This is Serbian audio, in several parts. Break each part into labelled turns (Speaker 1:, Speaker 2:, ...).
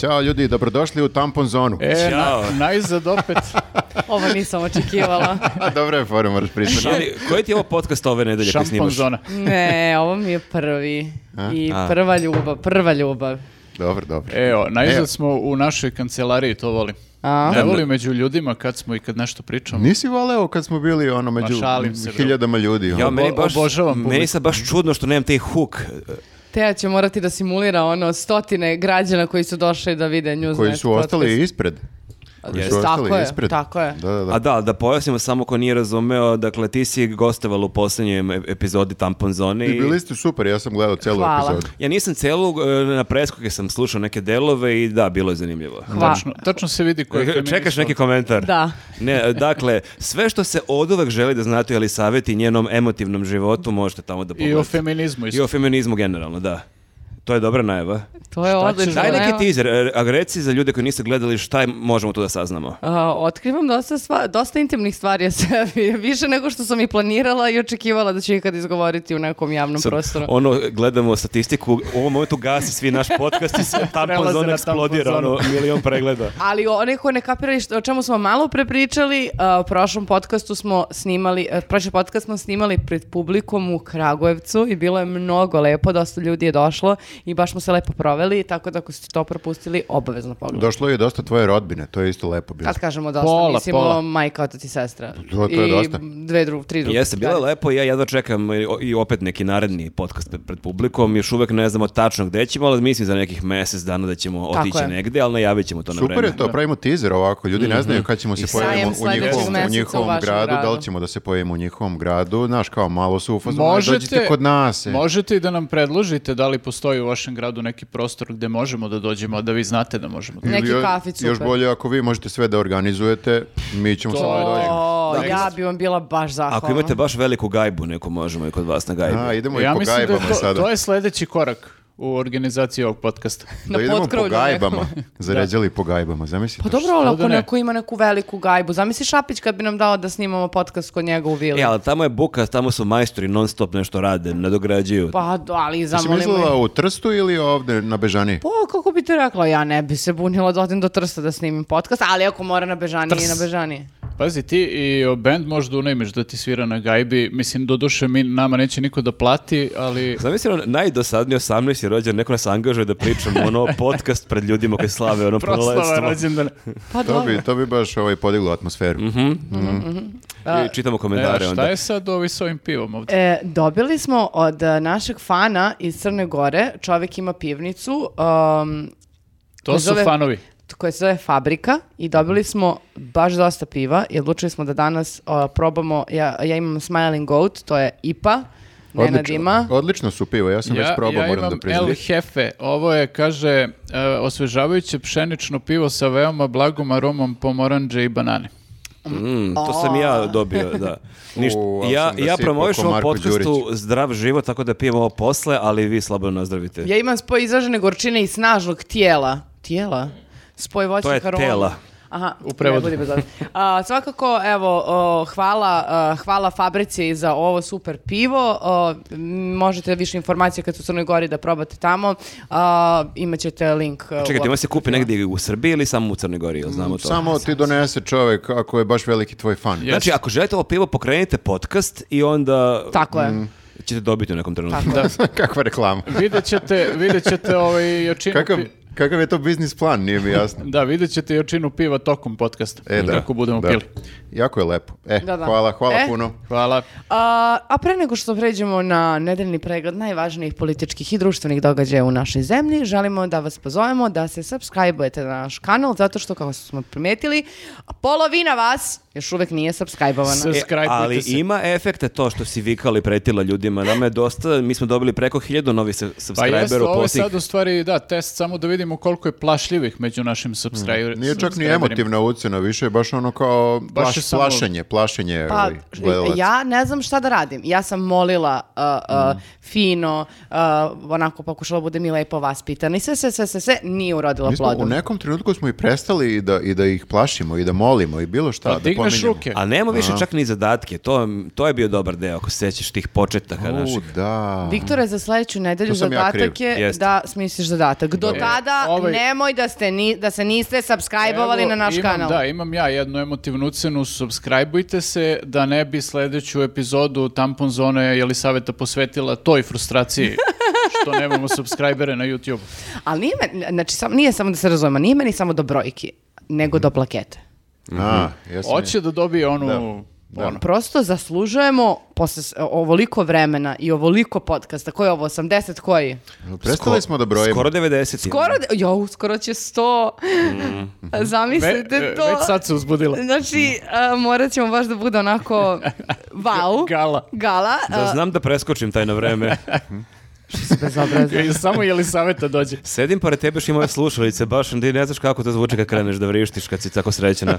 Speaker 1: Ćao ljudi, dobrodošli u tampon zonu.
Speaker 2: E,
Speaker 3: Ćao.
Speaker 2: na, najzad opet.
Speaker 4: Ovo nisam očekivala.
Speaker 1: A dobro je forum, moraš priznati.
Speaker 3: Ali, koji ti je ovo podcast ove nedelje koji
Speaker 2: Šampon
Speaker 3: snimaš?
Speaker 2: zona.
Speaker 4: Ne, ovo mi je prvi. I
Speaker 3: A.
Speaker 4: prva ljubav, prva ljubav.
Speaker 1: Dobro, dobro.
Speaker 2: Evo,
Speaker 1: Evo.
Speaker 2: najzad smo u našoj kancelariji, to volim.
Speaker 4: A?
Speaker 2: Ne volim među ljudima kad smo i kad nešto pričamo.
Speaker 1: Nisi voleo kad smo bili ono među
Speaker 2: Ma, šalim se, bro.
Speaker 1: hiljadama ljudi. ono.
Speaker 3: Ja, meni
Speaker 2: Obo-
Speaker 3: baš,
Speaker 2: obožavam
Speaker 3: meni
Speaker 2: publiku.
Speaker 3: sad baš čudno što nemam taj hook.
Speaker 4: Teja će morati da simulira ono stotine građana koji su došli da vide news.
Speaker 1: koji
Speaker 4: Net
Speaker 1: su ostali
Speaker 4: podcast.
Speaker 1: ispred. Koji su
Speaker 4: Jeste.
Speaker 1: ostali
Speaker 4: Tako je,
Speaker 1: ispred.
Speaker 4: tako je.
Speaker 1: Da, da, da.
Speaker 3: A da, da pojasnimo samo ko nije razumeo, dakle ti si gostoval u posljednjem ep- epizodi Tampon Zone.
Speaker 1: I bili ste super, ja sam gledao celu
Speaker 4: Hvala.
Speaker 1: epizodu.
Speaker 3: Ja nisam celu, e, na preskoke sam slušao neke delove i da, bilo je zanimljivo.
Speaker 4: Hva-
Speaker 2: Tačno, tačno se vidi ko je feminist.
Speaker 3: E, Čekaš neki komentar?
Speaker 4: Da.
Speaker 3: Ne, dakle, sve što se od uvek želi da znate ali savjeti i njenom emotivnom životu možete tamo
Speaker 2: I
Speaker 3: da
Speaker 2: o
Speaker 3: pogledate.
Speaker 2: feminizmu
Speaker 3: I o
Speaker 2: isto.
Speaker 3: feminizmu generalno, da. To je dobra najava.
Speaker 4: To je odlično.
Speaker 3: Daj
Speaker 4: evo.
Speaker 3: neki teaser, e, a reci za ljude koji niste gledali šta je- možemo tu da saznamo.
Speaker 4: A, otkrivam dosta, stva- dosta intimnih stvari o sebi, više nego što sam i planirala i očekivala da ću ikad izgovoriti u nekom javnom
Speaker 3: Sad,
Speaker 4: prostoru.
Speaker 3: Ono, gledamo statistiku, u ovom momentu gasi svi naš podcast i se tampon
Speaker 2: Prelaze
Speaker 3: zona
Speaker 2: na
Speaker 3: eksplodira,
Speaker 2: tampon
Speaker 3: ono, milion pregleda.
Speaker 4: Ali one ko ne kapirali što, o čemu smo malo pre pričali, a, u prošlom podcastu smo snimali, a, prošli podcast smo snimali pred publikom u Kragujevcu i bilo je mnogo lepo, dosta ljudi je došlo i baš smo se lepo proveli, tako da ako ste to propustili, obavezno pogledajte.
Speaker 1: Došlo je dosta tvoje rodbine, to je isto lepo bilo.
Speaker 4: Kad kažemo dosta,
Speaker 2: Pola,
Speaker 4: mislimo
Speaker 2: pola.
Speaker 4: majka, otac i sestra.
Speaker 1: To- to je
Speaker 4: I
Speaker 1: dosta.
Speaker 4: dve dru, tri druge.
Speaker 3: Jeste, bilo je lepo i ja jedva čekam i- i opet neki naredni podcast pred publikom. Još uvek ne znamo tačno gde ćemo, ali mislim za nekih mjesec dana da ćemo
Speaker 4: Tako
Speaker 3: otići
Speaker 4: je.
Speaker 3: negde, ali najavit ćemo to na vreme.
Speaker 1: Super je to, pravimo teaser ovako, ljudi
Speaker 2: Mhm.
Speaker 1: ne znaju kad ćemo se
Speaker 4: sajem
Speaker 1: pojavimo u
Speaker 4: sledećeg
Speaker 1: njihovom, u
Speaker 4: meseca u
Speaker 1: njihovom
Speaker 4: vašem
Speaker 1: gradu, da li
Speaker 4: gradu.
Speaker 1: ćemo da se pojavimo u njihovom gradu, znaš kao malo su u fazonu, dođite
Speaker 2: Možete,
Speaker 1: kod nas. e.
Speaker 2: možete i da nam predložite da li postoji u vašem gradu neki prostor gde možemo da dođemo, a da vi znate da možemo. Da...
Speaker 4: Ne. Neki
Speaker 1: Ili jo-
Speaker 4: kafić, super.
Speaker 1: Još bolje ako vi možete sve da organizujete, mi ćemo samo da dođemo.
Speaker 4: O,
Speaker 2: Da,
Speaker 4: ja
Speaker 2: isto.
Speaker 4: bi vam bila baš zahvalna.
Speaker 3: Ako imate baš veliku gajbu, neko možemo i kod vas na gajbu.
Speaker 1: A, idemo
Speaker 2: Ja
Speaker 1: i po
Speaker 2: mislim da
Speaker 1: gajbama
Speaker 2: je to,
Speaker 1: sada.
Speaker 2: to je sledeći korak u organizaciji ovog podcasta.
Speaker 4: Na
Speaker 1: da idemo po
Speaker 4: potkrovlju
Speaker 1: gajbama.
Speaker 4: nekom.
Speaker 1: Zaređali po gajbama, zamislite.
Speaker 4: Pa dobro, ali
Speaker 2: da
Speaker 4: ako
Speaker 2: ne?
Speaker 4: neko ima neku veliku gajbu, zamisli Šapić kad bi nam dao da snimamo podcast kod njega u vili.
Speaker 3: E, ali tamo je buka, tamo su majstori non stop nešto rade, nadograđuju.
Speaker 4: Pa, do- ali
Speaker 1: Jesi
Speaker 4: zamolimo
Speaker 1: mislila
Speaker 4: je.
Speaker 1: u Trstu ili ovde na Bežani?
Speaker 4: Pa, kako bi ti rekla, ja ne bi se bunila da odem do Trsta da snimim podcast, ali ako mora na Bežanije, i na Bežanije.
Speaker 2: Pazi, ti i o, band možda unajmiš da ti svira na gajbi. Mislim, doduše, mi, nama neće niko da plati, ali...
Speaker 3: Zamisli ono, najdosadniji 18 je rođen, neko nas angažuje da pričamo ono podcast pred ljudima koji slave ono
Speaker 2: Proslava
Speaker 3: proletstvo.
Speaker 2: rođendana. E,
Speaker 4: Pa
Speaker 1: To
Speaker 4: dobro.
Speaker 1: bi, to bi baš ovaj podiglo atmosferu.
Speaker 2: Mhm.
Speaker 3: I čitamo
Speaker 2: E,
Speaker 3: komentare
Speaker 2: šta
Speaker 3: onda.
Speaker 2: je sad ovi s ovim pivom ovdje?
Speaker 4: E, dobili smo od e, našeg fana iz Crne Gore, čovjek ima pivnicu, um,
Speaker 2: to su
Speaker 4: zove-
Speaker 2: fanovi.
Speaker 4: koja se zove Fabrika i dobili smo baš dosta piva i odlučili smo da danas uh, probamo, ja, ja imam Smiling Goat, to je IPA, Nenad ima.
Speaker 1: Odlično su pivo, ja sam već probao,
Speaker 2: ja
Speaker 1: moram da
Speaker 2: imam
Speaker 1: priznam.
Speaker 2: El Jefe. Ovo je, kaže, e, osvežavajuće pšenično pivo sa veoma blagom aromom pomoranđe i banane.
Speaker 3: Mm, to sam i ja dobio, da. Ništa.
Speaker 1: U, ali
Speaker 3: ja
Speaker 1: sam ga
Speaker 3: ja
Speaker 1: sipao
Speaker 3: promoviš
Speaker 1: ko
Speaker 3: ovom
Speaker 1: Marko
Speaker 3: podcastu zdrav život, tako da pijemo ovo posle, ali vi slabo nazdravite.
Speaker 4: Ja imam spoj izražene gorčine i snažnog tijela. Tijela? Spoj voćnih
Speaker 3: To je
Speaker 4: aroma.
Speaker 3: tela.
Speaker 4: Aha,
Speaker 2: U prevodu.
Speaker 4: ne budi bez obzira. A, svakako, evo, o, hvala, a, hvala Fabrici za ovo super pivo. O, m, možete više informacije kad su u Crnoj Gori da probate tamo. A, imaćete link. a, u
Speaker 3: Čekajte, ima
Speaker 4: opisu.
Speaker 3: se kupi negdje u Srbiji ili samo u Crnoj Gori, jel znamo to?
Speaker 1: Samo ti donese čovek ako je baš veliki tvoj fan.
Speaker 2: Je.
Speaker 3: Znači, ako želite ovo pivo, pokrenite podcast i onda
Speaker 4: Tako
Speaker 2: Mm.
Speaker 4: je.
Speaker 3: ćete dobiti u nekom trenutku.
Speaker 4: Tako je.
Speaker 1: Kakva reklama.
Speaker 2: Vidjet ćete, vidjet ćete ovaj jačinu
Speaker 1: Kakav,
Speaker 2: pi-
Speaker 1: kakav je to biznis plan, nije mi jasno.
Speaker 2: Da, vidjet ćete jačinu piva tokom podcasta.
Speaker 1: E, da.
Speaker 2: Kako budemo
Speaker 1: da.
Speaker 2: pili.
Speaker 1: Jako je lepo. E,
Speaker 4: Da, da.
Speaker 1: hvala, hvala
Speaker 4: E.
Speaker 1: puno.
Speaker 2: Hvala.
Speaker 4: A, a pre nego što pređemo na nedeljni pregled najvažnijih političkih i društvenih događaja u našoj zemlji, želimo da vas pozovemo da se subscribe-ujete na naš kanal, zato što, kao što smo primetili, polovina vas još uvek nije subscribe-ovana.
Speaker 2: S-
Speaker 3: E,
Speaker 2: Subscribe-ujte
Speaker 3: ali
Speaker 2: se.
Speaker 3: ima efekte to što si vikali pretila ljudima. Nama je dosta, mi smo dobili preko hiljadu novih se-
Speaker 2: Pa jeste,
Speaker 3: subscribera u
Speaker 2: ovo je
Speaker 3: posljednjih.
Speaker 2: sad u stvari, da, test samo da vidimo koliko je plašljivih među našim subscriberima.
Speaker 1: Nije čak ni emotivna ucena, više je baš ono kao
Speaker 2: Baš
Speaker 1: plaš-
Speaker 2: je samo-
Speaker 1: plašenje, plašenje
Speaker 4: Pa,
Speaker 1: ovaj, gledalaca.
Speaker 4: ja ne znam šta da radim. Ja sam molila uh, uh,
Speaker 1: Mhm.
Speaker 4: fino, uh, onako pokušala da budem i lepo vaspitana i sve, sve, sve, sve, sve, nije urodila
Speaker 1: Mi smo, u
Speaker 4: plodom.
Speaker 1: nekom trenutku smo i prestali i da, i da ih plašimo i da molimo i bilo šta.
Speaker 2: Pa
Speaker 1: da
Speaker 2: digneš
Speaker 1: pominjemo.
Speaker 2: ruke.
Speaker 3: A nema više čak ni zadatke. To, to je bio dobar deo, ako se sećaš tih početaka naših.
Speaker 1: U, da.
Speaker 4: Viktore, za sledeću nedelju
Speaker 1: Tu sam ja
Speaker 4: zadatak
Speaker 1: kriv.
Speaker 4: je
Speaker 3: Jeste.
Speaker 4: da smisliš zadatak. Do
Speaker 3: Dobro.
Speaker 4: tada onda
Speaker 2: Ovaj-
Speaker 4: nemoj da, ste ni, da se niste subscribe-ovali
Speaker 2: Evo,
Speaker 4: na naš
Speaker 2: imam,
Speaker 4: kanal.
Speaker 2: Da, imam ja jednu emotivnu ucenu, subscribeujte se da ne bi sledeću epizodu Tampon Zone Jelisaveta posvetila toj frustraciji što nemamo subscribere na YouTube.
Speaker 4: Ali nije, meni- znači, sam, nije samo da se razumemo, nije meni samo do brojki, nego do plakete.
Speaker 1: A, jesam.
Speaker 2: Hoće da dobije onu... ono.
Speaker 4: Prosto zaslužujemo posle s- ovoliko vremena i ovoliko podcasta, koji je ovo, 80 koji?
Speaker 1: Prestali
Speaker 3: Sko-
Speaker 1: smo da brojimo.
Speaker 3: Skoro 90.
Speaker 4: Skoro, de- jo, skoro će 100.
Speaker 2: Ve,
Speaker 4: Zamislite
Speaker 2: e,
Speaker 4: to.
Speaker 2: već sad se uzbudila.
Speaker 4: Znači, a, morat ćemo baš da bude onako wow.
Speaker 2: Gala.
Speaker 4: Gala.
Speaker 3: Da znam da preskočim taj na vreme.
Speaker 2: I samo Jelisaveta dođe.
Speaker 3: Sedim pored tebe što moje slušalice, baš ti ne znaš kako to zvuči kad kreneš da vrištiš, kad si tako srećena.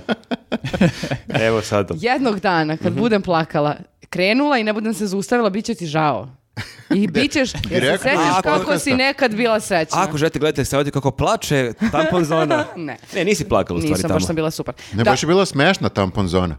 Speaker 3: Evo sad.
Speaker 4: Jednog dana,
Speaker 3: Mhm.
Speaker 4: kad budem plakala, krenula i ne budem se zaustavila, bit će ti žao. I bit ćeš, jer se
Speaker 1: Direktno
Speaker 4: sećaš
Speaker 3: iz
Speaker 4: kako
Speaker 1: podcasta.
Speaker 4: si nekad bila srećna.
Speaker 3: Ako želite gledajte savjeti kako plače, tampon zona.
Speaker 4: Ne.
Speaker 3: Ne, nisi plakala u stvari
Speaker 4: Nisam,
Speaker 3: tamo.
Speaker 4: baš sam bila super.
Speaker 1: Ne,
Speaker 4: Da,
Speaker 1: baš je bila smešna tampon zona.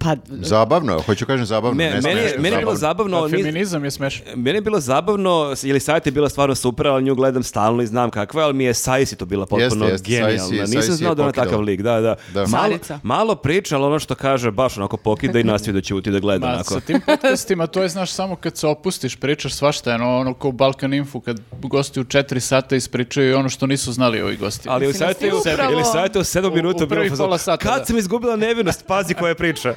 Speaker 4: pa,
Speaker 1: Zabavno, je, hoću kažem zabavno.
Speaker 3: Me-
Speaker 1: ne
Speaker 3: meni, je-
Speaker 1: smešno,
Speaker 3: meni je bilo
Speaker 1: zabavno.
Speaker 2: Da,
Speaker 3: zabavno, ni-
Speaker 2: feminizam je smešan.
Speaker 3: meni je bilo zabavno, ili savjet je bila stvarno super, ali nju gledam stalno i znam kakva je, ali mi je Sajsi to bila potpuno
Speaker 1: Jeste, jeste,
Speaker 3: genijalna.
Speaker 1: Sajsi je-
Speaker 3: Nisam
Speaker 1: Sajsi je
Speaker 3: znao da je ona
Speaker 1: pokidala.
Speaker 3: takav lik, da, da.
Speaker 1: Da.
Speaker 3: Malo,
Speaker 4: Salica.
Speaker 3: malo priča, ali ono što kaže, baš onako pokida i nastavi da ćuti da gleda.
Speaker 2: Ma,
Speaker 3: onako.
Speaker 2: sa tim podcastima to je, znaš, samo kad se opustiš, pričaš svašta, ono, ono ko Balkan Info, kad gosti u četiri sata ispričaju ono što nisu znali ovi gosti.
Speaker 3: Ali u
Speaker 4: Mislim,
Speaker 3: sajtu je
Speaker 4: jesi upravo-
Speaker 3: ili sajtu je u sedam
Speaker 2: U- u
Speaker 3: minuta bilo
Speaker 2: prvih
Speaker 3: fazon,
Speaker 2: pola sata,
Speaker 3: Kad
Speaker 2: da."
Speaker 3: sam izgubila nevinost, pazi koja je priča.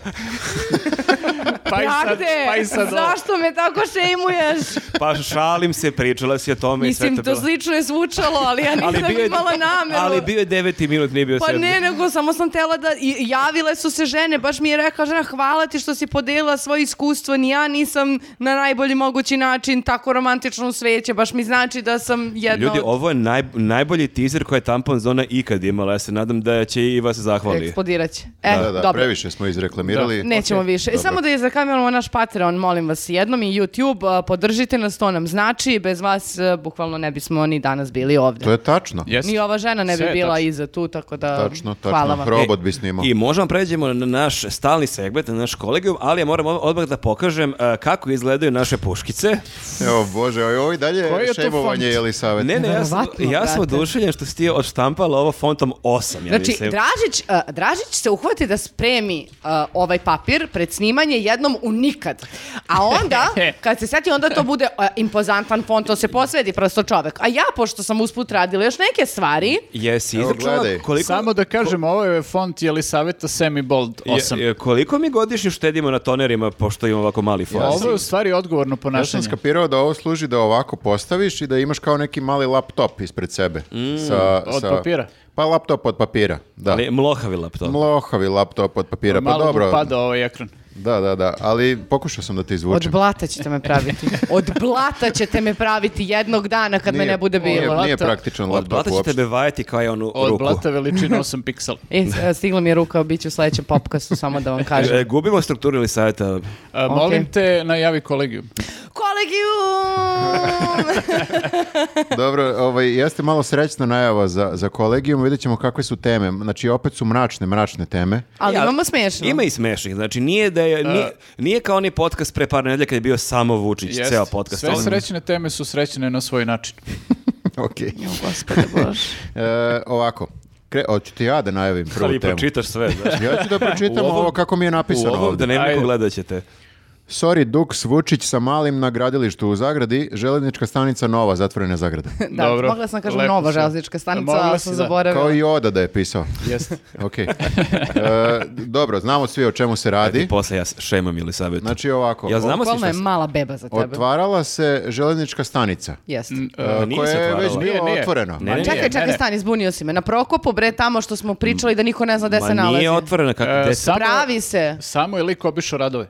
Speaker 2: pa i sad,
Speaker 4: Brate,
Speaker 2: pa i sad ovo.
Speaker 4: zašto me tako šejmuješ?
Speaker 3: Pa šalim se, pričala si o tome i sve
Speaker 4: Mislim,
Speaker 3: to
Speaker 4: to
Speaker 3: bilo.
Speaker 4: slično je zvučalo, ali ja nisam
Speaker 3: bio je-
Speaker 4: imala nameru.
Speaker 3: Ali bio je deveti minut, nije bio
Speaker 4: Pa
Speaker 3: sedmi.
Speaker 4: ne, nego samo sam tela da, i- javile su se žene, baš mi je rekla žena hvala ti što si podelila svoje iskustvo, ni ja nisam na najbolji mogući način tako romantično u sveće, baš mi znači da sam jedna
Speaker 3: Ljudi,
Speaker 4: od...
Speaker 3: ovo je naj, najbolji teaser koji je tampon zona ikad imala. Ja se nadam da će i vas zahvali.
Speaker 4: Eksplodirat će. E,
Speaker 1: Da, da,
Speaker 4: dobro.
Speaker 1: previše smo izreklamirali.
Speaker 4: Nećemo više. E,
Speaker 1: Dobro.
Speaker 4: Samo da je zakamiramo naš Patreon, molim vas, jednom i YouTube, a, podržite nas, to nam znači, bez vas e, bukvalno ne bismo ni danas bili ovdje.
Speaker 1: To je tačno.
Speaker 2: Jeste.
Speaker 4: Ni ova žena ne bi
Speaker 2: Sve je
Speaker 4: bila
Speaker 2: tačno.
Speaker 4: iza tu, tako da
Speaker 1: Tačno, tačno.
Speaker 4: hvala vam.
Speaker 1: Robot bi snimao.
Speaker 3: E, I možemo pređemo na naš stalni segment, na naš kolegijum, ali ja moram od- odmah da pokažem uh, kako izgledaju naše puškice.
Speaker 1: Evo, bože, ovo ovo i dalje
Speaker 2: Koji je
Speaker 1: je
Speaker 2: to
Speaker 1: šejmovanje,
Speaker 2: font?
Speaker 1: je li savjet?
Speaker 3: Ne, ne, ja sam,
Speaker 4: Verovatno,
Speaker 3: ja sam
Speaker 4: brate.
Speaker 3: oduševljen što si ti odštampala ovo fontom 8, ja
Speaker 4: Znači,
Speaker 3: mislim.
Speaker 4: Dražić, uh, Dražić se uhvati da spremi uh, ovaj papir pred snimanje jednom u nikad. A onda, kad se seti, onda to bude uh, impozantan font, on se posvedi prosto čovek. A ja, pošto sam usput radila još neke stvari,
Speaker 3: Jesi
Speaker 1: Evo,
Speaker 3: izračunala
Speaker 1: gledaj.
Speaker 3: koliko...
Speaker 2: Samo da kažem, ovo je font Jelisaveta Semi Bold
Speaker 3: Je-
Speaker 2: 8.
Speaker 3: je, koliko mi godišnje štedimo na tonerima pošto imamo ovako mali fon?
Speaker 2: Ovo je u stvari odgovorno
Speaker 1: Ja sam
Speaker 2: ponašanje.
Speaker 1: skapirao da ovo služi da ovako postaviš i da imaš kao neki mali laptop ispred sebe. sa,
Speaker 2: Od papira?
Speaker 1: Pa laptop od papira, da.
Speaker 3: Mm, Ali mlohavi laptop.
Speaker 1: Mlohavi laptop od papira, pa
Speaker 2: Malo
Speaker 1: dobro.
Speaker 2: mu pada ovaj ekran.
Speaker 1: Da, da, da, ali pokušao sam da te
Speaker 4: od
Speaker 1: izvučem.
Speaker 4: blata ćete me praviti. Od blata ćete me praviti jednog dana kad me
Speaker 1: Nije-
Speaker 4: ne bude
Speaker 1: nije-
Speaker 4: bilo.
Speaker 1: Nije
Speaker 2: Laptop-
Speaker 1: praktičan
Speaker 3: Od
Speaker 1: laptop
Speaker 3: blata će
Speaker 1: uopšte.
Speaker 3: tebe vajati kao je onu
Speaker 2: Od
Speaker 3: ruku.
Speaker 2: blata veličina 8 piksela.
Speaker 4: E, s- e, stigla mi je ruka, bit ću u sledećem popkastu, samo da vam kažem.
Speaker 3: E, Gubimo strukturu ili savjeta.
Speaker 2: A,
Speaker 4: Ok.
Speaker 2: E, Molim te, najavi kolegiju.
Speaker 4: Kolegium!
Speaker 1: Dobro, ovaj, jeste malo srećna najava za, za kolegijum, vidjet ćemo kakve su teme. Znači, opet su mračne, mračne teme.
Speaker 4: Ali
Speaker 3: Ja-
Speaker 4: imamo smešno.
Speaker 3: Ima i smešnih, znači nije da je, nije, nije kao onaj podcast pre par nedelja kad je bio samo Vučić,
Speaker 2: Jest.
Speaker 3: ceo podcast.
Speaker 2: Sve
Speaker 3: Ovo-
Speaker 2: srećne teme su srećne na svoj način.
Speaker 1: Okej.
Speaker 4: Gospode Bože.
Speaker 1: E, ovako, Kre, hoću ti ja da najavim prvu
Speaker 3: Ali
Speaker 1: temu.
Speaker 3: pročitaš sve, da.
Speaker 1: Ja ću da pročitam
Speaker 3: U ovom-
Speaker 1: ovo kako mi je
Speaker 3: U
Speaker 1: napisano
Speaker 3: ovom
Speaker 1: ovdje.
Speaker 3: da nema
Speaker 2: Ajde.
Speaker 3: nikog gledat ćete.
Speaker 1: Sorry, Duks Vučić sa malim na gradilištu u Zagradi, železnička stanica Nova, zatvorene Zagrade.
Speaker 4: Da,
Speaker 2: Dobro.
Speaker 4: mogla sam kažem
Speaker 2: Lepo
Speaker 4: nova
Speaker 2: si.
Speaker 4: železnička stanica,
Speaker 2: Mogla
Speaker 4: ali
Speaker 2: si,
Speaker 4: sam
Speaker 2: da.
Speaker 4: zaboravila.
Speaker 1: Kao i Oda da je pisao.
Speaker 2: Jeste.
Speaker 1: Ok. E, dobro, znamo svi o čemu se radi.
Speaker 3: I posle ja šemam ili savjetu.
Speaker 1: Znači ovako,
Speaker 3: Ja znam- znamo svi
Speaker 4: Bukvalno je
Speaker 3: šta-
Speaker 4: mala beba za tebe.
Speaker 1: otvarala se železnička stanica,
Speaker 4: Jeste.
Speaker 1: e,
Speaker 3: nije
Speaker 1: koja
Speaker 3: se
Speaker 1: je već
Speaker 3: otvarala.
Speaker 2: Nije,
Speaker 1: bila
Speaker 2: nije.
Speaker 1: otvorena.
Speaker 3: Ne, ne,
Speaker 4: Čekaj,
Speaker 3: nije.
Speaker 4: čekaj,
Speaker 2: ne.
Speaker 4: stani, zbunio si me. Na Prokopu, bre, tamo što smo pričali da niko ne zna gde se
Speaker 3: Ma
Speaker 4: nalazi.
Speaker 3: nije otvorena kako...
Speaker 2: E,
Speaker 3: gde se-
Speaker 2: samo,
Speaker 4: Pravi se.
Speaker 2: Samo je lik obišao radove.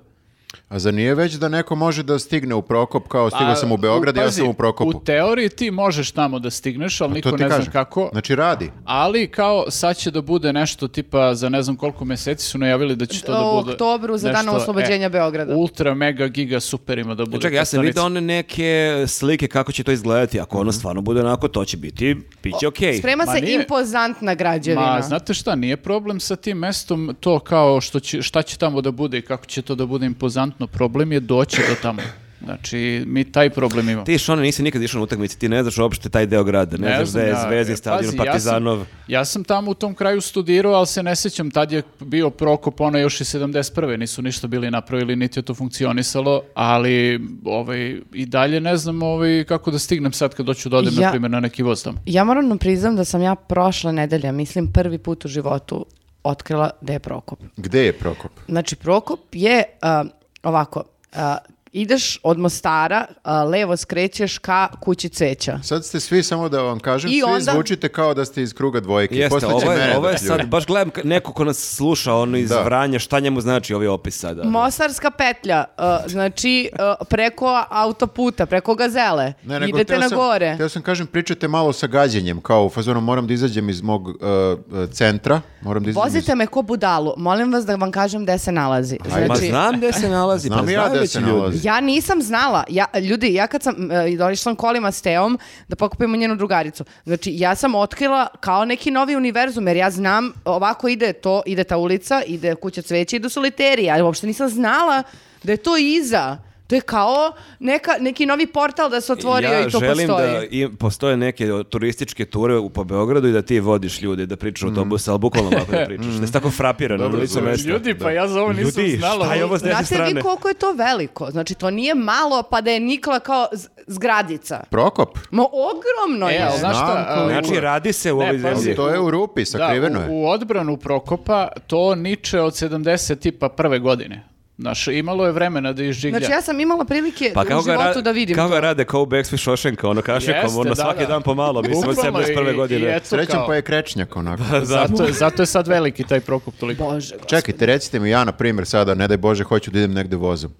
Speaker 1: A za nije već da neko može da stigne u Prokop kao stigao sam u Beograd, ja
Speaker 2: Pazi,
Speaker 1: sam u Prokopu. Pa
Speaker 2: U teoriji ti možeš tamo da stigneš, ali
Speaker 1: To
Speaker 2: niko
Speaker 1: ti
Speaker 2: ne zna
Speaker 1: kažem.
Speaker 2: kako.
Speaker 1: Znači radi.
Speaker 2: Ali kao sad će da bude nešto tipa za ne znam koliko meseci su najavili da će to da
Speaker 4: U
Speaker 2: bude.
Speaker 4: oktobru za dan
Speaker 2: nešto, e,
Speaker 4: oslobođenja Beograda.
Speaker 2: Ultra mega giga super ima da bude.
Speaker 3: E, Čekaj, ja
Speaker 2: ta
Speaker 3: sam vidio
Speaker 2: stanica.
Speaker 3: one neke slike kako će to izgledati. Ako
Speaker 1: Mhm.
Speaker 3: ono stvarno bude onako, to će biti, bit će okej.
Speaker 4: Sprema
Speaker 2: Ma
Speaker 4: se
Speaker 2: nije-
Speaker 4: impozantna
Speaker 3: ono-
Speaker 4: građevina.
Speaker 2: Ma, znate šta, nije problem sa tim mestom to kao što će, šta će tamo da bude i kako će to da bude impozantno. Problem je doći do tamo. Znači, mi taj problem imamo.
Speaker 3: Ti, Šone, nisi nikad išao na utakmice, ti ne znaš uopšte taj deo grada, ne, znaš gde je
Speaker 2: ja.
Speaker 3: Zvezdin
Speaker 2: E,
Speaker 3: stadion,
Speaker 2: pazi,
Speaker 3: Partizanov.
Speaker 2: Ja sam, ja sam tamo u tom kraju studirao, ali se ne sjećam, tad je bio Prokop, ono još i 71. Nisu ništa bili napravili, niti je to funkcionisalo, ali ovaj, i dalje ne znam ovaj, kako da stignem sad kad doću da odem,
Speaker 4: Ja-
Speaker 2: na primjer, na neki voz tamo.
Speaker 4: Ja moram da priznam da sam ja prošle nedelje, mislim prvi put u životu, otkrila da je Prokop.
Speaker 1: Gde je Prokop?
Speaker 4: Znači, Prokop je a, ovako, a, ideš od Mostara, a, levo skrećeš ka kući cveća.
Speaker 1: Sad ste svi, samo da vam kažem,
Speaker 4: I
Speaker 1: svi
Speaker 4: onda-
Speaker 1: zvučite kao da ste iz kruga dvojke.
Speaker 3: Jeste,
Speaker 1: Postaće
Speaker 3: ovo
Speaker 1: mene
Speaker 3: je, ovo je
Speaker 1: da pljuje.
Speaker 3: sad, baš gledam ka- neko ko nas sluša, ono iz
Speaker 1: Da.
Speaker 3: Vranja, šta njemu znači ovaj opis sada?
Speaker 4: Mostarska petlja, a, znači a, preko autoputa, preko gazele.
Speaker 1: Ne, nego
Speaker 4: Idete
Speaker 1: hteo
Speaker 4: na
Speaker 1: sam-
Speaker 4: gore.
Speaker 1: Hteo sam kažem, pričajte malo sa gađenjem, kao u fazonu moram da izađem iz mog uh, uh, centra, moram da izađem iz-
Speaker 4: Vozite me ko budalu. Molim vas da vam kažem gde se nalazi.
Speaker 1: Ajde.
Speaker 3: Ma
Speaker 4: Znači,
Speaker 3: znam gde se nalazi,
Speaker 1: Znam
Speaker 3: pa
Speaker 1: ja
Speaker 3: znaju
Speaker 1: gde
Speaker 3: već
Speaker 1: se
Speaker 3: ljudi.
Speaker 1: nalazi.
Speaker 4: Ja nisam znala. Ja, ljudi, ja kad sam e, došla kolima s Teom da pokupimo njenu drugaricu. Znači, ja sam otkrila kao neki novi univerzum, jer ja znam ovako ide to, ide ta ulica, ide kuća cveća, idu soliteri. Ja uopšte nisam znala da je to iza. To je kao neka, neki novi portal da se otvorio
Speaker 3: ja
Speaker 4: i to
Speaker 3: želim
Speaker 4: postoji.
Speaker 3: da i, postoje neke o, turističke ture u, po Beogradu i da ti vodiš ljude da pričaju o autobusa, ali bukvalno ovako da pričaš. Da si tako frapiran na licu mesta.
Speaker 2: Ljudi, pa ja za ovo nisam
Speaker 3: Ljudi,
Speaker 2: znala.
Speaker 3: šta je ovo s desne
Speaker 4: Znate vi
Speaker 3: strane?
Speaker 4: koliko je to veliko? Znači, to nije malo pa da je nikla kao z- zgradica.
Speaker 1: Prokop?
Speaker 4: Ma ogromno
Speaker 2: E,
Speaker 4: je.
Speaker 2: ali znaš šta?
Speaker 1: Znam koliko.
Speaker 2: a,
Speaker 3: Znači, radi se u
Speaker 2: Ne,
Speaker 3: ovoj
Speaker 2: pazi,
Speaker 3: zemlji.
Speaker 1: pa To je u rupi, sakriveno
Speaker 2: da,
Speaker 1: je.
Speaker 2: u, u odbranu Prokopa to niče od 70 tipa prve godine. Znaš, imalo je vremena da izžiglja.
Speaker 4: Znači, ja sam imala prilike u
Speaker 3: ra-
Speaker 4: životu da vidim
Speaker 3: kako
Speaker 4: to.
Speaker 3: Pa ga rade kao u Backstreet Šošenka, ono kašljakom,
Speaker 2: Jeste,
Speaker 3: ono
Speaker 2: da,
Speaker 3: svaki
Speaker 2: da.
Speaker 3: dan pomalo, mislim, od
Speaker 2: Bukvalno i-
Speaker 3: 71.
Speaker 2: i
Speaker 3: godine.
Speaker 2: eto
Speaker 1: Srećom
Speaker 2: kao.
Speaker 1: pa je krečnjak onako.
Speaker 2: Zato, je- zato je sad veliki taj Prokop toliko.
Speaker 4: Bože, gospod.
Speaker 1: Čekajte, recite mi ja na primjer sada, ne daj Bože, hoću da idem negde vozom.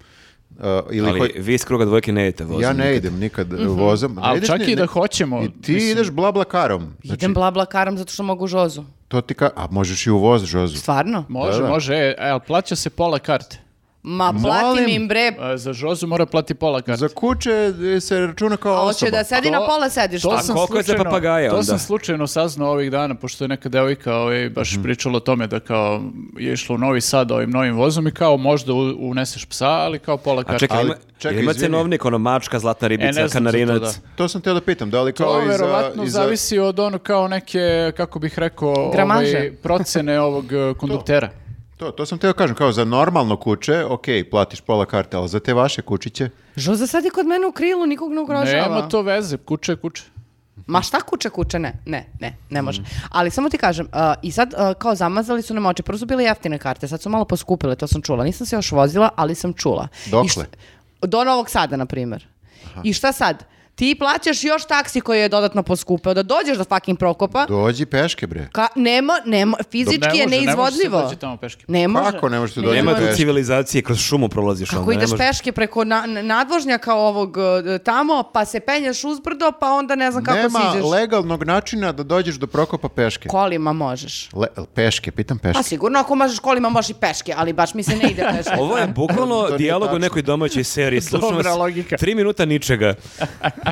Speaker 1: Uh, ili
Speaker 3: Ali
Speaker 1: hoj-
Speaker 3: vi iz kruga dvojke ne idete vozom.
Speaker 1: Ja ne
Speaker 3: nikad.
Speaker 1: idem nikad uh,
Speaker 4: Mhm.
Speaker 1: vozom. Ne
Speaker 2: Ali
Speaker 1: ideš
Speaker 2: čak
Speaker 1: ni-
Speaker 2: i da
Speaker 1: ne-
Speaker 2: hoćemo.
Speaker 1: I ti
Speaker 2: mislim,
Speaker 1: ideš blabla karom. Znači,
Speaker 4: Idem bla bla karam zato što mogu žozu.
Speaker 1: to ti ka... A možeš i u voz, Žozu.
Speaker 4: Stvarno?
Speaker 2: Može,
Speaker 1: Da, da.
Speaker 2: može, e, e, ali plaća se pola karte.
Speaker 4: Ma platim
Speaker 1: Molim.
Speaker 4: im bre.
Speaker 2: E, Za Žozu mora plati pola karte.
Speaker 1: Za kuće e, se računa kao
Speaker 4: A pa hoće
Speaker 1: osoba.
Speaker 4: da sedi
Speaker 2: To-
Speaker 4: na pola sedišta. Pa,
Speaker 2: To
Speaker 3: A
Speaker 2: sam
Speaker 3: koliko je za
Speaker 2: slučajno-
Speaker 3: papagaja
Speaker 2: To
Speaker 3: onda?
Speaker 2: sam slučajno saznao ovih dana, pošto je neka devojka ovaj, baš pričala o tome da kao je išla u Novi Sad ovim novim vozom i kao možda u- uneseš psa, ali kao pola
Speaker 3: A
Speaker 2: karte.
Speaker 3: čekaj,
Speaker 1: Ali-
Speaker 3: ima,
Speaker 1: čekaj,
Speaker 3: jel ima
Speaker 1: izvini.
Speaker 3: cenovnik, ono mačka, zlatna
Speaker 2: E, ne
Speaker 3: ribica,
Speaker 2: znam za to,
Speaker 3: kanarinac.
Speaker 2: da.
Speaker 1: To sam teo da pitam, da li
Speaker 2: To
Speaker 1: kao i za...
Speaker 2: verovatno
Speaker 1: i za-
Speaker 2: zavisi od ono kao neke, kako bih rekao,
Speaker 4: Gramaže.
Speaker 2: ovaj, procene ovog e, konduktera.
Speaker 1: To, to sam teo kažem, kao za normalno kuće, ok, platiš pola karte, ali za te vaše kućiće,
Speaker 4: Žoza sedi kod mene u krilu, nikog ne ugrožava.
Speaker 2: Nema to veze, kuće, je kuće.
Speaker 4: Ma šta kuče kuče, ne, ne, ne, ne
Speaker 2: Mm.
Speaker 4: može. Ali samo ti kažem, uh, i sad uh, kao zamazali su nam oči, prvo su bile jeftine karte, sad su malo poskupile, to sam čula. Nisam se još vozila, ali sam čula. I
Speaker 1: Dokle?
Speaker 4: šta- do Novog Sada, na primjer. I šta sad? Ti plaćaš još taksi koji je dodatno poskupeo, da dođeš do fucking Prokopa,
Speaker 1: dođi peške bre.
Speaker 4: Ka, nema, nema, fizički
Speaker 2: Ne
Speaker 4: je
Speaker 2: može, ne može se
Speaker 4: neizvodljivo.
Speaker 2: doći tamo peške.
Speaker 4: Ne može.
Speaker 1: Kako ne možete
Speaker 4: Ne
Speaker 1: dođi
Speaker 3: Nema
Speaker 4: Nema-
Speaker 3: tu
Speaker 1: peške?
Speaker 3: civilizacije, kroz šumu prolaziš.
Speaker 4: Kako
Speaker 3: onda, ne
Speaker 4: ideš
Speaker 3: može-
Speaker 4: peške preko na, na- nadvožnjaka ovog e, tamo, pa se penješ uzbrdo, pa onda ne znam kako
Speaker 1: Nema
Speaker 4: siđeš.
Speaker 1: legalnog načina da dođeš do Prokopa peške.
Speaker 4: Kolima možeš.
Speaker 1: Le, peške, pitam peške.
Speaker 4: Pa sigurno, ako možeš kolima, možeš i peške, ali baš mi se ne ide peške.
Speaker 3: Ovo je
Speaker 1: To
Speaker 3: bukvalno
Speaker 1: nije
Speaker 3: dijalog u
Speaker 1: tačno.
Speaker 3: nekoj domaćoj seriji. Slušamo
Speaker 2: Dobra
Speaker 3: vas
Speaker 2: logika.
Speaker 3: Tri minuta ničega.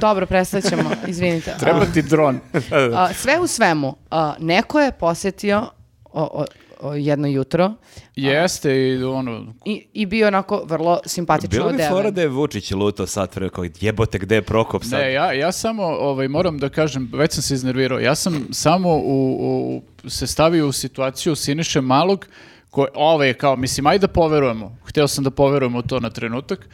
Speaker 4: Dobro, prestaćemo, izvinite.
Speaker 2: Treba ti dron.
Speaker 4: A, sve u svemu, a, neko je posjetio o- o- o jedno jutro
Speaker 2: Jeste i ono,
Speaker 4: i, i bio onako vrlo simpatično
Speaker 3: Bilo bi
Speaker 4: odeven.
Speaker 3: fora da je Vučić luto sad vremena kao jebote gde je Prokop sad.
Speaker 2: Ne, ja, ja samo ovaj, moram da kažem, već sam se iznervirao, ja sam samo u, u- se stavio u situaciju Siniše Malog, koje, ove je kao, mislim, ajde da poverujemo, hteo sam da poverujemo u to na trenutak,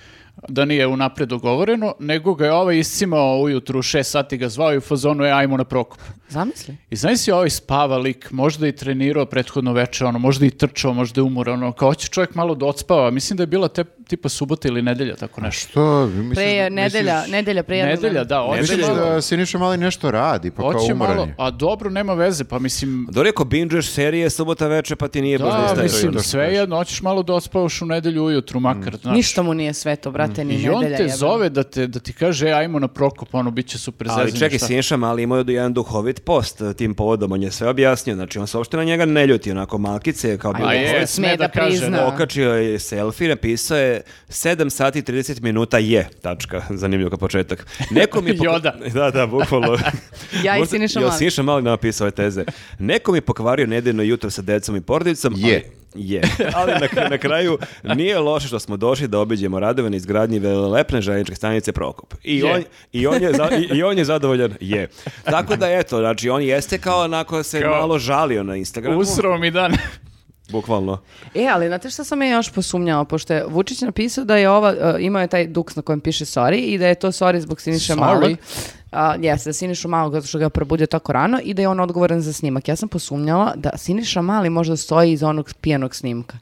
Speaker 2: da nije unapred dogovoreno, nego ga je ovaj iscimao ujutru, u šest sati ga zvao i u fazonu je ajmo na prokop.
Speaker 4: Zamisli.
Speaker 2: I znaš si ovaj spava lik, možda i trenirao prethodno veče, ono, možda i trčao, možda je umoran, ono, kao hoće čovjek malo da odspava, mislim da je bila te, tipa subota ili nedelja, tako nešto.
Speaker 1: Što, misliš,
Speaker 4: Pre, je
Speaker 1: misliš-
Speaker 4: nedelja, nedelja, pre jednog
Speaker 2: Nedelja,
Speaker 4: dana.
Speaker 2: da, hoće
Speaker 1: Misliš
Speaker 2: malo-
Speaker 1: da Siniša Mali nešto radi, pa kao
Speaker 2: Hoće
Speaker 1: umoran
Speaker 2: malo,
Speaker 1: je.
Speaker 2: a dobro, nema veze, pa mislim...
Speaker 3: Dobro je ako binđuješ serije subota veče pa ti nije baš da
Speaker 2: Da,
Speaker 1: je
Speaker 3: istaješ.
Speaker 1: to je
Speaker 2: mislim,
Speaker 1: to što
Speaker 2: sve
Speaker 1: kažeš.
Speaker 2: jedno, hoćeš malo da ospavaš u nedelju ujutru, makar, znaš. Mm.
Speaker 4: Ništa mu nije sveto, brate, ni
Speaker 2: I
Speaker 4: nedelja.
Speaker 2: on te
Speaker 4: jebe.
Speaker 2: zove da, te, da ti kaže, e, ajmo na prokop, ono, bit će super
Speaker 3: Ali
Speaker 2: zezanje,
Speaker 3: čekaj,
Speaker 2: šta?
Speaker 3: Sinša Mali imao je jedan duhovit post e, tim povodom, on je sve objasnio, znači on se uopšte na njega ne ljuti, onako malkice je kao bio
Speaker 2: A
Speaker 4: je,
Speaker 3: duhovit.
Speaker 2: je,
Speaker 4: sme
Speaker 2: sme
Speaker 4: da
Speaker 2: da kaže.
Speaker 4: prizna.
Speaker 2: Da.
Speaker 3: Okačio je selfie, napisao je 7 sati i 30 minuta je, tačka, zanimljivo kao početak. Neko mi je
Speaker 2: Yoda.
Speaker 3: Da, da, bukvalno.
Speaker 4: Ja i
Speaker 3: Možda-
Speaker 4: Siniša
Speaker 3: jel
Speaker 4: Mali.
Speaker 3: Siniša Mali napisao ove teze. Neko mi je pokvario nedeljno jutro sa decom i porodicom.
Speaker 1: Je.
Speaker 3: ali- Je, ali na, na kraju nije loše što smo došli da obiđemo radove na izgradnji velelepne željezničke stanice Prokop. I,
Speaker 2: Je.
Speaker 3: on, i, on je za- i, i on je zadovoljan, je. Tako da eto, znači on jeste kao onako se
Speaker 2: Kao-
Speaker 3: malo žalio na Instagramu.
Speaker 2: Usrao mi dan.
Speaker 3: Bukvalno.
Speaker 4: E, ali znate šta sam ja još posumnjala, pošto je Vučić napisao da je ova, e, imao je taj duks na kojem piše sorry i da je to sorry zbog Siniša
Speaker 2: Sorry?
Speaker 4: Malog. A, jeste, da Sinišu Malog zato što ga je probudio tako rano i da je on odgovoran za snimak. Ja sam posumnjala da Siniša Mali možda stoji iz onog pijenog snimka.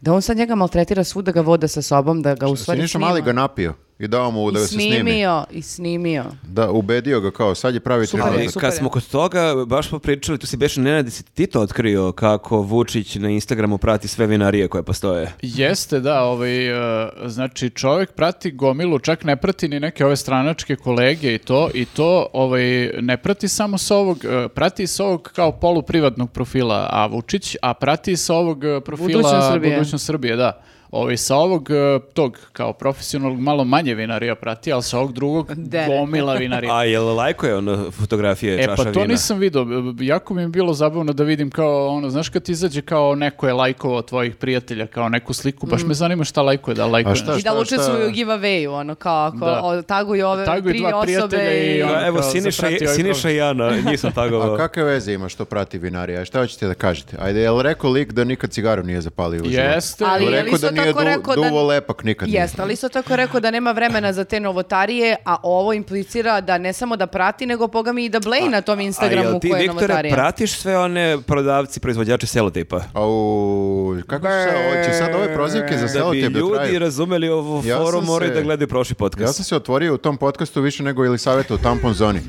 Speaker 4: Da on sad njega maltretira svuda, da ga voda sa sobom, da ga u stvari
Speaker 1: Siniša
Speaker 4: snima.
Speaker 1: Mali ga napio i dao mu da
Speaker 4: I
Speaker 1: ga se snimi.
Speaker 4: snimio, i snimio.
Speaker 1: Da, ubedio ga kao, sad je pravi
Speaker 4: Super.
Speaker 1: trenutak.
Speaker 3: Ali
Speaker 4: super
Speaker 3: kad
Speaker 4: je.
Speaker 3: smo kod toga baš smo pričali, tu si beš Nenad si ti to otkrio kako Vučić na Instagramu prati sve vinarije koje postoje.
Speaker 2: Jeste, da, ovaj, e, znači čovjek prati gomilu, čak ne prati ni neke ove stranačke kolege i to, i to ovaj, ne prati samo sa ovog, e, prati sa ovog kao poluprivatnog profila, a Vučić, a prati sa ovog e, profila
Speaker 4: Budućnost Srbije.
Speaker 2: Budućnost Srbije, da. Ovaj, sa ovog e, tog kao profesionalnog malo manje vinarija prati, ali sa ovog drugog
Speaker 4: Da.
Speaker 2: gomila vinarija.
Speaker 3: A jel lajkuje on fotografije
Speaker 2: E
Speaker 3: čaša
Speaker 2: pa to
Speaker 3: vina?
Speaker 2: nisam vidio, jako mi je bilo zabavno da vidim kao ono, znaš kad ti izađe kao neko je lajkovao od tvojih prijatelja, kao neku sliku,
Speaker 4: Mm.
Speaker 2: baš me zanima šta lajkuje, da li lajkuje.
Speaker 1: A šta,
Speaker 4: I da
Speaker 1: šta,
Speaker 4: učestvuju u
Speaker 1: šta?
Speaker 4: giveawayu, ono kao ako
Speaker 2: Da.
Speaker 4: o, taguju ove
Speaker 2: Taguju
Speaker 4: tri
Speaker 2: dva prijatelja
Speaker 4: osobe.
Speaker 2: i
Speaker 4: i-
Speaker 2: ono-
Speaker 3: Pa Evo,
Speaker 2: kao
Speaker 3: Siniša,
Speaker 2: zaprati ovaj
Speaker 3: Siniša
Speaker 2: problem.
Speaker 3: i Jana, nisam
Speaker 1: A
Speaker 3: tagovao.
Speaker 1: kakve veze ima što prati vinarija? Šta hoćete da kažete? Ajde, jel rekao lik da nikad cigaru nije zapalio u životu?
Speaker 2: Jeste.
Speaker 1: Jel
Speaker 4: Ali je li
Speaker 1: rekao
Speaker 4: isto
Speaker 1: da nije
Speaker 4: tako rekao da-
Speaker 1: duvo lepak nikad nije?
Speaker 4: Jeste, ali isto tako je rekao da nema vremena za te novotarije, a ovo implicira da ne samo da prati, nego boga mi i da bleji na tom
Speaker 3: A jel
Speaker 4: Instagramu
Speaker 3: ti,
Speaker 4: koje je
Speaker 3: Viktore,
Speaker 4: novotarija.
Speaker 3: pratiš sve one prodavci, proizvođači selotipa?
Speaker 1: Au, kako su sad, ovo će sad ove prozivke za
Speaker 3: Da
Speaker 1: selo
Speaker 3: bi
Speaker 1: tebi da
Speaker 3: ljudi
Speaker 1: traju?
Speaker 3: razumeli ovu
Speaker 1: Ja sam
Speaker 3: foru,
Speaker 1: se-
Speaker 3: moraju da gledaju prošli podcast.
Speaker 1: Ja sam se otvorio u tom podcastu više nego ili savjeta u tampon zoni.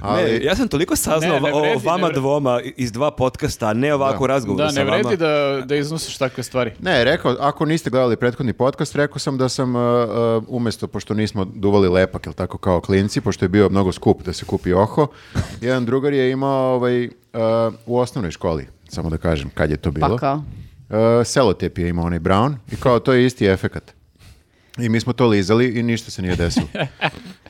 Speaker 1: Ali,
Speaker 3: Ne, ja sam toliko saznao
Speaker 2: Ne, ne vredi,
Speaker 3: o
Speaker 2: ne
Speaker 3: vama
Speaker 2: vredi.
Speaker 3: dvoma iz dva podcasta, a ne ovako u razgovoru
Speaker 2: Da,
Speaker 3: sa
Speaker 2: ne
Speaker 3: vama.
Speaker 2: vredi da, da iznosiš takve stvari.
Speaker 1: Ne, rekao, ako niste gledali prethodni podcast, rekao sam da sam uh, uh, umesto, pošto nismo duvali lepak, jel tako kao klinci, pošto je bio mnogo skup da se kupi oho, jedan drugar je imao ovaj, uh, u osnovnoj školi, samo da kažem kad je to bilo.
Speaker 4: Pa kao?
Speaker 1: Uh, selotep je imao onaj brown i kao to je isti efekat. I mi smo to lizali i ništa se nije desilo.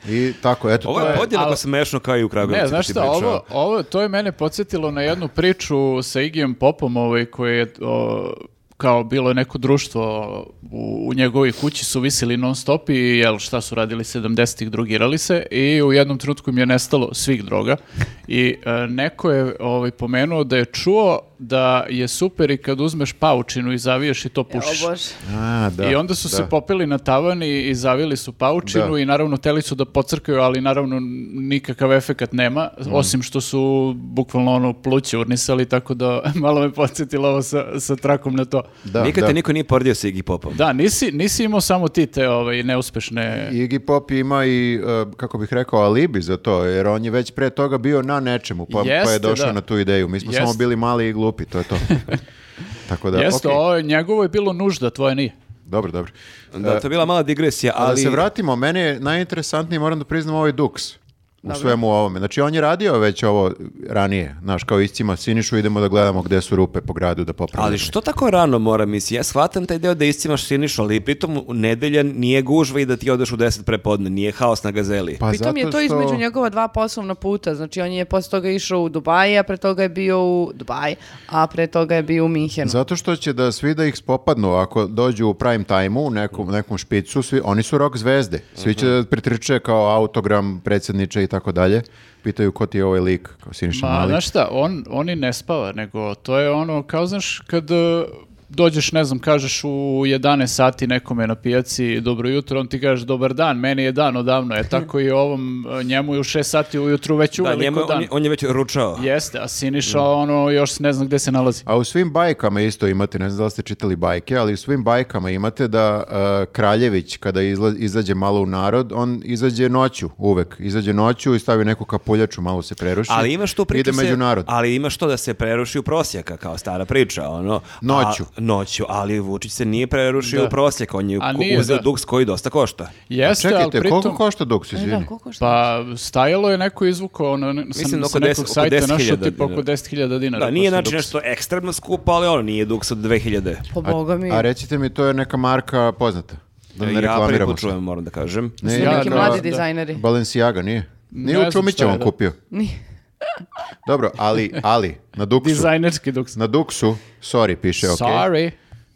Speaker 1: I tako, eto,
Speaker 3: Ovo
Speaker 1: to
Speaker 3: je
Speaker 1: je...
Speaker 3: podjednako
Speaker 2: ali-
Speaker 3: smešno kao i u Kragovicu.
Speaker 2: Ne, znaš
Speaker 3: ti
Speaker 2: šta,
Speaker 3: pričao.
Speaker 2: ovo, ovo, to je mene podsjetilo na jednu priču sa Igijem Popom, ovaj, koji je o, kao bilo je neko društvo u, u njegovoj kući su visili non stop i jel šta su radili 70-ih drogirali se i u jednom trenutku im je nestalo svih droga i e, neko je ovaj pomenuo da je čuo da je super i kad uzmeš paučinu i zaviješ i to pušiš.
Speaker 4: O Bože.
Speaker 1: A, da,
Speaker 2: I onda su se
Speaker 1: da.
Speaker 2: popeli na tavan i, i zavili su paučinu
Speaker 1: Da.
Speaker 2: i naravno teli su da pocrkaju, ali naravno nikakav efekat nema,
Speaker 1: Mhm.
Speaker 2: osim što su bukvalno ono pluće urnisali, tako da malo me podsjetilo ovo sa, sa trakom na to.
Speaker 1: Da,
Speaker 3: Nikad
Speaker 1: da.
Speaker 3: te niko nije poredio sa Iggy Popom.
Speaker 2: Da, nisi, nisi imao samo ti te ovaj, neuspešne...
Speaker 1: Iggy Pop ima i, uh, kako bih rekao, alibi za to, jer on je već pre toga bio na nečemu, pa, pa
Speaker 2: Jeste,
Speaker 1: je došao
Speaker 2: da.
Speaker 1: na tu ideju. Mi smo
Speaker 2: Jeste.
Speaker 1: samo bili mali i glupi, to je to. Tako da,
Speaker 2: Jeste,
Speaker 1: okej.
Speaker 2: ovo je- njegovo je bilo nužda, tvoje nije.
Speaker 1: Dobro, dobro.
Speaker 3: Da, to je bila mala digresija,
Speaker 1: Ali... Da
Speaker 3: ali...
Speaker 1: se vratimo, meni je najinteresantniji, moram da priznam, ovaj Dux. U svemu ovome. Znači, on je radio već ovo ranije. Znaš, kao iscima Sinišu, idemo da gledamo gde su rupe po gradu da popravimo.
Speaker 3: Ali što tako rano mora, mislim, ja shvatam taj deo da iscimaš Sinišu, ali pritom u nedelja nije gužva i da ti odeš u 10 prepodne, nije haos na gazeli.
Speaker 1: Pa
Speaker 4: Pritom je
Speaker 1: zato
Speaker 4: to
Speaker 1: što-
Speaker 4: između njegova dva poslovna puta, znači on je posle toga išao u Dubaji, a pre toga je bio u Dubaji, a pre toga je bio u Minhenu.
Speaker 1: Zato što će da svi da ih spopadnu ako dođu u prime time-u, u nekom, nekom špicu, svi, oni su rock zvezde. Svi će
Speaker 4: Mhm.
Speaker 1: da pritrče kao autogram predsjedniče i tako dalje. Pitaju ko ti je ovaj lik, kao Siniša
Speaker 2: Ma,
Speaker 1: Mali.
Speaker 2: znaš šta, on, on i ne spava, nego to je ono, kao znaš, kad e, dođeš, ne znam, kažeš u 11 sati nekome na pijaci dobro jutro, on ti kaže dobar dan, meni je dan odavno, je tako i ovom, e, njemu je u 6 sati ujutru već
Speaker 3: Da,
Speaker 2: uveliko
Speaker 3: njemu, on, Mm.
Speaker 2: dan.
Speaker 3: je- on je već ručao.
Speaker 2: Jeste, a Siniša ono još ne znam gde se nalazi.
Speaker 1: A u svim bajkama isto imate, ne znam da li ste čitali bajke, ali u svim bajkama imate da uh, Kraljević kada izla, izađe malo u narod, on izađe noću uvek. Izađe noću i stavi neku kapuljaču, malo se preruši.
Speaker 3: Ali imaš tu priču
Speaker 1: Ide
Speaker 3: se-
Speaker 1: među narod.
Speaker 3: Ali imaš to da se preruši u prosjaka, kao stara priča, ono. A-
Speaker 1: Noću.
Speaker 3: noću, ali Vučić se nije prerušio u prosjek, on je
Speaker 2: A
Speaker 3: ko-
Speaker 2: nije,
Speaker 3: uzeo
Speaker 2: da.
Speaker 3: duks koji dosta košta.
Speaker 2: Jeste, ali
Speaker 1: Čekajte,
Speaker 2: pritom...
Speaker 1: koliko košta dok se
Speaker 4: E,
Speaker 1: izvini?
Speaker 4: da, koliko šta?
Speaker 2: Pa stajalo je neko izvuko ono, ne- sa,
Speaker 3: Mislim,
Speaker 2: sa
Speaker 3: oko
Speaker 2: nekog
Speaker 3: 10 oko
Speaker 2: sajta
Speaker 3: 10.000
Speaker 2: našao tip oko
Speaker 3: dinara.
Speaker 2: 10.000 dinara. pa
Speaker 3: Da, nije
Speaker 2: košta
Speaker 3: znači
Speaker 2: duks.
Speaker 3: nešto ekstremno skupo, ali ono, nije duks od 2000.
Speaker 4: Pa boga mi.
Speaker 1: A recite mi, to je neka marka poznata. Da ne
Speaker 3: ja prvi
Speaker 1: reklamiramo
Speaker 3: put
Speaker 1: se.
Speaker 3: čujem, moram da kažem.
Speaker 1: Ne,
Speaker 4: Su
Speaker 2: ja,
Speaker 4: neki
Speaker 2: da,
Speaker 4: mladi
Speaker 2: da.
Speaker 4: dizajneri.
Speaker 1: Balenciaga, nije? Nije
Speaker 2: Ne znam
Speaker 1: u
Speaker 2: šta
Speaker 1: Čumićevom
Speaker 2: je, da.
Speaker 1: kupio.
Speaker 4: Nije.
Speaker 1: Dobro, ali, ali, na Duksu.
Speaker 2: Dizajnerski duks.
Speaker 1: Na Duksu, sorry, piše, ok.
Speaker 2: Sorry.
Speaker 1: Uh,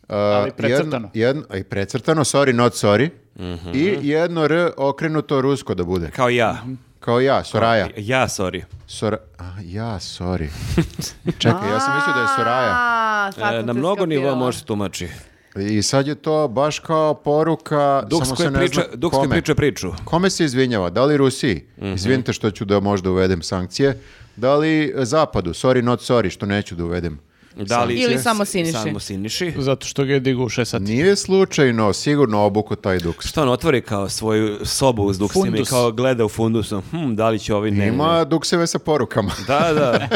Speaker 2: Ali precrtano.
Speaker 1: Jedno, jedno, aj, precrtano, sorry, not sorry.
Speaker 3: Mhm.
Speaker 1: I jedno R okrenuto rusko da bude.
Speaker 3: Kao ja.
Speaker 1: Kao ja, Soraja.
Speaker 3: Ja, sorry.
Speaker 1: Sora... A, ja, sorry. Čekaj, ja sam mislio da je Soraja.
Speaker 4: A, sad
Speaker 3: E,
Speaker 4: sam
Speaker 3: na
Speaker 4: te
Speaker 3: mnogo nivoa
Speaker 4: skapirala.
Speaker 3: može se tumači.
Speaker 1: I sad je to baš kao poruka,
Speaker 3: Duks
Speaker 1: samo se
Speaker 3: koji
Speaker 1: ne
Speaker 3: priča,
Speaker 1: zna
Speaker 3: Duks koji
Speaker 1: kome.
Speaker 3: priča Mhm. priču.
Speaker 1: Kome se izvinjava? Da li Rusiji? Izvinite što ću da možda uvedem sankcije. Da li e, Zapadu? Sorry, not sorry, što neću da uvedem.
Speaker 3: Da li,
Speaker 4: Ili samo Siniši.
Speaker 3: Samo Siniši.
Speaker 2: Zato što ga je digao u šest sati.
Speaker 1: Nije slučajno sigurno obuko taj duks.
Speaker 3: Što on otvori kao svoju sobu uz duksima i
Speaker 2: Fundus.
Speaker 3: kao gleda u fundusom, hm, da li će ovi ne.
Speaker 1: Ima dukseve sa porukama.
Speaker 3: Da, da.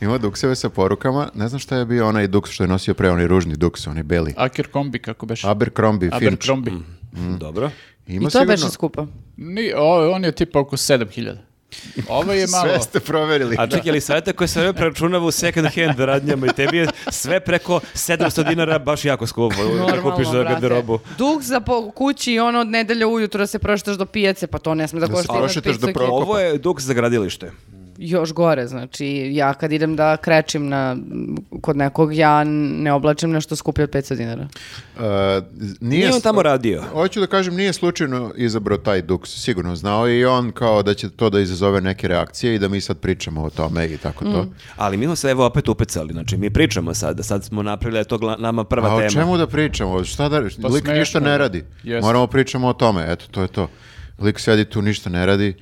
Speaker 1: Ima dukseve sa porukama. Ne znam šta je bio onaj duks što je nosio pre, onaj ružni duks, onaj beli.
Speaker 2: Aker kombi, kako beš?
Speaker 1: Abercrombie, Finch.
Speaker 2: Abercrombie.
Speaker 1: Mm.
Speaker 3: Hm, Dobro.
Speaker 1: Ima
Speaker 4: I to je baš
Speaker 1: sigurno-
Speaker 4: skupo.
Speaker 2: Ni, o, on je tipa oko 7000. Ovo je malo...
Speaker 1: Sve ste proverili.
Speaker 3: A čekaj, ali savjeta koje se preračunava u second hand radnjama i tebi je sve preko 700 dinara baš jako skupo da
Speaker 4: Normalno,
Speaker 3: kupiš za
Speaker 4: brate.
Speaker 3: garderobu.
Speaker 4: Duh za po kući i ono od nedelja ujutro da se prošetaš do pijace, pa to ne sme da
Speaker 1: Da se
Speaker 4: košta. iznad
Speaker 1: prošetaš do
Speaker 4: 500
Speaker 1: pro-
Speaker 3: Ovo je duks za gradilište.
Speaker 4: Još gore, znači, ja kad idem da krečim na, kod nekog, ja ne oblačim nešto skuplje od 500 dinara.
Speaker 1: Uh, nije,
Speaker 3: Nije on
Speaker 1: s-
Speaker 3: tamo radio.
Speaker 1: Hoću da kažem, nije slučajno izabrao taj duks, sigurno znao je i on kao da će to da izazove neke reakcije i da mi sad pričamo o tome i tako to.
Speaker 3: Ali mi smo se evo opet upecali, znači mi pričamo sad, sad smo napravili da je to gla- nama prva
Speaker 1: A o
Speaker 3: tema.
Speaker 1: čemu da pričamo? Šta da, lik
Speaker 2: smešno
Speaker 1: ništa ne
Speaker 2: je.
Speaker 1: radi.
Speaker 2: Jeste.
Speaker 1: Moramo pričamo o tome, eto, to je to. Lik sedi tu, ništa ne radi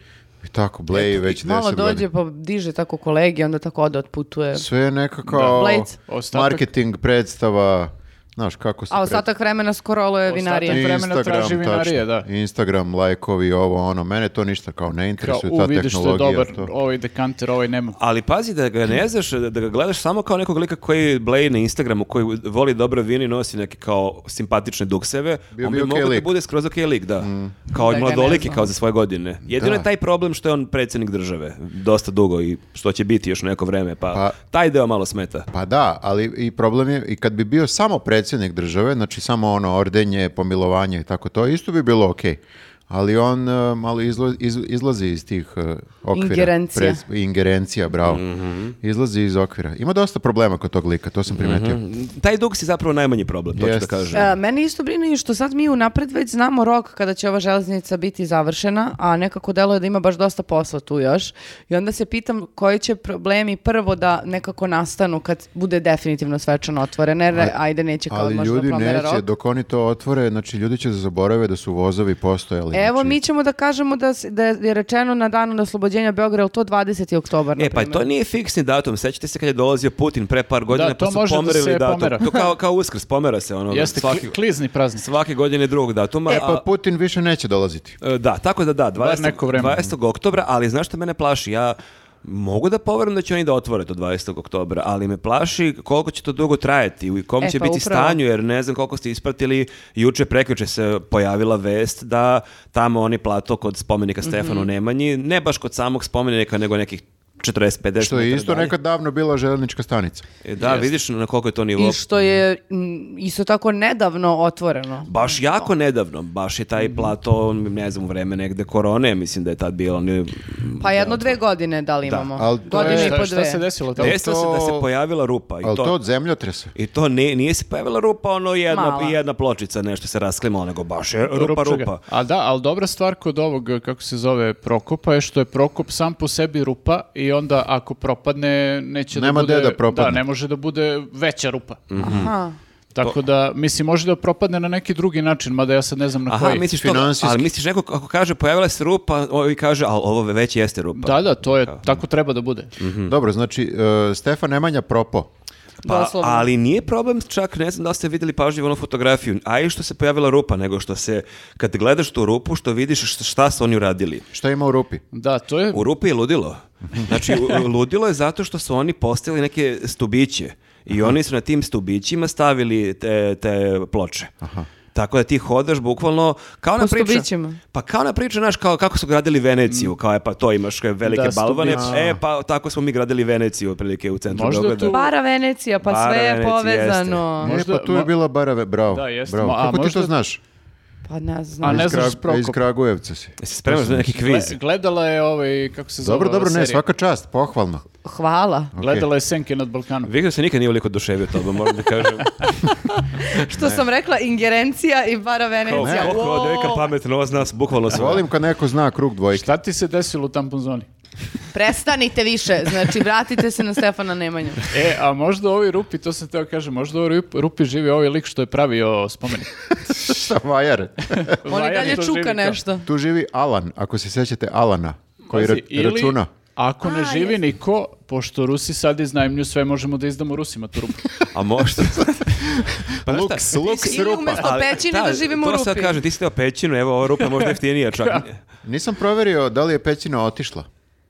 Speaker 1: i tako, bleji već 10
Speaker 4: Malo
Speaker 1: Znači, godina.
Speaker 4: dođe, pa diže tako kolegi, onda tako ode, otputuje.
Speaker 1: Sve je nekako
Speaker 4: Blades.
Speaker 2: Ostatak-
Speaker 1: marketing, predstava, znaš kako se...
Speaker 4: A
Speaker 1: pred-
Speaker 4: ostatak vremena skoro je vinarija.
Speaker 2: Ostatak- vremena traži
Speaker 1: tačno.
Speaker 2: vinarije, da.
Speaker 1: Instagram, lajkovi, ovo, ono, mene to ništa kao ne
Speaker 2: Kao,
Speaker 1: interesuje,
Speaker 2: u,
Speaker 1: ta
Speaker 2: vidiš što je
Speaker 1: tehnologija.
Speaker 2: dobar,
Speaker 1: to.
Speaker 2: ovaj dekanter, ovaj nema.
Speaker 3: Ali pazi da ga ne znaš, da da ga gledaš samo kao nekog lika koji bleji na Instagramu, koji voli dobro vino i nosi neke kao simpatične dukseve.
Speaker 1: Bio
Speaker 3: on
Speaker 1: bi
Speaker 3: bi
Speaker 1: okej
Speaker 3: mogao da
Speaker 1: lik. Mm.
Speaker 3: bude skroz okej lik, da. Kao
Speaker 4: Da ga ne
Speaker 3: mladoliki,
Speaker 4: znam.
Speaker 3: kao za svoje godine. Jedino
Speaker 1: Da.
Speaker 3: je taj problem što je on predsjednik države. Dosta dugo i što će biti još neko vreme. Pa,
Speaker 1: Pa-
Speaker 3: taj deo malo smeta.
Speaker 1: Pa da, ali i problem je, i kad bi bio samo predsjednik države, znači samo ono ordenje, pomilovanje i tako to, isto bi bilo okej. Ali on e, malo izlo- iz- izlazi iz tih e, okvira.
Speaker 4: Ingerencija.
Speaker 1: ingerencija, bravo.
Speaker 2: Mhm.
Speaker 1: Izlazi iz okvira. Ima dosta problema kod tog lika, to sam primetio.
Speaker 3: Taj duks je zapravo najmanji problem, to ću da
Speaker 1: Jest.
Speaker 3: kažem.
Speaker 4: E, mene isto brine i što sad mi unapred već znamo rok kada će ova železnica biti završena, a nekako deluje da ima baš dosta posla tu još. I onda se pitam koji će problemi prvo da nekako nastanu kad bude definitivno svečano otvorena, jer ajde neće kao
Speaker 1: Ali
Speaker 4: možda
Speaker 1: ljudi
Speaker 4: da promere
Speaker 1: neće,
Speaker 4: rok.
Speaker 1: dok oni to otvore, znači ljudi će da zaborave da su vozovi postojali.
Speaker 4: Evo
Speaker 1: znači,
Speaker 4: mi ćemo da kažemo da, s- da je rečeno na danu oslobođenja Beograda, jel to 20. oktobar, na
Speaker 3: E, pa to nije fiksni datum. Sećate se kad je dolazio Putin pre par godina,
Speaker 2: Da,
Speaker 3: pa
Speaker 2: to
Speaker 3: su
Speaker 2: može da
Speaker 3: pomerili
Speaker 2: se
Speaker 3: datum.
Speaker 2: pomera.
Speaker 3: To kao, kao uskrs, pomera se ono.
Speaker 2: Jeste
Speaker 3: svaki,
Speaker 2: kli- klizni praznik.
Speaker 3: svake godine drugog datuma.
Speaker 1: E
Speaker 3: a-
Speaker 1: pa Putin više neće dolaziti.
Speaker 3: E, Da, tako da da, 20,
Speaker 2: neko vreme.
Speaker 3: 20. oktobra, ali znaš što mene plaši? Ja mogu da poverujem da će oni da otvore to 20. oktobra, ali me plaši koliko će to dugo trajati i kom
Speaker 4: E,
Speaker 3: će
Speaker 4: pa
Speaker 3: biti
Speaker 4: upravo.
Speaker 3: stanju, jer ne znam koliko ste ispratili, juče prekjuče se pojavila vest da tamo oni plato kod spomenika
Speaker 4: Mhm.
Speaker 3: Stefanu Nemanji, ne baš kod samog spomenika, nego nekih 40-50 metara
Speaker 1: Što je isto
Speaker 3: dalje.
Speaker 1: nekad davno bila željeznička stanica.
Speaker 3: E, Da, vidiš na koliko je to nivo.
Speaker 4: I što je m, isto tako nedavno otvoreno.
Speaker 3: Baš jako nedavno, baš je taj plato, ne znam, u vreme negde korone, mislim da je tad bilo. on je-
Speaker 4: Pa jedno dve godine da li imamo.
Speaker 1: ali to
Speaker 4: Godine
Speaker 1: je-
Speaker 4: i po
Speaker 2: Šta, šta
Speaker 4: dve.
Speaker 2: se desilo tamo?
Speaker 3: Desilo se da se
Speaker 1: to-
Speaker 3: pojavila rupa. I
Speaker 1: Ali
Speaker 3: to,
Speaker 1: to, od zemljotresa.
Speaker 3: I to nije, nije se pojavila rupa, ono jedna,
Speaker 4: Mala.
Speaker 3: jedna pločica, nešto se rasklimala, nego baš je rupa,
Speaker 2: Rupčuga.
Speaker 3: rupa.
Speaker 2: A da, ali dobra stvar kod ovog, kako se zove, Prokopa je što je Prokop sam po sebi rupa i onda ako propadne, neće
Speaker 1: Nema
Speaker 2: da bude...
Speaker 1: gde da propadne.
Speaker 2: Da, ne može da bude veća rupa.
Speaker 3: Mhm.
Speaker 4: Aha.
Speaker 2: Tako da, mislim, može da propadne na neki drugi način, mada ja sad ne znam na
Speaker 3: Aha,
Speaker 2: koji.
Speaker 3: misliš to,
Speaker 1: Finansijski.
Speaker 3: ali misliš neko ako kaže pojavila se rupa, ovi kaže, ali ovo već jeste rupa.
Speaker 2: Da, da, to je, tako treba da bude.
Speaker 3: Mhm.
Speaker 1: Dobro, znači, e, Stefan Nemanja propo.
Speaker 3: Pa,
Speaker 4: Doslovno.
Speaker 3: ali nije problem čak, ne znam da li ste vidjeli pažljivo onu fotografiju, a i što se pojavila rupa, nego što se, kad gledaš tu rupu, što vidiš šta, šta su oni uradili.
Speaker 1: Šta ima u rupi?
Speaker 2: Da, to je...
Speaker 3: U rupi je ludilo. Znači, u- ludilo je zato što su oni postavili neke stubiće i oni su na tim stubićima stavili te, te ploče. Tako da ti hodaš bukvalno kao na
Speaker 4: Po
Speaker 3: priča.
Speaker 4: stubićima.
Speaker 3: Pa kao na priča, znaš, kao kako su gradili Veneciju, kao je pa to imaš kao velike
Speaker 2: Da,
Speaker 3: balvane,
Speaker 2: stubići.
Speaker 3: e pa tako smo mi gradili Veneciju otprilike u centru
Speaker 2: Možda
Speaker 3: Beograda.
Speaker 2: tu-
Speaker 4: Bara Venecija, pa
Speaker 3: Bara
Speaker 4: sve je
Speaker 3: Venecija,
Speaker 4: povezano.
Speaker 1: E,
Speaker 2: Možda-
Speaker 1: pa tu je
Speaker 2: mo-
Speaker 1: bila barave, bravo.
Speaker 2: Da, jeste,
Speaker 1: bravo.
Speaker 2: mo- a
Speaker 1: Kako ti to
Speaker 2: možda-
Speaker 1: znaš?
Speaker 4: Pa ne znam.
Speaker 2: A ne
Speaker 1: Iz
Speaker 2: znaš
Speaker 1: Krag-
Speaker 2: Prokop.
Speaker 1: Iz Kragujevca si.
Speaker 3: Jesi spreman za neki kviz?
Speaker 2: Gle- Gledala je ovaj, kako se zove
Speaker 1: Dobro,
Speaker 2: ova
Speaker 1: dobro, ne,
Speaker 2: serija?
Speaker 1: svaka čast, pohvalno.
Speaker 4: Hvala.
Speaker 1: Okej.
Speaker 2: Gledala je Senke nad Balkanom.
Speaker 3: Viktor se nikad nije ovoliko oduševio tobom, moram da kažem.
Speaker 4: Što sam rekla, ingerencija i bara
Speaker 3: Kao,
Speaker 4: Venecija.
Speaker 3: koliko
Speaker 4: Wow.
Speaker 3: ova devojka pametna, ova zna s- bukvalno sve.
Speaker 1: Volim kad neko zna krug dvojke.
Speaker 2: Šta ti se desilo u tampon zoni?
Speaker 4: Prestanite više, znači vratite se na Stefana Nemanju.
Speaker 2: E, a možda u ovoj rupi, to sam teo kažem, možda u ovoj rup- rupi živi ovaj lik što je pravio spomenik.
Speaker 1: Šta, vajar?
Speaker 4: On i
Speaker 2: Vajan
Speaker 4: dalje
Speaker 2: to živi
Speaker 4: čuka
Speaker 2: kao-
Speaker 4: nešto.
Speaker 1: Tu živi Alan, ako se sjećate Alana, koji
Speaker 2: Pazi,
Speaker 1: ra- računa.
Speaker 2: Ako ne
Speaker 4: A,
Speaker 2: živi
Speaker 4: jeste.
Speaker 2: niko, pošto Rusi sad iznajmlju sve, možemo da izdamo Rusima tu rupu.
Speaker 3: A možda... pa znaš šta,
Speaker 1: Luks, luks
Speaker 4: Ili
Speaker 1: rupa.
Speaker 4: umesto pećine da živimo u
Speaker 3: To sad
Speaker 4: rupi.
Speaker 3: kažem, ti si teo pećinu, evo ova rupa je možda jeftinija čak.
Speaker 1: Nisam proverio da li je pećina otišla.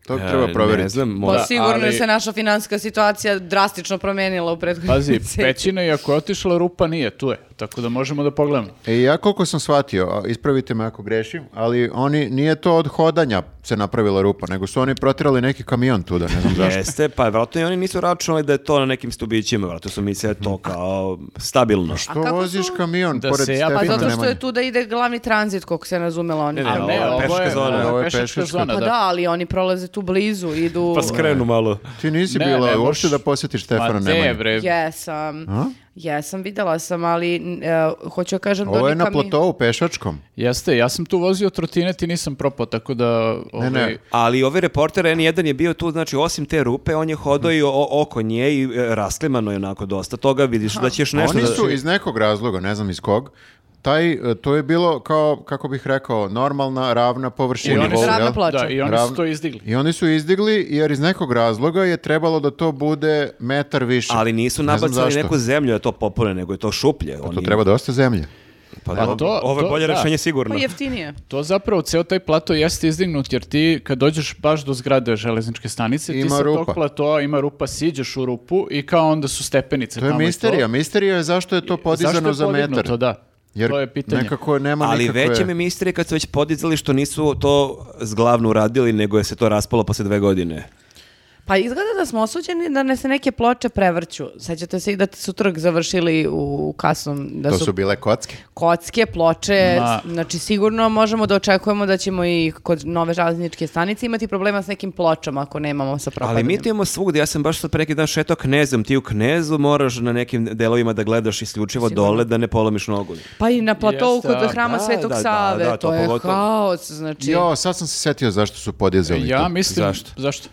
Speaker 1: To treba
Speaker 3: E,
Speaker 1: proveriti.
Speaker 3: Ne znam,
Speaker 4: Pa
Speaker 3: možda...
Speaker 2: Da,
Speaker 4: sigurno
Speaker 2: ali-
Speaker 4: je se naša finanska situacija drastično promenila u prethodnoj
Speaker 2: Pazi,
Speaker 4: meseci.
Speaker 2: pećina i ako je otišla rupa, nije, tu je. Tako da možemo da pogledamo.
Speaker 1: E, ja koliko sam shvatio, a ispravite me ako grešim, ali oni, nije to od hodanja se napravila rupa, nego su oni protirali neki kamion tuda, ne znam zašto.
Speaker 3: Jeste, pa vjerojatno i oni nisu računali da je to na nekim stubićima, vjerojatno su mislili da je to kao stabilno.
Speaker 1: To
Speaker 4: kako
Speaker 1: voziš
Speaker 4: su-
Speaker 1: kamion
Speaker 2: Da
Speaker 1: pored
Speaker 2: se ja-
Speaker 1: Stefana
Speaker 2: Pa
Speaker 4: Pa
Speaker 2: Stefan
Speaker 4: zato što
Speaker 1: Nemanje.
Speaker 4: je tu da ide glavni tranzit, koliko se razumela oni.
Speaker 3: Ne, ne,
Speaker 2: A ne,
Speaker 3: ovo je
Speaker 2: ovo je
Speaker 3: pešačka zona.
Speaker 1: Ovo je
Speaker 2: pešačka
Speaker 1: pešačka.
Speaker 2: zona,
Speaker 4: Pa da.
Speaker 2: da.
Speaker 4: ali oni prolaze tu blizu, idu...
Speaker 3: Pa skrenu malo.
Speaker 1: Ti nisi
Speaker 2: Ne,
Speaker 1: bila
Speaker 2: ne,
Speaker 1: uopšte
Speaker 2: moš-
Speaker 1: da posjetiš Stefana
Speaker 2: Ma ne,
Speaker 1: Nemanja.
Speaker 2: bre.
Speaker 4: Jesam. Jesam, videla sam, ali n- e, hoću da kažem da
Speaker 1: Ovo je na
Speaker 4: nikam mi-
Speaker 1: platovu pešačkom.
Speaker 2: Jeste, ja sam tu vozio trotinet i nisam propao, tako da...
Speaker 1: Ne, ne.
Speaker 2: ovaj,
Speaker 3: Ali ovaj reporter N1 je bio tu, znači osim te rupe, on je hodao i o- oko nje i e, raslimano je onako dosta toga, vidiš da ćeš nešto
Speaker 1: Oni
Speaker 3: da...
Speaker 1: su iz nekog razloga, ne znam iz kog, taj, e, to je bilo kao, kako bih rekao, normalna, ravna površina.
Speaker 2: I oni su-
Speaker 1: jel?
Speaker 4: Ravna ploča.
Speaker 2: Da, i oni
Speaker 1: Ravno-
Speaker 2: su to izdigli.
Speaker 1: I oni su izdigli jer iz nekog razloga je trebalo da to bude metar više.
Speaker 3: Ali nisu
Speaker 1: Ne znam
Speaker 3: nabacali
Speaker 1: zašto. Pa
Speaker 3: neku zemlju da to popune, nego je to šuplje.
Speaker 1: To treba dosta zemlje.
Speaker 3: Pa
Speaker 2: Pa
Speaker 3: da,
Speaker 2: to-
Speaker 3: ovo je
Speaker 2: to-
Speaker 3: bolje
Speaker 2: da.
Speaker 3: rešenje sigurno.
Speaker 4: Pa jeftinije.
Speaker 2: To zapravo, ceo taj plato jeste izdignut, jer ti kad dođeš baš do zgrade železničke stanice,
Speaker 1: Ima
Speaker 2: ti sa
Speaker 1: rupa.
Speaker 2: tog platoa ima rupa, siđeš u rupu i kao onda su stepenice
Speaker 1: To je
Speaker 2: tamo i
Speaker 1: misterija. Misterija je zašto je to podizano
Speaker 2: Zašto je
Speaker 1: za metar.
Speaker 2: podignuto, da.
Speaker 1: Jer
Speaker 2: to je pitanje.
Speaker 1: nekako nema
Speaker 3: Ali
Speaker 1: nikakve...
Speaker 3: veće mi misterije kad su već podizali što nisu to zglavno uradili, nego je se to raspalo posle dve godine.
Speaker 4: Pa izgleda da smo osuđeni da ne se neke ploče prevrću. Sećate se i da su trg završili u kasom, da
Speaker 1: To
Speaker 4: su,
Speaker 1: su bile kocke.
Speaker 4: kocke, ploče,
Speaker 2: Ma.
Speaker 4: znači sigurno možemo da očekujemo da ćemo i kod nove železničke stanice imati problema s nekim pločama ako nemamo sa propadanjem.
Speaker 3: Ali mi to imamo svugdje, ja sam baš sad pre neki dan šetao knezom, ti u knezu moraš na nekim delovima da gledaš isključivo
Speaker 1: ono-
Speaker 3: dole da ne polomiš nogu.
Speaker 4: Pa i na platovu
Speaker 2: Jeste, a-
Speaker 4: kod hrama
Speaker 3: da,
Speaker 4: Svetog
Speaker 3: da, da,
Speaker 4: Save,
Speaker 3: da, to
Speaker 4: to, je
Speaker 3: pogotovo.
Speaker 4: haos, znači...
Speaker 1: Jo, sad sam se setio zašto su podizali
Speaker 2: Ja
Speaker 1: to.
Speaker 2: mislim...
Speaker 3: Zašto?
Speaker 2: Zašto?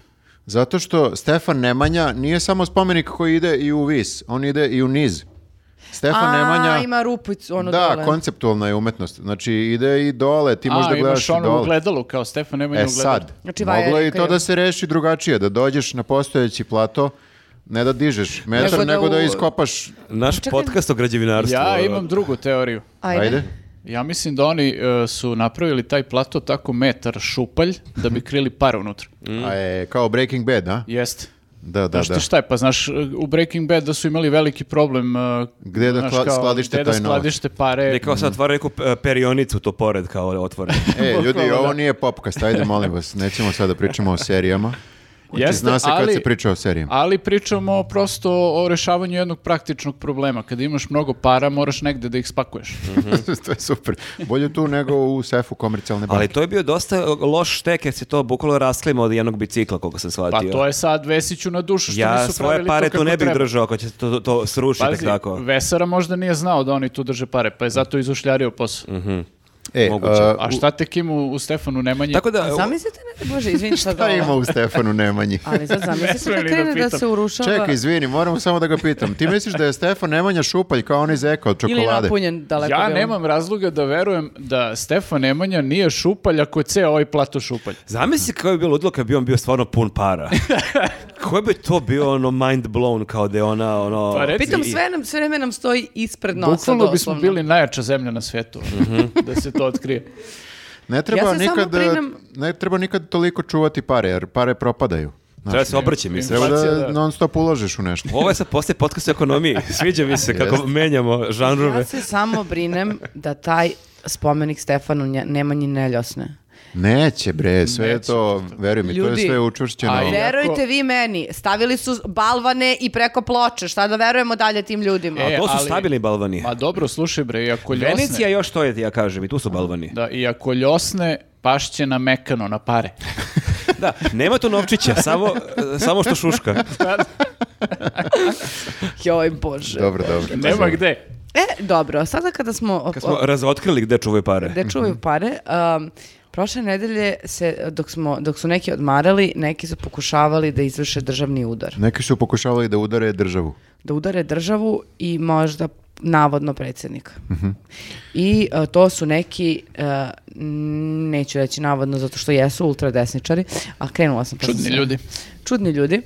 Speaker 1: Zato što Stefan Nemanja nije samo spomenik koji ide i u vis, on ide i u niz. Stefan
Speaker 4: A,
Speaker 1: Nemanja...
Speaker 4: ima rupu ono
Speaker 1: da,
Speaker 4: dole.
Speaker 1: konceptualna je umetnost. Znači, ide i dole, ti možda
Speaker 2: A, imaš
Speaker 1: gledaš i
Speaker 2: ono
Speaker 1: dole.
Speaker 2: ugledalo, kao Stefan Nemanja
Speaker 1: E
Speaker 2: ugledalo.
Speaker 1: sad,
Speaker 4: Znači,
Speaker 1: moglo je i
Speaker 4: vajerika
Speaker 1: to
Speaker 4: je-
Speaker 1: da se reši drugačije, da dođeš na postojeći plato, ne da dižeš metar, nego
Speaker 4: Nego
Speaker 1: da,
Speaker 4: da u-
Speaker 1: iskopaš,
Speaker 3: Naš
Speaker 4: Čekaj.
Speaker 3: podcast o građevinarstvu. eh,
Speaker 2: Ja imam drugu teoriju.
Speaker 4: Ajde.
Speaker 1: ajde.
Speaker 2: Ja mislim da oni e, su napravili taj plato tako metar šupalj da bi krili par unutra.
Speaker 1: A je, kao Breaking Bad, a?
Speaker 2: Jeste.
Speaker 1: Da, da,
Speaker 2: Da,
Speaker 1: da.
Speaker 2: šta je, pa Mm. znaš, u Breaking Bad da su imali veliki problem e,
Speaker 1: Gde da
Speaker 2: znaš,
Speaker 1: kla-
Speaker 2: kao,
Speaker 1: skladište
Speaker 2: gde da
Speaker 1: taj novac?
Speaker 2: skladište pare.
Speaker 3: Ne kao sad otvara neku e, perionicu to pored kao otvore.
Speaker 1: E, ljudi,
Speaker 2: Bukvalno,
Speaker 1: ovo
Speaker 2: da.
Speaker 1: nije popkast, ajde, molim vas, nećemo sada da pričamo o serijama. Znači,
Speaker 2: Jeste,
Speaker 1: Zna se kad
Speaker 2: ali-
Speaker 1: se priča o serijama.
Speaker 2: Ali pričamo prosto o rešavanju jednog praktičnog problema. Kada imaš mnogo para, moraš negde da ih spakuješ.
Speaker 1: Mm, to je super. Bolje tu nego u sefu komercijalne banke.
Speaker 3: Ali to je bio dosta loš štek jer se to bukvalo rasklima od jednog bicikla koliko sam
Speaker 2: Pa
Speaker 3: shvatio.
Speaker 2: to je sad Vesiću na dušu što
Speaker 3: ja
Speaker 2: nisu
Speaker 3: svoje
Speaker 2: pravili
Speaker 3: pare
Speaker 2: to
Speaker 3: tu
Speaker 2: kako
Speaker 3: ne bih
Speaker 2: treba.
Speaker 3: držao ako će to, to, to srušiti
Speaker 2: Pazi,
Speaker 3: tako. Mm.
Speaker 2: Vesara možda nije znao da oni tu drže pare, pa je zato izušljario posao.
Speaker 1: e,
Speaker 3: moguće.
Speaker 1: a,
Speaker 2: A šta tek ima u, u Stefanu Nemanji?
Speaker 3: Tako da,
Speaker 4: A Zamislite, ne daj Bože, izvini šta
Speaker 1: šta ima u Stefanu Nemanji?
Speaker 4: Ali sad
Speaker 2: Ne smem ni
Speaker 4: zamislite da
Speaker 2: da
Speaker 4: krene da,
Speaker 2: pitam.
Speaker 4: se urušava
Speaker 1: Čekaj, izvini, moramo samo da ga pitam. Ti misliš da je Stefan Nemanja šupalj kao onaj zeka od
Speaker 4: ili
Speaker 1: čokolade?
Speaker 4: napunjen daleko.
Speaker 2: Ja
Speaker 4: bilo.
Speaker 2: nemam razloga da verujem da Stefan Nemanja nije šupalj ako je ceo ovaj plato šupalj.
Speaker 3: Zamisli kako bi bilo ludilo kad bi on bio stvarno pun para. Koji bi to bio ono mind blown kao da je ona ono...
Speaker 2: Pa reci-
Speaker 4: Pritom
Speaker 3: i-
Speaker 4: sve, nam, sve vreme nam stoji ispred nosa
Speaker 2: Bukvalno bismo
Speaker 4: doslovno.
Speaker 2: bili najjača zemlja na svetu,
Speaker 3: Mhm.
Speaker 2: da se to otkrije.
Speaker 1: Ne treba,
Speaker 4: Ja se samo
Speaker 1: nikad,
Speaker 4: brinem-
Speaker 1: ne treba nikad toliko čuvati pare, jer pare propadaju. Znaš,
Speaker 3: Treba se obrće mi se.
Speaker 1: treba da
Speaker 2: Inflacija, da.
Speaker 1: non stop uložiš u nešto.
Speaker 3: Ovo je sad poslije podcast o ekonomiji. Sviđa mi se kako menjamo žanrove.
Speaker 4: Ja se samo brinem da taj spomenik Stefanu Nje- Nemanji ne ljosne.
Speaker 1: Neće bre, sve je
Speaker 2: Neće,
Speaker 1: to, veruj mi, to
Speaker 4: Ljudi,
Speaker 1: je sve učvršćeno.
Speaker 2: a je-
Speaker 4: Verujte vi meni, stavili su balvane i preko ploče, šta da verujemo dalje tim ljudima?
Speaker 2: E,
Speaker 3: A to su
Speaker 2: ali-
Speaker 3: stabilni balvani.
Speaker 2: Ma dobro, slušaj bre, i ako ljosne...
Speaker 3: Venecija još to je, ja kažem, i tu su balvani.
Speaker 2: Da, i ako ljosne, pašće na mekano, na pare.
Speaker 3: Da, nema tu novčića, samo, e, samo što šuška.
Speaker 4: Joj bože.
Speaker 1: Dobro, dobro.
Speaker 3: Pa
Speaker 2: Nema gde.
Speaker 4: E, dobro, sada kada smo...
Speaker 3: Kad smo razotkrili gde čuvaju pare.
Speaker 2: Mhm.
Speaker 4: gde čuvaju pare. Um, prošle nedelje se, dok, smo, dok su neki odmarali, neki su pokušavali da izvrše državni udar.
Speaker 1: Neki su pokušavali da udare državu.
Speaker 4: Da udare državu i možda navodno predsjednika.
Speaker 2: Mhm.
Speaker 4: I uh, to su neki, uh, n- neću reći navodno zato što jesu ultradesničari, a krenula sam. pa sam
Speaker 2: Čudni
Speaker 4: se-
Speaker 2: ljudi.
Speaker 4: Čudni ljudi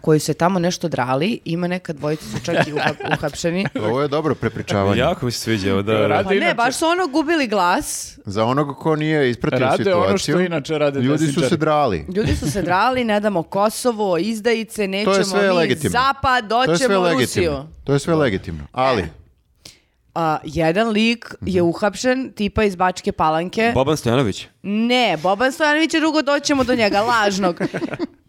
Speaker 4: koji su se tamo nešto drali, ima neka dvojica su čak i uhap- uhapšeni.
Speaker 1: Ovo je dobro prepričavanje.
Speaker 3: Jako mi se sviđa ovo, da.
Speaker 2: Radi
Speaker 4: Pa ne,
Speaker 2: inače-
Speaker 4: baš su ono gubili glas,
Speaker 1: Za onog ko nije ispratio
Speaker 2: Rade
Speaker 1: situaciju,
Speaker 2: ono što inače rade
Speaker 1: ljudi su
Speaker 2: desničari.
Speaker 1: se drali.
Speaker 4: Ljudi su se drali, ne damo Kosovo, izdajice, nećemo
Speaker 1: sve
Speaker 4: mi
Speaker 1: legitimno.
Speaker 4: zapad,
Speaker 1: To je sve
Speaker 4: doćemo Rusiju.
Speaker 1: legitimno. To je sve legitimno. Ali,
Speaker 4: A, jedan lik
Speaker 1: Mhm.
Speaker 4: je uhapšen, tipa iz Bačke palanke.
Speaker 3: Boban Stojanović.
Speaker 4: ne, Boban Stojanović je drugo, doćemo do njega, lažnog.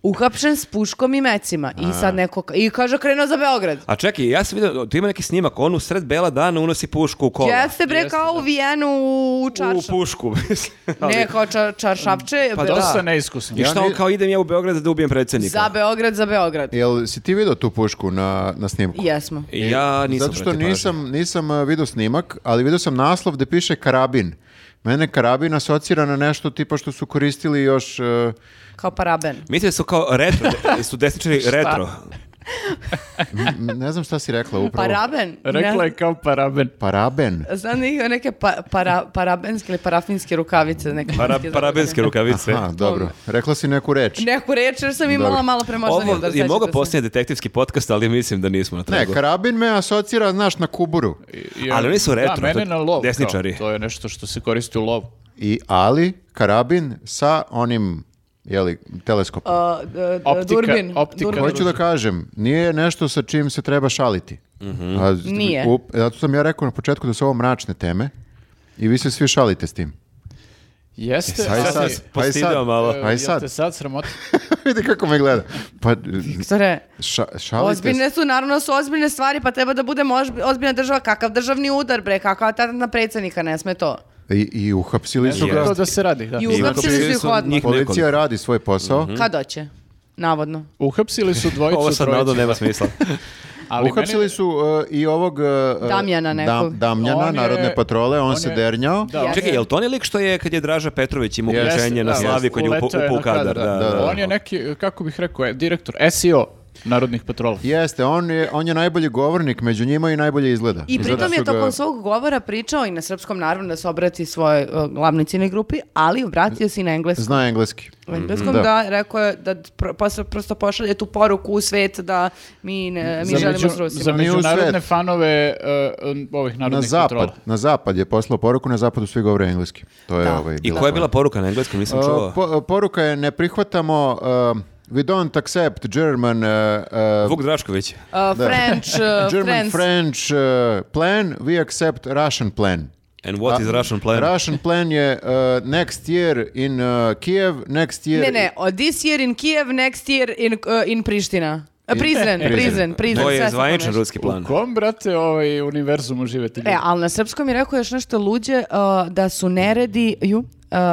Speaker 4: uhapšen s puškom i mecima. I sad neko, ka- i kaže krenuo za Beograd.
Speaker 3: A čekaj, ja sam vidio, tu ima neki snimak, on u sred bela dana unosi pušku u kola.
Speaker 4: Jeste bre
Speaker 2: Jeste,
Speaker 4: kao u Vijenu u
Speaker 3: U
Speaker 4: čaršav...
Speaker 3: pušku. mislim, ali-
Speaker 4: Ne, kao čar, čaršavče.
Speaker 3: Pa
Speaker 4: be-
Speaker 3: da.
Speaker 2: Dosta neiskusno.
Speaker 3: I šta on
Speaker 1: ni-
Speaker 3: kao idem ja u Beograd da ubijem predsjednika?
Speaker 4: Za Beograd, za Beograd.
Speaker 1: jel si ti vidio tu pušku na, na snimku?
Speaker 4: Jesmo.
Speaker 3: I Ja nisam
Speaker 1: E, Zato što
Speaker 3: obratio
Speaker 1: nisam, nisam uh, vidio snimak, ali vidio sam naslov gde piše karabin. Mene karabin asocira na nešto tipa što su koristili još... uh,
Speaker 4: Kao paraben.
Speaker 3: pažnju. Mislim da su kao retro, de- su desničari retro.
Speaker 1: m- ne znam šta si rekla upravo.
Speaker 4: Paraben?
Speaker 2: Rekla
Speaker 4: Ne-
Speaker 2: je kao paraben.
Speaker 1: Paraben.
Speaker 4: Znam da ima neke pa- para- parabenske ili parafinske rukavice. Neke
Speaker 3: Para,
Speaker 4: rukavice.
Speaker 3: parabenske rukavice.
Speaker 1: Aha, dobro. Rekla si neku reč.
Speaker 4: Neku reč jer sam imala
Speaker 1: Dobro.
Speaker 4: malo pre možda
Speaker 3: Ovo je mogao posljednji detektivski podcast, ali mislim da nismo na
Speaker 1: Ne,
Speaker 3: tragu.
Speaker 1: karabin me asocira, znaš, na kuburu.
Speaker 2: I-
Speaker 3: Ali oni su retro,
Speaker 2: Da,
Speaker 3: to
Speaker 2: mene
Speaker 3: je
Speaker 2: na lov.
Speaker 3: desničari.
Speaker 2: kao, to je nešto što se koristi u lovu.
Speaker 1: I ali, karabin sa onim, jeli, teleskopom.
Speaker 2: Optika-
Speaker 4: Durbin.
Speaker 2: optika.
Speaker 4: Durbin.
Speaker 1: Hoću da kažem, nije nešto sa čim se treba šaliti. A z-
Speaker 4: Nije.
Speaker 1: up- zato sam ja rekao na početku da su ovo mračne teme i vi se svi šalite s tim.
Speaker 2: Jeste.
Speaker 1: Aj
Speaker 2: ali-
Speaker 1: sad, aj
Speaker 3: postideo
Speaker 1: sad,
Speaker 3: malo.
Speaker 2: E,
Speaker 1: aj
Speaker 2: jeste
Speaker 1: sad.
Speaker 2: sad sramota.
Speaker 1: Vidi kako me gleda. Pa,
Speaker 4: Viktore,
Speaker 1: ša- šalite se.
Speaker 4: ozbiljne su, naravno su ozbiljne stvari, pa treba da budemo ozbi- ozbiljna država. Kakav državni udar, bre, kakav atentat na predsjednika, ne sme to.
Speaker 1: I, i uhapsili su
Speaker 2: To
Speaker 1: ga.
Speaker 2: da se radi, da.
Speaker 4: I
Speaker 3: Znači,
Speaker 4: uhapsili su
Speaker 3: bili
Speaker 4: ih odmah.
Speaker 3: njih nekoliko.
Speaker 1: Policija radi svoj posao.
Speaker 3: Hm?
Speaker 4: Kad doće? Navodno.
Speaker 2: Uhapsili su dvojicu,
Speaker 3: Ovo sad nado
Speaker 2: trojicu.
Speaker 3: nema smisla.
Speaker 2: Ali
Speaker 1: Uhapsili
Speaker 2: mene-
Speaker 1: su uh, i ovog uh,
Speaker 4: Damjana nekog.
Speaker 1: Damjana,
Speaker 2: On je-
Speaker 1: narodne patrole, on,
Speaker 2: on
Speaker 1: se
Speaker 2: je-
Speaker 1: dernjao.
Speaker 2: Da, on-
Speaker 3: Čekaj, je li to onaj lik što je kad je Draža Petrović imao
Speaker 1: Jeste,
Speaker 3: uključenje na
Speaker 2: da,
Speaker 3: Slavi
Speaker 2: jeste.
Speaker 3: koji je upo-
Speaker 2: Uletao je
Speaker 3: upao u
Speaker 2: na
Speaker 3: kadar? Da, da, da.
Speaker 2: On je neki, kako bih rekao, e, direktor SEO Narodnih patrola.
Speaker 1: Jeste, on je, on je najbolji govornik među njima i najbolje izgleda.
Speaker 4: I
Speaker 1: Zato
Speaker 4: pritom je
Speaker 1: su ga-
Speaker 4: tokom svog govora pričao i na srpskom, naravno, da se obrati svojoj uh, glavnoj ciljnoj grupi, ali obratio se i na engleskom.
Speaker 1: Zna engleski.
Speaker 4: U
Speaker 2: Mhm.
Speaker 4: engleskom
Speaker 1: Da.
Speaker 4: da. rekao je da pro- posle- prosto pošalje tu poruku u svet da mi, ne, mi
Speaker 2: Za
Speaker 4: želimo
Speaker 2: među-
Speaker 4: s Rusima.
Speaker 2: Za
Speaker 1: Mi u
Speaker 2: međunarodne
Speaker 1: svet.
Speaker 2: fanove uh, ovih
Speaker 1: Na
Speaker 2: narodnih
Speaker 1: zapad,
Speaker 2: patrola.
Speaker 1: na zapad je poslao poruku, na zapadu svi govore engleski. To je
Speaker 4: Da.
Speaker 1: ovaj
Speaker 3: I koja je bila poruka na engleskom? Nisam
Speaker 1: Uh,
Speaker 3: čuo.
Speaker 1: po- poruka je ne prihvatamo um, we don't accept German uh, uh,
Speaker 3: Vuk Drašković.
Speaker 4: Uh, French, uh,
Speaker 1: German
Speaker 4: friends.
Speaker 1: French uh, plan, we accept Russian plan.
Speaker 3: And what is Russian plan?
Speaker 1: Russian plan je uh, next year in uh, Kiev, next year...
Speaker 4: Ne, ne, o, this year in Kiev, next year in, uh, in Priština. Uh, Prizren,
Speaker 1: Prizren.
Speaker 4: Prizren, Prizren.
Speaker 3: To je
Speaker 4: sve sam
Speaker 3: zvaničan
Speaker 4: pomešala.
Speaker 3: ruski plan.
Speaker 2: U kom, brate, ovaj univerzumu živete? ljudi?
Speaker 4: E, ali na srpskom je rekao još nešto luđe, uh, da su neredi, ju, uh,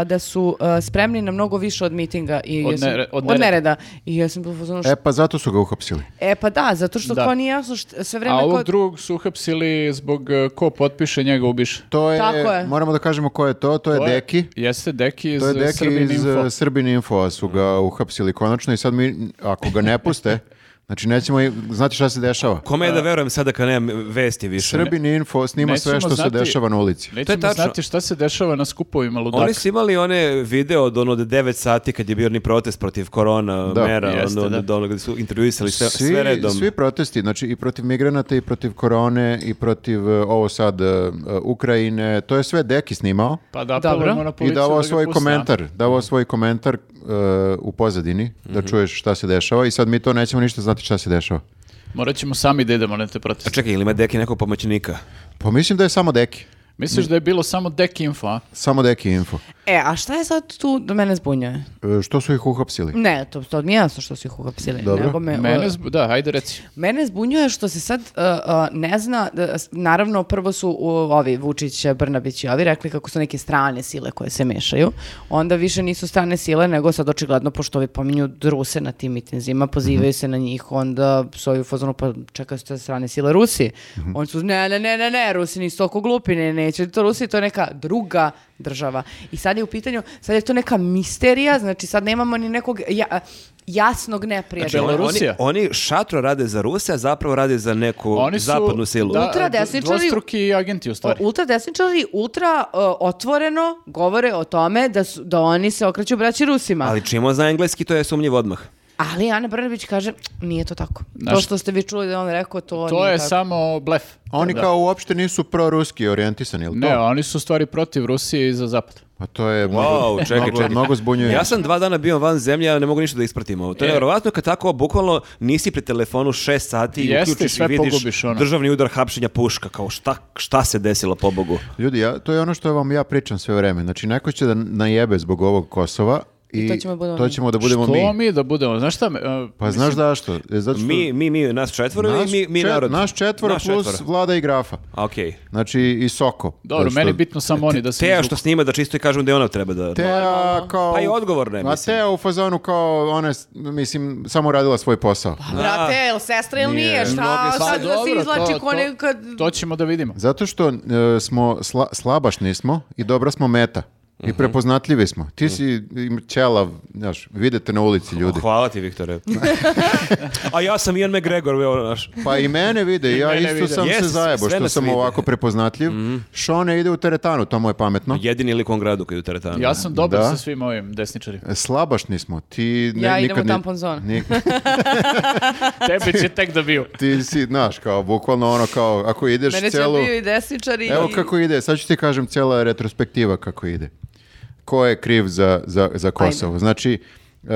Speaker 4: da su uh, spremni na mnogo više od mitinga i
Speaker 2: Od
Speaker 4: ja sam-
Speaker 2: nere- od
Speaker 4: od
Speaker 2: nereda.
Speaker 4: nereda. I ja sam bila u fazonu,
Speaker 1: E pa zato su ga uhapsili.
Speaker 4: E pa da, zato što
Speaker 2: Da.
Speaker 4: kao nije jasno št- sve vreme
Speaker 2: A
Speaker 4: kao...
Speaker 2: ovog drugog su uhapsili zbog eh, ko potpiše njega ubiše.
Speaker 1: To je,
Speaker 4: Tako je.
Speaker 1: moramo da kažemo ko je to, to je
Speaker 2: To je-
Speaker 1: Deki.
Speaker 2: Jeste, Deki iz
Speaker 1: To je
Speaker 2: eh,
Speaker 1: Deki iz
Speaker 2: Srbin Info.
Speaker 1: eh, Srbin Info su ga uhapsili konačno i sad mi, ako ga ne puste, znači nećemo, i- znate šta se dešava?
Speaker 3: Kome je da verujem sada kad nemam vesti više?
Speaker 1: Srbin Info snima sve
Speaker 2: Nećemo
Speaker 1: što se
Speaker 2: znati-
Speaker 1: dešava na ulici.
Speaker 3: To je
Speaker 2: Nećemo
Speaker 3: tačno.
Speaker 2: znati šta se dešava na skupovima ludaka.
Speaker 3: Oni su imali one video od ono od 9 sati kad je bio ni protest protiv korona
Speaker 1: Da.
Speaker 3: mera,
Speaker 2: Jeste,
Speaker 3: ono,
Speaker 2: da.
Speaker 3: do onog gdje su intervjuisali sve,
Speaker 1: Svi,
Speaker 3: sve redom.
Speaker 1: svi protesti, znači i protiv migranata i protiv korone i protiv eh, ovo sad eh, Ukrajine, to je sve Deki snimao
Speaker 2: Pa da
Speaker 4: Dobro.
Speaker 2: apelujemo na
Speaker 1: i
Speaker 2: policiju
Speaker 1: davao
Speaker 2: da Mm. ga
Speaker 1: svoj
Speaker 2: puste, a?
Speaker 1: komentar, davao svoj komentar eh, u pozadini
Speaker 2: Mhm.
Speaker 1: da čuješ šta se dešava i sad mi to nećemo ništa znati šta se dešava.
Speaker 2: Morat ćemo sami da idemo na te
Speaker 3: A
Speaker 2: proteste.
Speaker 3: čekaj, ili ima Deki nekog pomoćnika?
Speaker 1: Pa mislim da je samo Deki.
Speaker 2: Misliš da je bilo samo dek info, a?
Speaker 1: Samo deki info.
Speaker 4: E, a šta je sad tu da mene zbunjuje?
Speaker 1: E, što su ih uhapsili?
Speaker 4: Ne, to, to mi je jasno što su ih uhapsili.
Speaker 1: Dobro.
Speaker 4: Nego me,
Speaker 2: E, Mene, zb- da, ajde reci.
Speaker 4: Mene zbunjuje što se sad uh, uh, ne zna, da, s- naravno prvo su uh, ovi Vučić, Brnabić i ovi rekli kako su neke strane sile koje se mešaju, onda više nisu strane sile nego sad očigledno pošto ovi pominju Ruse na tim mitinzima, pozivaju se na njih, onda su ovi u fazonu pa čekaju ste strane sile Rusi. Oni su ne, ne, ne, ne, ne, Rusi nisu toliko glupi, ne, neće to Rusi, to je neka druga država. I sad je u pitanju, sad je to neka misterija, znači sad nemamo ni nekog ja- jasnog neprijatelja.
Speaker 2: Znači, Belorusija.
Speaker 3: Oni, oni šatro rade za Ruse, a zapravo rade za neku
Speaker 2: Oni su,
Speaker 3: zapadnu silu.
Speaker 2: Da,
Speaker 4: Ultradesničari-
Speaker 2: dvostruki agenti u stvari.
Speaker 4: Ultra desničari ultra uh, otvoreno govore o tome da su, da oni se okreću braći Rusima. Ali,
Speaker 3: Ali čim on zna engleski, to je sumnjiv odmah.
Speaker 4: Ana Brnabić kaže nije to tako. to
Speaker 2: Znaš-
Speaker 4: što ste vi čuli da je on rekao to,
Speaker 2: To
Speaker 4: nije
Speaker 2: je
Speaker 4: tako.
Speaker 2: samo blef.
Speaker 1: Oni
Speaker 2: Da.
Speaker 1: kao uopšte nisu proruski orijentisani, jel to?
Speaker 2: Ne, oni su u stvari protiv Rusije i za zapad.
Speaker 1: Pa to je mnogo,
Speaker 3: Wow, čekaj,
Speaker 1: mnogo,
Speaker 3: čekaj.
Speaker 1: mnogo zbunjuje.
Speaker 3: Ja sam dva dana bio van zemlje, a ne mogu ništa da ispratim ovo. To
Speaker 2: E.
Speaker 3: je nevjerovatno kad tako, bukvalno nisi pri telefonu šest sati i
Speaker 2: Jeste,
Speaker 3: uključiš i
Speaker 2: sve
Speaker 3: vidiš
Speaker 2: pogubiš, ono.
Speaker 3: državni udar hapšenja puška, kao šta, šta se desilo, pobogu.
Speaker 1: Ljudi, ja, to je ono što vam ja pričam sve vreme. Znači, neko će da najebe zbog ovog Kosova i,
Speaker 4: to ćemo da budemo
Speaker 1: to
Speaker 4: mi.
Speaker 1: ćemo da budemo
Speaker 2: Što
Speaker 1: mi.
Speaker 2: mi. da budemo? Znaš šta? me, e,
Speaker 1: Pa znaš zašto? E, Zato što
Speaker 3: Mi, mi, mi, nas četvoro ili mi, mi
Speaker 1: čet-
Speaker 3: narod?
Speaker 1: naš četvoro
Speaker 3: Naš
Speaker 1: plus
Speaker 3: četvoro.
Speaker 1: vlada i grafa.
Speaker 3: A, Okej.
Speaker 1: Znači, i Soko.
Speaker 2: Dobro,
Speaker 1: Zato što-
Speaker 2: meni je bitno samo oni da se
Speaker 3: Teja
Speaker 2: izvuku.
Speaker 3: što snima da čisto i kažem da i ona treba da...
Speaker 1: Teja kao...
Speaker 3: Pa i odgovorna je,
Speaker 1: A
Speaker 3: mislim.
Speaker 1: Teja u fazonu kao, ona, je s- mislim, samo radila svoj posao.
Speaker 4: Pa Brate, jel sestra ili nije? Šta
Speaker 1: Mnogi
Speaker 2: Pa
Speaker 4: sad da se
Speaker 2: dobro,
Speaker 4: izlači
Speaker 2: to-
Speaker 4: ko
Speaker 2: to-
Speaker 4: nekad...
Speaker 2: To ćemo da vidimo.
Speaker 1: Zato što e, smo sla, slabašni smo i dobra smo meta. I prepoznatljivi smo. Ti si im- ćelav, znaš, vidite na ulici ljudi.
Speaker 3: Hvala ti, Viktore. a ja sam Ian McGregor, evo, naš.
Speaker 1: Pa i mene vide, i ja
Speaker 2: mene
Speaker 1: isto
Speaker 2: vide.
Speaker 1: sam
Speaker 3: Yes,
Speaker 1: se zajebo
Speaker 3: sve
Speaker 1: što
Speaker 3: nas
Speaker 1: sam
Speaker 3: vide.
Speaker 1: ovako prepoznatljiv. Šone ide u teretanu, to mu je pametno.
Speaker 3: Jedini lik u ovom gradu koji je u teretanu.
Speaker 2: Ja sam dobar
Speaker 1: Da.
Speaker 2: sa svim ovim desničarima.
Speaker 1: Slabašni smo, ti ne,
Speaker 4: Ja idem
Speaker 1: nikad
Speaker 4: u
Speaker 1: ni-
Speaker 4: tampon zonu.
Speaker 1: ni-
Speaker 2: Tebe će tek da biju.
Speaker 1: ti si, znaš, kao, bukvalno ono kao, ako ideš
Speaker 4: Mene će
Speaker 1: celu...
Speaker 4: bio i desničar i...
Speaker 1: Evo kako ide, sad ću ti kažem cijela retrospektiva kako ide. Ko je kriv za, za, za Kosovo? Znači, uh,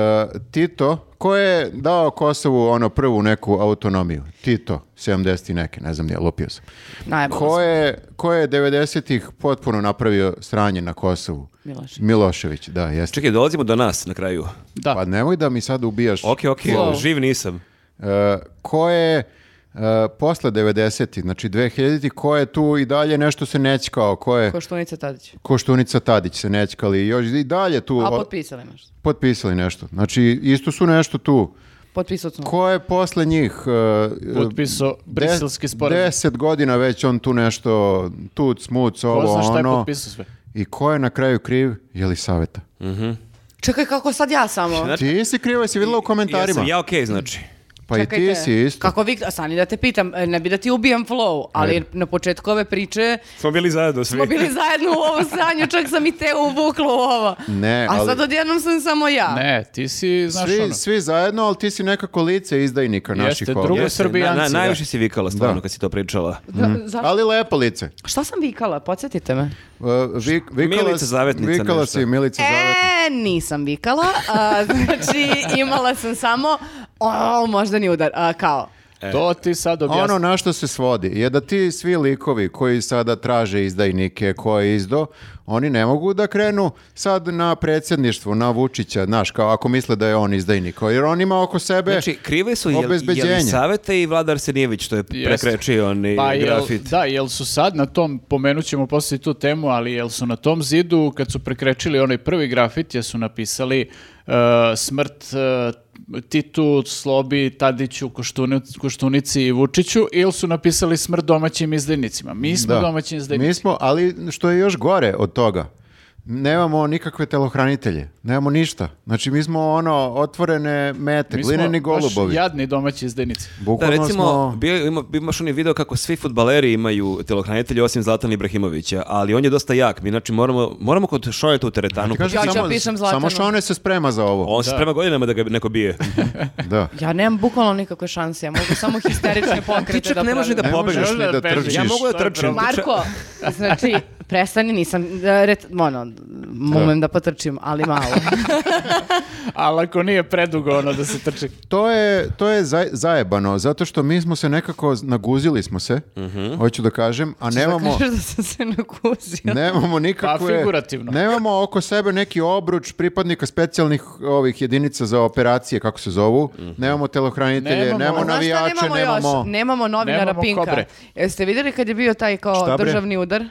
Speaker 1: Tito, ko je dao Kosovu ono prvu neku autonomiju? Tito, 70 i neke, ne znam nije, lupio sam.
Speaker 4: Najbolje.
Speaker 1: Ko je, ko je 90-ih potpuno napravio sranje na Kosovu?
Speaker 4: Milošević.
Speaker 1: Milošević, da, jeste.
Speaker 3: Čekaj, dolazimo do nas na kraju.
Speaker 2: Da.
Speaker 1: Pa nemoj da mi sad ubijaš.
Speaker 3: Ok, ok,
Speaker 4: Wow.
Speaker 3: živ nisam.
Speaker 1: E, ko je e, posle 90-ih, znači 2000-ih, ko je tu i dalje nešto se nećkao, ko je...
Speaker 4: Ko Štunica Tadić.
Speaker 1: Koštunica Tadić se nećkali i još i dalje tu
Speaker 4: A
Speaker 1: o-
Speaker 4: potpisali imaš.
Speaker 1: potpisali nešto. Znači, isto su nešto tu.
Speaker 4: Potpisao sam.
Speaker 1: Ko je posle njih... Uh,
Speaker 2: Potpisao briselski sporazum.
Speaker 1: Deset godina već on tu nešto, tu smuc,
Speaker 2: Ko
Speaker 1: ovo,
Speaker 2: zna šta je
Speaker 1: ono.
Speaker 2: potpisao sve.
Speaker 1: I ko je na kraju kriv? Jelisaveta.
Speaker 4: Čekaj, kako sad ja samo?
Speaker 2: Znači,
Speaker 1: Ti si krivo, si vidjela u
Speaker 3: Ja
Speaker 1: komentarima.
Speaker 3: sam ja ok, znači.
Speaker 1: Pa i ti
Speaker 4: Čekajte,
Speaker 1: si isto.
Speaker 4: Kako vi, Sani, da te pitam, e, ne bi da ti ubijam flow, ali
Speaker 1: Ajde.
Speaker 4: na početku ove priče
Speaker 3: Smo bili zajedno svi.
Speaker 4: smo bili zajedno u ovom sanju, čak sam i te uvukla u ovo.
Speaker 1: Ne,
Speaker 4: A
Speaker 1: ali-
Speaker 4: sad odjednom sam samo ja.
Speaker 2: Ne, ti si, znaš
Speaker 1: Svi,
Speaker 2: ono.
Speaker 1: svi zajedno, ali ti si nekako lice izdajnika naših
Speaker 2: drugo
Speaker 1: ovdje.
Speaker 2: je Srbijanci, da.
Speaker 3: najviše si vikala stvarno
Speaker 1: Da.
Speaker 3: kad si to pričala.
Speaker 4: Da,
Speaker 1: Mm.
Speaker 4: zašto-
Speaker 1: Ali lepo lice. E,
Speaker 4: Šta sam vikala, podsjetite me.
Speaker 1: Uh, vik- vikala,
Speaker 3: Milica Zavetnica
Speaker 1: Vikala
Speaker 3: nešto.
Speaker 1: si Milica Zavetnica.
Speaker 4: E, nisam vikala, a, znači imala sam samo, o, možda ni udar, a, kao.
Speaker 2: To ti sad objasni.
Speaker 1: Ono na što se svodi je da ti svi likovi koji sada traže izdajnike koje je izdo, oni ne mogu da krenu sad na predsjedništvo, na Vučića, znaš, kao ako misle da je on izdajnik, jer on ima oko sebe
Speaker 3: Znači, krive su jel,
Speaker 1: obezbeđenje.
Speaker 3: Jelisaveta i Vlada Arsenijević, što je
Speaker 2: Jeste.
Speaker 3: prekrečio oni
Speaker 2: Pa jel-
Speaker 3: grafit.
Speaker 2: Da, jel su sad na tom, pomenut ćemo poslije tu temu, ali jel su na tom zidu, kad su prekrečili onaj prvi grafit, jesu napisali e, smrt e, Titu, Slobi, Tadiću, Koštunic- Koštunici i Vučiću, ili su napisali smrt domaćim izdajnicima. Mi smo
Speaker 1: da.
Speaker 2: domaći izdajnici.
Speaker 1: Mi smo, ali što je još gore od toga, nemamo nikakve telohranitelje, nemamo ništa. Znači, mi smo ono otvorene mete,
Speaker 2: Mi smo
Speaker 1: glineni
Speaker 2: baš
Speaker 1: golubovi.
Speaker 2: jadni domaći izdajnici.
Speaker 3: Da,
Speaker 1: Bukvalno
Speaker 3: recimo,
Speaker 1: smo-
Speaker 3: bio, ima, imaš onaj video kako svi futbaleri imaju telohranitelje osim Zlatan Ibrahimovića, ali on je dosta jak. Mi, znači, moramo, moramo kod Šojeta u teretanu. Pa
Speaker 1: Kažem,
Speaker 4: Ja ću
Speaker 1: samo,
Speaker 4: pišem
Speaker 1: samo
Speaker 4: Zlatanu.
Speaker 1: Šone se sprema za ovo.
Speaker 3: On se sprema godinama da ga neko bije.
Speaker 1: Da.
Speaker 4: Ja nemam bukvalno nikakve šanse, ja mogu samo histerične pokrete
Speaker 3: Ti čak
Speaker 4: da
Speaker 3: ne može
Speaker 4: pravim.
Speaker 3: da
Speaker 1: Ne možeš
Speaker 3: pobegneš.
Speaker 1: ni da
Speaker 2: bežiš.
Speaker 1: trčiš.
Speaker 3: Ja mogu da
Speaker 2: To je
Speaker 3: trčim.
Speaker 2: problem.
Speaker 4: Marko, znači, prestani, nisam, e, ret, ono, umem da potrčim, ali malo.
Speaker 2: Ali ako nije predugo ono da se trči.
Speaker 1: To je, to je za- zajebano, zato što mi smo se nekako, naguzili smo se, hoću da kažem, a nemamo...
Speaker 4: Kažeš da sam se naguzio.
Speaker 1: Nemamo nikakve...
Speaker 2: figurativno.
Speaker 1: Nemamo oko sebe neki obruč pripadnika specijalnih ovih jedinica za operacije, kako se zovu. Nemamo telohranitelje,
Speaker 2: Nemamo.
Speaker 1: nemamo,
Speaker 2: A
Speaker 4: Znaš šta
Speaker 1: navijače,
Speaker 4: nemamo još?
Speaker 1: nemamo...
Speaker 4: Nemamo novinara
Speaker 2: Nemamo
Speaker 4: Pinka.
Speaker 2: kobre.
Speaker 4: Jeste vidjeli kad je bio taj kao
Speaker 1: Šta bre?
Speaker 4: državni udar?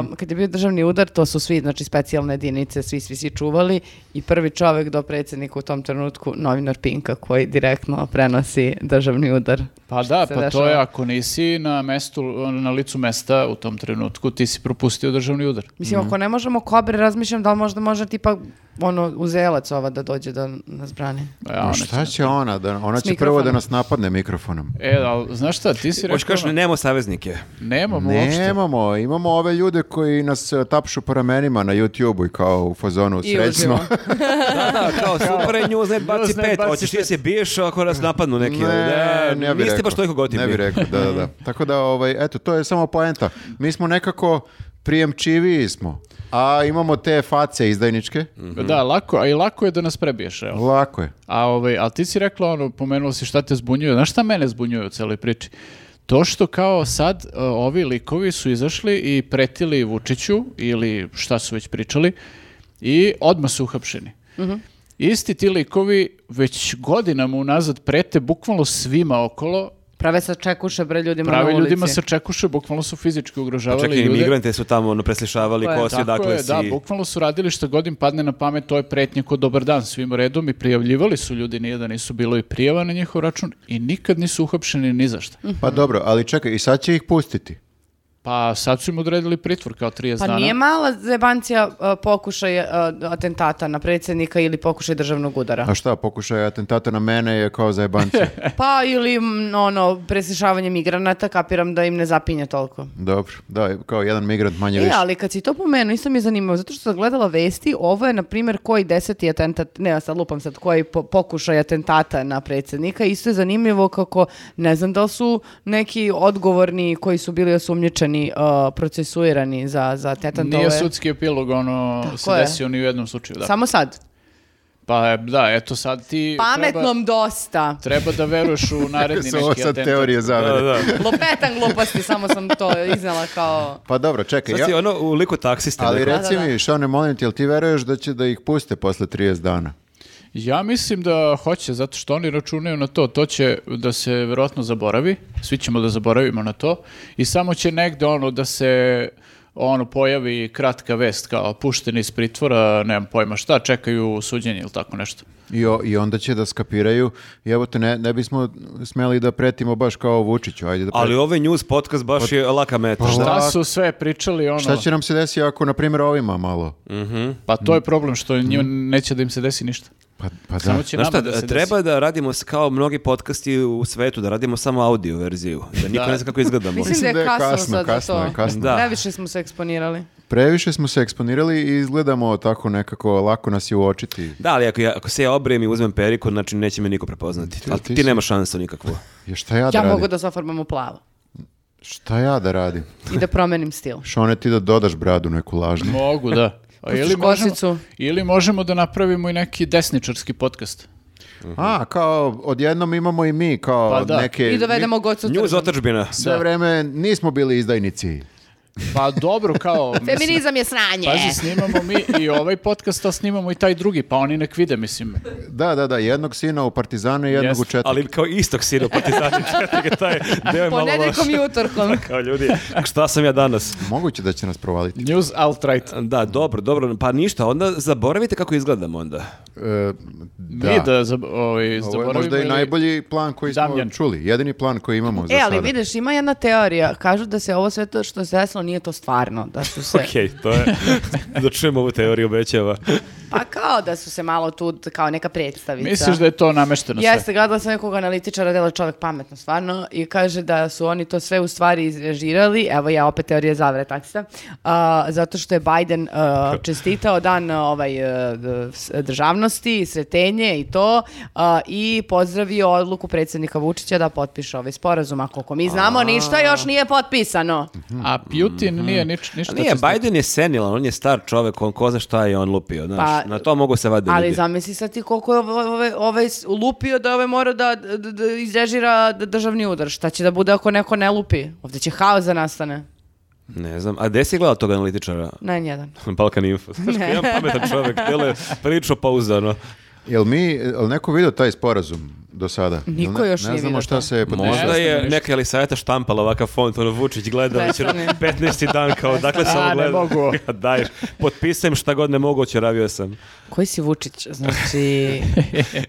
Speaker 4: Um, kad je bio državni udar, to su svi, znači specijalne jedinice, svi, svi, svi čuvali i prvi čovek do predsjednika u tom trenutku, novinar Pinka, koji direktno prenosi državni udar.
Speaker 2: Pa da,
Speaker 4: se
Speaker 2: pa to
Speaker 4: dešava.
Speaker 2: je ako nisi na mestu, na licu mesta u tom trenutku, ti si propustio državni udar.
Speaker 4: Mislim,
Speaker 1: Mhm.
Speaker 4: ako ne možemo kobre, razmišljam da li možda može tipa ono, uzelac ova da dođe da nas brani.
Speaker 2: E, a ona će-
Speaker 1: Šta će ona? Da, ona će prvo
Speaker 4: mikrofonom.
Speaker 1: da nas napadne mikrofonom.
Speaker 2: E, ali znaš šta, ti si
Speaker 3: Hoće
Speaker 2: rekao,
Speaker 3: kažeš, nemo saveznike.
Speaker 2: nemamo uopšte.
Speaker 1: Nemamo, imamo ove ljude koji nas e, tapšu po ramenima na YouTube-u i kao u fazonu
Speaker 4: I
Speaker 1: srećno.
Speaker 4: uživo.
Speaker 3: Da, da, kao super je news, ne baci
Speaker 2: News, ne
Speaker 3: pet.
Speaker 2: baci
Speaker 3: Hoćeš ti
Speaker 2: pet.
Speaker 3: se biješ ako nas napadnu neki. da,
Speaker 1: ne bi
Speaker 3: niste
Speaker 1: rekao.
Speaker 3: baš toliko gotivi.
Speaker 1: Ne bi rekao, da, da, da. Tako da, ovaj, eto, to je samo poenta. Mi smo nekako prijemčiviji smo, a imamo te face izdajničke.
Speaker 3: Mhm.
Speaker 2: Da, lako, a i lako je da nas prebiješ, evo.
Speaker 1: Lako je.
Speaker 2: A, ovaj, ali ti si rekla, ono, pomenula si šta te zbunjuje. Znaš šta mene zbunjuje u celoj priči? To što kao sad e, ovi likovi su izašli i pretili Vučiću ili šta su već pričali i odmah su uhapšeni.
Speaker 4: Mhm.
Speaker 2: Isti ti likovi već godinama unazad prete bukvalno svima okolo,
Speaker 4: Prave sa čekuše bre ljudima
Speaker 2: pravi
Speaker 4: na ulici.
Speaker 2: ljudima sa čekuše, bukvalno su fizički ugrožavali
Speaker 3: Čak i
Speaker 2: ljude.
Speaker 3: imigrante su tamo ono, preslišavali
Speaker 4: Tako je,
Speaker 3: ko si,
Speaker 2: Tako
Speaker 1: dakle,
Speaker 3: odakle
Speaker 2: je,
Speaker 3: si.
Speaker 2: da, bukvalno su radili što god im padne na pamet, to je pretnje ko dobar dan svim redom i prijavljivali su ljudi, nije da nisu bilo i prijava na njihov račun i nikad nisu uhapšeni ni za šta.
Speaker 4: Mm.
Speaker 1: Pa
Speaker 3: Mhm.
Speaker 1: dobro, ali čekaj, i sad će ih pustiti.
Speaker 2: Pa sad su im odredili pritvor kao 30
Speaker 4: Pa
Speaker 2: dana.
Speaker 4: nije mala zebancija uh, pokušaj uh, atentata na predsjednika ili pokušaj državnog udara.
Speaker 1: A šta, pokušaj atentata na mene je kao zajebancija.
Speaker 4: Pa ili mm, ono, presišavanje migranata, kapiram da im ne zapinje toliko.
Speaker 1: Dobro, da, kao jedan migrant manje
Speaker 4: E,
Speaker 1: više.
Speaker 4: ali kad si to pomenuo, isto mi je zanimljivo, zato što sam gledala vesti, ovo je, na primjer, koji deseti atentat, ne, ja sad lupam sad, koji po- pokušaj atentata na predsjednika, isto je zanimljivo kako, ne znam da li su neki odgovorni koji su bili osumnjičeni, uh, procesuirani za, za atentatove.
Speaker 2: Nije sudski epilog, ono,
Speaker 4: Tako
Speaker 2: se
Speaker 4: je.
Speaker 2: desio ni u jednom slučaju, da.
Speaker 4: Samo sad.
Speaker 2: Pa da, eto sad ti treba,
Speaker 4: Pametnom dosta.
Speaker 2: treba da veruješ u naredni
Speaker 1: Su ovo
Speaker 2: neki
Speaker 1: sad
Speaker 2: atentat.
Speaker 1: teorije
Speaker 3: Da,
Speaker 1: zavere.
Speaker 3: da.
Speaker 4: Lopetan gluposti, samo sam to iznala kao...
Speaker 1: Pa dobro, čekaj,
Speaker 3: Sad
Speaker 1: ja,
Speaker 3: si ono u liku taksista.
Speaker 1: ali
Speaker 3: neko.
Speaker 1: reci
Speaker 4: Da, da, da.
Speaker 1: mi, Šone, molim ti, jel ti veruješ da će da ih puste posle 30 dana?
Speaker 2: Ja mislim da hoće, zato što oni računaju na to. To će da se verovatno zaboravi, svi ćemo da zaboravimo na to i samo će negde ono da se ono pojavi kratka vest kao pušteni iz pritvora, nemam pojma šta, čekaju suđenje ili tako nešto.
Speaker 1: I, o- I onda će da skapiraju, i evo te, ne, ne bismo smeli da pretimo baš kao Vučiću, ajde da
Speaker 3: Ali
Speaker 1: pretimo.
Speaker 3: ovaj news podcast baš je laka meta.
Speaker 1: Pa-
Speaker 2: Šta
Speaker 1: Šta-
Speaker 2: su sve pričali ono,
Speaker 1: Šta će nam se desiti ako, na primjer, ovima malo?
Speaker 2: pa to je problem što njima neće da im se desi ništa.
Speaker 1: Pa, pa da.
Speaker 2: Samo će
Speaker 3: Znaš
Speaker 2: nama
Speaker 3: šta,
Speaker 2: da se
Speaker 3: treba
Speaker 2: desi.
Speaker 3: da radimo s- kao mnogi podcasti u svetu, da radimo samo audio verziju, da niko
Speaker 2: Da.
Speaker 3: ne zna kako izgledamo.
Speaker 4: Mislim da je kasno, sad za
Speaker 1: kasno,
Speaker 4: to.
Speaker 1: je, kasno.
Speaker 3: Da.
Speaker 4: Previše smo se eksponirali.
Speaker 1: Previše smo se eksponirali i izgledamo tako nekako, lako nas je uočiti.
Speaker 3: Da, ali ako, ja, ako se ja obrijem i uzmem periku, znači neće me niko prepoznati. ali
Speaker 1: ti
Speaker 3: ti,
Speaker 1: si-
Speaker 3: nema šansu nikakvu.
Speaker 1: Ja, šta ja, da
Speaker 4: Ja
Speaker 1: radim?
Speaker 4: mogu da se ofarbam u plavo
Speaker 1: Šta ja da radim?
Speaker 4: i da promenim stil.
Speaker 1: Šone, ti da dodaš bradu neku lažnu.
Speaker 2: Mogu, da. A
Speaker 4: Pustiš
Speaker 2: ili, možemo,
Speaker 4: kosicu.
Speaker 2: ili možemo da napravimo i neki desničarski podcast.
Speaker 1: A, kao, odjednom imamo i mi, kao
Speaker 2: Mhm. Pa da.
Speaker 1: neke...
Speaker 4: I dovedemo gocu
Speaker 3: News
Speaker 4: tržan.
Speaker 3: otačbina.
Speaker 1: Sve vreme nismo bili izdajnici.
Speaker 2: Pa dobro, kao... mislim-
Speaker 4: Feminizam je sranje.
Speaker 2: Pazi, snimamo mi i ovaj podcast, a snimamo i taj drugi, pa oni nek vide, mislim.
Speaker 1: Da, da, da, jednog sina u Partizanu i jednog
Speaker 2: Jeste.
Speaker 1: u Četniku.
Speaker 3: Ali kao istog sinu partizani četvrtike, taj deo je malo
Speaker 4: Ponedeljkom
Speaker 3: loš.
Speaker 4: i utorkom.
Speaker 3: Kao ljudi, šta sam ja danas?
Speaker 1: Moguće da će nas provaliti.
Speaker 2: News alt-right.
Speaker 3: Da, dobro, dobro, pa ništa, onda zaboravite kako izgledamo onda.
Speaker 1: E, da.
Speaker 2: Mi da zab- ovaj,
Speaker 1: Ovo je
Speaker 2: zaboravimo
Speaker 1: možda i
Speaker 2: ili-
Speaker 1: najbolji plan koji smo
Speaker 2: Damjan.
Speaker 1: čuli. Jedini plan koji imamo za
Speaker 4: E, ali
Speaker 1: sada.
Speaker 4: vidiš, ima jedna teorija. Kažu da se ovo sve to što se desilo nije to stvarno. Da su se...
Speaker 3: Okej, to je, da čujemo ovu teoriju obećava.
Speaker 4: Pa kao da su se malo tu, kao neka predstavica.
Speaker 2: Misliš da je to namešteno sve?
Speaker 4: Jeste, gledala sam nekog analitičara, dela čovjek pametno stvarno, i kaže da su oni to sve u stvari izrežirali, evo ja opet teorija zavre taksista, a, zato što je Biden a, čestitao dan a, ovaj, a, d- s- državnosti, sretenje i to, a, i pozdravio odluku predsjednika Vučića da potpiše ovaj sporazum, a koliko mi znamo, ništa još nije potpisano.
Speaker 2: A Putin
Speaker 1: Mhm.
Speaker 2: nije nič, ništa...
Speaker 3: A Nije,
Speaker 2: čestitao.
Speaker 3: Biden je senilan, on je star čovek, on ko zna šta je on lupio, znaš,
Speaker 4: Pa-
Speaker 3: na to mogu se vade
Speaker 4: Ali
Speaker 3: ljudi.
Speaker 4: zamisli sad ti koliko je ovaj, ovaj s- lupio da ovaj mora da, da, da izrežira d- državni udar. Šta će da bude ako neko ne lupi? Ovdje će haos da nastane.
Speaker 3: Ne znam, a gde si gledao tog analitičara?
Speaker 4: Na jedan.
Speaker 3: Balkan Info. Znaš, kao jedan pametan čovek, delo je prilično pauzano.
Speaker 1: Jel mi, jel neko vidio taj sporazum do sada? Jel
Speaker 4: Niko
Speaker 1: ne-
Speaker 4: još
Speaker 1: ne
Speaker 4: nije
Speaker 1: znamo
Speaker 4: vidio
Speaker 1: šta
Speaker 4: to.
Speaker 1: se potpisalo.
Speaker 3: Možda je
Speaker 2: ništa.
Speaker 3: neka Elisaveta štampala ovakav font, ono Vučić gleda već
Speaker 4: Prestani.
Speaker 3: 15. dan kao, dakle sam
Speaker 2: A, ne
Speaker 3: gleda.
Speaker 2: mogu.
Speaker 3: Daješ, potpisujem šta god ne mogu, očeravio sam.
Speaker 4: Koji si Vučić? Znači,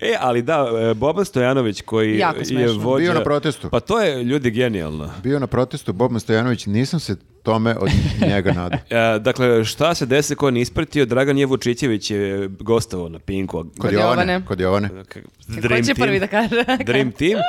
Speaker 3: E, ali da, e, Boban Stojanović koji
Speaker 4: Jako
Speaker 3: je
Speaker 4: smešno.
Speaker 3: vođa...
Speaker 1: Bio na protestu.
Speaker 3: Pa to je, ljudi, genijalno.
Speaker 1: Bio na protestu Boban Stojanović, nisam se tome od njega nadao.
Speaker 3: E, dakle, šta se desi ko nije ispratio, Dragan je Vučićević je gostovao na Pinku.
Speaker 1: Kod
Speaker 4: Jovane.
Speaker 1: Jovane. Kod Jovane.
Speaker 3: K-
Speaker 4: ko će prvi da kaže?
Speaker 3: Dream Team.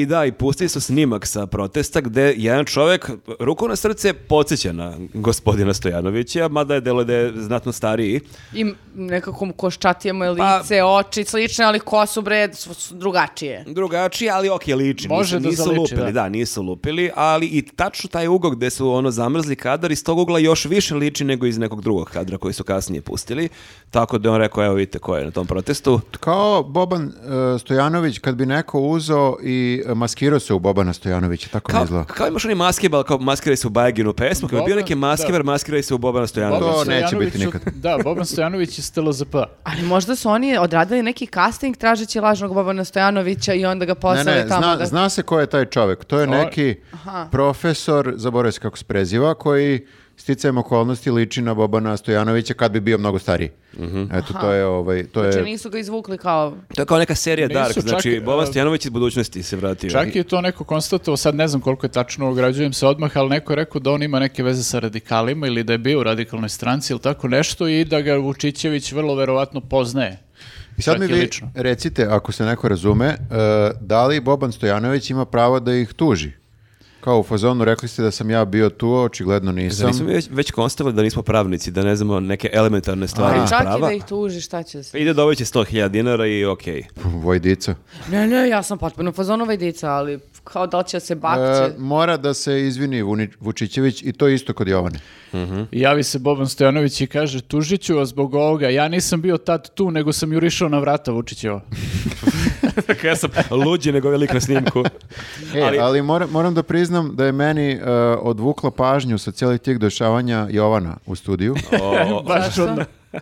Speaker 3: I da, i pustili su snimak sa protesta gde jedan čovek, ruku na srce, podsjeća na gospodina Stojanovića, mada je delo da je znatno stariji.
Speaker 4: I nekako koščatije mu je
Speaker 3: Pa-
Speaker 4: lice, oči, slične, ali kosu bre su, su drugačije.
Speaker 3: Drugačiji, ali ok, liči.
Speaker 2: Može
Speaker 3: nisu,
Speaker 2: da
Speaker 3: nisu
Speaker 2: zaliči,
Speaker 3: lupili, da.
Speaker 2: da.
Speaker 3: nisu lupili, ali i tačno taj ugao gde su ono zamrzli kadar, iz tog ugla još više liči nego iz nekog drugog kadra koji su kasnije pustili. Tako da je on rekao, evo vidite ko je na tom protestu.
Speaker 1: Kao Boban e, Stojanović, kad bi neko uzeo i e, maskirao se u Bobana Stojanovića, tako mi
Speaker 3: Kao,
Speaker 1: izgleda.
Speaker 3: kao imaš oni maskebal, kao maskiraj se u Bajginu pesmu, kao je bio
Speaker 2: Boban,
Speaker 3: neki maskibar,
Speaker 2: da.
Speaker 3: maskiraj se u Bobana Stojanovića.
Speaker 1: To neće
Speaker 2: Stojanoviću-
Speaker 1: biti nikad.
Speaker 2: Da, Boban Stojanović je STLZP.
Speaker 4: Ali možda su oni odradili neki casting tražeći lažnog Bobana Stojanovića i onda ga
Speaker 1: Ne,
Speaker 4: poslali
Speaker 1: ne,
Speaker 4: tamo.
Speaker 1: zna,
Speaker 4: da...
Speaker 1: zna se ko je taj čovjek. To je
Speaker 2: O-
Speaker 1: neki profesor, zaboravio se kako se preziva, koji sticajem okolnosti liči na Bobana Stojanovića kad bi bio mnogo stariji. Eto, to je ovaj, to je...
Speaker 4: Znači nisu ga izvukli kao...
Speaker 3: To je kao neka serija
Speaker 2: Nisu
Speaker 3: Dark,
Speaker 2: čak,
Speaker 3: znači
Speaker 2: e,
Speaker 3: Boban Stojanović iz budućnosti se vratio.
Speaker 2: Čak je to neko konstatovao, sad ne znam koliko je tačno, ograđujem se odmah, ali neko je rekao da on ima neke veze sa radikalima ili da je bio u radikalnoj stranci ili tako nešto i da ga Vučićević vrlo verovatno poznaje.
Speaker 1: I sad
Speaker 2: Čak
Speaker 1: mi
Speaker 2: i
Speaker 1: vi
Speaker 2: lično.
Speaker 1: recite, ako se neko razume, e, da li Boban Stojanović ima pravo da ih tuži? Kao u fazonu, rekli ste da sam ja bio tu, a očigledno
Speaker 3: Zar
Speaker 1: nisam.
Speaker 3: nismo mi već, već konstatovali da nismo pravnici, da ne znamo neke elementarne
Speaker 1: Pa,
Speaker 3: stvari
Speaker 4: Ali
Speaker 3: iz
Speaker 4: čak i
Speaker 3: prava?
Speaker 4: da ih tuži, šta će se...
Speaker 3: Ide dovojeće 100.000 dinara i okej.
Speaker 1: Vojdica.
Speaker 4: Ne, ne, ja sam potpuno fazonu vajdica, ali kao da li će se
Speaker 1: E,
Speaker 4: bakće.
Speaker 1: mora da se izvini Vuni- Vučićević i to isto kod Jovane.
Speaker 2: I javi se Boban Stojanović i kaže, tužit ću vas zbog ovoga, ja nisam bio tad tu, nego sam jurišao na vrata Vučićeva.
Speaker 3: Dakle, ja sam luđi nego velik na snimku.
Speaker 1: E,
Speaker 3: Ali-
Speaker 1: ali moram, moram da priznam da je meni e, odvukla pažnju sa cijelih tih dešavanja Jovana u studiju.
Speaker 2: Baš
Speaker 4: Zašto?
Speaker 2: čudno.
Speaker 1: E,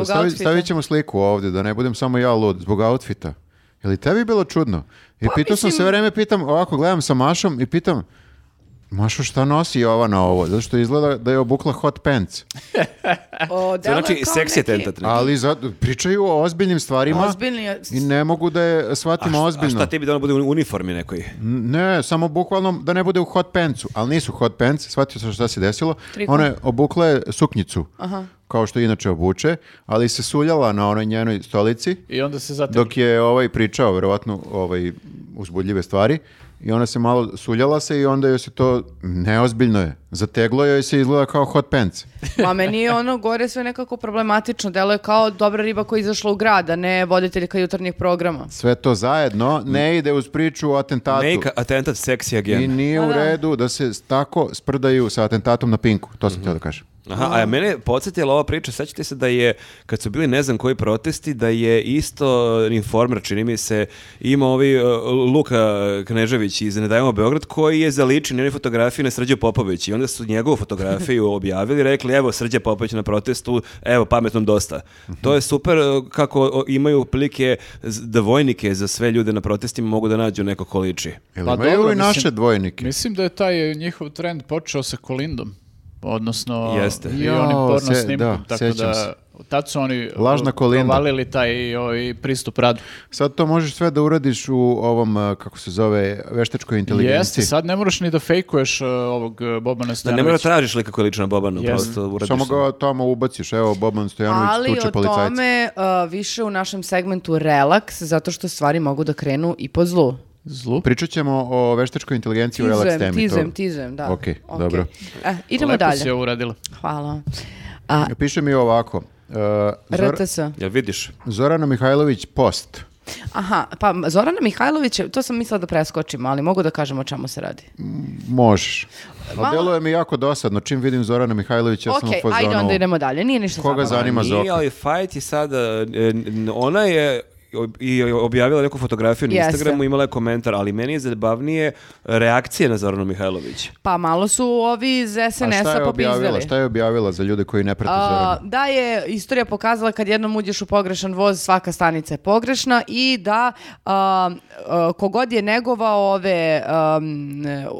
Speaker 1: e, stavi,
Speaker 4: outfita.
Speaker 1: stavit ćemo sliku ovdje, da ne budem samo ja lud, zbog outfita. Je li tebi bilo čudno? I pitao sam
Speaker 4: mislim-
Speaker 1: sve vreme, pitam, ovako gledam sa Mašom i pitam, Mašo, šta nosi Jovana ovo? Zato što izgleda da je obukla hot pants. E,
Speaker 3: To
Speaker 4: O, delo je
Speaker 3: znači
Speaker 4: kao
Speaker 3: seksi
Speaker 4: neki
Speaker 3: atentat. neki.
Speaker 1: Ali zato- pričaju o ozbiljnim stvarima
Speaker 4: Ozbiljni je-
Speaker 1: i ne mogu da je shvatimo
Speaker 3: A
Speaker 1: ozbiljno.
Speaker 3: šta tebi da ono bude u uniformi nekoj?
Speaker 1: Ne, samo bukvalno da ne bude u hot pantsu, ali nisu hot pants, shvatio sam šta se desilo.
Speaker 4: Triko.
Speaker 1: Ona je obukla je suknjicu, kao što inače obuče, ali se suljala na onoj njenoj stolici,
Speaker 2: I onda se zatim...
Speaker 1: dok je ovaj pričao, verovatno, ovaj, uzbudljive stvari, i ona se malo suljala se i onda joj se to, neozbiljno je, zateglo joj se i izgleda kao hot pants.
Speaker 4: Ma meni je ono gore sve nekako problematično. Delo je kao dobra riba koja je izašla u grad, a ne voditeljka jutarnjih programa.
Speaker 1: Sve to zajedno ne ide uz priču o atentatu.
Speaker 3: Make atentat seksi
Speaker 1: I
Speaker 3: again.
Speaker 1: nije
Speaker 4: Pa
Speaker 1: u
Speaker 4: da.
Speaker 1: redu da se tako sprdaju sa atentatom na Pinku, to
Speaker 2: Mhm.
Speaker 1: sam htio da kažem.
Speaker 2: Pa
Speaker 3: Aha, a mene je podsjetila ova priča, sećate se da je, kad su bili ne znam koji protesti, da je isto informer, čini mi se, ima ovi uh, Luka Knežević iz Ne dajemo Beograd, koji je zaličen na fotografiji na Srđe Popović i onda su njegovu fotografiju objavili, rekli evo Srđe Popović na protestu, evo pametnom dosta.
Speaker 1: Mhm.
Speaker 3: To je super uh, kako o, imaju prilike z- da vojnike za sve ljude na protestima mogu da nađu neko ko liči.
Speaker 1: Jel
Speaker 2: Pa
Speaker 1: imaju
Speaker 2: dobro,
Speaker 1: i naše
Speaker 2: mislim-
Speaker 1: dvojnike?
Speaker 2: Mislim da je taj njihov trend počeo sa Kolindom. odnosno
Speaker 3: Jeste.
Speaker 2: i
Speaker 1: Jao,
Speaker 2: oni
Speaker 1: se-
Speaker 2: porno snimku,
Speaker 1: da,
Speaker 2: tako
Speaker 1: sjećam
Speaker 2: da
Speaker 1: se.
Speaker 2: tad su oni
Speaker 1: Lažna kolinda.
Speaker 2: provalili taj ovaj, pristup radu.
Speaker 1: Sad to možeš sve da uradiš u ovom, eh, kako se zove, veštačkoj
Speaker 2: Jeste,
Speaker 1: inteligenciji.
Speaker 2: sad ne moraš ni da fejkuješ uh, ovog uh, Bobana
Speaker 3: Da ne mora da
Speaker 2: Stojanovića.
Speaker 3: tražiš lika koji je lično Bobanu,
Speaker 2: Jeste.
Speaker 3: prosto uradiš.
Speaker 1: Samo
Speaker 3: sve.
Speaker 1: ga tamo ubaciš, evo Boban Stojanović
Speaker 4: Ali
Speaker 1: tuče
Speaker 4: o
Speaker 1: policajca.
Speaker 4: tome uh, više u našem segmentu relaks, zato što stvari mogu da krenu i po zlu.
Speaker 2: Zlu.
Speaker 1: Pričat ćemo o veštačkoj inteligenciji u relax
Speaker 4: Tizujem,
Speaker 1: temi. to-
Speaker 4: tizujem, tizujem, da.
Speaker 1: Okej, dobro.
Speaker 4: Eh, idemo
Speaker 2: Lepo si
Speaker 4: dalje.
Speaker 2: je uradila.
Speaker 4: Hvala. A,
Speaker 1: Piše mi ovako. eh, Zor-
Speaker 4: RTS.
Speaker 3: Jel vidiš?
Speaker 1: Zorana Mihajlović post.
Speaker 4: Aha, pa Zorana Mihajlović, je- to sam mislila da preskočim, ali mogu da kažem o čemu se radi.
Speaker 1: Možeš. Ali
Speaker 4: Malo-
Speaker 1: deluje mi jako dosadno. Čim vidim Zorana Mihajlovića, ja sam u
Speaker 4: ok,
Speaker 1: fazonu.
Speaker 4: ajde onda idemo dalje, nije ništa
Speaker 1: Koga
Speaker 4: zabavno.
Speaker 1: zanima
Speaker 3: A nije,
Speaker 1: Zoka?
Speaker 3: ali Fajt je sada, e, n- ona je ob- i objavila neku fotografiju na
Speaker 4: Jeste.
Speaker 3: Instagramu, imala je komentar, ali meni je zabavnije reakcije na Zoranu Mihajlović.
Speaker 4: Pa malo su ovi iz
Speaker 1: A šta
Speaker 4: SNS-a
Speaker 1: je objavila?
Speaker 4: popizdali.
Speaker 1: Šta je objavila za ljude koji ne prate
Speaker 4: A,
Speaker 1: Zorana?
Speaker 4: da je istorija pokazala kad jednom uđeš u pogrešan voz, svaka stanica je pogrešna i da a, a, kogod je negovao ove am,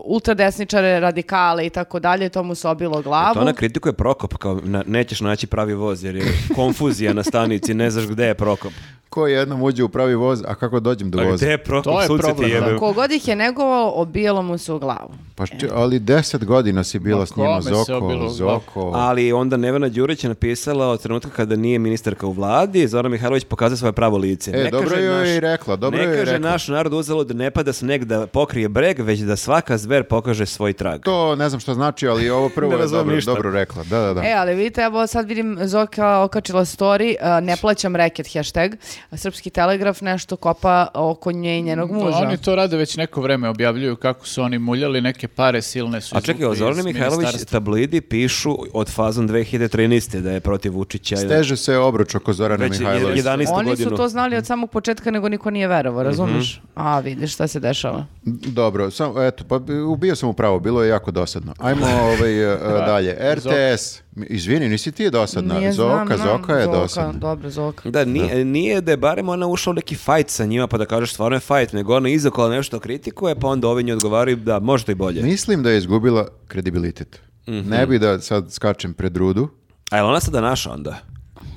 Speaker 4: ultradesničare, radikale i tako dalje, to mu se obilo
Speaker 3: E, To
Speaker 4: glavu.
Speaker 3: ona kritikuje Prokop, kao na- nećeš naći pravi voz, jer je konfuzija na stanici, ne znaš gde je Prokop.
Speaker 1: Ko jednom uđe u pravi voz, a kako dođem do
Speaker 3: A
Speaker 1: voza?
Speaker 3: gde je Prokop,
Speaker 2: To je
Speaker 3: sunce
Speaker 2: problem,
Speaker 3: ti jebe.
Speaker 2: da.
Speaker 4: Kogod ih je negovao, obijalo mu se u glavu.
Speaker 1: Pa šče- ali deset godina si bila
Speaker 2: Ma
Speaker 1: s njima,
Speaker 2: kome se
Speaker 1: Zoko,
Speaker 2: obilo
Speaker 1: Zoko.
Speaker 3: Ali onda Nevena Đurić je napisala od trenutka kada nije ministarka u vladi, Zoran Mihajlović pokazuje svoje pravo lice.
Speaker 1: E, dobro
Speaker 3: kaže
Speaker 1: joj je i rekla, dobro
Speaker 3: ne
Speaker 1: joj je
Speaker 3: kaže
Speaker 1: rekla.
Speaker 3: naš narod uzelo da ne pada sneg da pokrije breg, već da svaka zver pokaže svoj trag.
Speaker 1: To ne znam šta znači, ali ovo prvo
Speaker 3: Ne
Speaker 1: je
Speaker 3: razumem
Speaker 1: dobro,
Speaker 3: ništa.
Speaker 1: dobro rekla. Da, da, da.
Speaker 4: E, ali vidite, evo sad vidim Zoka okačila story, a, ne plaćam reket, hashtag, a Srpski telegraf nešto kopa oko nje i njenog muža.
Speaker 2: Oni Mm, to rade već neko vreme, objavljuju kako su oni muljali, neke pare silne su
Speaker 3: A čekaj, o
Speaker 2: izvukli
Speaker 3: Zorani
Speaker 2: iz
Speaker 3: Mihajlović
Speaker 2: ministarstva.
Speaker 3: tablidi pišu od fazom 2013. da je protiv Vučića. i da-
Speaker 1: Steže se obruč oko Zorana
Speaker 3: Već je
Speaker 1: Mihajlovića.
Speaker 3: 11.
Speaker 4: Oni
Speaker 3: godinu. Mhm.
Speaker 4: su to znali od samog početka, nego niko nije verovao, razumeš? A, vidiš šta se dešava.
Speaker 1: Dobro, sam, eto, pa bi- ubio sam upravo, bilo je jako dosadno. Ajmo ovaj, e, dalje. RTS, izvini, nisi ti dosadna.
Speaker 4: Nije, znam,
Speaker 1: Pa Zoka,
Speaker 4: znam,
Speaker 1: Zoka je
Speaker 4: Zoka,
Speaker 1: dosadna.
Speaker 4: Dobro, Zoka.
Speaker 3: Da, nije, nije da je barem ona ušla u neki fajt sa njima, pa da kažeš stvarno je fajt, nego ona izakola nešto kritikuje, pa onda ovi nju odgovaraju da možda i bolje.
Speaker 1: Mislim da je izgubila kredibilitet. Ne bi da sad skačem pred rudu.
Speaker 3: A je ona sada naša onda?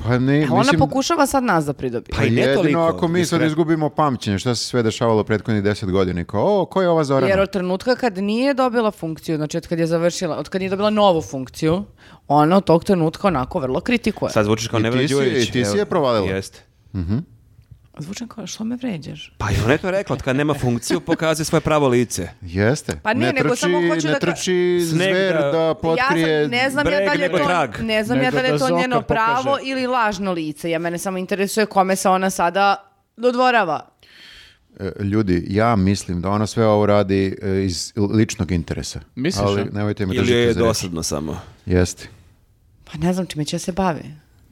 Speaker 1: Pa ne,
Speaker 4: A E, ona
Speaker 1: mislim,
Speaker 4: pokušava sad nas da pridobi.
Speaker 3: Pa i ne
Speaker 1: jedino
Speaker 3: toliko,
Speaker 1: ako mi sad
Speaker 3: diskretno.
Speaker 1: izgubimo pamćenje, šta se sve dešavalo prethodnih deset godina i kao, o, ko je ova Zorana?
Speaker 4: Jer od trenutka kad nije dobila funkciju, znači od kad je završila, od kad nije dobila novu funkciju, ona od tog trenutka onako vrlo kritikuje.
Speaker 3: Sad zvučiš kao
Speaker 1: I ti
Speaker 3: Nevena
Speaker 1: si-
Speaker 3: Đurić.
Speaker 1: i ti si
Speaker 3: evo.
Speaker 1: je provalila.
Speaker 3: Jeste.
Speaker 4: Zvučem kao, što me vređaš?
Speaker 3: Pa i ona je to rekla, od kad nema funkciju, pokazuje svoje pravo lice.
Speaker 1: Jeste.
Speaker 4: Pa ne, nego samo hoću
Speaker 1: ne
Speaker 4: da ka-
Speaker 1: trči
Speaker 3: Sneg
Speaker 1: zver
Speaker 3: da-
Speaker 1: da, potkrije...
Speaker 4: ja sam, ne znam ja
Speaker 3: breg
Speaker 4: da li je
Speaker 3: nego
Speaker 4: to,
Speaker 3: trag.
Speaker 4: ne znam ja
Speaker 2: Nego
Speaker 4: da li je
Speaker 2: da
Speaker 4: to
Speaker 2: Zoka
Speaker 4: njeno pravo
Speaker 2: pokaže.
Speaker 4: ili lažno lice. Ja mene samo interesuje kome se ona sada dodvorava.
Speaker 1: E, Ljudi, ja mislim da ona sve ovo radi e, iz ličnog interesa.
Speaker 2: Misliš,
Speaker 1: Ali
Speaker 2: a?
Speaker 1: nemojte me
Speaker 3: e? Ili joj
Speaker 1: držite
Speaker 3: je
Speaker 1: za reč.
Speaker 3: dosadno samo.
Speaker 1: Jeste.
Speaker 4: Pa ne znam čime će se bavi.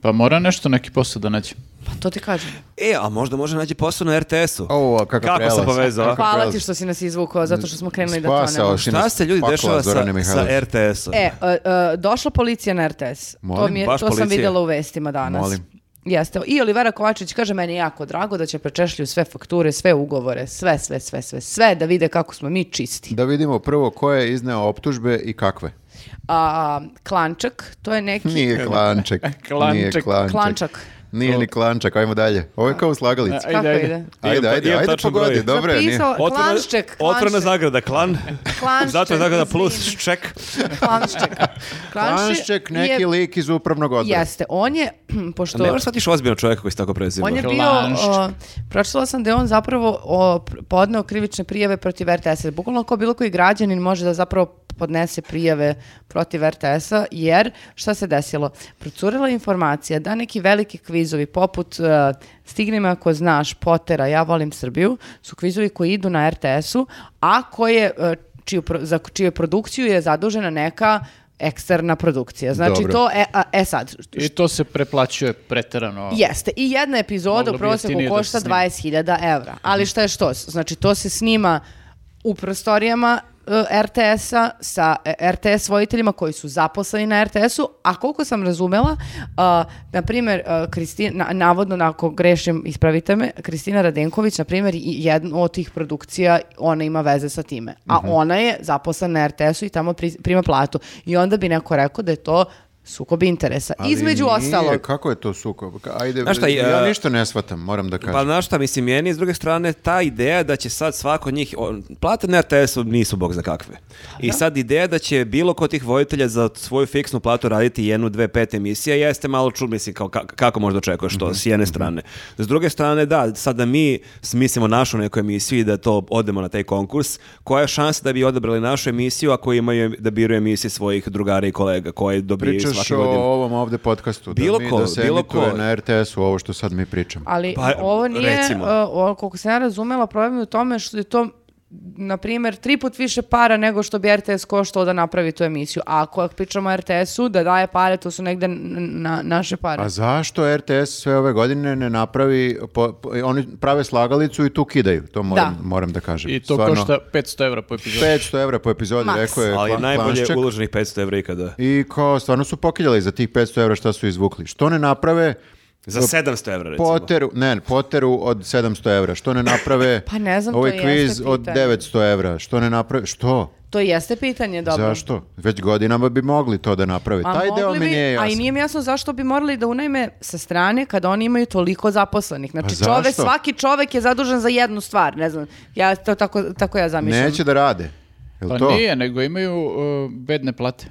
Speaker 2: Pa mora nešto neki posao da nađe.
Speaker 4: Pa to ti kažem.
Speaker 3: E, a možda može naći posao na RTS-u.
Speaker 1: O, a kakav
Speaker 3: Kako
Speaker 1: prelaz.
Speaker 3: sam povezao? a?
Speaker 1: Kako
Speaker 4: Hvala
Speaker 1: prelaz.
Speaker 4: ti što si nas izvukao, zato što smo krenuli da to
Speaker 1: Spasao
Speaker 4: ne
Speaker 1: si
Speaker 3: Šta
Speaker 1: nas
Speaker 3: se ljudi
Speaker 1: pakla,
Speaker 3: dešava
Speaker 1: Zorane
Speaker 3: sa, sa
Speaker 1: Mihajlović.
Speaker 3: RTS-om?
Speaker 4: E, e, e, došla policija na RTS. to
Speaker 1: Molim?
Speaker 4: mi je,
Speaker 3: Baš
Speaker 4: to sam
Speaker 3: policija?
Speaker 4: vidjela u vestima danas.
Speaker 1: Molim.
Speaker 4: Jeste. I Olivera Kovačić kaže, meni je jako drago da će prečešlju sve fakture, sve ugovore, sve, sve, sve, sve, sve, da vide kako smo mi čisti.
Speaker 1: Da vidimo prvo ko je izneo optužbe i kakve.
Speaker 4: A, klančak, to je neki...
Speaker 1: Nije klanček.
Speaker 2: Klanček.
Speaker 1: Nije klanček.
Speaker 4: Klančak.
Speaker 1: Nije ni klančak, ajmo dalje. Ovo je kao u slagalici.
Speaker 2: Ajde,
Speaker 4: Kako
Speaker 2: ajde.
Speaker 4: ide?
Speaker 1: Ajde,
Speaker 3: Imam ta-
Speaker 1: ajde,
Speaker 3: imam
Speaker 1: ajde
Speaker 3: tačan
Speaker 1: pogodi,
Speaker 3: broj.
Speaker 1: dobro je. nije.
Speaker 4: Napisao,
Speaker 3: Otvorena-
Speaker 4: klanšček,
Speaker 3: Otvorena
Speaker 4: klanšček.
Speaker 3: zagrada, klan.
Speaker 4: Klanšček,
Speaker 3: Zato zagrada
Speaker 4: izvini.
Speaker 3: plus ček.
Speaker 4: Klanšček.
Speaker 1: Klanšček, neki
Speaker 4: je-
Speaker 1: lik iz upravnog odbora.
Speaker 4: Jeste, on je, pošto...
Speaker 3: Ne možeš shvatiš ozbiljno čovjeka koji se tako preziva.
Speaker 4: On je bio,
Speaker 2: Klanšček.
Speaker 4: o, pročitala sam da je on zapravo o, pr- podneo krivične prijave protiv RTS-a. Bukvalno kao bilo koji građanin može da zapravo podnese prijave protiv RTS-a, jer šta se desilo? Procurila je informacija da neki veliki kvizovi poput e, Stigni me ako znaš, Potera, Ja volim Srbiju, su kvizovi koji idu na RTS-u, a koje, e, čiju, pro- za čiju produkciju je zadužena neka eksterna produkcija. Znači
Speaker 1: Dobro.
Speaker 4: to, e, a- e sad,
Speaker 2: I to se preplaćuje preterano.
Speaker 4: Jeste, i jedna epizoda
Speaker 2: Moglo
Speaker 4: u
Speaker 2: bi
Speaker 4: prosjeku
Speaker 2: jeftinije da se
Speaker 4: košta
Speaker 2: snima. Mhm.
Speaker 4: 20.000 evra. Ali šta je što? Znači, to se snima u prostorijama e, RTS-a sa e, RTS vojiteljima koji su zaposleni na RTS-u, a koliko sam razumela, a, na primjer, a, Kristina, na- navodno, na- ako grešim, ispravite me, Kristina Radenković, na primjer, i jednu od tih produkcija, ona ima veze sa time. A
Speaker 2: Mhm.
Speaker 4: ona je zaposlena na RTS-u i tamo pri- prima platu. I onda bi neko rekao da je to sukob interesa.
Speaker 1: Ali
Speaker 4: Između
Speaker 1: nije,
Speaker 4: ostalog.
Speaker 1: Kako je to sukob? Ajde,
Speaker 3: Znaš šta,
Speaker 1: ja
Speaker 3: e,
Speaker 1: ništa ne shvatam, moram da kažem.
Speaker 3: Pa znaš šta, mislim, meni s druge strane ta ideja da će sad svako od njih, on, plate na RTS-u nisu bog za kakve. I sad ideja da će bilo ko tih vojitelja za svoju fiksnu platu raditi jednu, dve, pet emisija, jeste malo čud, mislim, kao, ka- kako možda očekuješ
Speaker 1: Mhm,
Speaker 3: to, s jedne strane. S druge strane, da, sad da mi smislimo našu neku emisiju i da to odemo na taj konkurs, koja je šansa da bi odabrali našu emisiju ako imaju da biraju emisije svojih drugara i kolega koje dobijaju
Speaker 1: Pričaš
Speaker 3: svake
Speaker 1: o
Speaker 3: godine?
Speaker 1: ovom ovde podcastu.
Speaker 3: Bilo
Speaker 1: da mi,
Speaker 3: ko,
Speaker 1: da se
Speaker 3: bilo
Speaker 1: emituje
Speaker 3: ko.
Speaker 1: na RTS-u ovo što sad mi pričamo.
Speaker 4: Ali
Speaker 3: Pa,
Speaker 4: ovo nije,
Speaker 3: recimo.
Speaker 4: uh, ovo, koliko sam ja razumela, problem je u tome što je to na primjer, tri put više para nego što bi RTS koštao da napravi tu emisiju. A ako ako pričamo o RTS-u, da daje pare, to su negde n- na, naše pare.
Speaker 1: A zašto RTS sve ove godine ne napravi, po- po- oni prave slagalicu i tu kidaju, to moram,
Speaker 4: Da.
Speaker 1: moram da kažem.
Speaker 2: I to
Speaker 1: Stvarno,
Speaker 2: košta 500 evra po epizodu.
Speaker 1: 500 evra po epizodi,
Speaker 4: Maks.
Speaker 1: rekao je
Speaker 3: Ali
Speaker 1: Kla-
Speaker 3: najbolje
Speaker 1: Klanšček.
Speaker 3: uloženih 500 evra ikada.
Speaker 1: I kao, stvarno su pokiljali za tih 500 evra šta su izvukli. Što ne naprave
Speaker 3: Za
Speaker 1: e,
Speaker 3: 700 evra, recimo.
Speaker 1: Poteru, ne, Poteru od 700 evra. Što ne naprave
Speaker 4: Pa ne znam, to
Speaker 1: ovaj
Speaker 4: jeste
Speaker 1: kviz od
Speaker 4: pitanje.
Speaker 1: 900 evra? Što ne naprave? Što?
Speaker 4: To jeste pitanje, dobro.
Speaker 1: Zašto? Već godinama bi mogli to da naprave.
Speaker 4: A
Speaker 1: Taj deo
Speaker 4: mogli
Speaker 1: mi
Speaker 4: bi,
Speaker 1: nije
Speaker 4: A i
Speaker 1: jasan.
Speaker 4: nije mi jasno zašto bi morali da unajme sa strane kada oni imaju toliko zaposlenih. Znači,
Speaker 1: Pa
Speaker 4: čovek,
Speaker 1: zašto?
Speaker 4: svaki čovek je zadužen za jednu stvar, ne znam. Ja to tako, tako ja zamišljam.
Speaker 1: Neće da rade. Jel
Speaker 2: Pa
Speaker 1: to?
Speaker 2: nije, nego imaju uh, bedne plate.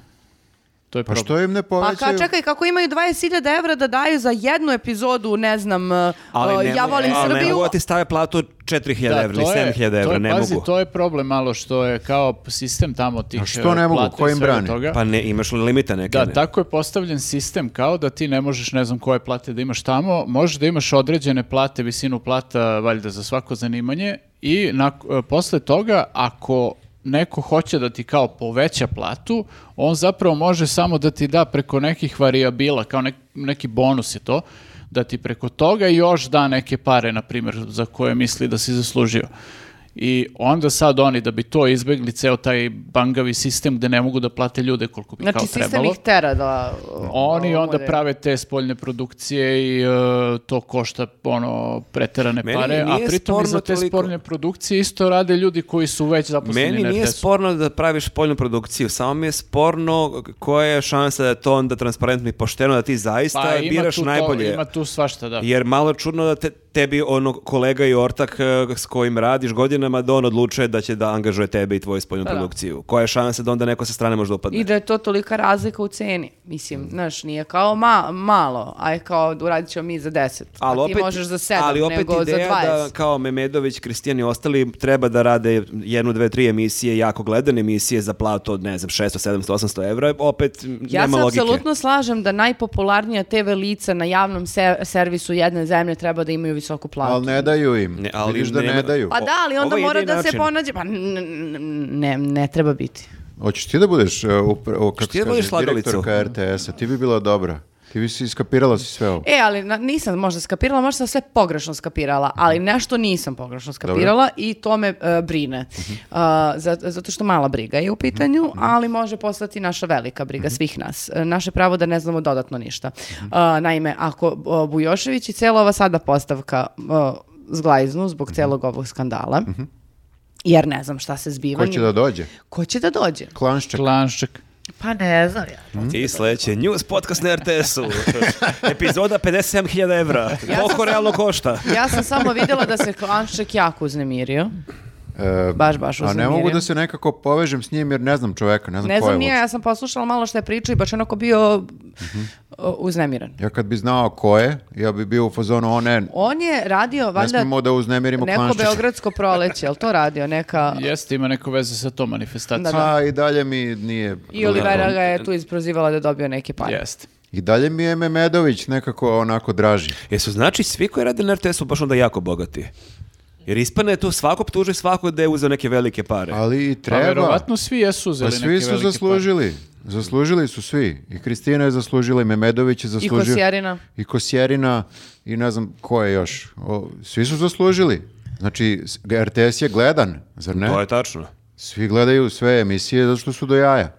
Speaker 2: To je
Speaker 1: Pa
Speaker 2: problem.
Speaker 1: što im ne
Speaker 4: Pa
Speaker 1: povećaju?
Speaker 4: ka, čekaj, kako imaju 20.000 evra da daju za jednu epizodu, ne znam, uh,
Speaker 3: Ali ne,
Speaker 4: ja volim
Speaker 3: ali ne
Speaker 4: Srbiju,
Speaker 3: mogu da ti stave platu 4000 evra ili
Speaker 2: to je-
Speaker 3: 7000
Speaker 2: to
Speaker 3: evra,
Speaker 2: je,
Speaker 3: ne
Speaker 2: pazi,
Speaker 3: mogu.
Speaker 2: to je problem malo što je kao sistem tamo tih
Speaker 1: A što
Speaker 2: e,
Speaker 1: ne mogu?
Speaker 2: plata i
Speaker 1: Ko im
Speaker 2: svega
Speaker 1: brani?
Speaker 2: toga.
Speaker 3: Pa ne, imaš li limita neke?
Speaker 2: Da,
Speaker 3: ne?
Speaker 2: tako je postavljen sistem kao da ti ne možeš ne znam koje plate da imaš tamo, možeš da imaš određene plate, visinu plata valjda za svako zanimanje i nak- e, posle toga ako neko hoće da ti kao poveća platu, on zapravo može samo da ti da preko nekih varijabila, kao nek- neki bonus je to, da ti preko toga još da neke pare, na primjer, za koje misli da si zaslužio. I onda sad oni, da bi to izbegli, ceo taj bangavi sistem gde ne mogu da plate ljude koliko bi
Speaker 4: znači
Speaker 2: kao
Speaker 4: sistem
Speaker 2: trebalo.
Speaker 4: ih tera da...
Speaker 2: Oni
Speaker 4: ovo
Speaker 2: onda
Speaker 4: more.
Speaker 2: prave te spoljne produkcije i e, to košta ono preterane
Speaker 3: Meni
Speaker 2: pare, a
Speaker 3: nije
Speaker 2: pritom i za
Speaker 3: sporno
Speaker 2: te
Speaker 3: toliko.
Speaker 2: spoljne produkcije isto rade ljudi koji su već zaposleni
Speaker 3: Meni
Speaker 2: na
Speaker 3: nije
Speaker 2: RTS-u.
Speaker 3: sporno da praviš poljnu produkciju, samo mi je sporno koja je šansa da je to onda transparentno i pošteno, da ti zaista
Speaker 2: Pa ima
Speaker 3: biraš
Speaker 2: tu to-
Speaker 3: najbolje.
Speaker 2: ima tu svašta, da.
Speaker 3: Jer malo je čudno da te, tebi ono kolega i ortak e, s kojim radiš godinama da on odlučuje da će da angažuje tebe i tvoju spoljnu produkciju. Koja je šansa da onda neko sa strane može da upadne?
Speaker 4: I da je to tolika razlika u ceni.
Speaker 3: Mm.
Speaker 4: Mislim, znaš, nije kao ma- malo, a je kao uradit ćemo mi za 10.
Speaker 3: Ali
Speaker 4: a
Speaker 3: opet,
Speaker 4: ti možeš za 7,
Speaker 3: ali opet
Speaker 4: nego za
Speaker 3: ideja
Speaker 4: 20.
Speaker 3: da kao Memedović, Kristijan i ostali treba da rade jednu, dve, tri emisije, jako gledane emisije za platu od, ne znam, 600, 700, 800 evra, opet m,
Speaker 4: Ja
Speaker 3: nema
Speaker 4: se
Speaker 3: logike.
Speaker 4: apsolutno slažem da najpopularnija TV lica na javnom se- servisu jedne zemlje treba da imaju visoku platu.
Speaker 1: Ali ne daju im.
Speaker 3: Ne, ali
Speaker 1: Vidiš da ne,
Speaker 3: nema-
Speaker 1: daju.
Speaker 4: Pa
Speaker 3: O-
Speaker 4: da, ali onda
Speaker 3: ovo je
Speaker 4: mora
Speaker 3: jedini
Speaker 4: da se
Speaker 3: način.
Speaker 4: ponađe. Pa n- n- n- ne, ne treba biti.
Speaker 1: Hoćeš ti da budeš, uh, upra- o, kako
Speaker 3: ti
Speaker 1: se
Speaker 3: da budeš
Speaker 1: kaže,
Speaker 3: slagalica?
Speaker 1: direktorka RTS-a? Ti bi bila dobra. Ti bi si iskapirala si sve ovo.
Speaker 4: E, ali na- nisam možda skapirala, možda sam sve pogrešno skapirala, ali
Speaker 1: Mhm.
Speaker 4: nešto nisam pogrešno skapirala i to me e, brine.
Speaker 1: Mhm.
Speaker 4: A, za- zato što mala briga je u pitanju, ali može postati naša velika briga
Speaker 1: Mhm.
Speaker 4: svih nas. E, Naše pravo da ne znamo dodatno ništa. A, naime, ako o, Bujošević i cijela ova sada postavka o, zglajznu zbog
Speaker 1: Mhm.
Speaker 4: celog ovog skandala, jer ne znam šta se zbiva.
Speaker 1: Ko će
Speaker 4: njima-
Speaker 1: da dođe?
Speaker 4: Ko će da dođe?
Speaker 1: Klanšček.
Speaker 2: Klanšček.
Speaker 4: Pa ne znam ja.
Speaker 3: I sledeće, Mhm. news podcast na RTS-u. Epizoda 57.000 evra.
Speaker 4: sam
Speaker 3: Koliko
Speaker 4: samo-
Speaker 3: realno košta?
Speaker 4: Ja sam samo vidjela da se Klanšček jako uznemirio.
Speaker 1: E,
Speaker 4: Baš, baš
Speaker 1: A ne
Speaker 4: uznemirio.
Speaker 1: mogu da se nekako povežem s njim jer ne znam čoveka, ne znam,
Speaker 4: Ne
Speaker 1: ko je
Speaker 4: znam, nije,
Speaker 1: uopšte.
Speaker 4: ja sam poslušala malo što je pričao i baš onako bio
Speaker 1: Mhm.
Speaker 4: o, uznemiran.
Speaker 1: Ja kad bi znao ko je, ja bi bio u fazonu, o ne,
Speaker 4: On je radio,
Speaker 1: ne
Speaker 4: valjda,
Speaker 1: smemo da uznemirimo
Speaker 4: neko
Speaker 1: Klanščića.
Speaker 4: beogradsko proleće, jel to radio, neka...
Speaker 2: Jeste, ima neko veze sa tom manifestacijom.
Speaker 4: Da, da.
Speaker 1: A Pa, i dalje mi nije...
Speaker 4: I Olivera ga je tu isprozivala da pa je dobio neke pare.
Speaker 2: Jeste. Pa
Speaker 1: I dalje mi je Memedović nekako onako draži.
Speaker 3: Jesu znači svi koji rade na RTS-u baš onda jako bogati? Jer ispane tu svako optuži svako da je uzeo neke velike pare.
Speaker 1: Ali i
Speaker 2: Pa
Speaker 1: treba.
Speaker 2: verovatno svi jesu uzeli
Speaker 1: Pa
Speaker 2: neke
Speaker 1: svi su
Speaker 2: velike
Speaker 1: zaslužili. Zaslužili su svi. I Kristina je zaslužila, i Memedović je zaslužio.
Speaker 4: Kosjerina.
Speaker 1: I Kosjerina, i ne znam ko je još. O, svi su zaslužili. Znači, s- RTS je gledan, zar ne?
Speaker 3: To je tačno.
Speaker 1: Svi gledaju sve emisije zato što su do jaja.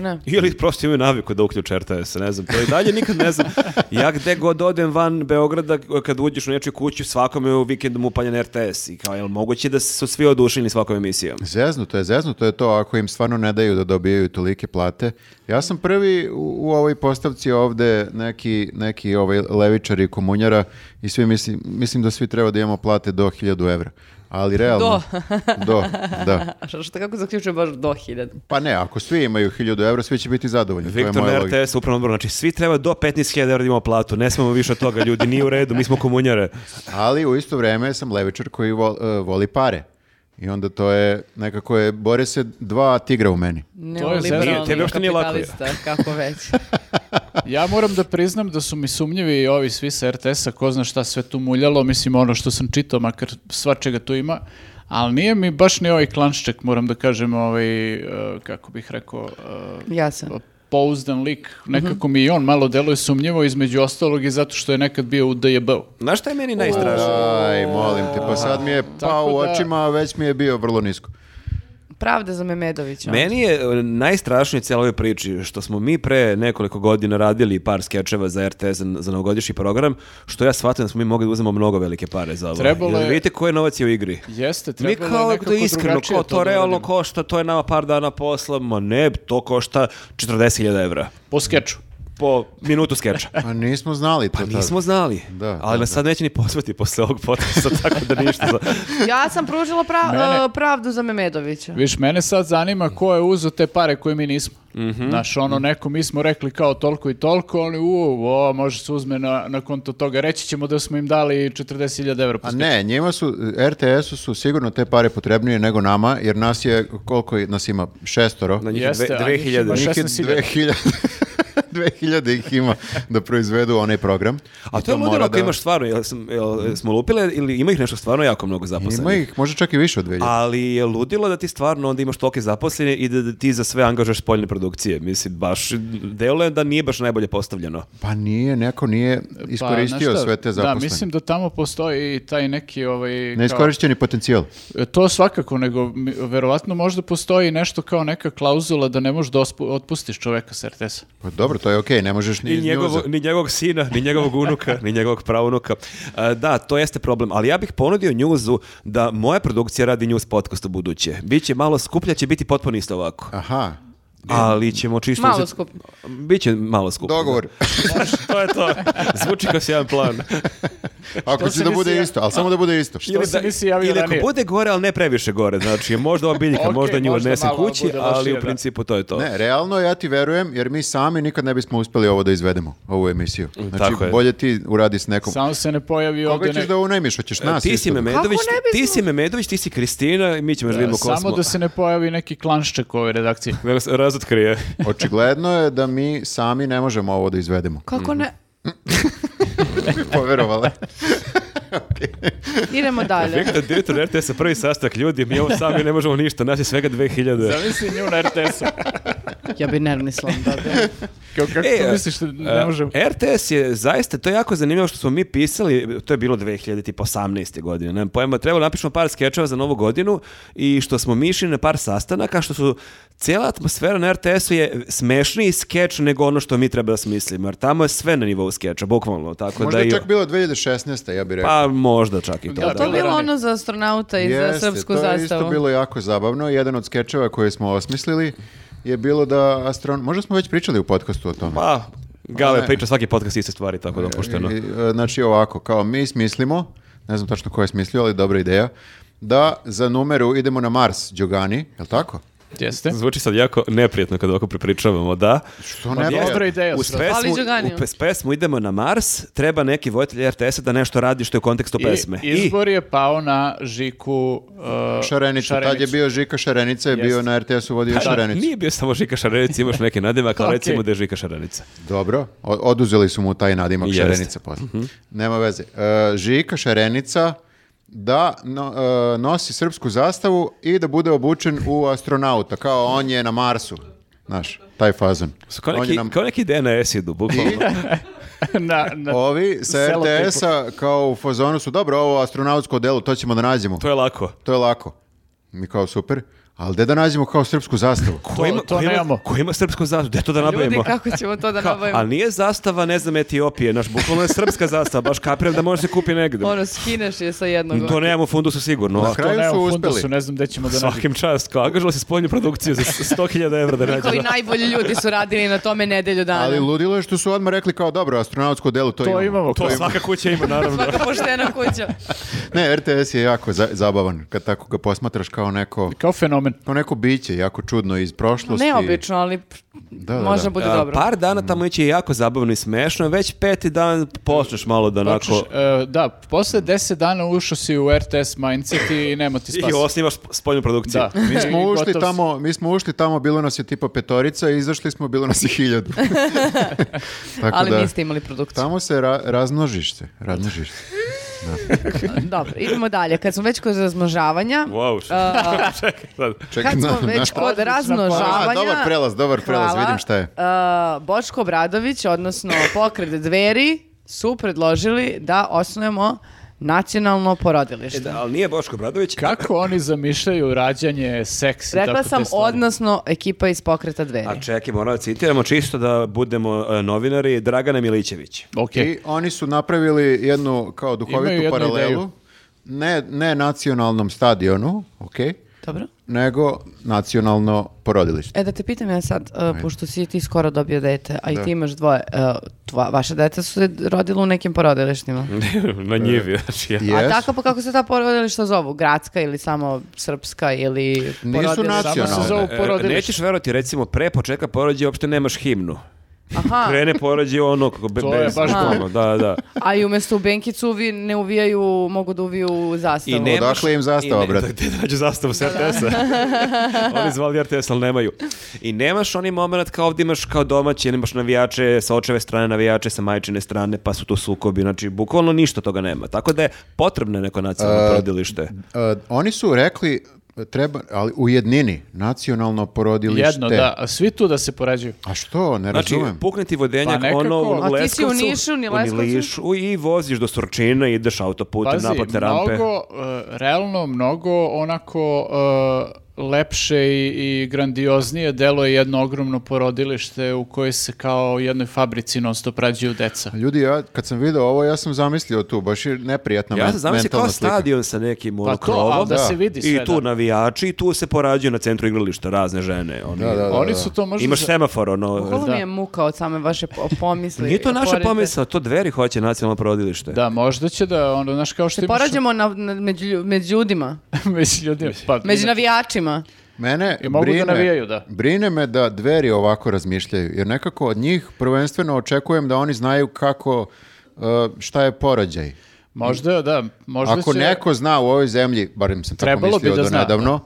Speaker 4: ne?
Speaker 3: Ili prosto imaju naviku da uključe RTS, ne znam, to i dalje nikad ne znam. Ja gde god odem van Beograda, kad uđeš u nečiju kuću, svakome je u vikendom upaljen RTS i kao, jel moguće da su svi oduševljeni svakom emisijom?
Speaker 1: Zezno, to je zezno, to je to ako im stvarno ne daju da dobijaju tolike plate. Ja sam prvi u, u ovoj postavci ovde neki, neki ovaj levičari i komunjara i svi mislim, mislim da svi treba da imamo plate do 1000 evra. Ali realno... Do. da.
Speaker 4: A što, što kako zaključuje baš do hiljada?
Speaker 1: Pa ne, ako svi imaju 1000 evra, svi će biti zadovoljni. to je
Speaker 3: Viktor
Speaker 1: moja
Speaker 3: na
Speaker 1: logika.
Speaker 3: RTS upravno odboru, znači svi treba do 15.000 evra da imamo platu, ne smemo više od toga, ljudi, nije u redu, mi smo komunjare.
Speaker 1: Ali u isto vrijeme sam levičar koji vo- e, voli pare. I onda to je, nekako je, bore se dva tigra u meni.
Speaker 2: Nije,
Speaker 3: tebi uopšte nije lako,
Speaker 4: kapitalista, kako već.
Speaker 2: Ja moram da priznam da su mi sumnjivi i ovi svi sa RTS-a, ko zna šta sve tu muljalo, mislim ono što sam čitao, makar svačega tu ima, ali nije mi baš ni ovaj klanšček, moram da kažem, ovaj, eh, kako bih rekao, eh,
Speaker 4: Ja sam.
Speaker 2: pouzdan lik, nekako mi i on malo deluje sumnjivo, između ostalog i zato što je nekad bio u DJB-u.
Speaker 3: Znaš šta je meni najstrašnije?
Speaker 1: Aj, molim te, pa sad mi je pao u
Speaker 2: da-
Speaker 1: očima, a već mi je bio vrlo nisko.
Speaker 4: Pravda za Memedovića.
Speaker 3: Meni je e, najstrašnije cijelo ovoj priči što smo mi pre nekoliko godina radili par skečeva za RTS za, za novogodišnji program, što ja shvatim da smo mi mogli da uzmemo mnogo velike pare za ovo.
Speaker 2: Trebalo
Speaker 3: Jer
Speaker 2: je-
Speaker 3: Vidite koji novac je u igri.
Speaker 2: Jeste,
Speaker 3: Mi
Speaker 2: trebalo je
Speaker 3: kao
Speaker 2: nekako
Speaker 3: da iskreno,
Speaker 2: drugačije
Speaker 3: ko to
Speaker 2: da
Speaker 3: realno
Speaker 2: uradimo.
Speaker 3: košta, to je nama par dana posla, ma ne, to košta 40.000 evra
Speaker 2: Po skeču.
Speaker 3: po minutu skeča.
Speaker 1: Pa nismo znali to
Speaker 3: Pa
Speaker 1: tad.
Speaker 3: nismo znali,
Speaker 1: Da, da,
Speaker 3: ali nas sad neće ni pozvati posle ovog podcasta, tako da ništa. Za...
Speaker 4: Ja sam pružila pra-
Speaker 2: Mene-
Speaker 4: eh, pravdu za Memedovića.
Speaker 2: Viš, mene sad zanima ko je uzeo te pare koje mi nismo. Znaš, ono, neko, mi smo rekli kao toliko i toliko, oni, u, o, može se uzme na, na konto toga. Reći ćemo da smo im dali 40.000 evra. Pa, po
Speaker 1: A Pa ne, njima su, RTS-u su sigurno te pare potrebnije nego nama, jer nas je, koliko je- nas ima? Šestoro.
Speaker 3: Na njih je
Speaker 2: Jeste,
Speaker 3: dve-
Speaker 2: a njih
Speaker 3: 2000.
Speaker 2: ima
Speaker 1: Njih je
Speaker 2: 16.000.
Speaker 1: 2000 2000 ih ima da proizvedu onaj program.
Speaker 3: A
Speaker 1: I
Speaker 3: to je
Speaker 1: mora
Speaker 3: ludilo
Speaker 1: da-
Speaker 3: ako imaš stvarno, jel, sam- jel smo lupile ili ima ih nešto stvarno jako mnogo zaposlenih?
Speaker 1: Ima ih, možda čak i više od 2000.
Speaker 3: Ali je ludilo da ti stvarno onda imaš toliko zaposlene i da, da ti za sve angažaš spoljne produkcije. Mislim, baš deluje da nije baš najbolje postavljeno.
Speaker 1: Pa nije, neko nije
Speaker 2: Pa, znaš
Speaker 1: iskoristio
Speaker 2: šta,
Speaker 1: sve te zaposlene.
Speaker 2: Da, mislim da tamo postoji i taj neki ovaj... kao- E,
Speaker 1: Neiskorišćeni potencijal.
Speaker 2: To svakako, nego mi- verovatno možda postoji nešto kao neka klauzula da ne možeš da ospu- otpustiš čoveka sa RTS-a.
Speaker 1: Pa dobro, to je okej, ne možeš ni
Speaker 3: Ni,
Speaker 1: iz
Speaker 3: njegovo-
Speaker 1: njuza.
Speaker 3: ni njegovog sina, ni njegovog unuka, ni njegovog pravunuka. E, Da, to jeste problem, ali ja bih ponudio njuzu da moja produkcija radi njuz podcast u buduće. Biće malo skuplja, će biti potpuno isto ovako.
Speaker 1: Aha,
Speaker 3: Ali ćemo čisto...
Speaker 4: Malo
Speaker 3: uzeti-
Speaker 4: skuplja.
Speaker 3: Biće malo skuplja.
Speaker 1: dogovor.
Speaker 3: to je to. Zvuči kao sjajan plan.
Speaker 1: Ako će
Speaker 2: se
Speaker 1: da
Speaker 2: nisi
Speaker 1: bude
Speaker 2: ja-
Speaker 1: isto, ali samo da bude isto.
Speaker 2: Što se nisi javio
Speaker 3: ili ako
Speaker 2: ranije?
Speaker 3: bude gore, ali ne previše gore. Znači, možda ova biljka,
Speaker 2: Okej,
Speaker 3: možda nju
Speaker 2: možda
Speaker 3: odnesem
Speaker 2: malo
Speaker 3: kući,
Speaker 2: bude
Speaker 3: ali
Speaker 2: lošije,
Speaker 3: u
Speaker 2: da.
Speaker 3: principu to je to.
Speaker 1: Ne, realno ja ti verujem, jer mi sami nikad ne bismo uspeli ovo da izvedemo, ovu emisiju. Znači,
Speaker 3: Tako je.
Speaker 1: bolje ti uradi s nekom.
Speaker 2: Samo se ne pojavi
Speaker 1: Koga
Speaker 2: ovdje...
Speaker 1: ćeš
Speaker 2: ne-
Speaker 1: da unajmiš, hoćeš nas
Speaker 3: E, ti si
Speaker 1: isto da-
Speaker 3: Memedović,
Speaker 4: Kako ne
Speaker 3: ti
Speaker 4: bismo?
Speaker 3: si Memedović, ti si Kristina i mi ćemo da vidimo ko smo.
Speaker 2: E, Samo da se ne pojavi neki klanšček u ovoj redakciji.
Speaker 3: Da nas razotkrije.
Speaker 1: Očigledno je da mi sami ne možemo ovo da izvedemo.
Speaker 4: Kako ne?
Speaker 1: Poverovala. Mhm.
Speaker 4: Idemo dalje.
Speaker 3: Viktor, direktor RTS-a, prvi sastak ljudi, mi ovo sami ne možemo ništa, nas je svega 2000.
Speaker 2: Zamisli nju na RTS-u.
Speaker 4: Ja bi nervni slom dobila.
Speaker 2: Kao kako
Speaker 3: E,
Speaker 2: to misliš da ne
Speaker 3: e,
Speaker 2: možemo?
Speaker 3: RTS je zaista, to je jako zanimljivo što smo mi pisali, to je bilo 2018. godine, nemam pojma, trebalo da napišemo par skečeva za novu godinu i što smo mi išli na par sastanaka, što su cijela atmosfera na RTS-u je smešniji skeč nego ono što mi treba da smislimo, jer tamo je sve na nivou skeča, bukvalno, tako
Speaker 1: Možda
Speaker 3: da i...
Speaker 1: je čak bilo 2016. ja bih rekao.
Speaker 3: Pa možda čak i to,
Speaker 2: Ja
Speaker 3: da.
Speaker 4: To je bilo
Speaker 2: ranije.
Speaker 4: ono za astronauta i za srpsku
Speaker 1: to je isto
Speaker 4: zastavu.
Speaker 1: bilo jako zabavno. Jedan od skečeva koje smo osmislili je bilo da astron... Možda smo već pričali u podcastu o tome.
Speaker 3: Pa,
Speaker 1: Ne.
Speaker 3: Gale priča svaki podcast iste stvari, tako da opušteno.
Speaker 1: I, e, znači ovako, kao mi smislimo, ne znam tačno ko je smislio, ali dobra ideja, da za numeru idemo na Mars, Đogani, je li tako?
Speaker 2: Jeste.
Speaker 3: Zvuči sad jako neprijatno kad ovako prepričavamo, da.
Speaker 1: Što
Speaker 2: Pa
Speaker 1: ne bi-
Speaker 2: dobro. Dobra ideja,
Speaker 3: U
Speaker 2: sve.
Speaker 3: pesmu,
Speaker 4: Ali Đuganiju.
Speaker 3: u pes- pesmu idemo na Mars, treba neki vojitelj RTS-a da nešto radi što je u kontekstu pesme.
Speaker 2: I, izbor je pao na Žiku uh,
Speaker 1: Šarenicu, tad je bio Žika Šarenica, je bio
Speaker 2: Jeste.
Speaker 1: na RTS-u vodio Šarenicu.
Speaker 3: Nije bio samo Žika Šarenica, imaš neke nadimak, ali
Speaker 2: Okej.
Speaker 3: recimo da je Žika Šarenica.
Speaker 1: Dobro, o- oduzeli su mu taj nadimak
Speaker 3: Jeste.
Speaker 1: Šarenica posle.
Speaker 3: Mhm.
Speaker 1: Nema veze. E, Žika Šarenica da no- e, nosi srpsku zastavu i da bude obučen u astronauta, kao on je na Marsu. Znaš, taj fazon.
Speaker 3: Su kao
Speaker 1: On je
Speaker 3: neki,
Speaker 1: na-
Speaker 3: kao neki DNA esidu, bukvalno.
Speaker 2: na, na,
Speaker 1: Ovi sa
Speaker 2: Selo
Speaker 1: RTS-a kao u fazonu su, dobro, ovo astronautsko delo, to ćemo da nađemo.
Speaker 3: To je lako.
Speaker 1: To je lako. Mi kao super. Ali gde da nađemo kao srpsku zastavu?
Speaker 3: Ko ima,
Speaker 2: to
Speaker 3: ko ima-
Speaker 2: nemamo.
Speaker 3: ko ima srpsku zastavu? Gde to da
Speaker 4: Ljudi,
Speaker 3: nabavimo?
Speaker 4: kako ćemo to da
Speaker 3: Kao,
Speaker 4: nabavimo?
Speaker 3: ali nije zastava, ne znam, Etiopije, naš bukvalno je srpska zastava, baš kapiram da može se kupi negde.
Speaker 4: Ono, skineš je sa jednog.
Speaker 3: To nemamo u fundusu sigurno.
Speaker 1: Na
Speaker 3: a
Speaker 1: kraju su
Speaker 2: Evo,
Speaker 1: uspeli.
Speaker 2: fundusu, ne znam gde ćemo da nađemo.
Speaker 3: Svakim čast, kao angažala se spoljnu produkciju za 100.000 evra da nađe.
Speaker 4: Koji
Speaker 3: da.
Speaker 4: najbolji ljudi su radili na tome nedelju dana.
Speaker 1: Ali ludilo je što su odmah rekli kao dobro, astronautsko delo to,
Speaker 2: To imamo.
Speaker 3: To svaka kuća ima, naravno.
Speaker 4: Svaka poštena kuća.
Speaker 1: Ne, RTS je jako za- zabavan kad tako ga posmatraš kao neko
Speaker 2: Kao fenomen.
Speaker 1: kao neko biće jako čudno iz prošlosti.
Speaker 4: Neobično, ali
Speaker 1: Da, pa, da,
Speaker 4: može
Speaker 1: da.
Speaker 4: bude
Speaker 3: A,
Speaker 4: dobro.
Speaker 3: E, Par dana
Speaker 1: Mm.
Speaker 3: tamo ići je jako zabavno i smešno, već peti dan počneš malo da onako...
Speaker 2: Počneš, e, da, posle 10 dana ušao si u RTS mindset i nema ti spasa.
Speaker 3: I osnivaš sp- spoljnu produkciju.
Speaker 2: Da.
Speaker 1: Mi smo,
Speaker 2: I
Speaker 1: ušli
Speaker 2: gotov si.
Speaker 1: tamo, mi smo ušli tamo, bilo nas je tipa petorica i izašli smo, bilo nas je hiljadu. Tako
Speaker 4: Ali
Speaker 1: da,
Speaker 4: niste imali produkciju.
Speaker 1: Tamo se ra- razmnožiš se, razmnožiš se.
Speaker 4: Dobro, idemo dalje. Kad smo već kod razmnožavanja,
Speaker 3: Wow, što-
Speaker 4: a,
Speaker 3: čekaj sad.
Speaker 1: Čekaj,
Speaker 4: kad smo
Speaker 1: na-
Speaker 4: već
Speaker 1: na-
Speaker 4: kod
Speaker 2: Odlična
Speaker 4: razmnožavanja...
Speaker 1: A, dobar prelaz, dobar prelaz,
Speaker 4: Hvala.
Speaker 1: vidim šta je.
Speaker 4: A, Boško Obradović, odnosno pokret dveri, su predložili da osnujemo nacionalno porodilište.
Speaker 3: E, da, ali nije Boško Bradović.
Speaker 2: Kako oni zamišljaju rađanje, seks i tako
Speaker 4: Rekla
Speaker 2: te
Speaker 4: sam
Speaker 2: stvari?
Speaker 4: odnosno ekipa iz pokreta dveri.
Speaker 3: A čekaj, moramo da citiramo čisto da budemo e, novinari Dragana Milićević.
Speaker 2: Ok.
Speaker 1: I oni su napravili jednu kao
Speaker 2: Imaju
Speaker 1: duhovitu
Speaker 2: jednu
Speaker 1: paralelu.
Speaker 2: ideju.
Speaker 1: Ne, ne nacionalnom stadionu, ok,
Speaker 4: Dobro.
Speaker 1: nego nacionalno porodilište.
Speaker 4: E da te pitam ja sad, uh, pošto si ti skoro dobio dete, a i ti imaš dvoje, uh, tva- vaše dete su se rodila u nekim porodilištima.
Speaker 3: Na njivi, znači ja.
Speaker 4: A
Speaker 1: Jesu.
Speaker 4: tako pa kako se ta porodilišta zovu? Gradska ili samo srpska ili
Speaker 1: Nisu
Speaker 4: porodilišta?
Speaker 2: Samo se
Speaker 1: nacionalne.
Speaker 2: zovu
Speaker 3: E,
Speaker 2: porodilište.
Speaker 3: Nećeš verovati, recimo, pre početka porođaja uopšte nemaš himnu.
Speaker 4: Aha,
Speaker 3: Krene porođaj ono kako be,
Speaker 2: To je
Speaker 3: bez-
Speaker 2: baš
Speaker 3: ono, da, da.
Speaker 4: a i umjesto u benkicu vi ne uvijaju, mogu da uviju zastavu.
Speaker 1: ne- Odakle im zastava,
Speaker 3: i ne-
Speaker 1: brate?
Speaker 3: Da, gde nađu zastavu s RTS-a? Oni zvali RTS, ali nemaju. I nemaš onaj moment kao ovdje imaš kao domaći, imaš navijače sa očeve strane, navijače sa majčine strane, pa su tu sukobi. Znači, bukvalno ništa toga nema. Tako da je potrebno neko nacionalno porodilište.
Speaker 1: E, oni su rekli treba, ali u jednini, nacionalno porodilište.
Speaker 2: Jedno, da. a Svi tu da se porađaju.
Speaker 1: A što, ne
Speaker 3: Znači,
Speaker 1: razumem.
Speaker 3: pukne ti vodenjak
Speaker 2: Pa nekako.
Speaker 3: ono u
Speaker 4: A ti si u
Speaker 3: Leskovcu,
Speaker 4: Nišu, ni
Speaker 3: u
Speaker 4: Leskovcu?
Speaker 3: Nilišu i voziš do Surčina, ideš autoputem,
Speaker 2: Pazi,
Speaker 3: naplatne rampe.
Speaker 2: mnogo, e, realno mnogo onako e, lepše i, i grandioznije delo je jedno ogromno porodilište u koje se kao u jednoj fabrici non stop rađaju deca.
Speaker 1: Ljudi, ja kad sam video ovo, ja sam zamislio tu, baš je neprijatna
Speaker 3: Ja
Speaker 1: men-
Speaker 3: sam zamislio kao
Speaker 1: mentalna slika.
Speaker 3: stadion sa nekim ono,
Speaker 2: Pa to,
Speaker 3: krovom.
Speaker 2: ali da,
Speaker 1: Da.
Speaker 2: se vidi sve.
Speaker 3: I tu
Speaker 2: da.
Speaker 3: navijači i tu se porađuju na centru igrališta razne žene. Oni,
Speaker 1: Da, da, da,
Speaker 2: Oni
Speaker 1: da.
Speaker 2: su to možda...
Speaker 3: Imaš
Speaker 2: za-
Speaker 3: semafor, ono...
Speaker 4: Koliko
Speaker 2: Da.
Speaker 4: mi je muka od same vaše po- pomisli.
Speaker 3: Nije to naša
Speaker 4: Porodice.
Speaker 3: pomisla, to dveri hoće nacionalno porodilište.
Speaker 2: Da, možda će da, ono, znaš, kao što
Speaker 4: Se
Speaker 2: imaš...
Speaker 4: porađamo na, na- među, lju- među ljudima,
Speaker 2: među ljudima. Pa,
Speaker 4: među
Speaker 2: inače-
Speaker 4: navijačima.
Speaker 1: Mene
Speaker 2: I mogu da
Speaker 1: brine,
Speaker 2: navijaju, da.
Speaker 1: brine me da dveri ovako razmišljaju, jer nekako od njih prvenstveno očekujem da oni znaju kako, uh, šta je porađaj.
Speaker 2: Možda, da, možda
Speaker 1: Ako
Speaker 2: će...
Speaker 1: neko zna u ovoj zemlji, barem sam tako
Speaker 2: Trebalo bi
Speaker 1: mislio
Speaker 2: da
Speaker 1: do
Speaker 2: zna,
Speaker 1: nedavno,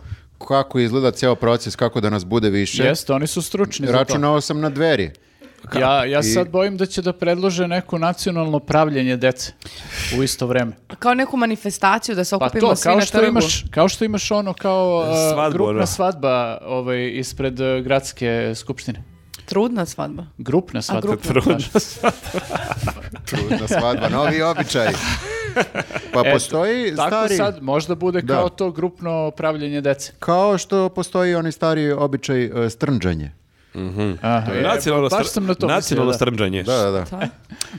Speaker 1: kako izgleda ceo proces, kako da nas bude više,
Speaker 2: Jeste, oni su stručni za
Speaker 1: računao sam na dveri.
Speaker 2: to. Ja, ja sad bojim da će da predlože neko nacionalno pravljenje dece u isto vreme.
Speaker 4: Kao neku manifestaciju da se
Speaker 2: Pa
Speaker 4: okupimo
Speaker 2: to,
Speaker 4: svi
Speaker 2: kao
Speaker 4: na
Speaker 2: što,
Speaker 4: trgu.
Speaker 2: imaš, kao što imaš ono kao a,
Speaker 3: Svadbu, ono.
Speaker 2: grupna svadba ovaj, ispred e, gradske skupštine.
Speaker 4: Trudna svadba.
Speaker 2: Grupna svadba.
Speaker 4: grupna
Speaker 2: Da.
Speaker 1: Trudna svadba, novi običaj. Pa
Speaker 2: Eto,
Speaker 1: postoji
Speaker 2: Tako
Speaker 1: stari...
Speaker 2: sad možda bude
Speaker 1: Da.
Speaker 2: kao to grupno pravljenje dece.
Speaker 1: Kao što postoji onaj stari običaj e, strnđanje.
Speaker 2: Aha, je,
Speaker 3: Nacionalno,
Speaker 2: baš
Speaker 3: str-
Speaker 2: sam na to
Speaker 3: nacionalno
Speaker 2: mislio,
Speaker 3: strmđanje.
Speaker 1: Da, da, da.
Speaker 2: da.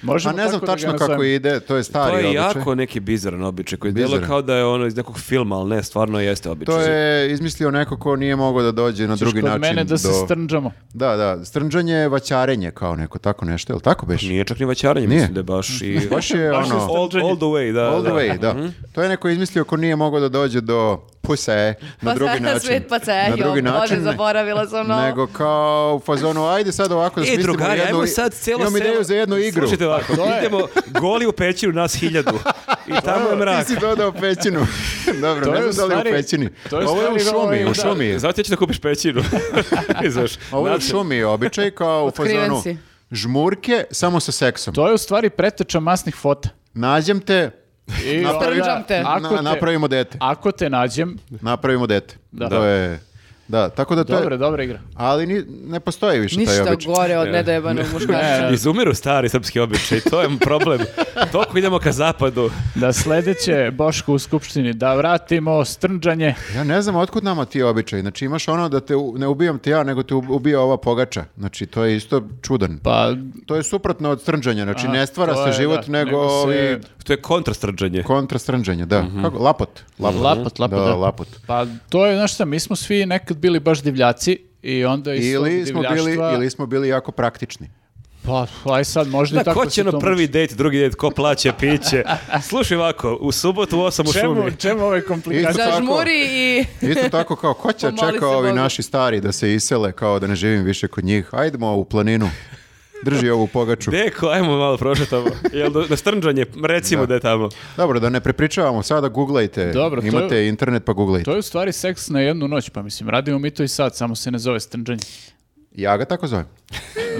Speaker 2: Možemo
Speaker 1: A Pa ne znam
Speaker 2: tako da ga
Speaker 1: tačno kako
Speaker 2: nazovemo.
Speaker 1: ide, to je
Speaker 3: To
Speaker 1: stari
Speaker 3: je
Speaker 1: običaj.
Speaker 3: jako neki bizaran običaj koji djeluje
Speaker 1: Bizaran.
Speaker 3: kao da je ono iz nekog filma, ali ne, stvarno jeste običaj.
Speaker 1: To je izmislio neko ko nije mogao da dođe na
Speaker 2: Ćeš
Speaker 1: drugi
Speaker 2: kod
Speaker 1: način.
Speaker 2: mene da
Speaker 1: do...
Speaker 2: se strnđamo.
Speaker 1: Da, da, strnđanje je vaćarenje kao neko, tako nešto, je li tako beš?
Speaker 3: Pa Nije čak ni vaćaranje,
Speaker 1: Nije.
Speaker 3: mislim da je baš i...
Speaker 1: Baš je
Speaker 2: Baš je
Speaker 1: ono,
Speaker 3: All, all the way, da.
Speaker 1: all the
Speaker 3: da. E, Mhm.
Speaker 1: way, da. To je neko izmislio ko nije mogao da dođe do puse na
Speaker 4: Pa
Speaker 1: drugi
Speaker 4: sad
Speaker 1: način.
Speaker 4: Svet pa se,
Speaker 1: na drugi način.
Speaker 4: Bože, zaboravila sam ono. na...
Speaker 1: Nego kao u fazonu, ajde sad ovako da
Speaker 3: E,
Speaker 1: smislimo
Speaker 3: drugari,
Speaker 1: jednu...
Speaker 3: ajmo sad celo
Speaker 1: Imam
Speaker 3: selo-
Speaker 1: ideju za jednu igru.
Speaker 3: Slušajte ovako,
Speaker 2: to je.
Speaker 3: idemo goli u pećinu, nas hiljadu. I tamo je mrak.
Speaker 1: Ti si dodao pećinu. Dobro,
Speaker 2: To je
Speaker 1: ne
Speaker 2: u
Speaker 1: znam da li
Speaker 2: stvari-
Speaker 1: u pećini.
Speaker 2: to je u
Speaker 1: Ovo je u
Speaker 2: stvari
Speaker 1: šumi,
Speaker 2: ovaj,
Speaker 1: u šumi. je.
Speaker 3: Zato ćeš da kupiš pećinu. Znaš,
Speaker 1: Ovo je u
Speaker 3: znači,
Speaker 1: šumi običaj kao u
Speaker 4: Otkriven
Speaker 1: fazonu
Speaker 4: si.
Speaker 1: žmurke samo sa seksom.
Speaker 2: To je u stvari preteča masnih fota.
Speaker 1: Nađem te,
Speaker 2: I
Speaker 1: Napravim-
Speaker 2: onda,
Speaker 4: te.
Speaker 2: Ako
Speaker 1: na-
Speaker 2: E, te,
Speaker 1: napravimo dete.
Speaker 2: ako te nađem,
Speaker 1: Napravimo dete.
Speaker 2: Da.
Speaker 1: To je Da, tako da to je-
Speaker 2: Dobra, dobra igra.
Speaker 1: Ali ni, ne postoji više taj
Speaker 4: Ništa
Speaker 1: običaj.
Speaker 4: gore od nedojebanog muškarca.
Speaker 2: Ne.
Speaker 3: Izumiru stari srpski običaj, to je problem. Toliko idemo ka zapadu.
Speaker 2: Da sledeće Boško u Skupštini, da vratimo strnđanje.
Speaker 1: Ja ne znam otkud nama ti običaj. Znači imaš ono da te u- ne ubijam ti ja, nego te u- ubija ova pogača. Znači to je isto čudan.
Speaker 2: Pa,
Speaker 1: To je suprotno od strnđanja. Znači
Speaker 2: Aha,
Speaker 1: ne stvara
Speaker 2: to
Speaker 1: se
Speaker 2: je,
Speaker 1: život,
Speaker 2: da,
Speaker 1: nego,
Speaker 2: nego se- Mhm.
Speaker 1: ovi
Speaker 3: To je kontrastrđanje.
Speaker 1: kontra strnđanja. Da. Kako? Lapot. Lapot,
Speaker 2: Lapot, lapot,
Speaker 1: Da,
Speaker 2: da.
Speaker 1: lapot.
Speaker 2: pa to je, znaš šta, mi smo svi nekad bili baš divljaci i onda iz tog
Speaker 1: Ili smo, bili,
Speaker 2: divljaštva-
Speaker 1: ili smo bili jako praktični.
Speaker 2: Pa, aj sad, možda i
Speaker 3: Da,
Speaker 2: tako
Speaker 3: ko će
Speaker 2: se
Speaker 3: na
Speaker 2: to
Speaker 3: prvi dejt, drugi dejt, ko plaća piće? Slušaj ovako, u subotu u 8 u šumi.
Speaker 2: Čemu, čemu ove komplikacije?
Speaker 1: Isto tako.
Speaker 4: Zažmuri i...
Speaker 1: Isto tako kao ko će
Speaker 4: Pomoli se
Speaker 1: čeka ovi
Speaker 4: Bogu.
Speaker 1: naši stari da se isele, kao da ne živim više kod njih. Ajdemo u planinu. Drži ovu pogaču.
Speaker 3: Deko, ajmo malo prošetamo. Jel do- na strnđanje, recimo da, je tamo.
Speaker 1: Dobro, da ne prepričavamo, sada googlajte.
Speaker 2: Dobro, to je-
Speaker 1: Imate internet pa googlajte.
Speaker 2: To je u stvari seks na jednu noć, pa mislim, radimo mi to i sad, samo se ne zove strnđanje.
Speaker 1: Ja ga tako zovem.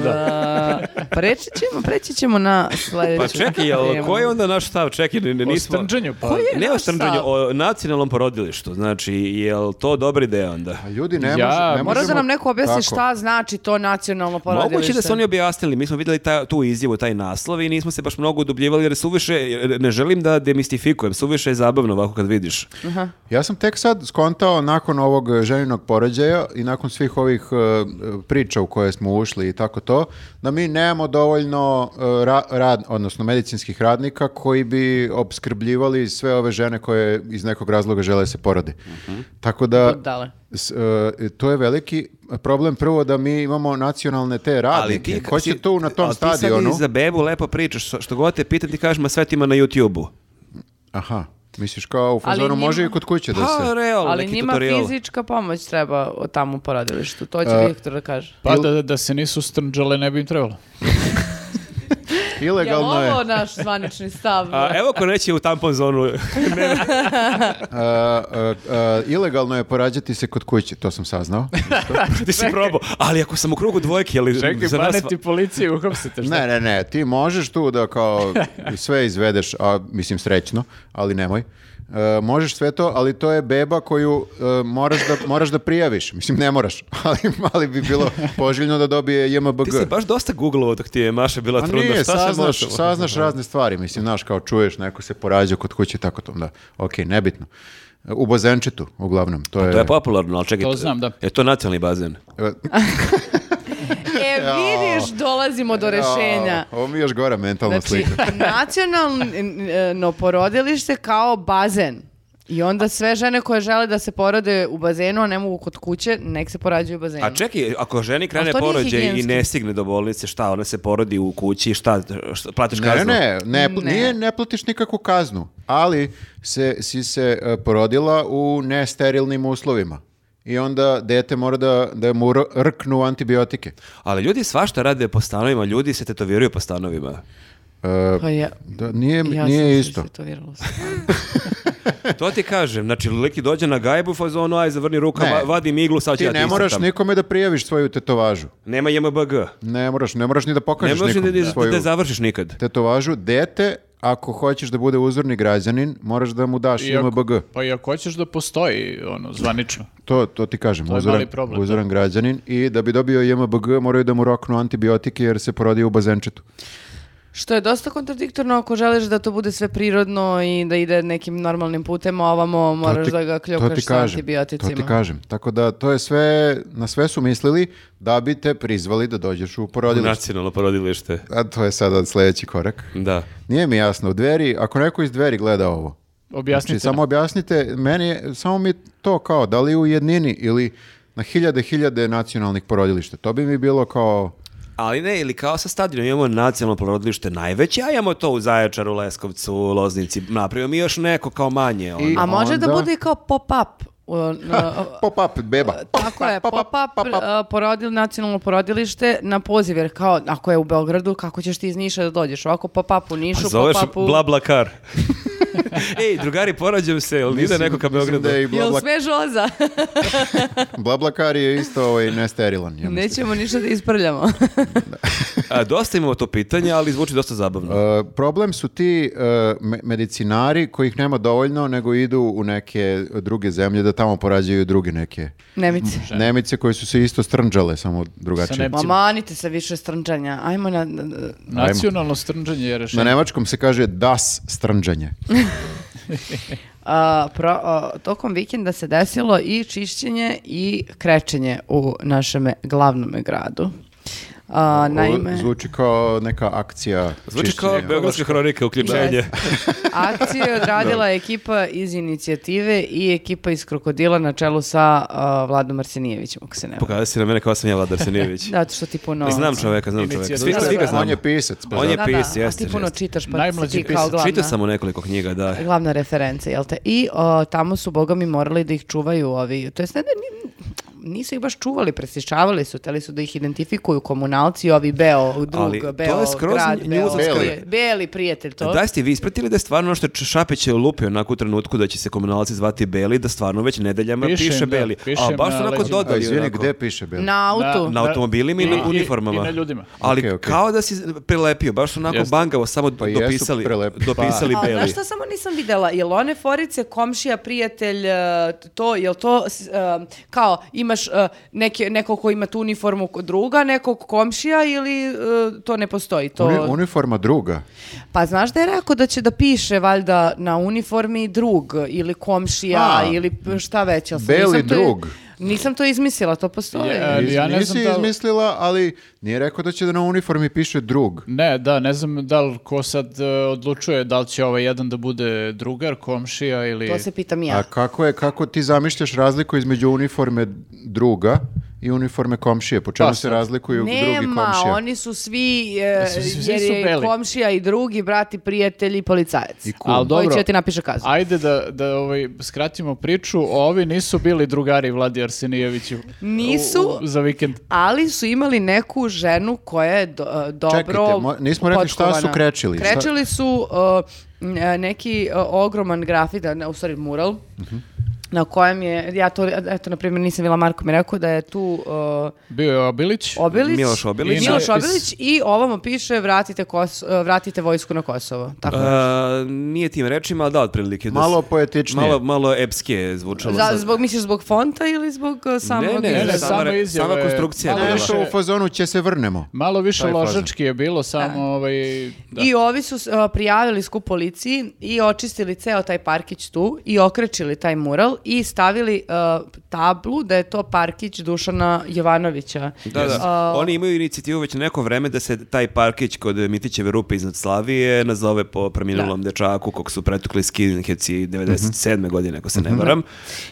Speaker 4: A, preći ćemo, preći ćemo na sledeću.
Speaker 3: Pa čekaj, jel,
Speaker 4: temu.
Speaker 3: koji je onda naš stav? Čekaj, ne, ne,
Speaker 2: O
Speaker 3: nismo...
Speaker 2: strnđanju, pa...
Speaker 3: Ne o
Speaker 4: naš
Speaker 3: strnđanju,
Speaker 4: stav?
Speaker 3: o nacionalnom porodilištu. Znači, jel to dobra ideja onda?
Speaker 1: A ljudi, ne,
Speaker 2: Ja-
Speaker 1: može, ne
Speaker 4: Mora da
Speaker 1: možemo-
Speaker 4: nam neko objasni
Speaker 1: Tako.
Speaker 4: šta znači to nacionalno porodilište.
Speaker 3: Moguće da su oni objasnili, mi smo vidjeli ta, tu izjavu, taj naslov i nismo se baš mnogo udubljivali jer suviše, ne želim da demistifikujem, suviše je zabavno ovako kad vidiš.
Speaker 1: Ja sam tek sad skontao nakon ovog e, ženinog porođaja i nakon svih ovih e, e, priča u koje smo ušli i tako to, da mi nemamo dovoljno e, ra- rad, odnosno medicinskih radnika koji bi obskrbljivali sve ove žene koje iz nekog razloga žele da se porode.
Speaker 3: Mhm.
Speaker 1: Tako da...
Speaker 4: Budale.
Speaker 1: s- e, to je veliki problem prvo da mi imamo nacionalne te radnike.
Speaker 3: ti-
Speaker 1: Ko će
Speaker 3: ti-
Speaker 1: tu na tom
Speaker 3: ali ti sad
Speaker 1: stadionu?
Speaker 3: i za bebu lepo pričaš, što- što god te pitam ti kažeš, ma sve ti ima na YouTube-u.
Speaker 1: Aha, misliš kao u
Speaker 4: Ali
Speaker 1: fazonu
Speaker 4: njima-
Speaker 1: može i kod kuće da
Speaker 3: Pa,
Speaker 1: se...
Speaker 3: realno,
Speaker 4: Ali
Speaker 3: neki
Speaker 4: njima
Speaker 3: tutorial.
Speaker 4: fizička pomoć treba o- tamo u porodilištu. To
Speaker 1: E,
Speaker 4: će Viktor da kaže.
Speaker 2: Pa da, da se nisu strnđale ne bi im trebalo.
Speaker 4: Je
Speaker 1: Ilegalno je.
Speaker 4: Pa, ovo naš zvanični stav? E,
Speaker 3: A, evo ko neće u tampon zonu.
Speaker 1: A, a, a, ilegalno je porađati se kod kuće, to sam saznao.
Speaker 3: Ti si probao. Ali ako sam u krugu dvojke, ali
Speaker 2: Čekaj,
Speaker 3: za pa nas...
Speaker 2: bane ti policiju uhapsite. šta?
Speaker 1: Ne, ne, ne, ti možeš tu da kao sve izvedeš, a mislim srećno, ali nemoj. E, možeš sve to, ali to je beba koju e, moraš, da, moraš da prijaviš. Mislim, ne moraš, ali, ali bi bilo poželjno da dobije JMBG.
Speaker 3: Ti si baš dosta googlao dok ti je Maša bila
Speaker 1: A
Speaker 3: trudna.
Speaker 1: Pa nije,
Speaker 3: Šta se
Speaker 1: saznaš,
Speaker 3: možemo?
Speaker 1: saznaš razne stvari, mislim, znaš, kao čuješ, neko se porađa kod kuće, i tako to, da, okej, nebitno. U Bozenčetu, uglavnom, to je...
Speaker 3: Pa To je popularno, ali čekaj.
Speaker 2: To znam, da.
Speaker 3: Je to nacionalni bazen?
Speaker 1: E,
Speaker 4: E, vidiš, dolazimo do rešenja.
Speaker 1: a, Ovo mi je još gora mentalna
Speaker 4: Znači,
Speaker 1: slika.
Speaker 4: nacionalno porodilište kao bazen. I onda sve žene koje žele da se porode u bazenu, a ne mogu kod kuće, nek se porađuju u bazenu.
Speaker 3: A čekaj, ako ženi krene
Speaker 4: E. to nije
Speaker 3: porođaj i
Speaker 4: higijenski.
Speaker 3: ne stigne do bolnice, šta, ona se porodi u kući, šta, šta platiš
Speaker 1: Ne,
Speaker 3: kaznu?
Speaker 1: ne, ne,
Speaker 4: Ne.
Speaker 1: Nije, ne platiš nikakvu kaznu, ali se, si se e, porodila u nesterilnim uslovima. I onda dete mora da, da mu r- rknu antibiotike.
Speaker 3: Ali ljudi svašta rade po stanovima, ljudi se tetoviraju po stanovima.
Speaker 1: E,
Speaker 4: Pa ja,
Speaker 1: da, nije
Speaker 4: ja sam
Speaker 1: nije
Speaker 4: se
Speaker 1: isto.
Speaker 4: istetovirala.
Speaker 3: To ti kažem, znači lik ti dođe na gajbu u fazonu, aj zavrni ruka,
Speaker 1: Ne.
Speaker 3: va- vadim iglu, sad ću
Speaker 1: Ti
Speaker 3: ja ti
Speaker 1: ne moraš
Speaker 3: iscrtam.
Speaker 1: nikome da prijaviš svoju tetovažu.
Speaker 3: Nema JMBG.
Speaker 1: Ne moraš, ne moraš ni da
Speaker 3: Ne
Speaker 1: pokažeš
Speaker 3: možeš ni
Speaker 1: nikom
Speaker 3: da, da,
Speaker 1: svoju
Speaker 3: da završiš nikad.
Speaker 1: tetovažu. Dete, ako hoćeš da bude uzorni građanin, moraš da mu daš
Speaker 2: I ako-
Speaker 1: IMBG.
Speaker 2: Pa i ako hoćeš da postoji, ono, zvanično.
Speaker 1: To, to ti kažem,
Speaker 2: je
Speaker 1: uzoran,
Speaker 2: mali problem,
Speaker 1: uzoran građanin i da bi dobio JMBG moraju da mu roknu antibiotike jer se porodio u bazenčetu.
Speaker 4: Što je dosta kontradiktorno ako želiš da to bude sve prirodno i da ide nekim normalnim putem, a ovamo
Speaker 1: To
Speaker 4: moraš
Speaker 1: ti-
Speaker 4: da ga
Speaker 1: to
Speaker 4: kljokaš
Speaker 1: ti
Speaker 4: sa
Speaker 1: kažem,
Speaker 4: antibioticima.
Speaker 1: To ti kažem. Tako da to je sve, na sve su mislili da bi te prizvali da dođeš u porodilište.
Speaker 3: Nacionalno porodilište.
Speaker 1: A to je sada sljedeći korak.
Speaker 3: Da.
Speaker 1: Nije mi jasno, u dveri, ako neko iz dveri gleda ovo,
Speaker 2: Objasnite.
Speaker 1: Znači, samo objasnite, meni je, samo mi to kao, da li u jednini ili na hiljade, hiljade nacionalnih porodilišta. To bi mi bilo kao,
Speaker 3: Ali ne, ili kao sa stadionom imamo nacionalno porodilište najveće, a imamo to u Zaječaru, Leskovcu, Loznici, napravimo mi još neko kao manje. ono.
Speaker 1: I-
Speaker 4: A može da
Speaker 1: Onda-
Speaker 4: bude i kao pop-up. o, na-
Speaker 1: pop-up, beba.
Speaker 4: Tako je, pop-up e, porodil, nacionalno porodilište na poziv, jer kao, ako je u Beogradu, kako ćeš ti iz Niša da dođeš? Ovako pop-up u Nišu,
Speaker 3: Pa zoveš
Speaker 4: pop-up u...
Speaker 3: Blablakar. Ej, drugari, porađam se, jel ide
Speaker 1: Mislim-
Speaker 3: neko ka
Speaker 1: mislim
Speaker 3: Beogradu?
Speaker 1: Da je i
Speaker 4: Jel
Speaker 1: blabla,
Speaker 4: sve žoza?
Speaker 1: Blablakar je isto ovaj nesterilan. Ja mislim.
Speaker 4: Nećemo ništa da isprljamo.
Speaker 3: A, dosta imamo to pitanje, ali zvuči dosta zabavno.
Speaker 1: E, problem su ti e, me- medicinari kojih nema dovoljno, nego idu u neke druge zemlje da tamo porađaju druge neke
Speaker 4: Nemice.
Speaker 1: Nemice koje su se isto strnđale, samo
Speaker 2: Sa
Speaker 1: drugačije.
Speaker 2: Nemcima.
Speaker 4: Ma manite se više strnčanja. Ajmo na... na- na-
Speaker 2: Nacionalno strnđanje je
Speaker 1: Na
Speaker 2: rešenje.
Speaker 1: nemačkom se kaže das strnđanje.
Speaker 4: A, pro, a, tokom vikenda se desilo i čišćenje i krećenje u našem glavnom gradu. A, naime...
Speaker 1: Ovo Zvuči kao neka akcija.
Speaker 3: Zvuči kao
Speaker 1: čišćenja.
Speaker 3: Beogradska hronika, uključenje.
Speaker 4: Jeste. Akciju je odradila ekipa iz inicijative i ekipa iz Krokodila na čelu sa a, Vladom Arsenijevićem, ako se ne varam.
Speaker 3: Pokazali si na mene kao sam ja Vladar Senijević.
Speaker 4: Da, zato što ti puno...
Speaker 3: Pa, Znam čoveka, znam čoveka. Svi,
Speaker 2: Inicijativa.
Speaker 3: svi ga znamo.
Speaker 1: On je pisac. pa
Speaker 3: On je
Speaker 1: zato.
Speaker 4: Da, da,
Speaker 3: pis,
Speaker 4: a
Speaker 3: jeste,
Speaker 4: ti puno
Speaker 3: jeste.
Speaker 4: čitaš, pa
Speaker 2: Najmlađi
Speaker 4: si ti kao
Speaker 2: pisac.
Speaker 4: glavna.
Speaker 3: Čitao sam u nekoliko knjiga, da.
Speaker 4: glavna referenca, jel te? I o, tamo su, boga mi, morali da ih čuvaju ovi, to jest ne da ni- nisu ih baš čuvali, presičavali su, teli su da ih identifikuju komunalci, ovi beo, drug,
Speaker 3: Ali to
Speaker 4: beo,
Speaker 3: je skroz
Speaker 4: grad,
Speaker 3: nju-
Speaker 4: beo,
Speaker 1: njuzovska-
Speaker 4: prije- beli prijatelj, to.
Speaker 3: Da ste vi ispratili da je stvarno ono što je Č- Šapić je lupio onako u trenutku da će se komunalci zvati Beli, da stvarno već nedeljama
Speaker 2: Piše
Speaker 3: piše,
Speaker 2: im, da,
Speaker 3: Beli.
Speaker 2: piše
Speaker 3: A
Speaker 2: im
Speaker 3: baš
Speaker 2: na
Speaker 3: su onako
Speaker 2: leđima.
Speaker 1: A,
Speaker 3: dodali.
Speaker 1: izvini,
Speaker 3: onako.
Speaker 1: gde piše Beli?
Speaker 4: Na autu.
Speaker 3: Na automobilima i na
Speaker 2: I- i-
Speaker 3: uniformama.
Speaker 2: i na ljudima.
Speaker 3: Ali
Speaker 1: Okej, okej.
Speaker 3: kao da si prelepio, baš onako
Speaker 2: Jeste. Pa,
Speaker 3: bangavo, samo
Speaker 1: Pa jesu
Speaker 3: dopisali,
Speaker 1: prelepi.
Speaker 3: dopisali
Speaker 4: A,
Speaker 3: Beli.
Speaker 4: znaš šta samo nisam videla? Jel one forice, komšija, prijatelj, e, to, jel to s- e, kao imaš e, neke, neko ko ima tu uniformu kod druga, nekog komšija ili e, to ne postoji? To...
Speaker 1: Uni- uniforma druga.
Speaker 4: Pa znaš da je rekao da će da piše valjda na uniformi drug ili komšija
Speaker 1: A,
Speaker 4: ili p- šta već. jel sam-
Speaker 1: beli
Speaker 4: nisam to-
Speaker 1: drug.
Speaker 4: Nisam to izmislila, to postoji.
Speaker 2: Je, e, Ali ja ne
Speaker 1: Nisi
Speaker 2: znam da li-
Speaker 1: izmislila, ali nije rekao da će da na uniformi piše drug.
Speaker 2: Ne, da, ne znam da li ko sad e, odlučuje da li će ovaj jedan da bude drugar, komšija ili...
Speaker 4: To se pitam ja.
Speaker 1: A kako je, kako ti zamišljaš razliku između uniforme druga i uniforme komšije? Po čemu
Speaker 2: Pa
Speaker 1: se
Speaker 2: sad.
Speaker 1: razlikuju drugi
Speaker 4: Nema,
Speaker 1: komšije?
Speaker 4: oni su svi, e,
Speaker 2: Svi- svi- svi
Speaker 4: jer
Speaker 2: su
Speaker 4: je
Speaker 2: beli.
Speaker 4: komšija i drugi, brati, prijatelji i policajac.
Speaker 1: I kum.
Speaker 2: Ali
Speaker 4: Koji
Speaker 2: dobro,
Speaker 4: će ti napiše kaznu.
Speaker 2: Ajde da, da ovaj, skratimo priču, ovi nisu bili drugari Vladi Arsenijeviću.
Speaker 4: Nisu.
Speaker 2: U- u- za vikend.
Speaker 4: Ali su imali neku ženu koja je do- e, dobro
Speaker 1: mo- nismo rekli šta su
Speaker 4: potkovana.
Speaker 1: krečili. Šta-
Speaker 4: Krečili su e, n- e, neki e, ogroman grafit, a ne, u stvari mural,
Speaker 1: Mhm.
Speaker 4: na kojem je, ja to, eto, na primjer, nisam bila Marko mi rekao da je tu e,
Speaker 2: Bio je Obilić.
Speaker 4: Obilić,
Speaker 3: Miloš Obilić.
Speaker 2: I
Speaker 4: Miloš
Speaker 2: natpis-
Speaker 4: Obilić i ovamo piše vratite, Kos- e, vratite vojsku na Kosovo. Tako.
Speaker 3: E, nije tim rečima, ali da, otprilike. Da
Speaker 1: Malo
Speaker 3: se-
Speaker 1: poetičnije.
Speaker 3: Malo, malo epske je zvučalo.
Speaker 4: Za-
Speaker 3: sad.
Speaker 4: zbog, misliš zbog fonta ili zbog e, samog...
Speaker 3: ne,
Speaker 2: Ne,
Speaker 3: ne,
Speaker 2: ne,
Speaker 3: sama-
Speaker 2: samo izjave.
Speaker 3: sama konstrukcija je
Speaker 2: Malo
Speaker 3: bila.
Speaker 2: više-
Speaker 1: Nešto u fazonu će se vrnemo.
Speaker 2: Malo više
Speaker 1: Taj fazon.
Speaker 2: ložački je bilo, samo ovaj... Da.
Speaker 4: I ovi su uh, prijavili skup policiji i očistili ceo taj parkić tu i okrečili taj mural i stavili uh, tablu da je to parkić Dušana Jovanovića.
Speaker 3: Da, da. Oni imaju inicijativu već neko vreme da se taj parkić kod Mitićeve rupe iznad Slavije nazove po preminulom dečaku kog su pretukli skinheads i 97. godine, ako se ne varam.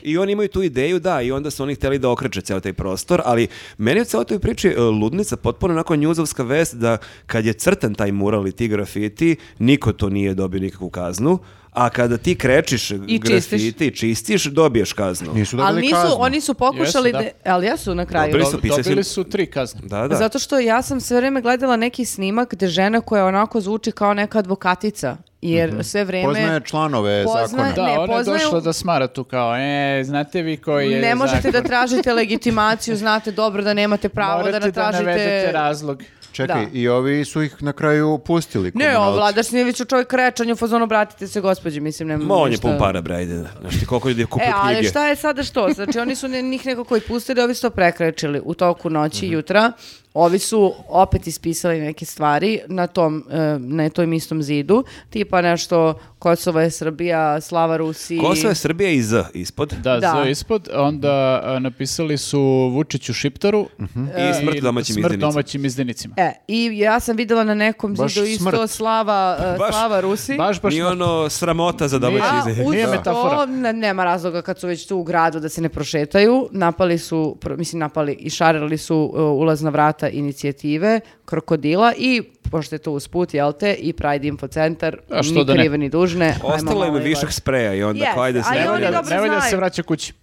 Speaker 3: I oni imaju tu ideju, da, i onda su oni hteli da okreće ceo taj prostor, ali meni je u celoj toj priči e, ludnica potpuno onako njuzovska vest da kad je crtan taj mural i ti grafiti, niko to nije dobio nikakvu kaznu, a kada ti krečiš
Speaker 4: I čistiš.
Speaker 3: grafite i čistiš, dobiješ kaznu.
Speaker 1: Nisu dobili
Speaker 4: Ali nisu,
Speaker 1: kaznu.
Speaker 4: oni su pokušali,
Speaker 2: Jesu,
Speaker 4: da. ali jesu na kraju.
Speaker 3: Dobili
Speaker 2: Do-
Speaker 3: su pisali-
Speaker 2: Dobili su tri kazne.
Speaker 3: Da, da.
Speaker 4: Zato što ja sam sve vrijeme gledala neki snimak gde žena koja onako zvuči kao neka advokatica, jer
Speaker 3: Mhm.
Speaker 4: sve vrijeme...
Speaker 1: Poznaje članove
Speaker 4: Poznaje-
Speaker 1: zakona.
Speaker 2: Da,
Speaker 4: Ne,
Speaker 2: ona
Speaker 4: poznaju-
Speaker 2: je došla da smara tu kao, e, znate vi koji je
Speaker 4: Ne možete da
Speaker 2: zakon.
Speaker 4: tražite legitimaciju, znate dobro da nemate pravo
Speaker 2: Morate
Speaker 4: da ne tražite...
Speaker 2: navedete razlog.
Speaker 1: Čekaj,
Speaker 4: Da.
Speaker 1: i ovi su ih na kraju pustili.
Speaker 4: Ne, on
Speaker 1: komunalci.
Speaker 4: Vladar Snijević je čovjek rečan, u fazonu bratite se gospođi, mislim, nema
Speaker 3: Ma on je
Speaker 4: ništa.
Speaker 3: pun para, bre, ajde. Znaš ti koliko ljudi je kupio
Speaker 4: E, ali
Speaker 3: knjige.
Speaker 4: šta je sada što? Znači, oni su ne- njih nekako i pustili, ovi su to prekrečili u toku noći
Speaker 3: Mhm.
Speaker 4: i jutra. Ovi su opet ispisali neke stvari na tom, e, na tom istom zidu, tipa nešto Kosovo je Srbija, Slava Rusi.
Speaker 3: Kosovo je Srbija i Z ispod.
Speaker 2: Da,
Speaker 4: Da.
Speaker 2: za ispod. Onda a, napisali su Vučiću Šiptaru
Speaker 3: Mhm. I smrt domaćim
Speaker 2: smrt
Speaker 3: izdenicima.
Speaker 2: domaćim izdenicima.
Speaker 4: E, i ja sam vidjela na nekom
Speaker 1: Baš
Speaker 4: zidu isto
Speaker 1: smrt.
Speaker 4: Slava, e,
Speaker 3: Baš-
Speaker 4: Slava Rusi.
Speaker 2: Baš, baš
Speaker 3: Nije ono sramota za domaći
Speaker 4: A,
Speaker 3: izdenik.
Speaker 4: uz
Speaker 2: Nije
Speaker 4: to,
Speaker 2: metafora.
Speaker 4: ne- nema razloga kad su već tu u gradu da se ne prošetaju. Napali su, pro- mislim napali i šarili su uh, ulazna vrata inicijative Krokodila i pošto je to usput, jel te, i Pride Info Centar,
Speaker 2: A što
Speaker 4: ni
Speaker 2: da ne?
Speaker 4: krive ni dužne. ajmo
Speaker 3: Ostalo im
Speaker 4: malo
Speaker 3: je
Speaker 4: i
Speaker 3: višak
Speaker 4: vas.
Speaker 3: spreja i onda
Speaker 4: Jeste,
Speaker 3: yes, ajde
Speaker 4: ali
Speaker 3: se
Speaker 2: Ne
Speaker 4: oni
Speaker 2: valja,
Speaker 4: dobro
Speaker 2: ne valja da
Speaker 4: znaju.
Speaker 2: se vraća kući.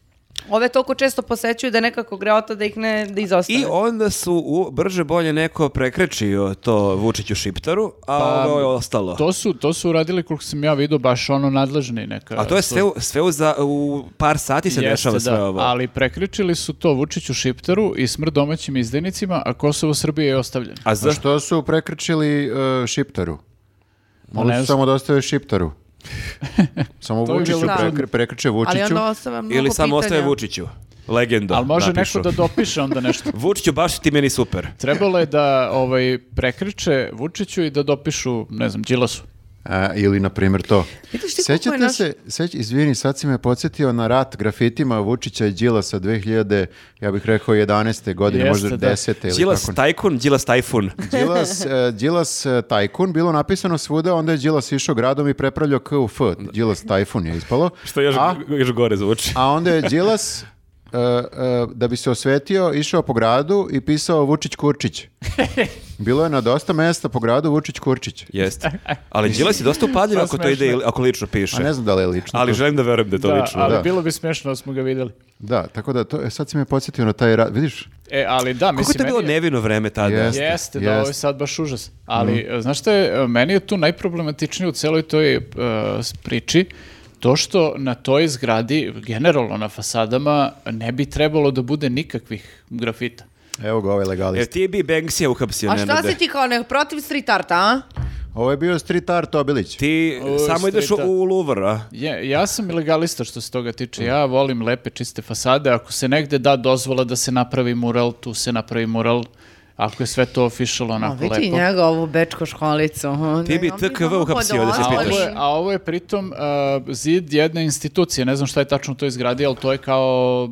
Speaker 4: Ove toliko često posećuju da je nekako greota da ih ne da izostave.
Speaker 3: I onda su u, brže bolje neko prekrečio to Vučiću Šiptaru, a ovo je ostalo.
Speaker 2: Pa, To su, to su uradili, koliko sam ja vidio, baš ono nadležni neka.
Speaker 3: a to je sve, u- sve u, za, u par sati se
Speaker 2: Jeste,
Speaker 3: dešava sve
Speaker 2: da,
Speaker 3: ovo.
Speaker 2: Ali prekričili su to Vučiću Šiptaru i smrt domaćim izdajnicima, a Kosovo Srbije je ostavljeno.
Speaker 3: A
Speaker 1: A
Speaker 3: zašto?
Speaker 1: što su prekrčili e, Šiptaru? Mogli
Speaker 2: ne
Speaker 1: su
Speaker 2: znam.
Speaker 1: samo da ostave Šiptaru. samo
Speaker 2: To bi
Speaker 1: Vučiću,
Speaker 2: bilo
Speaker 4: Da.
Speaker 1: prekr- prekrče Vučiću.
Speaker 4: Ali ono- onda ostava mnogo
Speaker 3: Ili samo
Speaker 4: pitanja.
Speaker 3: ostaje Vučiću? Legenda.
Speaker 2: Ali može
Speaker 3: napišu.
Speaker 2: neko da dopiše onda nešto.
Speaker 3: Vučiću, baš ti meni super.
Speaker 2: Trebalo je da ovaj, prekriče Vučiću i da dopišu, ne znam, Đilasu.
Speaker 1: A, ili, na primjer, to.
Speaker 4: Vidiš ti koliko je
Speaker 1: Sećate
Speaker 4: naš-
Speaker 1: se, seć, izvini, sad si me podsjetio na rat grafitima Vučića i Đilasa 2000, ja bih rekao 11. godine,
Speaker 2: Jeste,
Speaker 1: možda
Speaker 2: da.
Speaker 1: 10. ili
Speaker 3: Đilas
Speaker 1: tako.
Speaker 3: tajkun, Đilas tajfun.
Speaker 1: Đilas, e, Đilas e, tajkun, bilo napisano svuda, onda je Đilas išao gradom i prepravljao K u F. Đilas tajfun je ispalo.
Speaker 3: Što još,
Speaker 1: A,
Speaker 3: još gore zvuči.
Speaker 1: a onda je Đilas, e, e, da bi se osvetio, išao po gradu i pisao Vučić Kurčić. Bilo je na dosta mesta po gradu Vučić Kurčić.
Speaker 3: Jeste. Ali Đilas je dosta upadljiv
Speaker 2: Pa
Speaker 3: ako to
Speaker 2: smešno.
Speaker 3: ide, ili- ako lično piše.
Speaker 1: A ne znam da li je lično.
Speaker 3: Ali
Speaker 1: to.
Speaker 3: želim da verujem da je to
Speaker 2: Da,
Speaker 3: lično.
Speaker 2: ali
Speaker 1: da.
Speaker 2: bilo bi smešno da smo ga videli.
Speaker 1: Da, tako da, to, e, sad si me podsjetio na taj rat, vidiš?
Speaker 2: E, ali da,
Speaker 3: Kako je
Speaker 2: mislim,
Speaker 3: to bilo
Speaker 2: meni je-
Speaker 3: nevino vreme tada?
Speaker 1: Jeste.
Speaker 2: Jeste, da,
Speaker 1: Jeste.
Speaker 2: ovo je sad baš užas. Ali, e, znaš šta je, e, meni je tu najproblematičnije u celoj toj e, s- priči, to što na toj zgradi, generalno na fasadama, ne bi trebalo da bude nikakvih grafita.
Speaker 1: Evo ga ovaj
Speaker 3: Jer
Speaker 1: legalist.
Speaker 3: ti bi Banksija uhapsio,
Speaker 4: A šta
Speaker 3: Nenade.
Speaker 4: si ti kao ne, protiv street arta, a?
Speaker 1: Ovo je bio street art Obilić.
Speaker 3: Ti
Speaker 2: O,
Speaker 3: samo ideš u,
Speaker 2: strita.
Speaker 3: u Louvre, a?
Speaker 2: Je, ja sam ilegalista što se toga tiče. Ja volim lepe, čiste fasade. Ako se negde da dozvola da se napravi mural, tu se napravi mural. Ako je sve to official
Speaker 4: A
Speaker 2: onako lepo.
Speaker 4: vidi njega ovu bečku školicu. aha.
Speaker 3: Ti bi
Speaker 4: Da, on
Speaker 3: TKV
Speaker 4: malo
Speaker 3: uhapsio da se
Speaker 2: A
Speaker 4: podolazi.
Speaker 2: ovo, je, a ovo je pritom uh, zid jedne institucije, ne znam šta je tačno u toj zgradi, ali to je kao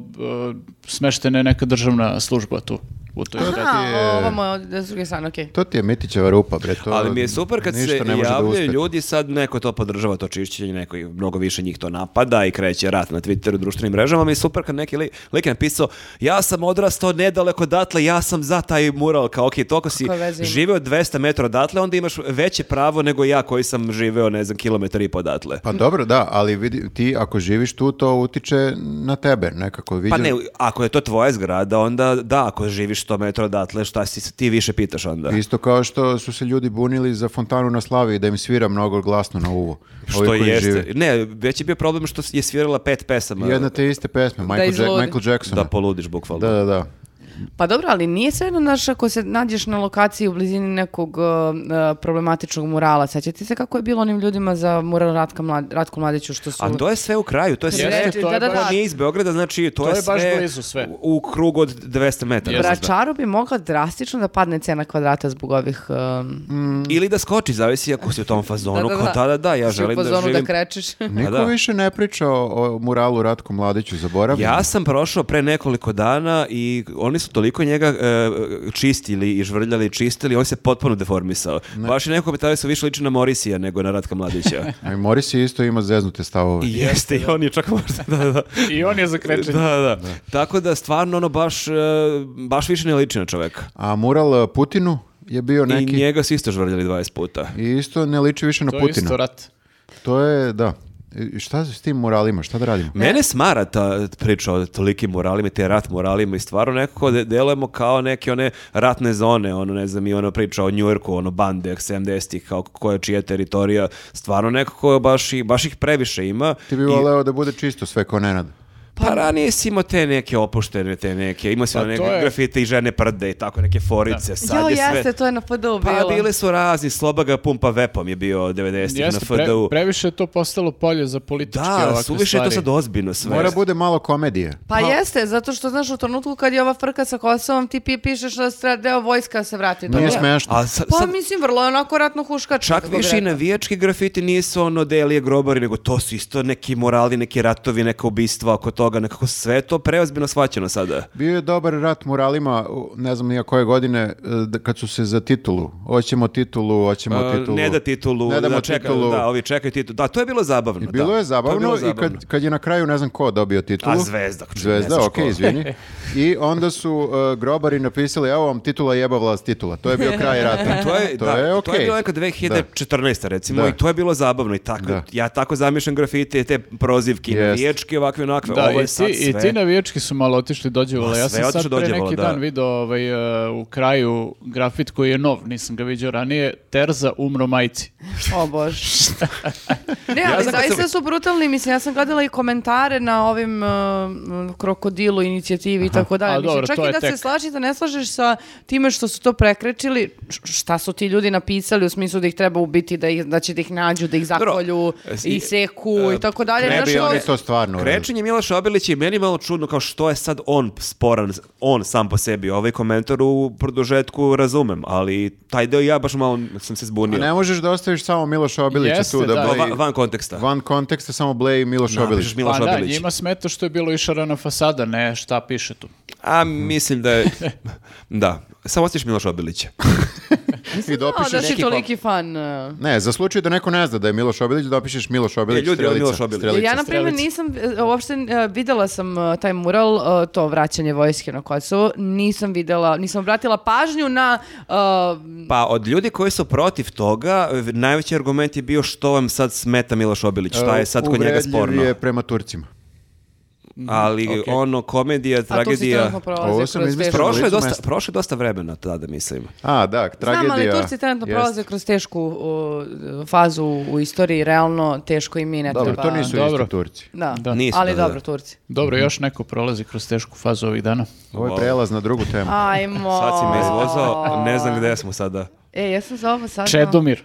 Speaker 2: uh, smeštena je neka državna služba tu u toj zgradi.
Speaker 4: A, ovo mu je od e, s druge strane, okej.
Speaker 1: To ti je Mitićeva rupa, bre. To
Speaker 3: Ali mi je super kad
Speaker 1: ništa
Speaker 3: se
Speaker 1: ne može da
Speaker 3: javljaju
Speaker 1: uspe.
Speaker 3: ljudi, sad neko to podržava, to čišćenje, neko i mnogo više njih to napada i kreće rat na Twitteru, društvenim mrežama. Mi je super kad neki li- lik je napisao, ja sam odrastao nedaleko odatle, ja sam za taj mural, kao ok, to ako si
Speaker 4: Kakve veze ima?
Speaker 3: živeo 200 metra odatle, onda imaš veće pravo nego ja koji sam živeo, ne znam, kilometar i po odatle.
Speaker 1: Pa dobro, da, ali vidi, ti ako živiš tu, to utiče na tebe nekako. Viđa...
Speaker 3: Pa ne, ako je to tvoja zgrada, onda da, ako živiš 100 metra odatle, šta si se ti više pitaš onda?
Speaker 1: Isto kao što su se ljudi bunili za fontanu na Slavi da im svira mnogo glasno na uvo. Ovi
Speaker 3: Što
Speaker 1: koji
Speaker 3: jeste.
Speaker 1: žive.
Speaker 3: Ne, već je bio problem što je svirala pet pesama.
Speaker 1: Jedna te iste pesme, Michael,
Speaker 4: izludi.
Speaker 1: Jack, Michael Jackson.
Speaker 3: Da poludiš bukvalno.
Speaker 1: da, da, da.
Speaker 4: Pa dobro, ali nije sve jedno, znaš, ako se nađeš na lokaciji u blizini nekog e, e, problematičnog murala. Sećate se kako je bilo onim ljudima za mural Ratka Mlad, Ratku Mladiću što su...
Speaker 3: A to je sve u kraju, to je sve.
Speaker 2: Jeste, to je
Speaker 4: da, da,
Speaker 2: baš-
Speaker 4: da.
Speaker 3: Ona nije iz Beograda, znači to,
Speaker 2: To
Speaker 3: je,
Speaker 2: je baš
Speaker 3: sve
Speaker 2: blizu, sve.
Speaker 3: u- U krugu od 200 metara.
Speaker 4: Vračaru bi mogla drastično da padne cena kvadrata zbog ovih... um,
Speaker 3: Ili da skoči, zavisi ako si u tom fazonu. Da, da, da, da, ja
Speaker 4: si u
Speaker 3: želim da
Speaker 4: fazonu
Speaker 3: živim.
Speaker 4: krećeš.
Speaker 1: Niko
Speaker 3: da.
Speaker 1: više ne priča o, o muralu Ratku Mladiću, zaboravljeno.
Speaker 3: Ja sam prošao pre nekoliko dana i oni su toliko njega e, čistili i žvrljali i čistili, on se potpuno deformisao. Baš je neko komentari su više liči na Morisija nego na Ratka Mladića.
Speaker 1: A i Morris je isto ima zeznute stavove.
Speaker 3: I Pa Jeste, i on je čak možda, da, da.
Speaker 2: I on je zakrečen.
Speaker 3: Da, da. Tako da stvarno ono baš, e, baš više ne liči na čoveka.
Speaker 1: A mural e, Putinu je bio
Speaker 3: I
Speaker 1: neki...
Speaker 3: njega su isto žvrljali 20 puta.
Speaker 1: I isto ne liči više na
Speaker 2: To je
Speaker 1: Putina.
Speaker 2: isto rat.
Speaker 1: To je, da. I Šta s tim muralima? Šta da radimo?
Speaker 3: Mene smara ta priča o tolikim moralima i te rat moralima i stvarno nekako de- delujemo kao neke one ratne zone, ono ne znam i ono priča o Njujorku, ono bande 70-ih, kao koja je čija teritorija, stvarno nekako baš, i, baš ih previše ima.
Speaker 1: Ti bi
Speaker 3: I-
Speaker 1: voleo da bude čisto sve ko Nenad.
Speaker 3: Pa ranije si imao te neke opuštene, te neke, imao si
Speaker 2: Pa
Speaker 3: one
Speaker 2: to
Speaker 3: neke
Speaker 2: je-
Speaker 3: grafite i žene prde i tako neke forice, sad
Speaker 4: Jo,
Speaker 3: je sve...
Speaker 4: jeste, to je na FDU bilo.
Speaker 3: Pa bile su razni, Slobaga pumpa vepom je bio 90-ih na
Speaker 2: Jeste, pre-
Speaker 3: FDU.
Speaker 2: previše je to postalo polje za političke
Speaker 3: Da,
Speaker 2: ovakve
Speaker 3: suviše je to
Speaker 2: stvari.
Speaker 3: sad ozbiljno sve.
Speaker 1: Mora bude malo komedije.
Speaker 4: Pa jeste, zato što znaš u trenutku kad je ova frka sa Kosovom ti pi- pišeš da stra- deo vojska se vrati do
Speaker 1: Nije
Speaker 4: Beograda.
Speaker 1: smešno.
Speaker 3: A sad,
Speaker 4: Pa
Speaker 3: sad-
Speaker 4: mislim, vrlo je onako ratno huškačko.
Speaker 3: Čak
Speaker 4: kako bi
Speaker 3: više i
Speaker 4: rekla.
Speaker 3: navijački grafiti nisu ono delije grobari, nego to su isto neki morali, neki ratovi, neka ubistva oko toga, nekako sve je to preozbiljno shvaćeno sada.
Speaker 1: Bio je dobar rat muralima, u- ne znam nija koje godine, e, da- kad su se za titulu. Hoćemo titulu, hoćemo
Speaker 3: A,
Speaker 1: titulu.
Speaker 3: Pa, Ne da titulu,
Speaker 1: Ne damo
Speaker 3: da, čeka-
Speaker 1: titulu.
Speaker 3: da, ovi čekaju titulu. Da, to je bilo zabavno.
Speaker 1: I bilo
Speaker 3: da.
Speaker 1: je zabavno,
Speaker 3: To je bilo
Speaker 1: i kad, kad je na kraju ne znam ko dobio titulu.
Speaker 3: A, Zvezda, ako ne
Speaker 1: Zvezda,
Speaker 3: znaš
Speaker 1: okej,
Speaker 3: ko.
Speaker 1: izvini. I onda su e, grobari napisali, evo vam titula jeba vlast titula. To je bio kraj rata.
Speaker 3: To je, da, to
Speaker 1: okej.
Speaker 3: je bilo neka 2014. recimo
Speaker 1: Da.
Speaker 3: i to je bilo zabavno i tako,
Speaker 1: Da.
Speaker 3: ja tako zamišljam grafite, te prozivke,
Speaker 1: Jest.
Speaker 3: navijačke, ovakve, onakve,
Speaker 2: Da, ovaj,
Speaker 3: i sad
Speaker 2: ti, i
Speaker 3: sve.
Speaker 2: ti navijački su malo otišli dođevola.
Speaker 3: Ma,
Speaker 2: Ja
Speaker 3: sve
Speaker 2: sam
Speaker 3: je
Speaker 2: sad
Speaker 3: otišlo
Speaker 2: pre
Speaker 3: dođevola,
Speaker 2: neki
Speaker 3: da.
Speaker 2: dan video ovaj, uh, u kraju grafit koji je nov, nisam ga vidio ranije, Terza umro majci.
Speaker 4: O bož. ne, ali
Speaker 3: znam kad
Speaker 4: zaista
Speaker 3: sam-
Speaker 4: su brutalni, mislim, ja sam gledala i komentare na ovim uh, krokodilu inicijativi i tako dalje.
Speaker 2: A,
Speaker 4: Mislim,
Speaker 2: dobro,
Speaker 4: čak
Speaker 2: to
Speaker 4: i
Speaker 2: je
Speaker 4: da se
Speaker 2: tek.
Speaker 4: slažete, ne slažeš sa time što su to prekrečili, š- šta su ti ljudi napisali u smislu da ih treba ubiti, da, ih, da će da ih nađu, da ih
Speaker 3: Dobro,
Speaker 4: zakolju
Speaker 3: s-
Speaker 4: i
Speaker 3: i- e,
Speaker 4: seku i tako dalje.
Speaker 1: Ne
Speaker 4: Znaš, ono
Speaker 1: bi
Speaker 4: to-
Speaker 1: oni to stvarno uradili.
Speaker 3: Krečenje Miloša Obilića je meni malo čudno kao što je sad on sporan, on sam po sebi. Ovaj komentar u produžetku razumem, ali taj deo ja baš malo sam se
Speaker 1: A
Speaker 3: zbunio.
Speaker 1: ne možeš da ostaviš samo Miloša Obilića
Speaker 2: Jeste,
Speaker 1: tu da,
Speaker 2: da.
Speaker 3: Kao
Speaker 1: bleji-
Speaker 3: va- van konteksta.
Speaker 1: Van konteksta samo bleji Miloš Obilić.
Speaker 3: Napišeš Miloš
Speaker 2: pa da,
Speaker 3: Obilić.
Speaker 2: njima smeta što je bilo išarana fasada, ne šta piše tu.
Speaker 3: A mislim da je... da, samo ostaviš Miloš Obilića.
Speaker 1: I
Speaker 4: Znao da
Speaker 1: dopišeš...
Speaker 4: si toliki fan. uh,
Speaker 1: Ne, za slučaj da neko ne zna da je Miloš Obilić, dopišeš Miloš Obilić,
Speaker 3: E, ljudi, ovo je
Speaker 1: strelica,
Speaker 3: Miloš Obilić.
Speaker 1: strelica.
Speaker 4: ja, na primjer,
Speaker 2: strelica.
Speaker 4: nisam, e, uopšte e, videla sam e, taj mural, e, to vraćanje vojske na Kosovo, nisam videla, nisam obratila pažnju na... e,
Speaker 3: Pa od ljudi koji su protiv toga, v- najveći argument je bio što vam sad smeta Miloš Obilić, šta je sad kod njega
Speaker 1: Uh, Uvredljiv
Speaker 3: sporno.
Speaker 1: je prema Turcima.
Speaker 3: Ali
Speaker 2: Okej.
Speaker 3: ono, komedija,
Speaker 4: a tu si trenutno
Speaker 3: tragedija...
Speaker 4: prolaze
Speaker 1: Ovo sam
Speaker 4: kroz
Speaker 1: izmislio.
Speaker 4: tešku-
Speaker 1: Prošlo
Speaker 3: Prošlo
Speaker 1: je
Speaker 3: je, dosta,
Speaker 1: mesta.
Speaker 3: prošlo je dosta vremena tada, mislim.
Speaker 1: A, da, tragedija.
Speaker 4: Znam, ali Turci trenutno
Speaker 1: Jest.
Speaker 4: prolaze kroz tešku o, fazu u istoriji, realno teško i mi ne
Speaker 1: Dobro,
Speaker 4: treba.
Speaker 1: to nisu
Speaker 2: dobro.
Speaker 1: isti Turci.
Speaker 4: Da,
Speaker 2: Da.
Speaker 3: Nisu,
Speaker 4: ali
Speaker 3: da, da,
Speaker 4: dobro,
Speaker 3: da.
Speaker 4: Turci.
Speaker 2: Dobro,
Speaker 1: Mhm.
Speaker 2: još neko prolazi kroz tešku fazu ovih dana.
Speaker 4: Pa
Speaker 1: Ovo je prelaz na drugu temu.
Speaker 4: Ajmo.
Speaker 3: Sad si me izvozao, ne znam gde smo sada.
Speaker 4: E, jesam za ovo sad.
Speaker 2: Čedomir.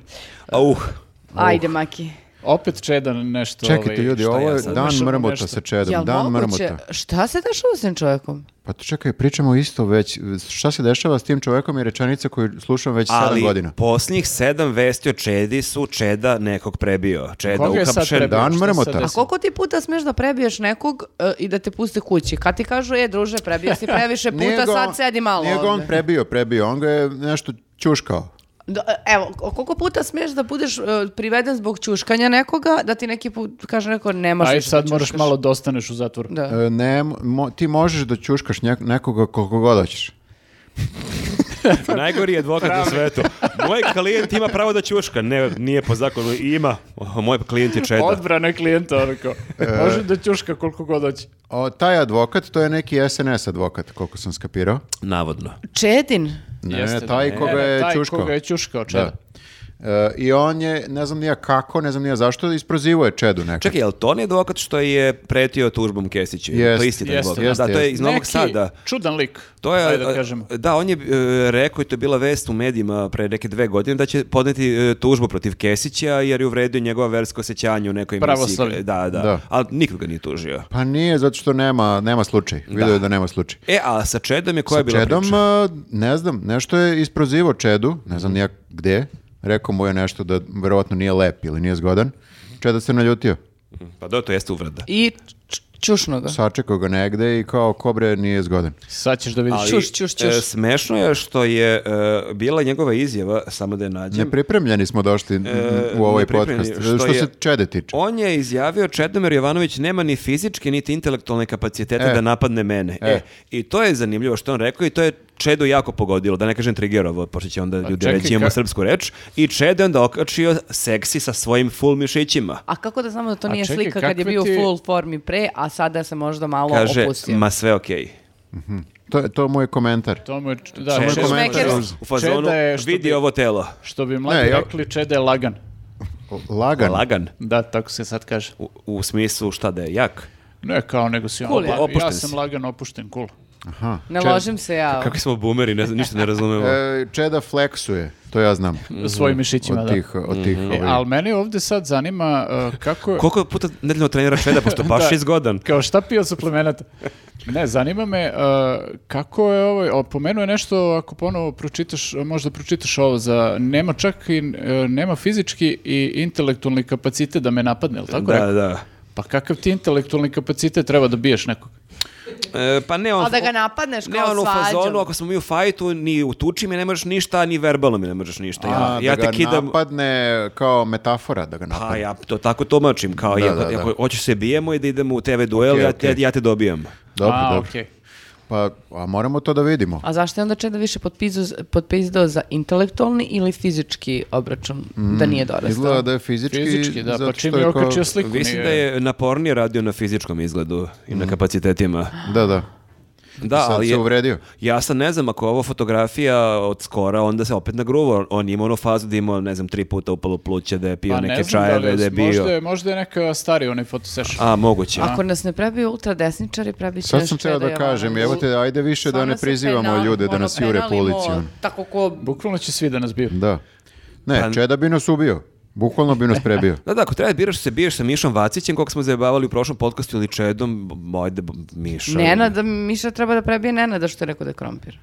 Speaker 3: Auh,
Speaker 4: Ajde, Maki.
Speaker 2: Opet Čedan nešto.
Speaker 1: Čekajte
Speaker 2: ovaj,
Speaker 1: ljudi,
Speaker 2: šta
Speaker 1: ovo
Speaker 2: ja
Speaker 1: je
Speaker 2: sad
Speaker 1: dan
Speaker 2: umešam u
Speaker 1: mrmota
Speaker 2: nešto.
Speaker 1: sa čedom,
Speaker 4: Jel
Speaker 1: dan
Speaker 4: moguće?
Speaker 1: mrmota.
Speaker 4: Šta se dešava s tim čovjekom?
Speaker 1: Pa to čekaj, pričamo isto već, šta se dešava s tim čovekom je rečenica koju slušam već 7
Speaker 3: ali
Speaker 1: godina.
Speaker 3: posljednjih sedam vesti o Čedi su Čeda nekog prebio. Čeda
Speaker 2: Koga je sad
Speaker 3: uhapšen.
Speaker 2: prebio?
Speaker 1: Dan
Speaker 2: Šta se
Speaker 1: mrmota.
Speaker 2: desilo?
Speaker 4: A koliko ti puta smeš da prebiješ nekog e, i da te puste kući? Kad ti kažu, e, druže, prebio si previše puta,
Speaker 1: Nije ga on-
Speaker 4: sad sedi malo
Speaker 1: Nije ga on
Speaker 4: ovde."
Speaker 1: prebio, prebio, on ga je nešto ćuškao.
Speaker 4: Do- e, evo, o- koliko puta smeš da budeš e, priveden zbog čuškanja nekoga, da ti neki put kaže neko, ne možeš
Speaker 2: Ajde,
Speaker 4: da
Speaker 2: sad moraš
Speaker 4: ćuškaš."
Speaker 2: malo da ostaneš u zatvoru.
Speaker 4: Da.
Speaker 1: E, Ne, mo- ti možeš da ćuškaš njek- nekoga koliko god hoćeš.
Speaker 3: Najgori advokat na svetu. Moj klijent ima pravo da ćuška. Ne, nije po zakonu. Ima. Moj klijent je Čeda.
Speaker 2: Odbrana klijenta, ono kao.
Speaker 1: E.
Speaker 2: Može da ćuška koliko god hoće.
Speaker 1: O, taj advokat, to je neki SNS advokat, koliko sam skapirao.
Speaker 3: Navodno.
Speaker 4: Čedin?
Speaker 1: Ne,
Speaker 2: Jeste,
Speaker 1: ne, taj
Speaker 2: da.
Speaker 1: koga
Speaker 2: Ne, ne,
Speaker 1: je
Speaker 2: taj
Speaker 1: ćuškao.
Speaker 2: koga je ćuškao, Čeda.
Speaker 1: E, I on je, ne znam nija kako, ne znam nija zašto, isprozivo je Čedu nekako.
Speaker 3: Čekaj, je li to nije advokat što je pretio tužbom Kesiću?
Speaker 1: Jest,
Speaker 3: to je isti taj
Speaker 2: jeste,
Speaker 3: advokat.
Speaker 1: jeste,
Speaker 3: da, to je
Speaker 1: jeste.
Speaker 3: iz Novog
Speaker 2: Neki
Speaker 3: Sada.
Speaker 2: čudan lik,
Speaker 3: To je,
Speaker 2: ajde
Speaker 3: a-
Speaker 2: da kažemo.
Speaker 3: da, on je e, rekao i to je bila vest u medijima pre neke dve godine da će podneti e, tužbu protiv Kesića jer je uvredio njegova versko osjećanje u nekoj
Speaker 2: Pravoslavlje.
Speaker 3: emisiji. Da, da,
Speaker 1: Da.
Speaker 3: Ali nikoga nije tužio.
Speaker 1: Pa nije, zato što nema, nema slučaj. Vidio je da nema slučaj.
Speaker 3: E, a sa Čedom je koja je bila
Speaker 1: Čedom,
Speaker 3: priča?
Speaker 1: a, ne znam, nešto je isprozivo Čedu, ne znam nija gde, rekao mu je nešto da verovatno nije lep ili nije zgodan. Čeda se naljutio,
Speaker 3: Pa da, to jeste uvreda.
Speaker 4: I č- čušno ga.
Speaker 1: sačekao ga negde i kao kobre nije zgodan.
Speaker 2: Sad ćeš da vidiš.
Speaker 3: Ali,
Speaker 4: Ćuš, ćuš, ćuš.
Speaker 3: e, smešno je što je e, bila njegova izjava, samo da je nađem.
Speaker 1: Nepripremljeni smo došli m, u ovaj
Speaker 3: e, nepripremljeni,
Speaker 1: podcast, što,
Speaker 3: što je-
Speaker 1: se Čede tiče.
Speaker 3: On je izjavio Čedomir Jovanović nema ni fizičke niti intelektualne kapacitete
Speaker 1: E.
Speaker 3: da napadne mene. E.
Speaker 1: E.
Speaker 3: I to je zanimljivo što je on rekao i to je Čedu jako pogodilo, da ne kažem Trigerovo, pošto će onda ljudi
Speaker 2: čekaj,
Speaker 3: reći imamo
Speaker 2: ka-
Speaker 3: srpsku reč. I Čedo je onda okačio seksi sa svojim full mišićima.
Speaker 4: A kako da znamo da to
Speaker 2: A
Speaker 4: nije
Speaker 2: čekaj,
Speaker 4: slika kad je
Speaker 2: kakve
Speaker 4: bio u
Speaker 2: ti-
Speaker 4: full formi pre, a sada se možda malo
Speaker 3: Kaže,
Speaker 4: opustio?
Speaker 3: ma sve okej.
Speaker 1: To, je- to je moj komentar.
Speaker 2: To mu je, č- da,
Speaker 3: Čedo
Speaker 2: Čeda-
Speaker 1: je
Speaker 4: komentar.
Speaker 2: Čeda-
Speaker 3: U fazonu,
Speaker 2: Čeda je, što
Speaker 3: vidi
Speaker 2: bi-
Speaker 3: ovo telo.
Speaker 2: Što bi mladi
Speaker 1: Ne, ja-
Speaker 2: rekli, Čeda je lagan.
Speaker 1: Lagan.
Speaker 3: Lagan.
Speaker 2: Da, tako se sad kaže.
Speaker 3: U, u smislu šta da je jak.
Speaker 2: Ne kao, nego si ono,
Speaker 4: Cool je.
Speaker 2: lagan. ja
Speaker 3: Opušten si.
Speaker 2: sam lagan, opušten, cool.
Speaker 1: Aha.
Speaker 4: Ne
Speaker 1: Čed-
Speaker 4: ložim se ja.
Speaker 3: Kakvi smo boomeri, ne, znam, ništa ne razumemo.
Speaker 1: E, Čeda fleksuje, to ja znam.
Speaker 2: Svojim mišićima,
Speaker 1: Od
Speaker 2: da.
Speaker 1: tih, od tih
Speaker 3: Mhm.
Speaker 2: E,
Speaker 1: ovaj-
Speaker 2: ali mene ovdje sad zanima uh, kako...
Speaker 3: Koliko puta nedeljno trenira Čeda, pošto baš
Speaker 2: Da.
Speaker 3: je zgodan.
Speaker 2: Kao šta pio suplemenata? Ne, zanima me uh, kako je ovo, o, pomenuo je nešto ako ponovo pročitaš, možda pročitaš ovo za nema čak i, e, nema fizički i intelektualni kapacitet da me napadne, ili tako
Speaker 3: Da,
Speaker 2: rekao?
Speaker 3: da.
Speaker 2: Pa kakav ti intelektualni kapacitet treba da biješ nekog?
Speaker 3: E, pa ne, on,
Speaker 4: Ali da ga napadneš
Speaker 3: Ne,
Speaker 4: kao
Speaker 3: ono u fazonu,
Speaker 4: svađom.
Speaker 3: ako smo mi u fajtu, ni u tuči mi ne možeš ništa, ni verbalno mi ne možeš ništa. Ja,
Speaker 1: A,
Speaker 3: ja
Speaker 1: da ga
Speaker 3: te kidam,
Speaker 1: napadne kao metafora da ga
Speaker 3: pa
Speaker 1: napadne.
Speaker 3: ja to tako tumačim, kao
Speaker 1: Da,
Speaker 3: ja,
Speaker 1: da, da.
Speaker 3: ako hoćeš se bijemo i da idemo u TV duel,
Speaker 1: Okej,
Speaker 3: ja, te-
Speaker 1: okej.
Speaker 3: ja te dobijem.
Speaker 1: Dobro,
Speaker 2: A,
Speaker 1: dobro.
Speaker 2: okej.
Speaker 1: Pa, a moramo to da vidimo.
Speaker 4: A zašto je onda Čeda više potpizu- potpizdao za intelektualni ili fizički obračun da nije dorastao?
Speaker 1: Mm, Izgleda da je fizički...
Speaker 2: Fizički, da,
Speaker 1: zato
Speaker 2: pa čim
Speaker 1: što
Speaker 2: je
Speaker 1: kao-
Speaker 2: okačio sliku.
Speaker 3: Mislim
Speaker 2: nije-
Speaker 3: da je napornije radio na fizičkom izgledu i na kapacitetima.
Speaker 1: Da, da.
Speaker 3: Da,
Speaker 1: Sad
Speaker 3: ali
Speaker 1: se
Speaker 3: je,
Speaker 1: uvredio.
Speaker 3: ja sad ne znam, ako je ovo fotografija od skora, onda se opet nagruvo. On ima onu fazu da je imao, ne znam, tri puta upalo pluće, da je pio
Speaker 2: Pa ne
Speaker 3: neke
Speaker 2: znam da li
Speaker 3: čajeve, da je
Speaker 2: je- možda,
Speaker 3: bio...
Speaker 2: je, možda je neka stari onaj fotosession.
Speaker 3: A, moguće.
Speaker 4: Ako nas ne prebiju ultradesničari, prebit će
Speaker 1: Sad
Speaker 4: nas
Speaker 1: sam htio
Speaker 4: Čeda
Speaker 1: da
Speaker 4: Jovanović.
Speaker 1: kažem, evo te, ajde više da
Speaker 4: Stvarno
Speaker 1: ne
Speaker 4: ono, se
Speaker 1: prizivamo
Speaker 4: penal-
Speaker 1: ljude, da
Speaker 4: ono,
Speaker 1: nas jure
Speaker 4: penalimo
Speaker 1: policijom.
Speaker 4: Tako ko...
Speaker 2: Bukvalno će svi da nas biju.
Speaker 1: Da. Ne,
Speaker 3: Pa-
Speaker 1: Čeda bi nas ubio. Bukvalno bi nas prebio.
Speaker 3: Da, da, ako treba da biraš se, biješ sa Mišom Vacićem, kog smo zajebavali u prošlom podcastu ili Čedom, b- ajde b- Miša.
Speaker 4: Nenada, Miša treba da prebije Nenada što je rekao da je krompir.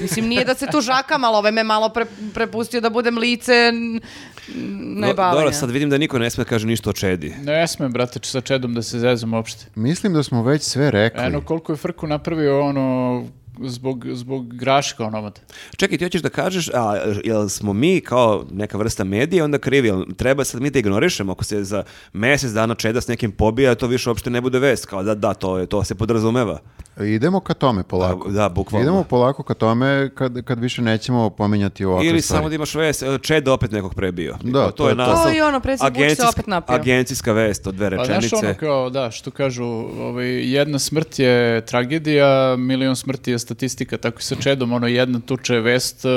Speaker 4: Mislim, nije da se tu žakam, ali ove me malo pre- prepustio da budem lice n-
Speaker 3: Do-
Speaker 4: najbavanja.
Speaker 3: Dobro, sad vidim da niko ne sme da kaže ništa o Čedi.
Speaker 2: Ne smem, brate, sa Čedom da se zezam uopšte.
Speaker 1: Mislim da smo već sve rekli.
Speaker 2: Eno, koliko je frku napravio ono zbog, zbog graška onomad.
Speaker 3: Čekaj, ti hoćeš da kažeš, a, jel smo mi kao neka vrsta medija onda krivi, jel treba sad mi da ignorišemo ako se za mjesec dana Čeda s nekim pobija, to više uopšte ne bude vest, kao da, da, to, je, to se podrazumeva.
Speaker 1: Idemo ka tome polako.
Speaker 3: Da, da, bukvalno.
Speaker 1: Idemo polako ka tome kad, kad više nećemo pominjati ovakve
Speaker 3: Ili
Speaker 1: stvari.
Speaker 3: samo da imaš vest, e, Čeda opet nekog prebio.
Speaker 1: Da,
Speaker 3: Kao,
Speaker 1: to je to.
Speaker 4: To i ono, predsjednik Vučić se opet napio.
Speaker 3: agencijska vest od dve
Speaker 2: Pa
Speaker 3: rečenice.
Speaker 2: znaš ono kao, da, što kažu, ovaj, jedna smrt je tragedija, milion smrti je statistika, tako i sa Čedom, ono, jedna tuča je vest, e,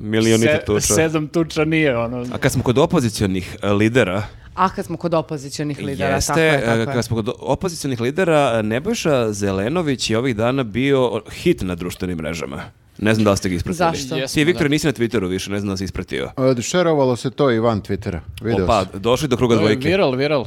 Speaker 3: Milionita tuča.
Speaker 2: sedam tuča nije, ono.
Speaker 3: A kad smo kod opozicionih e, lidera,
Speaker 4: A Ah, kad smo kod opozicionih lidera,
Speaker 3: Jeste,
Speaker 4: tako je, tako
Speaker 3: e,
Speaker 4: je.
Speaker 3: kad smo kod opozicionih lidera, e, Nebojša Zelenović je ovih dana bio hit na društvenim mrežama. Ne znam da li ste ga ispratili.
Speaker 4: Zašto?
Speaker 2: Jesmo,
Speaker 3: Ti, Viktor,
Speaker 2: da.
Speaker 3: nisi na Twitteru više, ne znam da li si ispratio.
Speaker 1: E, Šerovalo se to i van Twittera. Video
Speaker 3: Opa,
Speaker 1: sam.
Speaker 3: došli do kruga
Speaker 2: To je
Speaker 3: dvojke.
Speaker 2: viral, viral.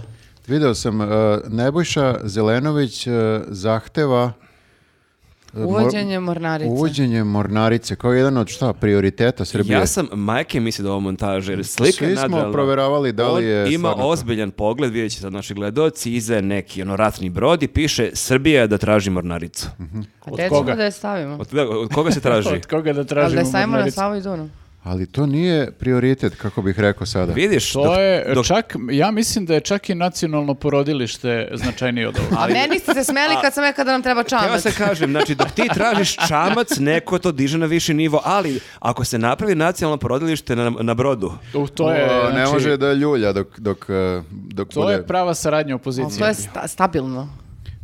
Speaker 1: Video sam, e, Nebojša Zelenović e, zahteva e, mor-
Speaker 4: Uvođenje mornarice.
Speaker 1: uvođenje mornarice kao jedan od šta prioriteta Srbije.
Speaker 3: Ja sam majke mislio da ovo montaže, jer slika
Speaker 1: Svi
Speaker 3: je
Speaker 1: smo
Speaker 3: nadrealna.
Speaker 1: proveravali da li je
Speaker 3: On ima
Speaker 1: stvarno to.
Speaker 3: ozbiljan pogled, vidjet će sad naši gledoci, iza je neki ono, ratni brod i piše Srbija da traži mornaricu.
Speaker 4: A
Speaker 1: Mhm.
Speaker 2: Od
Speaker 4: gde ćemo
Speaker 2: koga?
Speaker 4: da je stavimo?
Speaker 3: Od, od koga se traži?
Speaker 2: Od koga da
Speaker 4: Ali da
Speaker 2: tražimo
Speaker 4: je stavimo na
Speaker 2: mornaricu?
Speaker 4: Savu i Dunu.
Speaker 1: Ali to nije prioritet, kako bih rekao sada.
Speaker 3: Vidiš,
Speaker 2: To
Speaker 3: dok-
Speaker 2: je,
Speaker 3: dok-
Speaker 2: čak, ja mislim da je čak i nacionalno porodilište značajnije od ovoga.
Speaker 4: A meni ste se smeli kad sam rekao da nam treba
Speaker 3: Ja
Speaker 4: čamac.
Speaker 3: se kažem, znači dok ti tražiš čamac, neko to diže na viši nivo, ali ako se napravi nacionalno porodilište na, na brodu,
Speaker 2: U, to je,
Speaker 1: O, ne
Speaker 2: znači,
Speaker 1: može da ljulja dok, dok, e, dok
Speaker 2: to
Speaker 1: bude...
Speaker 2: je prava saradnja
Speaker 4: Ali
Speaker 2: opozicije.
Speaker 4: To je sta- stabilno.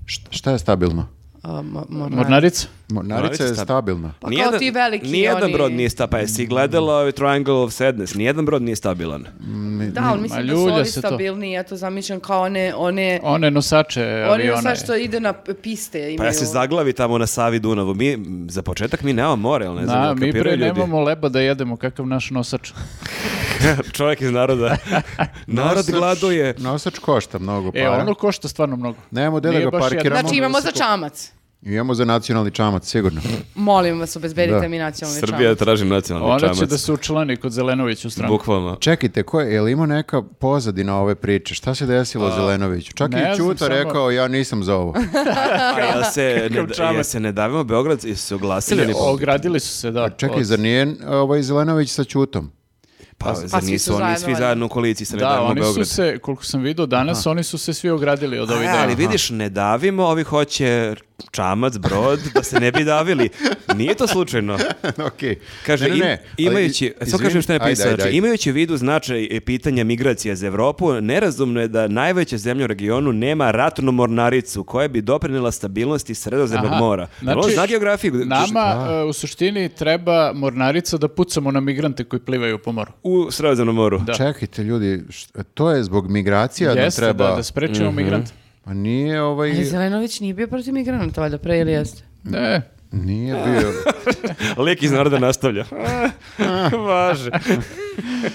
Speaker 1: Šta- Šta je stabilno?
Speaker 4: A, mo- mornarica.
Speaker 2: Mornarica?
Speaker 1: Mornarica je
Speaker 3: stabil-
Speaker 1: stabilna.
Speaker 4: Pa kao ti veliki
Speaker 3: nijedan
Speaker 4: oni-
Speaker 3: brod nije stabilan, pa jesi gledala ovaj Triangle of Sadness, nijedan brod nije stabilan.
Speaker 4: Da, ali mislim da su
Speaker 2: ljulja
Speaker 4: ovi
Speaker 2: se to.
Speaker 4: stabilniji, ja to zamišljam kao one, one,
Speaker 2: One nosače
Speaker 4: oni
Speaker 2: aviona.
Speaker 4: sad što ide na p- piste imaju.
Speaker 3: Pa ja se zaglavi tamo na Savi Dunavu. Mi, m, za početak, mi nemamo more, ali ne znam,
Speaker 2: Da,
Speaker 3: da,
Speaker 2: mi pre
Speaker 3: kapiraju ljudi.
Speaker 2: nemamo leba da jedemo, kakav naš nosač. E,
Speaker 3: Čovjek iz naroda. Narod
Speaker 1: Nosač-
Speaker 3: gladuje.
Speaker 1: Nosač košta mnogo
Speaker 3: Pa
Speaker 2: E,
Speaker 1: para.
Speaker 2: ono košta stvarno mnogo.
Speaker 1: Nemamo gde da
Speaker 2: Nije
Speaker 1: ga
Speaker 2: baš
Speaker 1: parkiramo.
Speaker 2: jednako.
Speaker 4: Znači imamo za čamac.
Speaker 1: Imamo za nacionalni čamac, sigurno.
Speaker 4: Molim vas, obezbedite
Speaker 1: Da.
Speaker 4: mi nacionalni
Speaker 3: Srbija
Speaker 4: čamac.
Speaker 3: traži nacionalni
Speaker 2: Ona Ono će
Speaker 3: čamac.
Speaker 2: da se učlani kod Zelenovića u stranu.
Speaker 3: Bukvalno.
Speaker 1: Čekajte, ko je, je li ima neka pozadina ove priče? Šta se desilo Zelenoviću? Čak
Speaker 2: ne
Speaker 1: i
Speaker 2: znam,
Speaker 1: Ćuta
Speaker 2: samo-
Speaker 1: rekao, ja nisam za ovo.
Speaker 3: A jel se,
Speaker 2: Kakav
Speaker 3: ne,
Speaker 2: čamac.
Speaker 3: jel se ne davimo Beograd i su oglasili? oni po-
Speaker 2: Ogradili su se, da.
Speaker 1: Čekaj,
Speaker 2: od-
Speaker 1: zar nije ovaj Zelenović sa Ćutom?
Speaker 3: Pa,
Speaker 4: Pa
Speaker 3: zar
Speaker 4: svi
Speaker 3: nisu
Speaker 4: su
Speaker 3: oni
Speaker 4: zajedno,
Speaker 3: svi
Speaker 4: valjda.
Speaker 3: zajedno u koaliciji sa ne
Speaker 2: Da,
Speaker 3: davimo
Speaker 2: oni
Speaker 3: Beograd?
Speaker 2: su se, koliko sam vidio danas, oni su se svi ogradili od ovih
Speaker 3: A, E, ali
Speaker 2: dana.
Speaker 3: vidiš, ne davimo, ovi hoće čamac, brod, da se ne bi davili. Nije to slučajno.
Speaker 1: Okej.
Speaker 3: Kaže,
Speaker 1: Ne, ne,
Speaker 3: im-
Speaker 1: ne, ali
Speaker 3: imajući,
Speaker 1: iz-
Speaker 3: sad kažem šta je
Speaker 1: izvini, ajde,
Speaker 3: pisao,
Speaker 1: ajde,
Speaker 3: znači,
Speaker 1: ajde.
Speaker 3: imajući u vidu značaj e, pitanja migracije za Evropu, nerazumno je da najveća zemlja u regionu nema ratnu mornaricu koja bi doprinila stabilnosti Sredozemnog
Speaker 2: Aha,
Speaker 3: mora. Znači, on zna geografiju. Znači,
Speaker 2: Nama e, u suštini treba mornarica da pucamo na migrante koji plivaju po moru.
Speaker 3: U Sredozemnom moru.
Speaker 2: Da.
Speaker 1: Čekajte, ljudi, št- to je zbog migracija
Speaker 2: Jeste,
Speaker 1: da treba...
Speaker 2: da, da sprečimo
Speaker 3: Mhm.
Speaker 2: migrante.
Speaker 1: Pa nije ovaj...
Speaker 4: Ali Zelenović nije bio protiv migranata, valjda pre ili jeste?
Speaker 3: Mhm.
Speaker 2: Ne,
Speaker 1: Nije bio...
Speaker 3: Lik iz naroda nastavlja. Važe.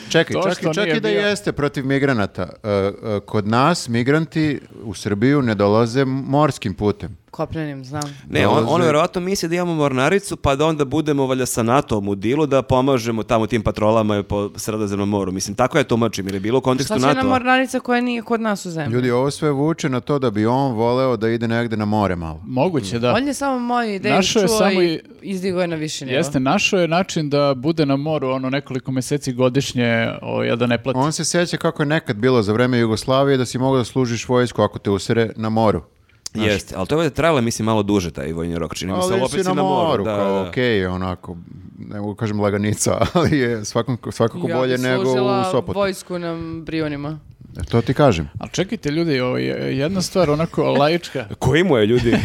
Speaker 1: Čekaj,
Speaker 2: To
Speaker 1: čak,
Speaker 2: što
Speaker 1: i- čak
Speaker 2: nije
Speaker 1: i da
Speaker 2: bio.
Speaker 1: jeste protiv migranata. e, e, kod nas migranti u Srbiju ne dolaze morskim putem.
Speaker 4: Kopnenim, znam.
Speaker 3: Ne, on, on
Speaker 1: Dolaze-
Speaker 3: verovatno misli da imamo mornaricu pa da onda budemo valjda sa NATO-om u dilu da pomažemo tamo tim patrolama po Sredozemnom moru. Mislim, tako je tumačim jer je bilo u kontekstu
Speaker 4: Šta će nam
Speaker 3: NATO-a.
Speaker 4: mornarica koja nije kod nas u zemlji?
Speaker 1: Ljudi, ovo sve vuče na to da bi on voleo da ide negde na more malo.
Speaker 2: moguće, da.
Speaker 4: On je samo moju ideju
Speaker 2: Našao je
Speaker 4: čuo
Speaker 2: samo
Speaker 4: i
Speaker 2: i-
Speaker 4: izdigao je na viši nivo.
Speaker 2: Jeste, našao je način da bude na moru ono nekoliko meseci godišnje, o, ja da ne plati.
Speaker 1: On se sjeća kako je nekad bilo za vreme Jugoslavije da si mogao da služiš vojsku ako te usere na moru.
Speaker 3: Jeste, ali to je valjda trajalo, mislim, malo duže taj vojni rok. Čini mi se, ali
Speaker 1: Ali
Speaker 3: opet
Speaker 1: si na moru, kao
Speaker 3: da.
Speaker 1: okej, onako, ne mogu kažem laganica, ali je svakako, svakako bolje
Speaker 4: bi
Speaker 1: nego u
Speaker 4: služila
Speaker 1: Sopotu. E,
Speaker 4: vojsku na Brionima.
Speaker 1: To ti kažem.
Speaker 2: Ali čekajte ljudi, ovo je jedna stvar onako laička.
Speaker 3: Koji mu je, ljudi?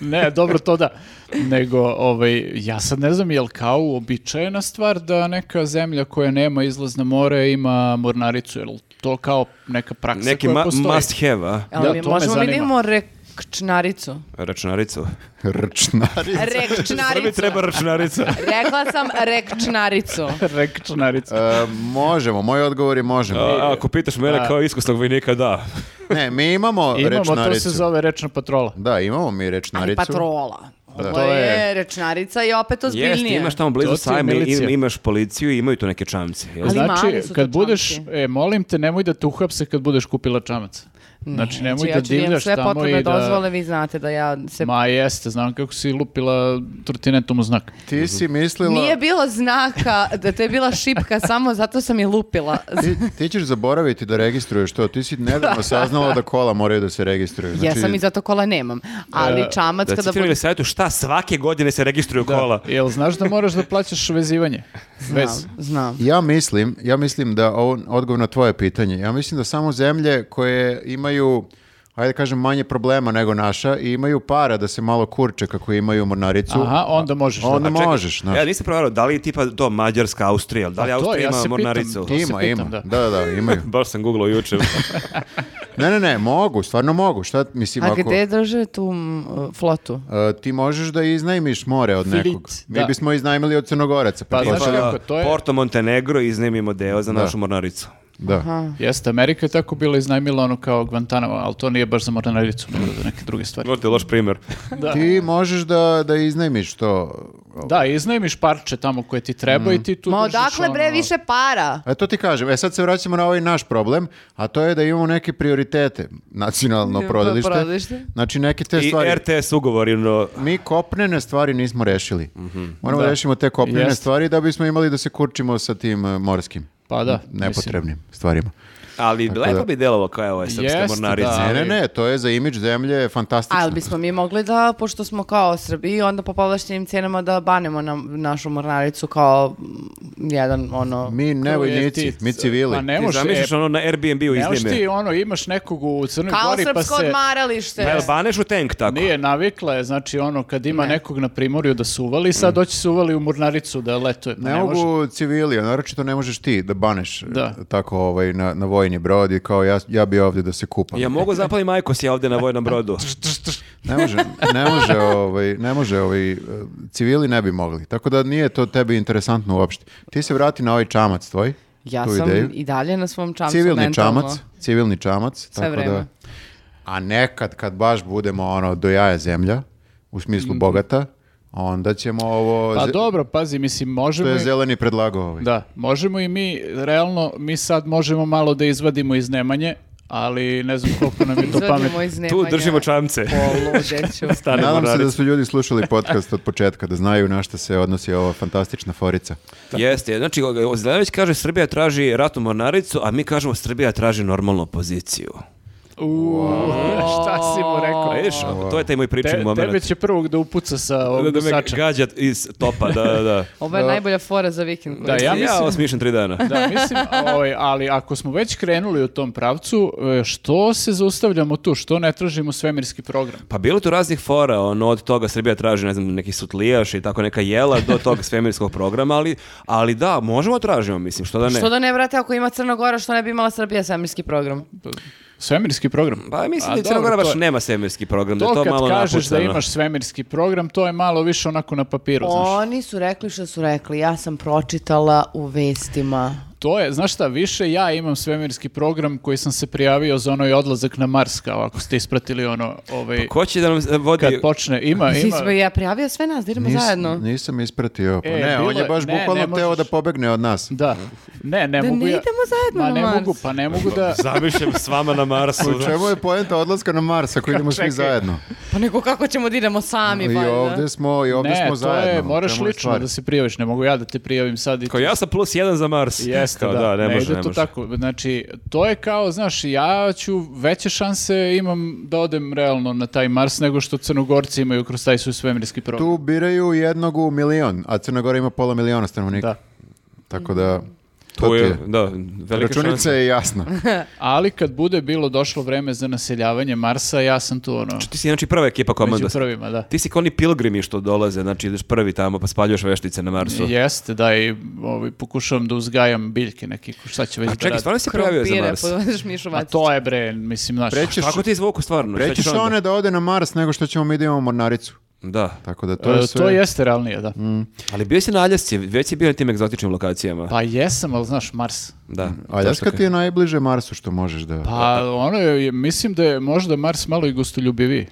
Speaker 2: Ne, dobro to da. Nego, ovaj, ja sad ne znam, jel kao uobičajena stvar da neka zemlja koja nema izlaz na more ima mornaricu, jel to kao neka praksa
Speaker 3: Neki
Speaker 2: koja
Speaker 3: ma-
Speaker 2: postoji?
Speaker 3: must have, a?
Speaker 4: Ali
Speaker 2: Da,
Speaker 4: mi
Speaker 2: to me
Speaker 4: možemo
Speaker 2: zanima.
Speaker 4: vidimo rekčnaricu.
Speaker 3: Računaricu.
Speaker 1: Rčnari.
Speaker 4: Rekčnaricu.
Speaker 3: Prvi treba računarica.
Speaker 4: Rekla sam rekčnaricu.
Speaker 2: Rekčnarica.
Speaker 1: E, možemo, moj odgovor je možemo.
Speaker 3: A, ako pitaš mene
Speaker 2: Da.
Speaker 3: kao iskusnog vojnika, da.
Speaker 1: Ne, mi imamo,
Speaker 2: Imamo, to
Speaker 1: rečnaricu.
Speaker 2: se zove rečna patrola.
Speaker 1: Da, imamo mi
Speaker 4: Ali
Speaker 1: rečnaricu.
Speaker 4: patrola. Ovo
Speaker 2: To je-
Speaker 4: je rečnarica i opet
Speaker 3: Jeste,
Speaker 4: ozbiljnije.
Speaker 3: imaš tamo
Speaker 2: To
Speaker 3: blizu
Speaker 2: ti je
Speaker 3: sajma, i-
Speaker 2: milicija.
Speaker 3: imaš policiju i imaju tu neke čamce. jel?
Speaker 4: Ali mali
Speaker 2: znači,
Speaker 4: su to
Speaker 2: kad budeš,
Speaker 4: čamci.
Speaker 2: e, molim te, nemoj da te uhapse kad budeš kupila čamac. Znači, nemoj
Speaker 4: ja
Speaker 2: da
Speaker 4: ću imam
Speaker 2: divljaš
Speaker 4: sve
Speaker 2: tamo
Speaker 4: potrebne
Speaker 2: i da...
Speaker 4: dozvole, vi znate da ja se...
Speaker 2: Ma jeste, znam kako si lupila trotinetom u znak.
Speaker 1: Ti si mislila...
Speaker 4: Nije bilo znaka, da to je bila šipka, samo zato sam je lupila.
Speaker 1: Ti, ti ćeš zaboraviti da registruješ to. Ti si nedavno saznala da kola moraju da se registruju. Znači,
Speaker 4: Jesam i zato kola nemam. Ali čamac
Speaker 3: Da
Speaker 4: kada
Speaker 3: citirali
Speaker 4: bude...
Speaker 3: savjetu šta svake godine se registruju kola.
Speaker 2: Jel znaš da moraš da plaćaš vezivanje? Vez.
Speaker 4: Znam, znam.
Speaker 1: Ja mislim, ja mislim da ovo odgovor na tvoje pitanje. Ja mislim da samo zemlje koje imaju ajde da kažem manje problema nego naša i imaju para da se malo kurče kako imaju mornaricu.
Speaker 2: Aha, onda možeš.
Speaker 1: Onda
Speaker 2: da.
Speaker 1: mo- možeš, znaš.
Speaker 3: Ja nisam provjerao da li je tipa to Mađarska, Austrija, da li
Speaker 2: Pa to,
Speaker 3: Austrija
Speaker 2: ja se
Speaker 3: ima
Speaker 2: pitam.
Speaker 3: mornaricu?
Speaker 2: to se
Speaker 1: ima,
Speaker 2: pitam,
Speaker 1: ima.
Speaker 2: da.
Speaker 1: Da, da, imaju.
Speaker 3: Baš sam googlao juče.
Speaker 1: Ne, ne, ne, mogu, stvarno mogu. Šta mislim
Speaker 4: A
Speaker 1: ako
Speaker 4: gde drže tu m, flotu?
Speaker 1: e, ti možeš da iznajmiš more od
Speaker 2: Filit,
Speaker 1: nekog. Mi
Speaker 2: da.
Speaker 1: bismo iznajmili od Crnogoraca.
Speaker 2: Pa, znaš
Speaker 1: pretpostavljam.
Speaker 2: kako, to je-
Speaker 3: Porto Montenegro iznajmimo deo za našu mornaricu.
Speaker 1: da.
Speaker 2: Jeste, Amerika je tako bila iznajmila ono kao Guantanamo, ali to nije baš za mornaricu, nego za neke druge stvari.
Speaker 3: Možete loš primjer.
Speaker 1: Ti možeš da, da iznajmiš to.
Speaker 2: Da, iznajmiš parče tamo koje ti treba
Speaker 1: Mm.
Speaker 2: i ti tu
Speaker 4: Ma
Speaker 2: držiš
Speaker 4: odakle bre
Speaker 2: ono-
Speaker 4: više para?
Speaker 1: E to ti kažem, e sad se vraćamo na ovaj naš problem, a to je da imamo neke prioritete, nacionalno
Speaker 4: Pa,
Speaker 1: prodalište,
Speaker 4: prodalište.
Speaker 1: znači neke te
Speaker 3: I
Speaker 1: stvari.
Speaker 3: RTS ugovori, no...
Speaker 1: Mi kopnene stvari nismo rešili. Moramo da.
Speaker 2: Da.
Speaker 1: rešimo te kopnene
Speaker 2: Jeste.
Speaker 1: stvari da bismo imali da se kurčimo sa tim e, morskim
Speaker 2: Pa da,
Speaker 1: nepotrebnim stvarima.
Speaker 3: Ali lepo
Speaker 1: da-
Speaker 3: bi delovalo kao je ovo srpska
Speaker 2: Jeste,
Speaker 3: mornarica.
Speaker 2: da.
Speaker 1: Ne, ne,
Speaker 2: Ali-
Speaker 1: ne, to je za imidž zemlje fantastično.
Speaker 4: Ali bismo mi mogli da, pošto smo kao Srbi, onda po povlaštenim cijenama da banemo na našu mornaricu kao mm, jedan ono...
Speaker 1: Mi ne
Speaker 2: Kao je
Speaker 1: vojnici,
Speaker 2: ti-
Speaker 1: mi civili.
Speaker 2: Pa ne
Speaker 3: Ti
Speaker 2: može.
Speaker 3: zamisliš
Speaker 2: e,
Speaker 3: ono na Airbnb-u
Speaker 2: ne možeš ti
Speaker 3: iznajme.
Speaker 2: ono, imaš nekog u Crnoj
Speaker 4: kao
Speaker 2: Gori pa
Speaker 4: srpsko
Speaker 2: se...
Speaker 4: odmaralište.
Speaker 3: Jel baneš u tank tako?
Speaker 2: e, Nije, navikla je, znači ono, kad ima nekog na primorju da se uvali, sad hoće se uvali u mornaricu da letuje. Pa
Speaker 1: Mm. Ne, mogu civili, a naročito ne možeš ti da baneš e,
Speaker 2: Da.
Speaker 1: tako ovaj, na, na vojni brod i kao ja, ja bi ovdje da se kupam.
Speaker 3: Ja mogu zapalim majkos ja ovdje na vojnom brodu.
Speaker 1: Ne može, ne može, ovaj, ne može ovaj, eh, civili ne bi mogli. Tako da nije to tebi interesantno uopšte. Ti se vrati na ovaj čamac tvoj,
Speaker 4: Ja
Speaker 1: tu
Speaker 4: sam
Speaker 1: ideju.
Speaker 4: i dalje na svom čamcu
Speaker 1: Civilni
Speaker 4: mentalno.
Speaker 1: čamac, civilni čamac. tako
Speaker 4: vreme.
Speaker 1: Da, a nekad kad baš budemo ono do jaja zemlja, u smislu bogata, onda ćemo ovo...
Speaker 2: Mhm. Pa
Speaker 1: ze-
Speaker 2: dobro, pazi, mislim, možemo...
Speaker 1: To je
Speaker 2: i-
Speaker 1: zeleni predlagao ovaj.
Speaker 2: Da, možemo i mi, realno, mi sad možemo malo da izvadimo iz Nemanje, ali ne znam koliko nam je to pametno.
Speaker 4: Izvadimo iz
Speaker 3: Tu
Speaker 4: Nemanja.
Speaker 3: držimo čamce.
Speaker 4: Poludeću.
Speaker 1: Nadam se
Speaker 3: Stane
Speaker 1: da
Speaker 3: mornarice.
Speaker 1: su ljudi slušali podcast od početka, da znaju na šta se odnosi ova fantastična forica.
Speaker 3: Jeste, znači o- Zelenović kaže Srbija traži ratnu mornaricu, a mi kažemo Srbija traži normalnu poziciju.
Speaker 2: Uuu, šta si mu
Speaker 3: Pa
Speaker 2: rekao?
Speaker 3: vidiš, to je taj moj
Speaker 2: Te,
Speaker 3: prični moment.
Speaker 2: tebe će prvog da upuca sa
Speaker 3: Da,
Speaker 2: ovog
Speaker 3: da me
Speaker 2: gusača.
Speaker 3: gađa iz topa, da, da, da.
Speaker 4: Ovo je najbolja fora za vikend.
Speaker 2: Da, ja
Speaker 3: Ja,
Speaker 2: mislim-
Speaker 3: osmišljam tri dana.
Speaker 2: Da, mislim, ovaj, ali ako smo već krenuli u tom pravcu, e, što se zaustavljamo tu? Što ne tražimo svemirski program?
Speaker 3: Pa bilo je tu raznih fora, ono, od toga Srbija traži, ne znam, neki sutlijaš i tako neka jela do tog svemirskog programa, ali, ali da, možemo tražimo, mislim, što da ne.
Speaker 4: Što da ne, vrate, ako ima Crna Gora, što ne bi imala Srbija svemirski program?
Speaker 2: Svemirski program?
Speaker 3: Pa mislim
Speaker 2: A,
Speaker 3: da i Crna
Speaker 2: dobro,
Speaker 3: Gora baš
Speaker 2: to je-
Speaker 3: nema svemirski program, da je
Speaker 2: To,
Speaker 3: to
Speaker 2: kad
Speaker 3: malo
Speaker 2: kažeš da
Speaker 3: napucano. Pa,
Speaker 2: imaš svemirski program, to je malo više onako na papiru, znaš.
Speaker 4: Oni su rekli što su rekli. Ja sam pročitala u vestima.
Speaker 2: To je, znaš šta, više ja imam svemirski program koji sam se prijavio za onaj odlazak na Mars, kao ako ste ispratili ono, ovaj,
Speaker 3: Ko će da nam e, vodi...
Speaker 2: kad počne, ima,
Speaker 4: Svi smo,
Speaker 2: ima,
Speaker 4: ja prijavio sve nas, da idemo
Speaker 1: Nis-
Speaker 4: zajedno.
Speaker 1: Nisam ispratio. Pa
Speaker 2: Pa E,
Speaker 1: ne,
Speaker 2: bilo
Speaker 1: on je
Speaker 2: je-
Speaker 1: baš
Speaker 2: ne,
Speaker 1: bukvalno
Speaker 2: ne
Speaker 1: teo da
Speaker 2: možeš.
Speaker 1: pobegne od nas.
Speaker 2: da, ne, ne
Speaker 4: Da
Speaker 2: mogu
Speaker 4: ne
Speaker 2: ja-
Speaker 4: idemo zajedno
Speaker 2: Ma
Speaker 4: na
Speaker 2: ne
Speaker 4: Mars.
Speaker 2: mogu, pa ne mogu da,
Speaker 3: Zamišljam s vama na Marsu.
Speaker 1: U čemu je poenta odlaska na Mars ako idemo svi
Speaker 2: Čekaj.
Speaker 1: zajedno?
Speaker 4: Pa nego kako ćemo da idemo sami,
Speaker 1: I
Speaker 4: valjda?
Speaker 1: ovdje smo, i ovdje
Speaker 2: ne,
Speaker 1: smo
Speaker 2: to
Speaker 1: zajedno.
Speaker 2: je,
Speaker 1: U
Speaker 2: moraš
Speaker 1: čemu je
Speaker 2: lično
Speaker 1: stvar?
Speaker 2: da se prijaviš, ne mogu ja da te prijavim sad i
Speaker 3: Kao ja sam plus jedan za Mars.
Speaker 2: Jes, Jeste,
Speaker 3: kao,
Speaker 2: da,
Speaker 3: da, ne, može,
Speaker 2: ide
Speaker 3: ne
Speaker 2: to
Speaker 3: može.
Speaker 2: tako. Znači, to je kao, znaš, ja ću veće šanse imam da odem realno na taj Mars nego što Crnogorci imaju kroz taj svoj svemirski program.
Speaker 1: Tu biraju jednog u milion, a Crna Gora ima pola miliona stanovnika.
Speaker 2: Da.
Speaker 1: Tako da, to,
Speaker 3: To
Speaker 1: ti
Speaker 3: je,
Speaker 1: je.
Speaker 3: da, velika
Speaker 1: Računica
Speaker 3: šansa.
Speaker 1: je jasna.
Speaker 2: Ali kad bude bilo došlo vreme za naseljavanje Marsa, ja sam tu ono,
Speaker 3: Ti si znači prva ekipa
Speaker 2: među
Speaker 3: komanda.
Speaker 2: prvima, da.
Speaker 3: Ti si kao oni pilgrimi što dolaze, znači ideš prvi tamo pa spaljuješ veštice na Marsu.
Speaker 2: Jeste, da, i ovaj, pokušavam da uzgajam biljke neke, šta će već
Speaker 3: A
Speaker 2: da
Speaker 3: čekaj,
Speaker 2: radi.
Speaker 3: stvarno si se prijavio za
Speaker 4: Krompire,
Speaker 3: Mars?
Speaker 4: podvedeš Mišu
Speaker 2: A
Speaker 4: Vacića.
Speaker 2: to je bre, mislim, znaš,
Speaker 1: Prećeš,
Speaker 3: Kako ti zvuku stvarno? Šta
Speaker 1: prećeš
Speaker 3: ćeš onda?
Speaker 1: one da ode na Mars nego što ćemo mi da imamo mornaricu.
Speaker 3: Da.
Speaker 1: Tako da
Speaker 2: to,
Speaker 1: to je sve...
Speaker 2: e, to jeste realnije, da.
Speaker 3: Ali bio si na Aljasci, već si bio na tim egzotičnim lokacijama.
Speaker 2: Pa jesam, ali znaš, Mars.
Speaker 3: Da.
Speaker 1: Aljaska
Speaker 3: Tačno.
Speaker 1: ti je najbliže Marsu što možeš da...
Speaker 2: Pa ono je, mislim da je možda Mars malo i gostoljubiviji.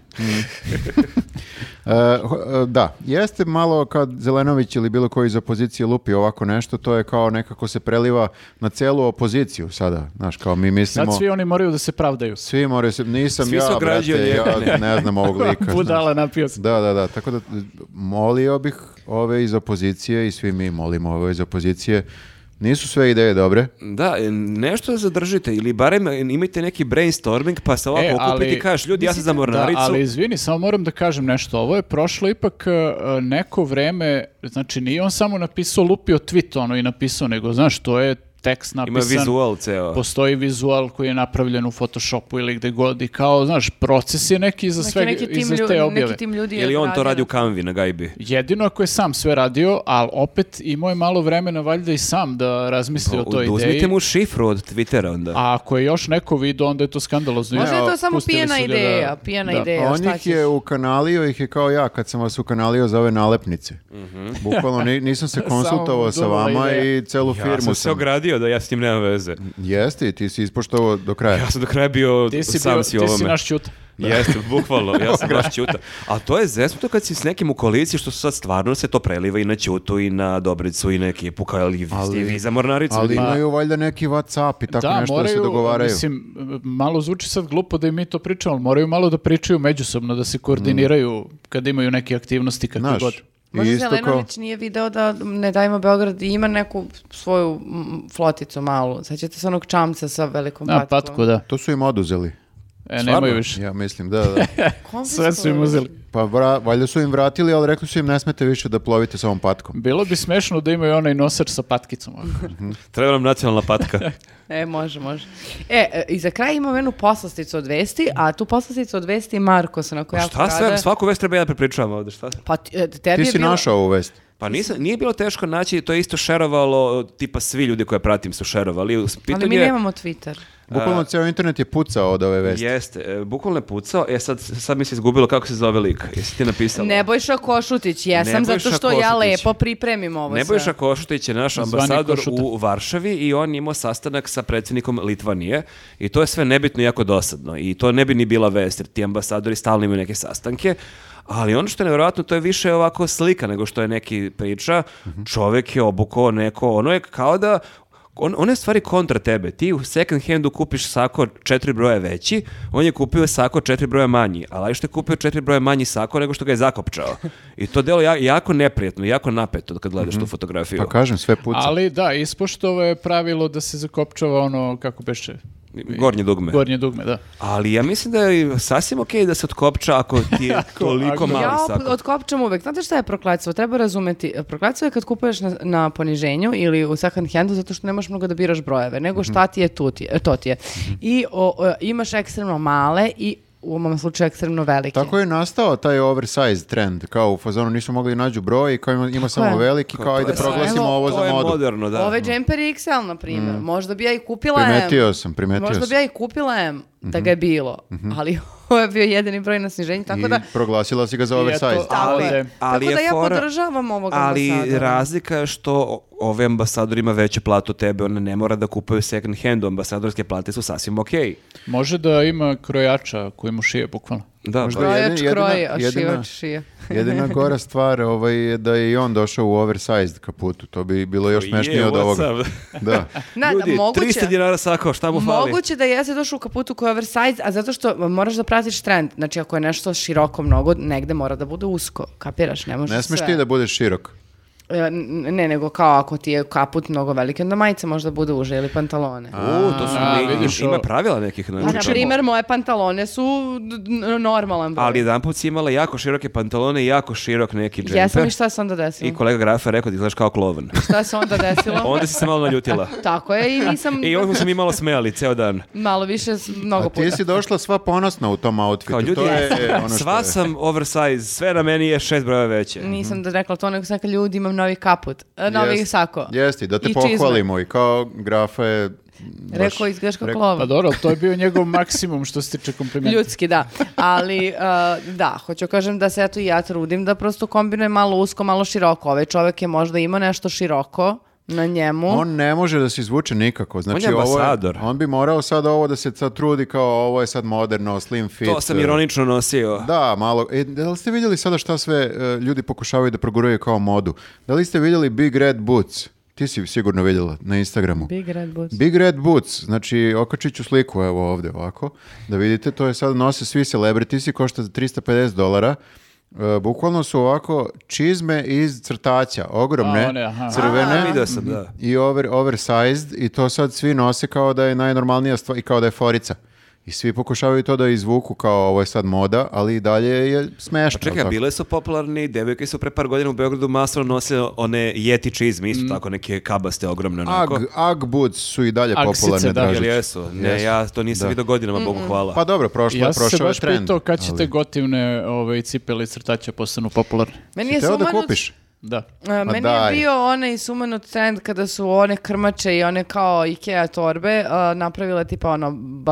Speaker 1: E, ho- e, da, jeste malo kad Zelenović ili bilo koji iz opozicije lupi ovako nešto, to je kao nekako se preliva na celu opoziciju sada, znaš, kao mi
Speaker 2: Sad
Speaker 1: mislimo...
Speaker 2: svi oni moraju da se pravdaju.
Speaker 1: Svi moraju se, nisam
Speaker 3: Svi
Speaker 1: ja,
Speaker 3: su ograđeni
Speaker 1: brate,
Speaker 3: od
Speaker 1: ja
Speaker 3: njega.
Speaker 1: ne znam ovog lika. znaš.
Speaker 2: Budala napio sam.
Speaker 1: Da, da, da, tako da e, molio bih ove iz opozicije i svi mi molimo ove iz opozicije. Nisu sve ideje dobre.
Speaker 3: Da, e, nešto zadržite ili barem imajte neki brainstorming pa se ovako
Speaker 2: E,
Speaker 3: okupite
Speaker 2: ali-
Speaker 3: i kažeš ljudi ja sam za
Speaker 2: Da,
Speaker 3: mornaricu.
Speaker 2: ali izvini, samo moram da kažem nešto. Ovo je prošlo ipak e, neko vreme, znači nije on samo napisao, lupio tweet ono i napisao, nego znaš, to je tekst
Speaker 3: Ima
Speaker 2: napisan.
Speaker 3: vizual ceo.
Speaker 2: Postoji vizual koji je napravljen u Photoshopu ili gde god i kao, znaš, proces je neki iza
Speaker 4: Neki-
Speaker 2: svega,
Speaker 4: Znači, neki
Speaker 2: iza
Speaker 4: tim lju-
Speaker 2: te objave.
Speaker 4: Neki tim ljudi je
Speaker 3: Ili on to
Speaker 4: radio.
Speaker 3: radi u kanvi na gajbi.
Speaker 2: Jedino ako je sam sve radio, ali opet imao je malo vremena valjda i sam da razmisli o toj
Speaker 3: Uzmite
Speaker 2: ideji.
Speaker 3: Pa, mu šifru od Twittera onda.
Speaker 2: A ako je još neko video, onda je to skandalozno.
Speaker 4: Možda je
Speaker 1: Evo,
Speaker 4: to samo
Speaker 2: pustili
Speaker 4: pijena
Speaker 2: su ga da-
Speaker 4: ideja, pijena
Speaker 2: da.
Speaker 4: ideja,
Speaker 1: On
Speaker 4: šta
Speaker 1: ih je
Speaker 4: ćeš?
Speaker 1: ukanalio, ih je kao ja, kad sam vas ukanalio za ove nalepnice.
Speaker 3: Mhm.
Speaker 1: Bukvalno ni- nisam se konsultovao sa
Speaker 2: Samo mu
Speaker 1: vama
Speaker 2: dodala ideja.
Speaker 1: i celu
Speaker 3: ja
Speaker 1: firmu sam.
Speaker 3: sam se ogradio da ja s tim nemam veze.
Speaker 1: Jeste, i ti si ispoštovao do kraja.
Speaker 3: Ja sam do kraja bio
Speaker 2: Ti si,
Speaker 3: sam
Speaker 2: bio,
Speaker 3: si
Speaker 2: ti
Speaker 3: ovome.
Speaker 2: si naš Ćuta.
Speaker 3: Jeste, bukvalno, ja sam baš Ćuta. A to je zesnuto kad si s nekim u koaliciji što sad stvarno se to preliva i na Ćutu i na Dobricu i na ekipu kao ali, vi ste vi za mornaricu.
Speaker 1: Ali
Speaker 3: Pa,
Speaker 1: imaju valjda neki WhatsApp i tako
Speaker 2: da,
Speaker 1: nešto
Speaker 2: moraju,
Speaker 1: da se dogovaraju.
Speaker 2: Mislim, malo zvuči sad glupo da i mi to pričamo, ali moraju malo da pričaju međusobno, da se koordiniraju kad imaju neke aktivnosti kakve
Speaker 1: Znaš,
Speaker 2: god.
Speaker 4: Možda
Speaker 1: isto kao...
Speaker 4: Zelenović nije video da ne dajmo Beograd i ima neku svoju mm, floticu malu. Sećate se onog čamca sa velikom
Speaker 2: Na
Speaker 4: patkom?
Speaker 2: patku, da.
Speaker 1: To su im oduzeli.
Speaker 2: E,
Speaker 3: Stvarno?
Speaker 2: nemaju više.
Speaker 1: Ja mislim, da, da.
Speaker 2: Sve su im uzeli.
Speaker 1: Pa vra- valjda su im vratili, ali rekli su im ne smete više da plovite sa ovom patkom.
Speaker 2: Bilo bi smešno da imaju onaj nosač sa patkicom. ovako.
Speaker 3: Treba nam nacionalna patka. Pa
Speaker 4: E, može, može. E, e, i za kraj imam jednu poslasticu od vesti, a tu poslasticu od vesti je Markos, onako jako
Speaker 3: Pa šta sve,
Speaker 4: rada.
Speaker 3: svaku vest treba ja da prepričavam ovde, šta?
Speaker 4: Pa ti- e, tebi
Speaker 1: Ti
Speaker 4: je
Speaker 1: si
Speaker 4: bilo...
Speaker 1: našao ovu vest.
Speaker 3: Pa nisam, nije bilo teško naći, to je isto šerovalo, tipa svi ljudi koje pratim su šerovali. Pitanje
Speaker 4: Ali mi
Speaker 3: je-
Speaker 4: nemamo Twitter.
Speaker 1: Bukvalno ceo internet je pucao od ove vesti.
Speaker 3: Jeste, e, bukvalno je pucao, e sad, sad mi se izgubilo kako se zove lik, jesi ti napisala?
Speaker 4: Nebojša Košutić, jesam,
Speaker 3: Nebojša
Speaker 4: zato što ja
Speaker 3: Košutić.
Speaker 4: lepo pripremim ovo
Speaker 3: Nebojša
Speaker 4: sve.
Speaker 3: Košutić je naš
Speaker 2: Zvani
Speaker 3: ambasador
Speaker 2: Košuta.
Speaker 3: u Varšavi i on je imao sastanak sa predsjednikom Litvanije i to je sve nebitno i jako dosadno i to ne bi ni bila vest jer ti ambasadori stalno imaju neke sastanke, ali ono što je nevjerojatno to je više ovako slika nego što je neki priča, čovek je obukao neko, ono je kao da On, on je stvari kontra tebe. Ti u second handu kupiš sako četiri broja veći, on je kupio sako četiri broja manji, ali što je kupio četiri broja manji sako nego što ga je zakopčao. I to delo ja, jako neprijetno, jako napeto kad gledaš tu fotografiju.
Speaker 1: Pa kažem, sve puca.
Speaker 2: Ali da, ispoštovo je pravilo da se zakopčava ono, kako beše,
Speaker 3: Gornje dugme.
Speaker 2: gornje dugme, da.
Speaker 3: Ali ja mislim da je sasvim okej da se otkopča ako ti je toliko
Speaker 2: ako-
Speaker 3: mali
Speaker 4: Ja op-
Speaker 3: sako.
Speaker 4: otkopčam uvek. Znate šta je prokletstvo? Treba razumeti. e, Prokletstvo je kad kupuješ na, na poniženju ili u second handu zato što nemaš mnogo da biraš brojeve, nego šta ti je, tu ti je, to ti je. I o, o, imaš ekstremno male i u ovom slučaju ekstremno velike.
Speaker 1: Tako je nastao taj oversize trend, kao u fazonu nisu mogli nađu broj i kao ima, ima samo
Speaker 4: je.
Speaker 1: veliki, kao ajde proglasimo
Speaker 4: Evo, Ovaj,
Speaker 1: ovo
Speaker 3: To je
Speaker 1: za modu.
Speaker 3: moderno, da.
Speaker 4: Ove džemper je XL, na primjer. Možda bi ja i kupila M.
Speaker 1: Primetio sam, primetio
Speaker 4: Možda
Speaker 1: sam.
Speaker 4: bi ja i kupila M da ga je bilo. Ali ovo je bio jedini broj na sniženju, tako da...
Speaker 1: I proglasila si ga za oversize.
Speaker 2: Eto, ali,
Speaker 4: je.
Speaker 3: Ali
Speaker 4: tako
Speaker 3: je
Speaker 4: da ja
Speaker 3: fora-
Speaker 4: podržavam ovog
Speaker 3: Ali
Speaker 4: ambasadora.
Speaker 3: razlika je što o- ovaj ambasador ima veću platu od tebe, on ne mora da kupuje second hand, ambasadorske plate su sasvim okej.
Speaker 2: može da ima krojača koji mu šije, bukvalno.
Speaker 3: Da,
Speaker 1: Možda
Speaker 3: pa-
Speaker 1: je-
Speaker 4: Krojač
Speaker 1: jedina-
Speaker 4: kroji, a
Speaker 1: jedina-
Speaker 4: šivač šije.
Speaker 1: Jedina gora stvar ovaj, je da je i on došao u oversized kaputu. To bi bilo još
Speaker 3: Je,
Speaker 1: smešnije od
Speaker 3: what's
Speaker 1: ovoga.
Speaker 3: up?
Speaker 1: Da.
Speaker 4: Na,
Speaker 3: Ljudi,
Speaker 4: moguće-
Speaker 3: 300 dinara sako, šta mu fali?
Speaker 4: Moguće da jeste došao u kaputu koji je oversize, a zato što moraš da pratiš trend. Znači, ako je nešto široko mnogo, negde mora da bude usko. Kapiraš, ne možeš
Speaker 1: Ne smeš
Speaker 4: sve.
Speaker 1: ti da budeš širok.
Speaker 4: E, n- Ne, nego kao ako ti je kaput mnogo veliki, onda majice možda bude uže ili pantalone.
Speaker 3: U, to su
Speaker 2: A,
Speaker 3: ne-
Speaker 2: vidiš,
Speaker 3: ima
Speaker 2: ovo.
Speaker 3: pravila nekih.
Speaker 4: A,
Speaker 3: znači,
Speaker 4: na
Speaker 3: čemu?
Speaker 4: primjer, moje pantalone su d- d- normalan broj.
Speaker 3: Ali jedan put si imala jako široke pantalone i jako širok neki džemper.
Speaker 4: Jesam i šta se onda desilo?
Speaker 3: I kolega Grafa je rekao da izgledaš kao klovan.
Speaker 4: Šta se onda desilo?
Speaker 3: Onda si se malo naljutila.
Speaker 4: Tako je i nisam
Speaker 3: I ovdje smo se mi malo smejali ceo dan.
Speaker 4: malo više s- mnogo
Speaker 1: A ti
Speaker 4: puta.
Speaker 1: si došla sva ponosna u tom outfitu.
Speaker 3: Kao ljudi,
Speaker 1: to je e, ono što
Speaker 3: sva
Speaker 1: je.
Speaker 3: sam oversize, sve na meni je šest brojeva veće.
Speaker 4: Nisam da rekla to, nego sam rekla ljudi imam novi kaput, e, novi
Speaker 1: Jest-
Speaker 4: sako.
Speaker 1: Jeste, da te
Speaker 4: I čizme.
Speaker 1: pohvalimo i kao grafa je... baš-
Speaker 4: Rekao izgledaš kao
Speaker 1: rekao-
Speaker 4: klovan.
Speaker 2: Pa dobro, ali to je bio njegov maksimum što se tiče komplimenta.
Speaker 4: Ljudski, da. Ali, e, da, hoću kažem da se eto i ja trudim da prosto kombinujem malo usko, malo široko. Ovaj čovek je možda imao nešto široko na njemu.
Speaker 1: On ne može da se izvuče nikako. Znači,
Speaker 3: On je
Speaker 1: ovo
Speaker 3: ambasador.
Speaker 1: on bi morao sad ovo da se sad trudi kao ovo je sad moderno, slim fit.
Speaker 3: To sam ironično nosio.
Speaker 1: Da, malo. E, da li ste vidjeli sada šta sve e, ljudi pokušavaju da proguraju kao modu? Da li ste vidjeli Big Red Boots? Ti si sigurno vidjela na Instagramu.
Speaker 4: Big Red Boots.
Speaker 1: Big Red Boots, znači okačit ću sliku evo ovdje ovako, da vidite, to je sad nose svi celebrities i košta 350 dolara. E, bukvalno su ovako čizme iz crtaća, ogromne,
Speaker 2: A, one, aha.
Speaker 1: crvene
Speaker 3: A, video sam, da.
Speaker 1: i over, oversized i to sad svi nose kao da je najnormalnija stvar i kao da je forica. I svi pokušavaju to da izvuku kao ovo je sad moda, ali i dalje je smešno.
Speaker 3: Pa Čekaj,
Speaker 1: jel
Speaker 3: a
Speaker 1: tako?
Speaker 3: bile su popularni, devojke su pre par godina u Beogradu masovno nosile one jeti čizme,
Speaker 1: Mm.
Speaker 3: isto tako neke kabaste ogromne onako.
Speaker 1: Ag, Ag Boots su i dalje
Speaker 2: Aksice,
Speaker 1: popularne,
Speaker 2: da.
Speaker 1: Dražić.
Speaker 3: Jel jesu? Ne,
Speaker 1: Jesu.
Speaker 3: ja to nisam
Speaker 1: Da.
Speaker 3: vidio godinama, Bogu hvala.
Speaker 1: Pa dobro, prošlo,
Speaker 2: Ja
Speaker 1: je-
Speaker 2: sam se
Speaker 1: prošao je
Speaker 2: baš
Speaker 1: trend.
Speaker 2: pitao kad ćete
Speaker 1: ali-
Speaker 2: gotivne ove, cipele i crtače postanu popularne.
Speaker 4: Meni
Speaker 1: Si
Speaker 4: je ono-
Speaker 1: teo da
Speaker 4: sumanut-
Speaker 1: kupiš?
Speaker 2: Da.
Speaker 4: E,
Speaker 1: Ma
Speaker 4: Meni
Speaker 1: daj.
Speaker 4: je bio onaj sumanut trend kada su one krmače i one kao Ikea torbe e, napravile tipa ono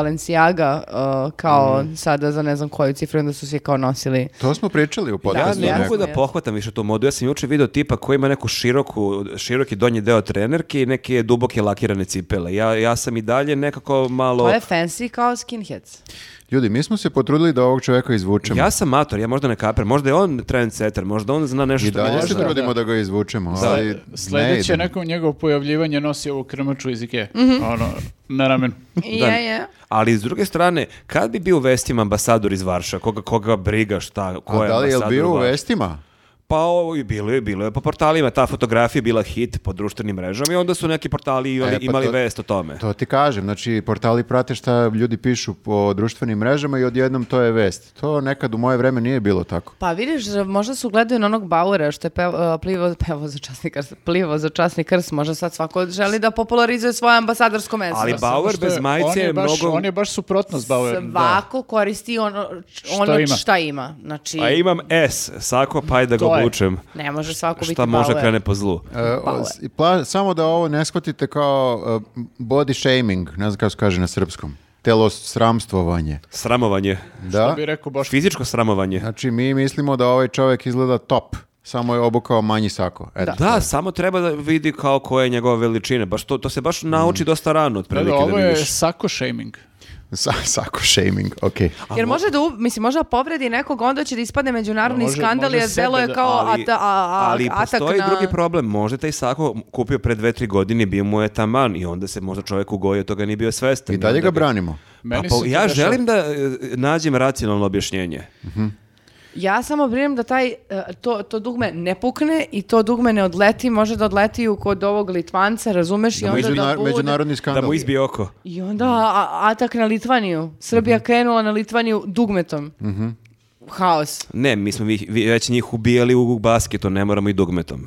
Speaker 4: Balenciaga e, kao
Speaker 1: Mhm.
Speaker 4: sada za ne znam koju cifru i onda su svi kao nosili.
Speaker 1: To smo pričali u
Speaker 3: Ja
Speaker 1: podcastu.
Speaker 3: ne
Speaker 4: Jasno,
Speaker 3: mogu da
Speaker 4: jasno.
Speaker 3: pohvatam više tu modu. Ja sam juče video tipa koji ima neku široku, široki donji deo trenerke i neke duboke lakirane cipele. Ja, ja sam i dalje nekako malo...
Speaker 4: To je fancy kao skinheads.
Speaker 1: Ljudi, mi smo se potrudili da ovog čovjeka izvučemo.
Speaker 3: Ja sam mator, ja možda ne kapir, možda je on trendsetter, možda on zna nešto
Speaker 1: I
Speaker 3: što
Speaker 1: dalje
Speaker 3: ne
Speaker 1: se
Speaker 3: znam.
Speaker 1: trudimo da. ga izvučemo. Ali ne
Speaker 2: Sledeće
Speaker 1: ide.
Speaker 2: neko njegovo pojavljivanje nosi ovu krmaču iz Ikea. Ono, na ramenu.
Speaker 3: Da.
Speaker 4: Je, je.
Speaker 3: Ali s druge strane, kad bi bio u vestima ambasador iz Varša, koga, koga briga šta, ko
Speaker 1: A
Speaker 3: je
Speaker 1: da li je
Speaker 3: ambasador
Speaker 1: bio u
Speaker 3: Varša?
Speaker 1: vestima?
Speaker 3: Pa ovo i bilo je, bilo je po portalima, ta fotografija je bila hit po društvenim mrežama i onda su neki portali imali,
Speaker 1: E, pa
Speaker 3: imali
Speaker 1: to-
Speaker 3: vest o tome.
Speaker 1: To ti kažem, znači portali prate šta ljudi pišu po društvenim mrežama i odjednom to je vest. To nekad u moje vreme nije bilo tako.
Speaker 4: Pa vidiš, možda su gledaju na onog Bauera što je pevo, plivao, pevo za časni krst, plivao za časni krst, možda sad svako želi da popularizuje svoje ambasadorsko mesto.
Speaker 3: Ali
Speaker 2: Samo
Speaker 3: Bauer
Speaker 2: što je-
Speaker 3: bez majice
Speaker 2: on
Speaker 3: je
Speaker 2: baš,
Speaker 3: mnogo...
Speaker 2: On je baš suprotnost Bauer.
Speaker 4: Svako koristi ono, č-
Speaker 2: Šta
Speaker 4: ono šta
Speaker 2: ima.
Speaker 4: ima. Znači,
Speaker 3: A imam S, sako, pa ajde da ga
Speaker 2: To je.
Speaker 3: obučem.
Speaker 4: ne može svako biti
Speaker 3: Šta može
Speaker 4: Bauer.
Speaker 3: krene po zlu.
Speaker 1: E, o, s- i pla- samo da ovo ne shvatite kao e, body shaming, ne znam kako se kaže na srpskom. Telo sramstvovanje.
Speaker 3: Sramovanje.
Speaker 1: Da?
Speaker 2: Bi rekao Boško.
Speaker 3: Fizičko sramovanje.
Speaker 1: Znači mi mislimo da ovaj čovjek izgleda top. Samo je obukao manji sako. Eto.
Speaker 3: Da, samo treba da vidi kao koja je njegova veličina. Baš to, to se baš
Speaker 1: Mm.
Speaker 3: nauči dosta rano otprilike
Speaker 2: Da,
Speaker 3: da,
Speaker 2: ovo je
Speaker 3: vidiš.
Speaker 2: sako shaming.
Speaker 1: Sa, sako shaming, okej.
Speaker 4: Jer može da, u- mislim, može da povredi nekog, onda će da ispadne međunarodni
Speaker 2: Može-
Speaker 4: skandal,
Speaker 2: može
Speaker 4: jer delo je
Speaker 2: sebe da-
Speaker 4: kao
Speaker 3: ali,
Speaker 4: ata- a- a-
Speaker 3: ali
Speaker 4: atak
Speaker 3: postoji
Speaker 4: na...
Speaker 3: drugi problem. Možda je taj sako kupio pre dve, tri godine, bio mu je taman i onda se možda čovjek ugojio, toga nije bio svestan.
Speaker 1: I dalje
Speaker 3: Onda
Speaker 1: ga branimo.
Speaker 3: Pa,
Speaker 2: Meni
Speaker 3: pa,
Speaker 2: se to
Speaker 3: ja
Speaker 2: dešava.
Speaker 3: želim da e, nađem racionalno objašnjenje.
Speaker 4: Ja samo brinem da taj, e, to, to dugme ne pukne i to dugme ne odleti, može da odleti u kod ovog Litvanca, razumeš? I onda da
Speaker 1: Međunar-
Speaker 4: bude...
Speaker 1: međunarodni
Speaker 3: Da
Speaker 1: skandal.
Speaker 3: mu izbije oko.
Speaker 4: I onda a- atak na Litvaniju. Srbija
Speaker 3: Mhm.
Speaker 4: krenula na Litvaniju dugmetom. Haos.
Speaker 3: Ne, mi smo vi, vi- već njih ubijali u basketu, ne moramo i dugmetom.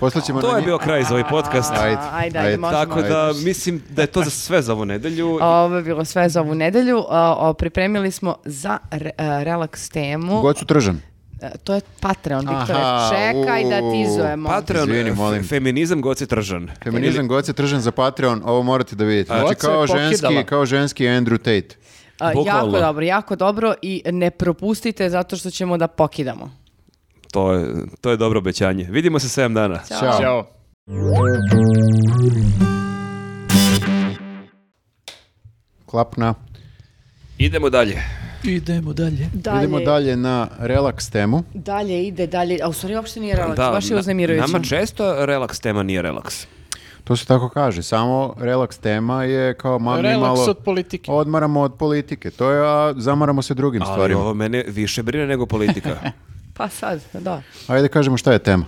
Speaker 1: Posle ćemo
Speaker 3: To
Speaker 1: na
Speaker 3: je
Speaker 1: nji-
Speaker 3: bio kraj za ovaj podcast.
Speaker 1: Ajde,
Speaker 4: A, ajde, ajde,
Speaker 1: ajde.
Speaker 4: možemo.
Speaker 3: Tako
Speaker 4: ajde.
Speaker 3: da mislim da je to za sve za ovu nedelju.
Speaker 4: Ovo je bilo sve za ovu nedelju. A, o, pripremili smo za re- a, relaks temu.
Speaker 1: God su tržan.
Speaker 4: E, To je Patreon,
Speaker 1: Aha,
Speaker 4: Viktore. Čekaj da
Speaker 1: u,
Speaker 4: tizujemo.
Speaker 3: Patreon,
Speaker 1: Izvini, molim.
Speaker 3: fe- feminizam, goci tržan.
Speaker 1: Feminizam god se tržan za Patreon, ovo morate da vidite. Znači
Speaker 2: God se
Speaker 1: kao
Speaker 2: pokidala.
Speaker 1: ženski, kao ženski Andrew Tate.
Speaker 4: A, E, jako
Speaker 3: bukvalno.
Speaker 4: dobro, jako dobro i ne propustite zato što ćemo da pokidamo.
Speaker 3: To je, to je dobro obećanje. Vidimo se 7 dana.
Speaker 1: Ćao.
Speaker 2: Ćao.
Speaker 1: Klapna.
Speaker 3: Idemo dalje.
Speaker 2: Idemo dalje.
Speaker 4: Dalje,
Speaker 1: Idemo dalje na relaks temu.
Speaker 4: dalje ide, dalje. A u stvari uopšte nije relaks, baš je
Speaker 3: na-
Speaker 4: uznemirujuće.
Speaker 3: Nama često relaks tema nije relaks.
Speaker 1: To se tako kaže. Samo relaks tema je kao mami
Speaker 2: Relaks
Speaker 1: malo...
Speaker 2: od politike.
Speaker 1: Odmaramo od politike. To je, a zamaramo se drugim
Speaker 3: Ali
Speaker 1: stvarima.
Speaker 3: ovo mene više brine nego politika.
Speaker 4: Pa sad, da.
Speaker 1: Ajde kažemo šta je tema.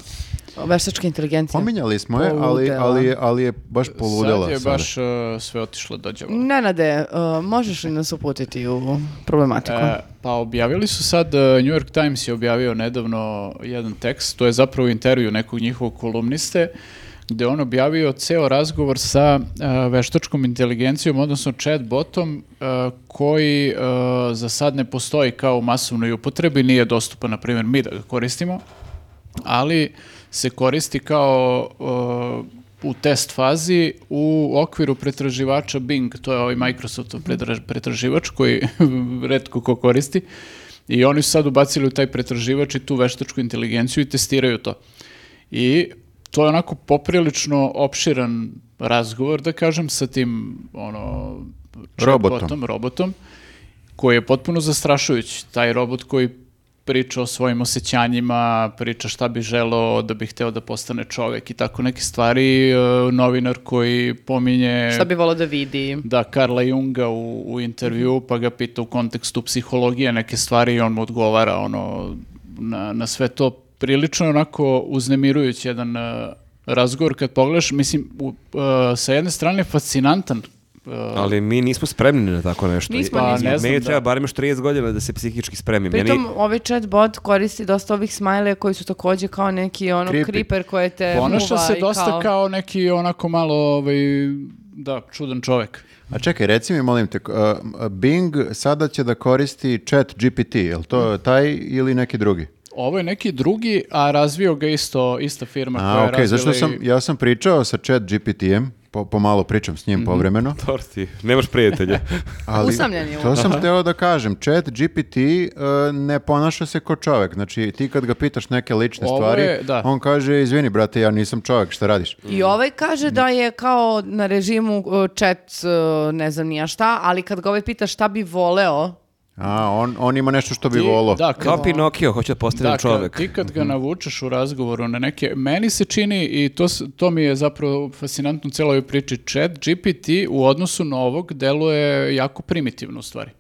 Speaker 4: Veštačka
Speaker 3: Pa
Speaker 4: inteligencija.
Speaker 1: Pominjali smo je, ali, ali, ali je baš poludela.
Speaker 2: Sad je
Speaker 1: sada.
Speaker 2: baš uh, sve otišlo dođevo.
Speaker 4: Nenade, uh, možeš li nas uputiti u problematiku?
Speaker 2: E, pa objavili su sad, e, New York Times je objavio nedavno jedan tekst, to je zapravo intervju nekog njihovog kolumniste, gde je on objavio ceo razgovor sa e, veštačkom inteligencijom, odnosno chatbotom, e, koji e, za sad ne postoji kao u masovnoj upotrebi, nije dostupan, na primjer, mi da ga koristimo, ali se koristi kao e, u test fazi u okviru pretraživača Bing, to je ovaj Microsoftov pretraž- pretraživač koji redko ko koristi i oni su sad ubacili u taj pretraživač i tu veštačku inteligenciju i testiraju to. I to je onako poprilično opširan razgovor, da kažem, sa tim ono,
Speaker 1: Robotom.
Speaker 2: chatbotom, robotom, koji je potpuno zastrašujući. Taj robot koji priča o svojim osjećanjima, priča šta bi želeo da bi hteo da postane čovek i tako neke stvari. E, Novinar koji pominje
Speaker 4: Šta bi volao da vidi?
Speaker 2: da Karla Junga u, u intervju, pa ga pita u kontekstu psihologije neke stvari i on mu odgovara ono, na, na sve to. Prilično je onako uznemirujući jedan e, razgovor kad pogledaš, mislim, u, e, sa jedne strane fascinantan e,
Speaker 3: Ali mi nismo spremni na tako nešto.
Speaker 4: Nismo,
Speaker 3: I-
Speaker 4: Pa, nismo.
Speaker 2: ne znam,
Speaker 3: Meni
Speaker 2: da.
Speaker 3: treba barem još 30 godina da se psihički spremim. Ja ni-
Speaker 4: Pritom, ovaj chatbot koristi dosta ovih smajleja koji su takođe kao neki ono
Speaker 1: Creepy.
Speaker 4: creeper koje te
Speaker 2: Ponaša
Speaker 4: muva
Speaker 2: se
Speaker 4: i
Speaker 2: dosta kao... neki onako malo, ovaj, da, čudan čovek.
Speaker 1: A čekaj, reci mi, molim te, k- a, a Bing sada će da koristi chat GPT, je li to taj ili neki drugi?
Speaker 2: Ovo je neki drugi, a razvio ga isto, ista firma koja
Speaker 1: A,
Speaker 2: je
Speaker 1: okej, zašto
Speaker 2: razvila
Speaker 1: sam,
Speaker 2: i-
Speaker 1: ja sam pričao sa chat GPT-em, po, pomalo pričam s
Speaker 2: Mhm.
Speaker 1: njim povremeno,
Speaker 3: Dobro ti, nemaš prijatelja.
Speaker 1: ali
Speaker 4: Usamljen je
Speaker 1: to sam hteo da kažem, chat GPT e, ne ponaša se kao čovek, znači ti kad ga pitaš neke lične
Speaker 2: Ovo
Speaker 1: stvari,
Speaker 2: je- da.
Speaker 1: on kaže, izvini brate, ja nisam čovek, šta radiš?
Speaker 4: I ovaj kaže da je kao na režimu uh, chat, uh, ne znam nija šta, ali kad ga ovaj pita šta bi voleo,
Speaker 1: A, on, on ima nešto što bi
Speaker 2: Ti-
Speaker 1: volao.
Speaker 2: Da, kad-
Speaker 3: Kao Pinokio, hoću da postanem
Speaker 2: da, kad-
Speaker 3: čovek.
Speaker 2: Dakle, ti kad ga navučeš u razgovoru na neke, meni se čini i to, s- to mi je zapravo fascinantno u celoj ovoj priči, chat GPT u odnosu na ovog deluje jako primitivno u stvari.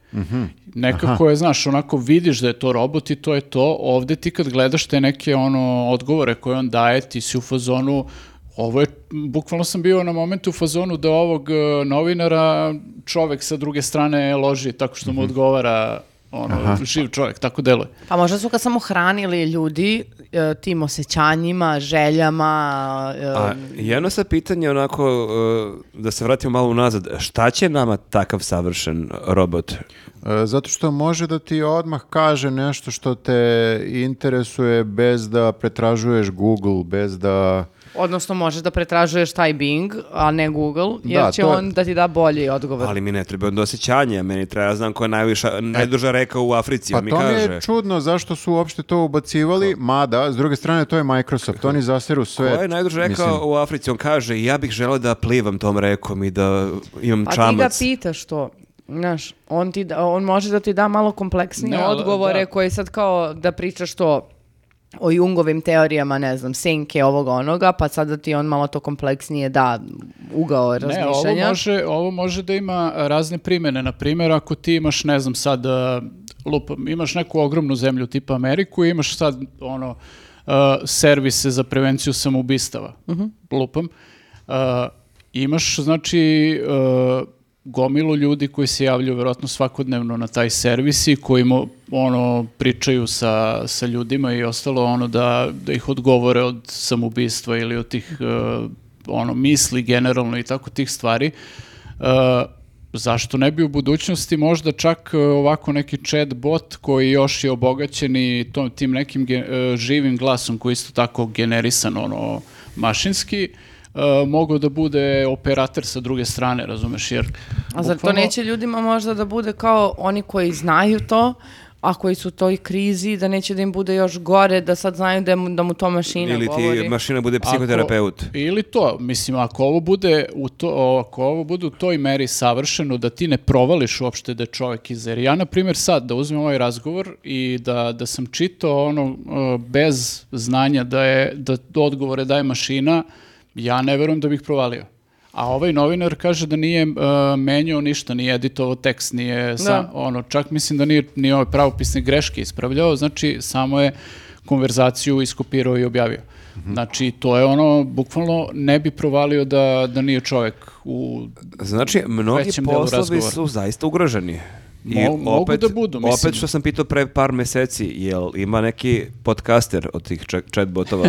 Speaker 2: Nekako je, znaš, onako vidiš da je to robot i to je to, ovde ti kad gledaš te neke ono odgovore koje on daje, ti si u fazonu, ovo je, bukvalno sam bio na momentu u fazonu da ovog e, novinara čovek sa druge strane loži tako što mu odgovara ono, živ čovek, tako deluje.
Speaker 4: pa možda su ga samo hranili ljudi uh, tim osjećanjima, željama, uh,
Speaker 3: A jedno sad pitanje onako, uh, da se vratimo malo unazad, šta će nama takav savršen robot?
Speaker 1: E, Zato što može da ti odmah kaže nešto što te interesuje bez da pretražuješ Google, bez da...
Speaker 4: odnosno možeš da pretražuješ taj Bing, a ne Google, jer
Speaker 1: Da,
Speaker 4: će
Speaker 1: to je-
Speaker 4: on da ti da bolji odgovor.
Speaker 3: Ali mi ne treba onda osjećanja, meni treba, ja znam koja je najviša, najduža reka u Africi,
Speaker 1: Pa
Speaker 3: on mi
Speaker 1: to mi
Speaker 3: kaže.
Speaker 1: je čudno zašto su uopšte to ubacivali, mada, s druge strane, to je Microsoft, oni zaseru sve.
Speaker 3: Koja je najduža reka
Speaker 1: mislim.
Speaker 3: u Africi? On kaže, ja bih želeo da plivam tom rekom i da imam
Speaker 4: Pa ti ga
Speaker 3: čamac.
Speaker 4: pitaš to. Znaš, on, ti, da- on može da ti da malo kompleksnije
Speaker 2: Ne, ali-
Speaker 4: odgovore
Speaker 2: da.
Speaker 4: koje sad kao da pričaš to o Jungovim teorijama, ne znam, senke ovoga onoga, pa sad da ti on malo to kompleksnije da ugao
Speaker 2: Ne, ovo
Speaker 4: razmišljanja.
Speaker 2: može, ovo može da ima razne primjene. Na primjer, ako ti imaš, ne znam, sad, uh, lupam, imaš neku ogromnu zemlju tipa Ameriku i imaš sad, ono, uh, servise za prevenciju samoubistava, lupam, Uh, imaš, znači, uh, gomilu ljudi koji se javljaju verovatno svakodnevno na taj servis i koji mo- ono, pričaju sa, sa ljudima i ostalo ono da, da ih odgovore od samoubistva ili od tih uh, ono misli generalno i tako tih stvari. Uh, zašto ne bi u budućnosti možda čak uh, ovako neki chat bot koji još je obogaćen i tom, tim nekim ge- uh, živim glasom koji je isto tako generisan ono mašinski uh, mogao da bude operator sa druge strane, razumeš, jer...
Speaker 4: A zar to
Speaker 2: bukvalno-
Speaker 4: neće ljudima možda da bude kao oni koji znaju to, a koji su u toj krizi, da neće da im bude još gore, da sad znaju da, mu, da mu to mašina
Speaker 3: Ili ti
Speaker 4: govori.
Speaker 3: mašina bude
Speaker 2: Ako-
Speaker 3: psihoterapeut.
Speaker 2: ili to, mislim, ako ovo bude u to, ako ovo bude u toj meri savršeno da ti ne provališ uopšte da je čovjek iz jer ja na primjer sad da uzmem ovaj razgovor i da, da sam čitao ono e, bez znanja da je da odgovore daje mašina, ja ne verujem da bih provalio. A ovaj novinar kaže da nije e, menjao ništa, nije editovao tekst, nije sa,
Speaker 4: Da.
Speaker 2: ono, čak mislim da nije ni ovaj ove pravopisne greške ispravljao, znači samo je konverzaciju iskopirao i objavio.
Speaker 3: Mhm.
Speaker 2: Znači, to je ono, bukvalno ne bi provalio da, da nije čovek u...
Speaker 3: Znači, mnogi
Speaker 2: Većem delu
Speaker 3: poslovi
Speaker 2: razgovora.
Speaker 3: su zaista ugroženi.
Speaker 2: Mo- mogu da budu, mislim.
Speaker 3: Opet što sam pitao pre par meseci, jel ima neki podcaster od tih cha- chatbotova?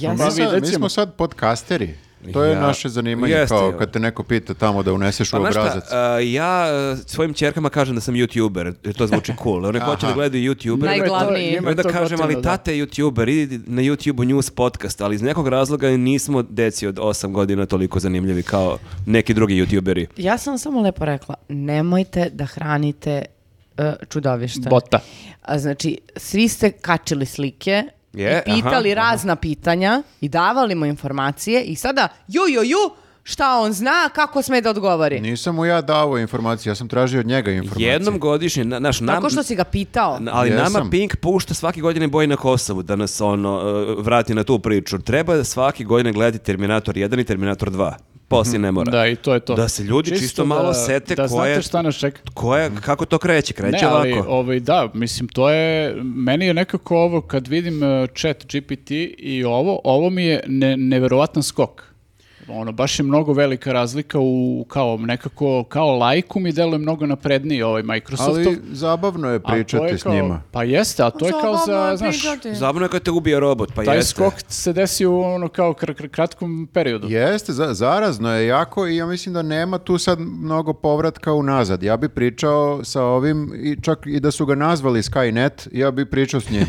Speaker 4: Ja
Speaker 1: Mi,
Speaker 2: Pa
Speaker 4: sam-
Speaker 1: sad-
Speaker 2: vidjet
Speaker 1: mi
Speaker 2: ćemo.
Speaker 1: smo sad podcasteri. To je
Speaker 3: Ja.
Speaker 1: naše zanimanje,
Speaker 3: Jeste,
Speaker 1: kao
Speaker 3: ja.
Speaker 1: kad te neko pita tamo da uneseš u
Speaker 3: znaš šta,
Speaker 1: obrazac.
Speaker 3: a, ja e, svojim čerkama kažem da sam youtuber, jer to zvuči cool. One hoće da gledaju youtubere.
Speaker 4: Najglavniji.
Speaker 2: Njima je to- njima je
Speaker 3: Onda
Speaker 2: to
Speaker 3: kažem,
Speaker 2: gotivno,
Speaker 3: ali
Speaker 2: da.
Speaker 3: tate je youtuber, idi na YouTube-u news podcast, ali iz nekog razloga nismo deci od 8 godina toliko zanimljivi kao neki drugi youtuberi.
Speaker 4: Ja sam samo lepo rekla, nemojte da hranite e, čudovišta.
Speaker 2: Bota.
Speaker 4: A znači, svi ste kačili slike
Speaker 3: Je,
Speaker 4: i pitali
Speaker 3: aha, aha.
Speaker 4: razna pitanja i davali mu informacije i sada ju, ju, ju, šta on zna, kako sme da odgovori.
Speaker 1: Nisam mu ja dao informacije, ja sam tražio od njega informacije.
Speaker 3: Jednom godišnje, na, naš, nam,
Speaker 4: Tako što si ga pitao.
Speaker 3: Na- Ali
Speaker 1: Jesam.
Speaker 3: nama Pink pušta svake godine boji na Kosovu da nas ono, e, vrati na tu priču. Treba svake godine gledati Terminator 1 i Terminator 2. Poslije ne mora.
Speaker 2: Mhm. Da, i to je to.
Speaker 3: Da se ljudi čisto, malo sete
Speaker 2: da
Speaker 3: koje,
Speaker 2: znate šta nas čeka.
Speaker 3: koje- kako to kreće. Kreće
Speaker 2: Ne, ali
Speaker 3: ovako.
Speaker 2: ovaj, da, mislim, to je, meni je nekako ovo, kad vidim eh, chat GPT i ovo, ovo mi je ne, neverovatan skok. Ono, baš je mnogo velika razlika u, kao nekako, kao lajku mi deluje mnogo napredniji ovaj Microsoftov.
Speaker 1: Ali zabavno je
Speaker 2: a to je
Speaker 1: pričati s
Speaker 2: kao-
Speaker 1: njima.
Speaker 2: Pa jeste, a to je kao za, znaš,
Speaker 3: Zabavno je kad te ubije robot, pa
Speaker 2: taj
Speaker 3: jeste.
Speaker 2: skok se desi u ono kao kr- kr- kratkom periodu.
Speaker 1: Jeste, za- zarazno je jako i ja mislim da nema tu sad mnogo povratka unazad. Ja bi pričao sa ovim i čak i da su ga nazvali Skynet, ja bi pričao s njim.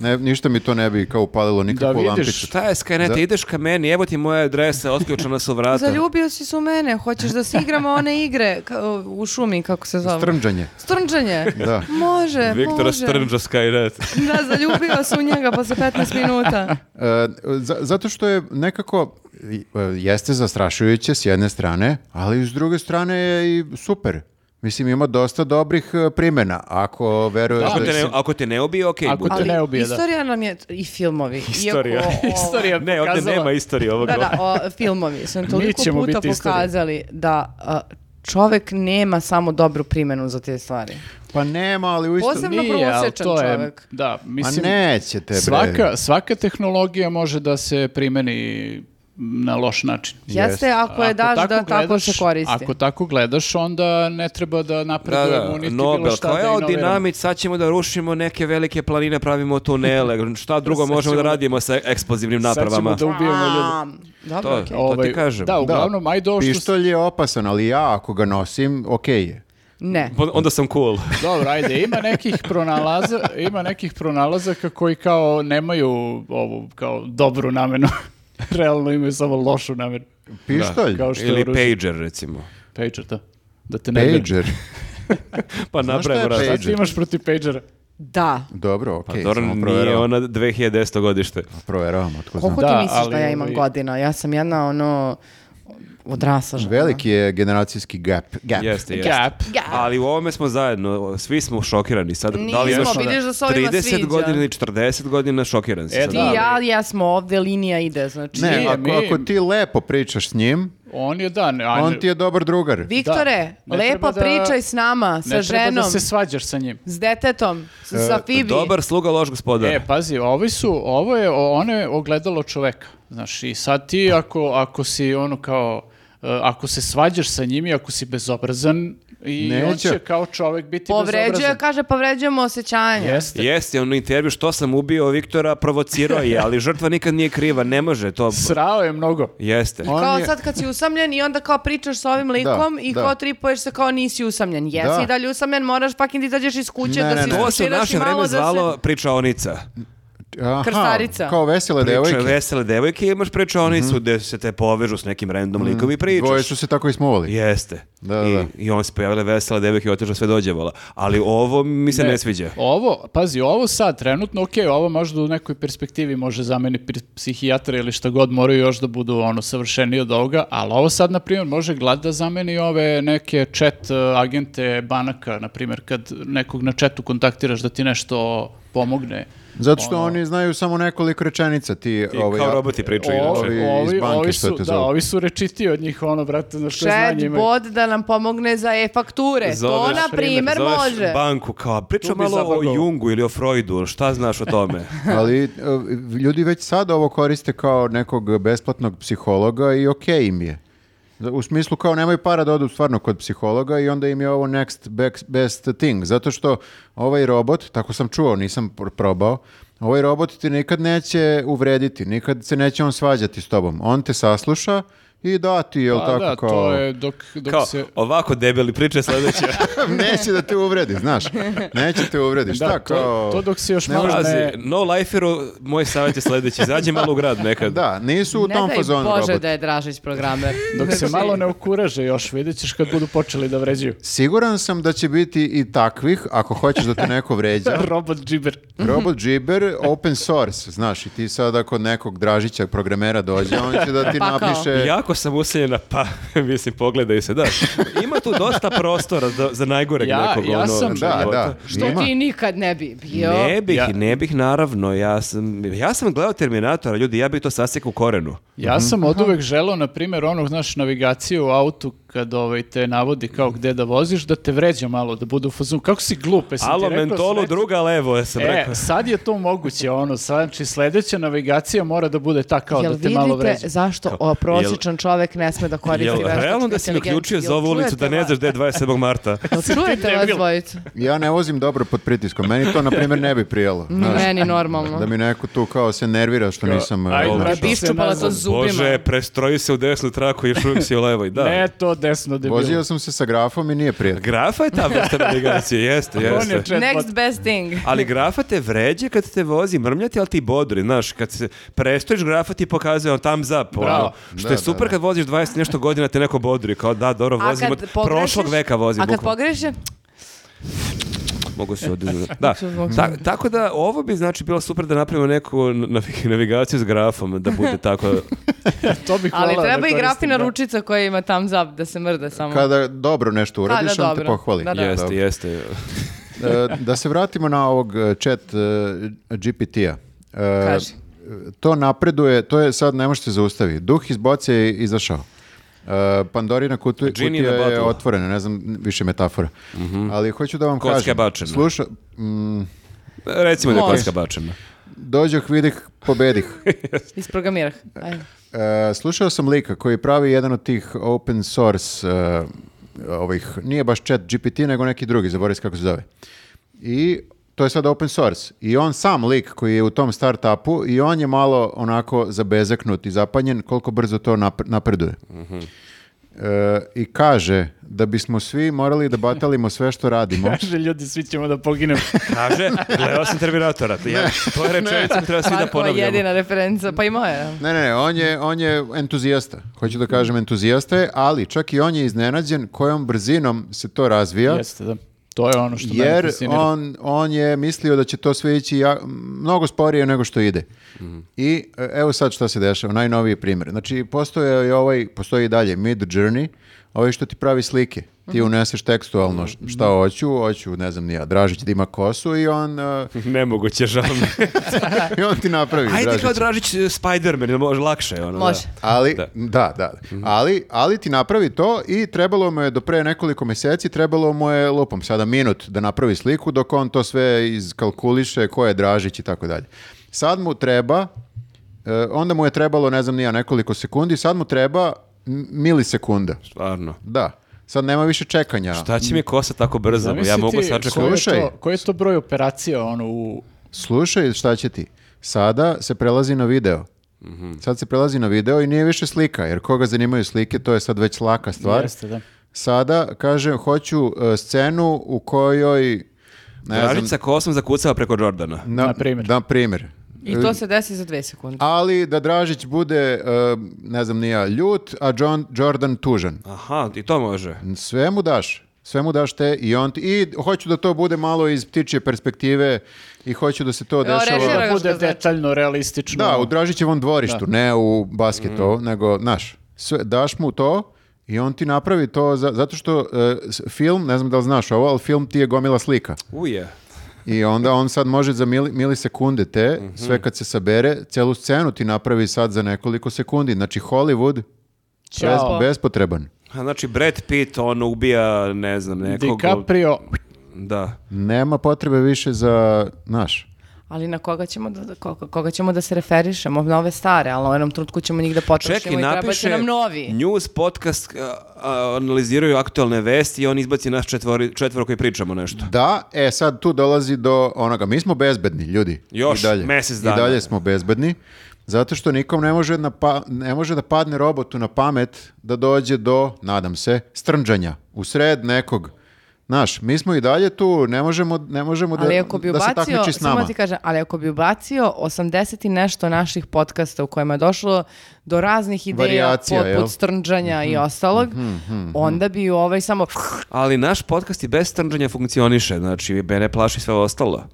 Speaker 1: Ne, ništa mi to ne bi kao upalilo nikakvu
Speaker 2: vidiš.
Speaker 1: lampicu.
Speaker 3: Šta je Skynet,
Speaker 1: Za-
Speaker 3: ideš ka meni, evo ti moja adresa, otključana su vrata.
Speaker 4: Zaljubio si se u mene, hoćeš da se igramo one igre kao u šumi, kako se zove.
Speaker 1: Strmđanje.
Speaker 4: Strnđanje.
Speaker 1: Da.
Speaker 4: Može,
Speaker 3: Viktora
Speaker 4: može.
Speaker 3: Strnđa Skynet.
Speaker 4: Da, zaljubio se u njega posle 15 minuta.
Speaker 1: E, za- zato što je nekako i, e, jeste zastrašujuće s jedne strane, ali s druge strane je i super. Mislim, ima dosta dobrih e, primjena. Ako veruješ
Speaker 3: Ako
Speaker 1: da,
Speaker 3: te ne, ako te ne ubije, okej.
Speaker 2: Ako
Speaker 3: bude.
Speaker 2: te ne ubije, da.
Speaker 4: istorija nam je, i filmovi. iako
Speaker 3: Istorija.
Speaker 4: o-
Speaker 2: Istorija
Speaker 3: Ne, ovdje
Speaker 2: pokazala-
Speaker 3: nema istorije ovog.
Speaker 4: Da, da, o, filmovi su nam toliko
Speaker 2: ćemo
Speaker 4: puta
Speaker 2: biti istorija.
Speaker 4: pokazali da a, čovek nema samo dobru primjenu za te stvari.
Speaker 1: Pa nema, ali u isto...
Speaker 4: Posebno
Speaker 2: Nije, ali
Speaker 4: prosječan
Speaker 2: to je-
Speaker 4: čovek.
Speaker 2: Da,
Speaker 1: Ma
Speaker 2: mislim,
Speaker 1: nećete, bre.
Speaker 2: svaka, svaka tehnologija može da se primeni na loš način.
Speaker 4: Jeste, ako je daš da tako se koristi.
Speaker 2: Ako tako gledaš, onda ne treba da
Speaker 3: Da,
Speaker 2: napredujemo
Speaker 3: da,
Speaker 2: niti bilo
Speaker 3: Nobel,
Speaker 2: šta
Speaker 3: kao
Speaker 2: da
Speaker 3: evo
Speaker 2: inoviramo.
Speaker 3: dinamit, sad ćemo da rušimo neke velike planine, pravimo tunele, šta drugo
Speaker 2: Sad
Speaker 3: možemo da
Speaker 2: ćemo-
Speaker 3: radimo sa eksplozivnim
Speaker 2: Sad ćemo
Speaker 3: napravama.
Speaker 2: da
Speaker 4: Pa,
Speaker 2: ubijemo ljude.
Speaker 4: A, dobro,
Speaker 3: To je.
Speaker 4: okej.
Speaker 2: Ovaj,
Speaker 3: ti kažem.
Speaker 2: Da,
Speaker 3: Da.
Speaker 2: uglavnom, ajde ovo što...
Speaker 1: Pištolj je opasan, ali ja ako ga nosim, okej je.
Speaker 4: Ne.
Speaker 3: On- Onda sam cool.
Speaker 2: Dobro, ajde, ima nekih pronalaza, ima nekih pronalazaka koji kao nemaju ovu kao dobru namenu. Realno imaju samo lošu namenu.
Speaker 1: Pištolj?
Speaker 2: Kao što
Speaker 3: Ili
Speaker 2: je oružje.
Speaker 3: pager, recimo.
Speaker 2: Pager, da. Da te ne gledam.
Speaker 1: Pager.
Speaker 3: Pa
Speaker 1: Znaš šta je
Speaker 3: napravimo
Speaker 1: pager?
Speaker 3: različite.
Speaker 2: Šta ti imaš protiv pagera?
Speaker 4: Da.
Speaker 1: Dobro, okej,
Speaker 3: Pa Dobro,
Speaker 1: samo
Speaker 3: nije ono
Speaker 1: proveravam.
Speaker 3: ona 2010. godište.
Speaker 1: Proveravam, otko znam.
Speaker 4: Koliko
Speaker 2: Da,
Speaker 4: ti misliš da
Speaker 2: ali
Speaker 4: ja imam
Speaker 2: ovaj-
Speaker 4: godina? Ja sam jedna ono odrasla žena.
Speaker 1: Veliki je generacijski gap. gap.
Speaker 3: Jeste, jeste.
Speaker 2: Gap.
Speaker 4: Ja.
Speaker 3: Ali u ovome smo zajedno, svi smo šokirani sad. da li
Speaker 4: Nismo,
Speaker 3: imaš
Speaker 4: vidiš da se ovima
Speaker 3: 30
Speaker 4: sviđa.
Speaker 3: godina ili 40 godina šokiran si
Speaker 2: E,
Speaker 3: sad.
Speaker 4: Ti
Speaker 2: da.
Speaker 4: i ja, ja smo ovde, linija ide, znači.
Speaker 1: Ne,
Speaker 2: Nije,
Speaker 1: ako,
Speaker 2: mi-
Speaker 1: ako ti lepo pričaš s njim,
Speaker 2: On je da, Pa ne, ajde,
Speaker 1: on ti je dobar drugar.
Speaker 4: Viktore,
Speaker 2: Da. Ne treba
Speaker 4: lepo
Speaker 2: da-
Speaker 4: pričaj s nama, sa
Speaker 2: ne treba
Speaker 4: ženom,
Speaker 2: da se E, svađaš sa njim.
Speaker 4: s detetom, s- sa Fibi.
Speaker 3: Dobar sluga, loš gospodar.
Speaker 2: E, pazi, ovi su, ovo je, ono je ogledalo čoveka. Znaš, i sad ti ako, ako si ono kao, e, ako se svađaš sa njim i ako si bezobrazan, i on
Speaker 1: Neće.
Speaker 2: će kao čovek biti
Speaker 4: Povređuje,
Speaker 2: bezobrazan.
Speaker 4: kaže, povređujemo osjećanje.
Speaker 5: pa-
Speaker 2: Jeste.
Speaker 3: Jeste, on u intervju što sam ubio Viktora provocirao je, ali žrtva nikad nije kriva, ne može to.
Speaker 2: Srao je mnogo.
Speaker 3: Jeste.
Speaker 1: On
Speaker 4: Kao
Speaker 1: je-
Speaker 4: sad kad si usamljen i onda kao pričaš s ovim likom i
Speaker 1: da.
Speaker 4: kao tripuješ se kao nisi usamljen. Jesi
Speaker 1: Da.
Speaker 4: i dalje usamljen, moraš fucking da izađeš iz kuće
Speaker 1: Ne,
Speaker 4: da
Speaker 1: ne,
Speaker 4: se
Speaker 1: ne.
Speaker 3: To se u
Speaker 4: iskuširaš
Speaker 3: naše
Speaker 4: i malo
Speaker 3: vreme
Speaker 4: da se-
Speaker 3: zvalo pričaonica.
Speaker 1: Aha,
Speaker 4: Krstarica.
Speaker 1: Kao vesele
Speaker 3: Priče
Speaker 1: devojke. Mhm.
Speaker 3: vesele devojke, imaš pričaonicu gdje se te povežu s nekim random likom i pričaš.
Speaker 1: Dvoje su se tako ismovali.
Speaker 3: Jeste.
Speaker 1: Da, da,
Speaker 3: I,
Speaker 1: da.
Speaker 3: I on se pojavile vesele devojke i otišao sve dođevala. Ali ovo mi se ne,
Speaker 2: E,
Speaker 3: sviđa.
Speaker 2: Ovo, pazi, ovo sad, trenutno, ok, ovo možda u nekoj perspektivi može zameni pri- psihijatra ili šta god, moraju još da budu ono savršeni od ovoga, ali ovo sad, na primjer, može glad da zameni ove neke chat e, agente banaka, na primjer, kad nekog na chatu kontaktiraš da ti nešto pomogne.
Speaker 1: Zato što
Speaker 2: Ono-
Speaker 1: oni znaju samo nekoliko rečenica ti... ovaj,
Speaker 5: I kao roboti pričaju.
Speaker 2: O-
Speaker 5: inače.
Speaker 1: ovi- iz banke
Speaker 2: ovi
Speaker 1: što
Speaker 2: su,
Speaker 1: te
Speaker 2: da,
Speaker 1: zovu.
Speaker 2: ovi su rečitiji od njih, ono, brate, znaš što znanje imaju.
Speaker 6: Chatbot da nam pomogne za
Speaker 4: E,
Speaker 6: e-fakture. To,
Speaker 5: Zoveš-
Speaker 6: na primer,
Speaker 5: zoveš
Speaker 6: može.
Speaker 5: banku kao,
Speaker 3: Priča
Speaker 5: priča mi
Speaker 3: malo o
Speaker 5: o
Speaker 3: Jungu ili o Freudu, šta znaš o tome?
Speaker 1: Ali e, ljudi već sada ovo koriste kao nekog besplatnog psihologa i okej im je. U smislu kao nemaju para da odu stvarno kod psihologa i onda im je ovo next bec- best thing. Zato što ovaj robot, tako sam čuo, nisam pr- probao, ovaj robot ti nikad neće uvrediti, nikad se neće on svađati s tobom. On te sasluša i da ti, jel
Speaker 2: Pa
Speaker 1: tako
Speaker 2: da,
Speaker 1: kao...
Speaker 2: to je dok, dok
Speaker 5: Kao,
Speaker 2: se...
Speaker 5: ovako debeli priče sledeće.
Speaker 1: neće da te uvredi, znaš. Neće te uvredi. Šta
Speaker 2: Da,
Speaker 1: kao...
Speaker 2: to, to dok se još
Speaker 1: Ne
Speaker 2: malo
Speaker 5: Pazi,
Speaker 2: ne...
Speaker 5: no liferu, moj savjet je sledeći, izađi malo u grad nekad.
Speaker 1: Da, nisu u
Speaker 4: Ne
Speaker 1: tom
Speaker 4: daj
Speaker 1: fazonu
Speaker 4: Bože
Speaker 1: roboti.
Speaker 4: da je Dražić programer.
Speaker 2: Dok
Speaker 4: Znači-
Speaker 2: se malo ne okuraže još, vidjet ćeš kad budu počeli da vređaju.
Speaker 1: Siguran sam da će biti i takvih, ako hoćeš da te neko vređa.
Speaker 2: Robot džiber.
Speaker 1: Robot Džiber, open source, znaš, i ti sad ako nekog Dražića programera dođe, on će da ti
Speaker 4: Pa kao.
Speaker 1: napiše...
Speaker 5: Jako sam useljena, pa, mislim, pogledaj se, da. Ima tu dosta prostora za, za najgoreg
Speaker 2: Ja-
Speaker 5: nekog.
Speaker 2: ja
Speaker 5: ono,
Speaker 2: sam-
Speaker 1: Da,
Speaker 5: života.
Speaker 1: da.
Speaker 4: Što
Speaker 1: ima.
Speaker 4: ti nikad ne bi bio.
Speaker 3: Ne bih,
Speaker 2: Ja-
Speaker 3: ne bih, naravno. Ja sam, ja sam gledao Terminatora, ljudi, ja bih to sasjekao u korenu.
Speaker 2: Ja sam od uvek želao, na primjer, ono, znaš, navigaciju u autu kad ovaj, te navodi kao gde da voziš, da te vređa malo, da budu u fazonu. Kako si glup, jesam
Speaker 5: Alo,
Speaker 2: ti rekao
Speaker 5: mentolu,
Speaker 2: sledeće-
Speaker 5: druga levo, ja sam
Speaker 2: E,
Speaker 5: rekao.
Speaker 2: sad je to moguće, ono, sad, znači sledeća navigacija mora da bude ta kao
Speaker 4: Jel
Speaker 2: da te malo
Speaker 4: vidite
Speaker 2: vređa.
Speaker 4: zašto o, prosječan čovek ne sme da
Speaker 2: pa
Speaker 4: koristi
Speaker 5: Jel,
Speaker 4: veštačku
Speaker 5: realno da si me
Speaker 4: inteligenciju?
Speaker 5: uključio za
Speaker 4: Jel
Speaker 5: ovu ulicu da
Speaker 4: čujete
Speaker 5: ne
Speaker 4: vas?
Speaker 5: znaš gde je 27. marta?
Speaker 4: Jel čujete vas
Speaker 2: debil?
Speaker 4: dvojicu?
Speaker 1: Ja ne vozim dobro pod pritiskom, meni to, na primjer, ne bi prijelo. znaš.
Speaker 4: Meni normalno.
Speaker 1: da mi neko tu kao se nervira što nisam...
Speaker 2: Ajde,
Speaker 1: znaš,
Speaker 2: brate,
Speaker 1: ono.
Speaker 4: Iščupala to
Speaker 2: Bože,
Speaker 4: zubima.
Speaker 5: Bože, prestroji se u desnu traku, još uvijek si u levoj, da.
Speaker 2: Ne to desno debilo.
Speaker 1: Vozio sam se sa grafom i nije prijelo.
Speaker 5: Grafa je ta vrsta navigacije, jeste,
Speaker 2: On je
Speaker 5: jeste.
Speaker 2: chatbot.
Speaker 6: Next best thing.
Speaker 3: Ali grafa te vređe kad te vozi mrmljati, ali ti bodri, znaš, kad se prestojiš grafa ti pokazuje on thumbs up, ono,
Speaker 2: Bravo.
Speaker 3: što
Speaker 1: Da,
Speaker 3: je
Speaker 1: da,
Speaker 3: super
Speaker 1: da.
Speaker 3: kad voziš 20 i nešto godina te neko bodri, kao da, dobro,
Speaker 6: A
Speaker 3: vozim
Speaker 6: kad
Speaker 3: od
Speaker 6: pogrešiš-
Speaker 3: prošlog veka vozim,
Speaker 6: A kad
Speaker 3: bukvalno.
Speaker 6: pogreše,
Speaker 3: Mogu se odizati. Da.
Speaker 6: Znači,
Speaker 3: Ta- tako da ovo bi znači bilo super da napravimo neku navi- navigaciju s grafom da bude tako.
Speaker 2: To bih
Speaker 4: Ali
Speaker 2: voleo da
Speaker 4: treba i
Speaker 2: koristim,
Speaker 4: grafina
Speaker 2: da.
Speaker 4: ručica koja ima thumbs up da se mrde samo.
Speaker 1: Kada dobro nešto uradiš, on te
Speaker 4: dobro.
Speaker 1: pohvali.
Speaker 4: Da, da.
Speaker 3: jeste,
Speaker 1: Dobro.
Speaker 3: jeste.
Speaker 1: E, da se vratimo na ovog e, chat e, GPT-a. E,
Speaker 4: Kaži.
Speaker 1: To napreduje, to je sad ne možete zaustaviti. Duh iz boce je izašao. E, Pandorina kutu,
Speaker 3: Genie
Speaker 1: kutija
Speaker 3: in a
Speaker 1: je
Speaker 3: bottle.
Speaker 1: otvorena, ne znam više metafora. Ali hoću da vam
Speaker 3: Kocka je
Speaker 1: kažem.
Speaker 3: bačena.
Speaker 1: Sluša, mm,
Speaker 3: Recimo da je
Speaker 4: Može.
Speaker 3: kocka bačena.
Speaker 1: dođoh, vidih, pobedih.
Speaker 4: Isprogramirah. Ajde.
Speaker 1: E, slušao sam lika koji pravi jedan od tih open source e, ovih, nije baš chat GPT, nego neki drugi, zaboravim se kako se zove. I to je sad open source. I on sam lik koji je u tom startupu i on je malo onako zabezaknut i zapanjen koliko brzo to nap- napreduje.
Speaker 2: Mhm.
Speaker 1: E, I kaže da bismo svi morali da batalimo sve što radimo.
Speaker 2: Kaže, ljudi, svi ćemo da poginemo.
Speaker 5: Kaže, gledao sam Terminatora. To je, to je rečenica koju treba svi da
Speaker 4: Markova
Speaker 5: ponavljamo.
Speaker 4: jedina referenca, pa i moja.
Speaker 1: Ne, ne, ne, on je, on je entuzijasta. Hoću da kažem entuzijasta je, ali čak i on je iznenađen kojom brzinom se to razvija.
Speaker 2: Jeste, da. To je ono što mene
Speaker 1: Jer
Speaker 2: fascinira.
Speaker 1: on, on je mislio da će to sve ići ja- mnogo sporije nego što ide.
Speaker 2: Mhm.
Speaker 1: I e, evo sad šta se dešava, najnoviji primjer. Znači, postoje i ovaj, postoji i dalje Mid Journey, ovaj što ti pravi slike. Ti
Speaker 2: Mhm.
Speaker 1: uneseš tekstualno š- šta hoću, hoću, ne znam, nija, Dražić da ima kosu i on, e,
Speaker 5: Nemoguće, žao mi. je.
Speaker 1: i on ti napravi
Speaker 3: Ajde
Speaker 1: Dražića.
Speaker 3: kao Dražić eh, Spider-Man, jel može lakše je ono. da.
Speaker 4: Može.
Speaker 1: Ali,
Speaker 3: Da. Mhm.
Speaker 1: da, da. Ali, ali ti napravi to i trebalo mu je do pre nekoliko mjeseci, trebalo mu je lupom sada minut da napravi sliku dok on to sve izkalkuliše, ko je Dražić i tako dalje. Sad mu treba, e, onda mu je trebalo, ne znam, nija nekoliko sekundi, sad mu treba m- milisekunda.
Speaker 3: Stvarno.
Speaker 1: Da. Sad nema više čekanja.
Speaker 3: Šta će mi kosa tako brzo? Ja mogu
Speaker 2: Zamisli ti
Speaker 3: sačekati.
Speaker 2: koji je
Speaker 1: Slušaj.
Speaker 2: to- Koji je to broj operacija, ono, u...
Speaker 1: Slušaj, šta će ti? Sada se prelazi na video.
Speaker 3: Mhm.
Speaker 1: Sad se prelazi na video i nije više slika, jer koga zanimaju slike, to je sad već laka stvar.
Speaker 2: Jeste, da.
Speaker 1: Sada, kažem, hoću e, scenu u kojoj... Ne
Speaker 3: Dražić sa
Speaker 1: znam,
Speaker 3: kosom zakucava preko Jordana.
Speaker 1: na,
Speaker 2: Na primjer.
Speaker 1: na primjer.
Speaker 4: I to se desi za dve sekunde.
Speaker 1: Ali da Dražić bude, e, ne znam, nija ljut, a John, Jordan tužan.
Speaker 3: Aha, i to može.
Speaker 1: Sve mu daš. Sve mu daš te i on ti- I hoću da to bude malo iz ptičje perspektive i hoću da se to
Speaker 4: režira
Speaker 1: dešava...
Speaker 4: ga.
Speaker 2: Da
Speaker 4: što
Speaker 2: bude
Speaker 4: znači.
Speaker 2: detaljno, realistično.
Speaker 1: Da, u Dražićevom dvorištu, ne u basketu, nego, znaš, sve, daš mu to i on ti napravi to, za- zato što e, s- film, ne znam da li znaš ovo, ali film ti je gomila slika.
Speaker 3: Uje.
Speaker 1: I onda on sad može za mili, milisekunde te,
Speaker 3: Mhm.
Speaker 1: sve kad se sabere, celu scenu ti napravi sad za nekoliko sekundi. Znači Hollywood bez,
Speaker 2: Ćao.
Speaker 1: bespotreban.
Speaker 3: A znači Brad Pitt on ubija ne znam nekog.
Speaker 2: DiCaprio,
Speaker 3: Da.
Speaker 1: Nema potrebe više za, znaš,
Speaker 4: Ali na koga ćemo da, koga, koga ćemo da se referišemo? Na ove stare, ali u jednom trenutku ćemo njih da potrošimo
Speaker 3: Čekaj,
Speaker 4: i trebat
Speaker 3: napiše
Speaker 4: će ovaj nam novi.
Speaker 3: news podcast a, a, analiziraju aktualne vesti i on izbaci nas četvori, četvoro koji pričamo nešto.
Speaker 1: Da, e sad tu dolazi do onoga, mi smo bezbedni ljudi.
Speaker 3: Još
Speaker 1: I dalje.
Speaker 3: mjesec dana.
Speaker 1: I dalje smo bezbedni, zato što nikom ne može, na pa- ne može da padne robotu na pamet da dođe do, nadam se, strnđanja u sred nekog. Znaš, mi smo i dalje tu, ne možemo, ne možemo Pa da,
Speaker 4: Ali ako bi
Speaker 1: da se
Speaker 4: ubacio,
Speaker 1: takmiči s
Speaker 4: samo
Speaker 1: nama.
Speaker 4: ti kažem, ali ako bi ubacio 80 i nešto naših podcasta u kojima je došlo do raznih ideja
Speaker 1: Varijacija,
Speaker 4: poput
Speaker 1: jel? Mhm,
Speaker 4: strnđanja i ostalog, onda bi ovaj samo
Speaker 3: Ali naš podcast i bez strnđanja funkcioniše, znači mene plaši sve ostalo.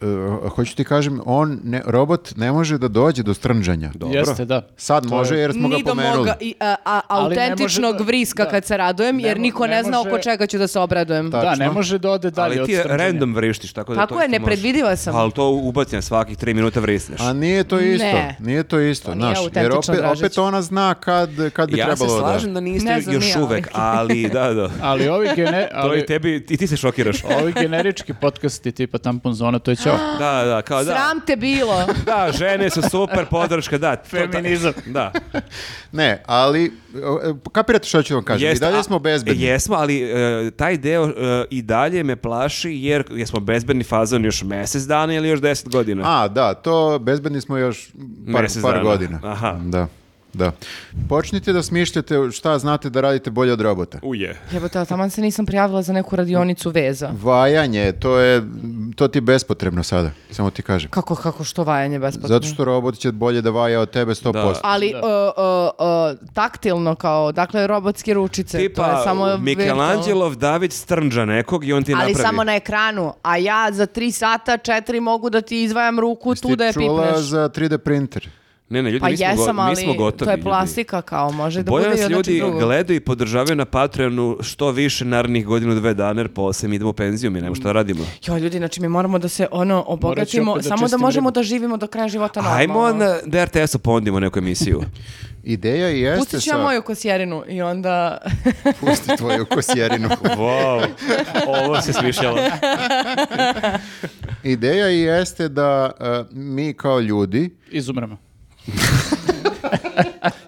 Speaker 1: E, hoću ti kažem, on, ne, robot ne može da dođe do strnđanja.
Speaker 3: Dobro.
Speaker 2: jeste, da.
Speaker 1: Sad
Speaker 2: To
Speaker 1: može
Speaker 2: je-
Speaker 1: jer smo ga
Speaker 4: ni do
Speaker 1: pomenuli.
Speaker 4: moga i, a, a,
Speaker 2: Ali ne može
Speaker 4: autentičnog
Speaker 2: da-
Speaker 4: vriska
Speaker 2: da.
Speaker 4: kad se radujem, jer
Speaker 2: Ne mo-
Speaker 4: niko
Speaker 2: ne
Speaker 4: ne, zna
Speaker 2: može-
Speaker 4: oko čega ću da se obradujem.
Speaker 1: Tačno.
Speaker 2: Da, ne može da ode dalje
Speaker 3: Ali
Speaker 2: od
Speaker 3: ti je
Speaker 2: strnđenja.
Speaker 3: random vrištiš, tako da
Speaker 4: Tako
Speaker 3: to
Speaker 4: je,
Speaker 3: isto može.
Speaker 4: nepredvidiva sam.
Speaker 3: Ali to ubacim svakih tri minuta vrisneš.
Speaker 1: A nije to isto,
Speaker 4: Ne.
Speaker 1: nije to isto,
Speaker 4: To nije
Speaker 1: znaš, jer
Speaker 4: autentično,
Speaker 1: opet,
Speaker 4: Dražić.
Speaker 1: opet ona zna kad, kad bi
Speaker 3: ja se
Speaker 1: trebalo da...
Speaker 3: slažem da niste
Speaker 4: Ne znam ni
Speaker 3: još
Speaker 4: ja,
Speaker 3: uvek, ali da, da.
Speaker 2: Ali ovi, gene,
Speaker 5: To
Speaker 2: ali,
Speaker 5: i tebi, i ti se šokiraš.
Speaker 2: ovi generički podcasti tipa Tampon Zona, to je ćao.
Speaker 3: Da, da,
Speaker 1: Pa
Speaker 3: kao da.
Speaker 4: Sram te bilo.
Speaker 3: Da, žene su super podrška, da. to-
Speaker 2: Feminizam.
Speaker 3: Da.
Speaker 1: Ne, ali e, kapirate što ću vam kažem. I
Speaker 3: Jeste,
Speaker 1: dalje
Speaker 3: a-
Speaker 1: smo bezbedni.
Speaker 3: Jesmo, ali e, taj deo e, i dalje me plaši jer jesmo bezbedni fazon još mjesec dana ili još deset godina.
Speaker 1: A, da, to bezbedni smo još par,
Speaker 3: Mjesec
Speaker 1: par
Speaker 3: dana.
Speaker 1: godina.
Speaker 3: Aha.
Speaker 1: Da, da. Počnite da smišljate šta znate da radite bolje od robota.
Speaker 5: Uje.
Speaker 4: Jebote, ali taman se nisam prijavila za neku radionicu veza.
Speaker 1: Vajanje, to je, to ti je bespotrebno sada, samo ti kažem.
Speaker 4: Kako, kako, što vajanje besplatno?
Speaker 1: Zato što robot će bolje da vaja od tebe 100%.
Speaker 4: Ali
Speaker 2: Da.
Speaker 4: o, o, o, taktilno kao, dakle, robotske ručice. to
Speaker 3: Tipa
Speaker 4: je samo virtualno.
Speaker 3: Mikelanđelov David strnđa nekog i on ti
Speaker 4: Ali
Speaker 3: napravi.
Speaker 4: samo na ekranu. A ja za tri sata, četiri mogu da ti izvajam ruku
Speaker 1: Jesi
Speaker 4: tu da je
Speaker 1: ti čula
Speaker 4: pipneš.
Speaker 1: za 3D printer?
Speaker 3: Ne, ne, ljudi,
Speaker 4: Pa
Speaker 3: mi, smo
Speaker 4: jesam,
Speaker 3: go- mi
Speaker 4: ali
Speaker 3: smo gotovi.
Speaker 4: to je
Speaker 3: ljudi.
Speaker 4: plastika kao, može da
Speaker 3: Bolje
Speaker 4: bude i
Speaker 3: nas
Speaker 4: od nečeg
Speaker 3: ljudi
Speaker 4: drugog.
Speaker 3: gledaju i podržavaju na Patreonu što više narednih godinu, dve dana, jer posle mi idemo u penziju, mi nema šta radimo.
Speaker 4: Jo, ljudi, znači mi moramo da se ono obogatimo,
Speaker 2: opet da
Speaker 4: samo da
Speaker 2: čistim
Speaker 4: možemo
Speaker 2: ribu.
Speaker 4: da živimo do kraja života normalno.
Speaker 3: Ajmo na DRTS-u pondimo neku emisiju.
Speaker 1: Ideja i jeste
Speaker 4: Pustit ću ja
Speaker 1: sad-
Speaker 4: moju kosjerinu i onda...
Speaker 1: Pusti tvoju kosjerinu.
Speaker 5: Wow, ovo se smišljalo.
Speaker 1: Ideja i jeste da e, mi kao ljudi,
Speaker 2: Izumremo.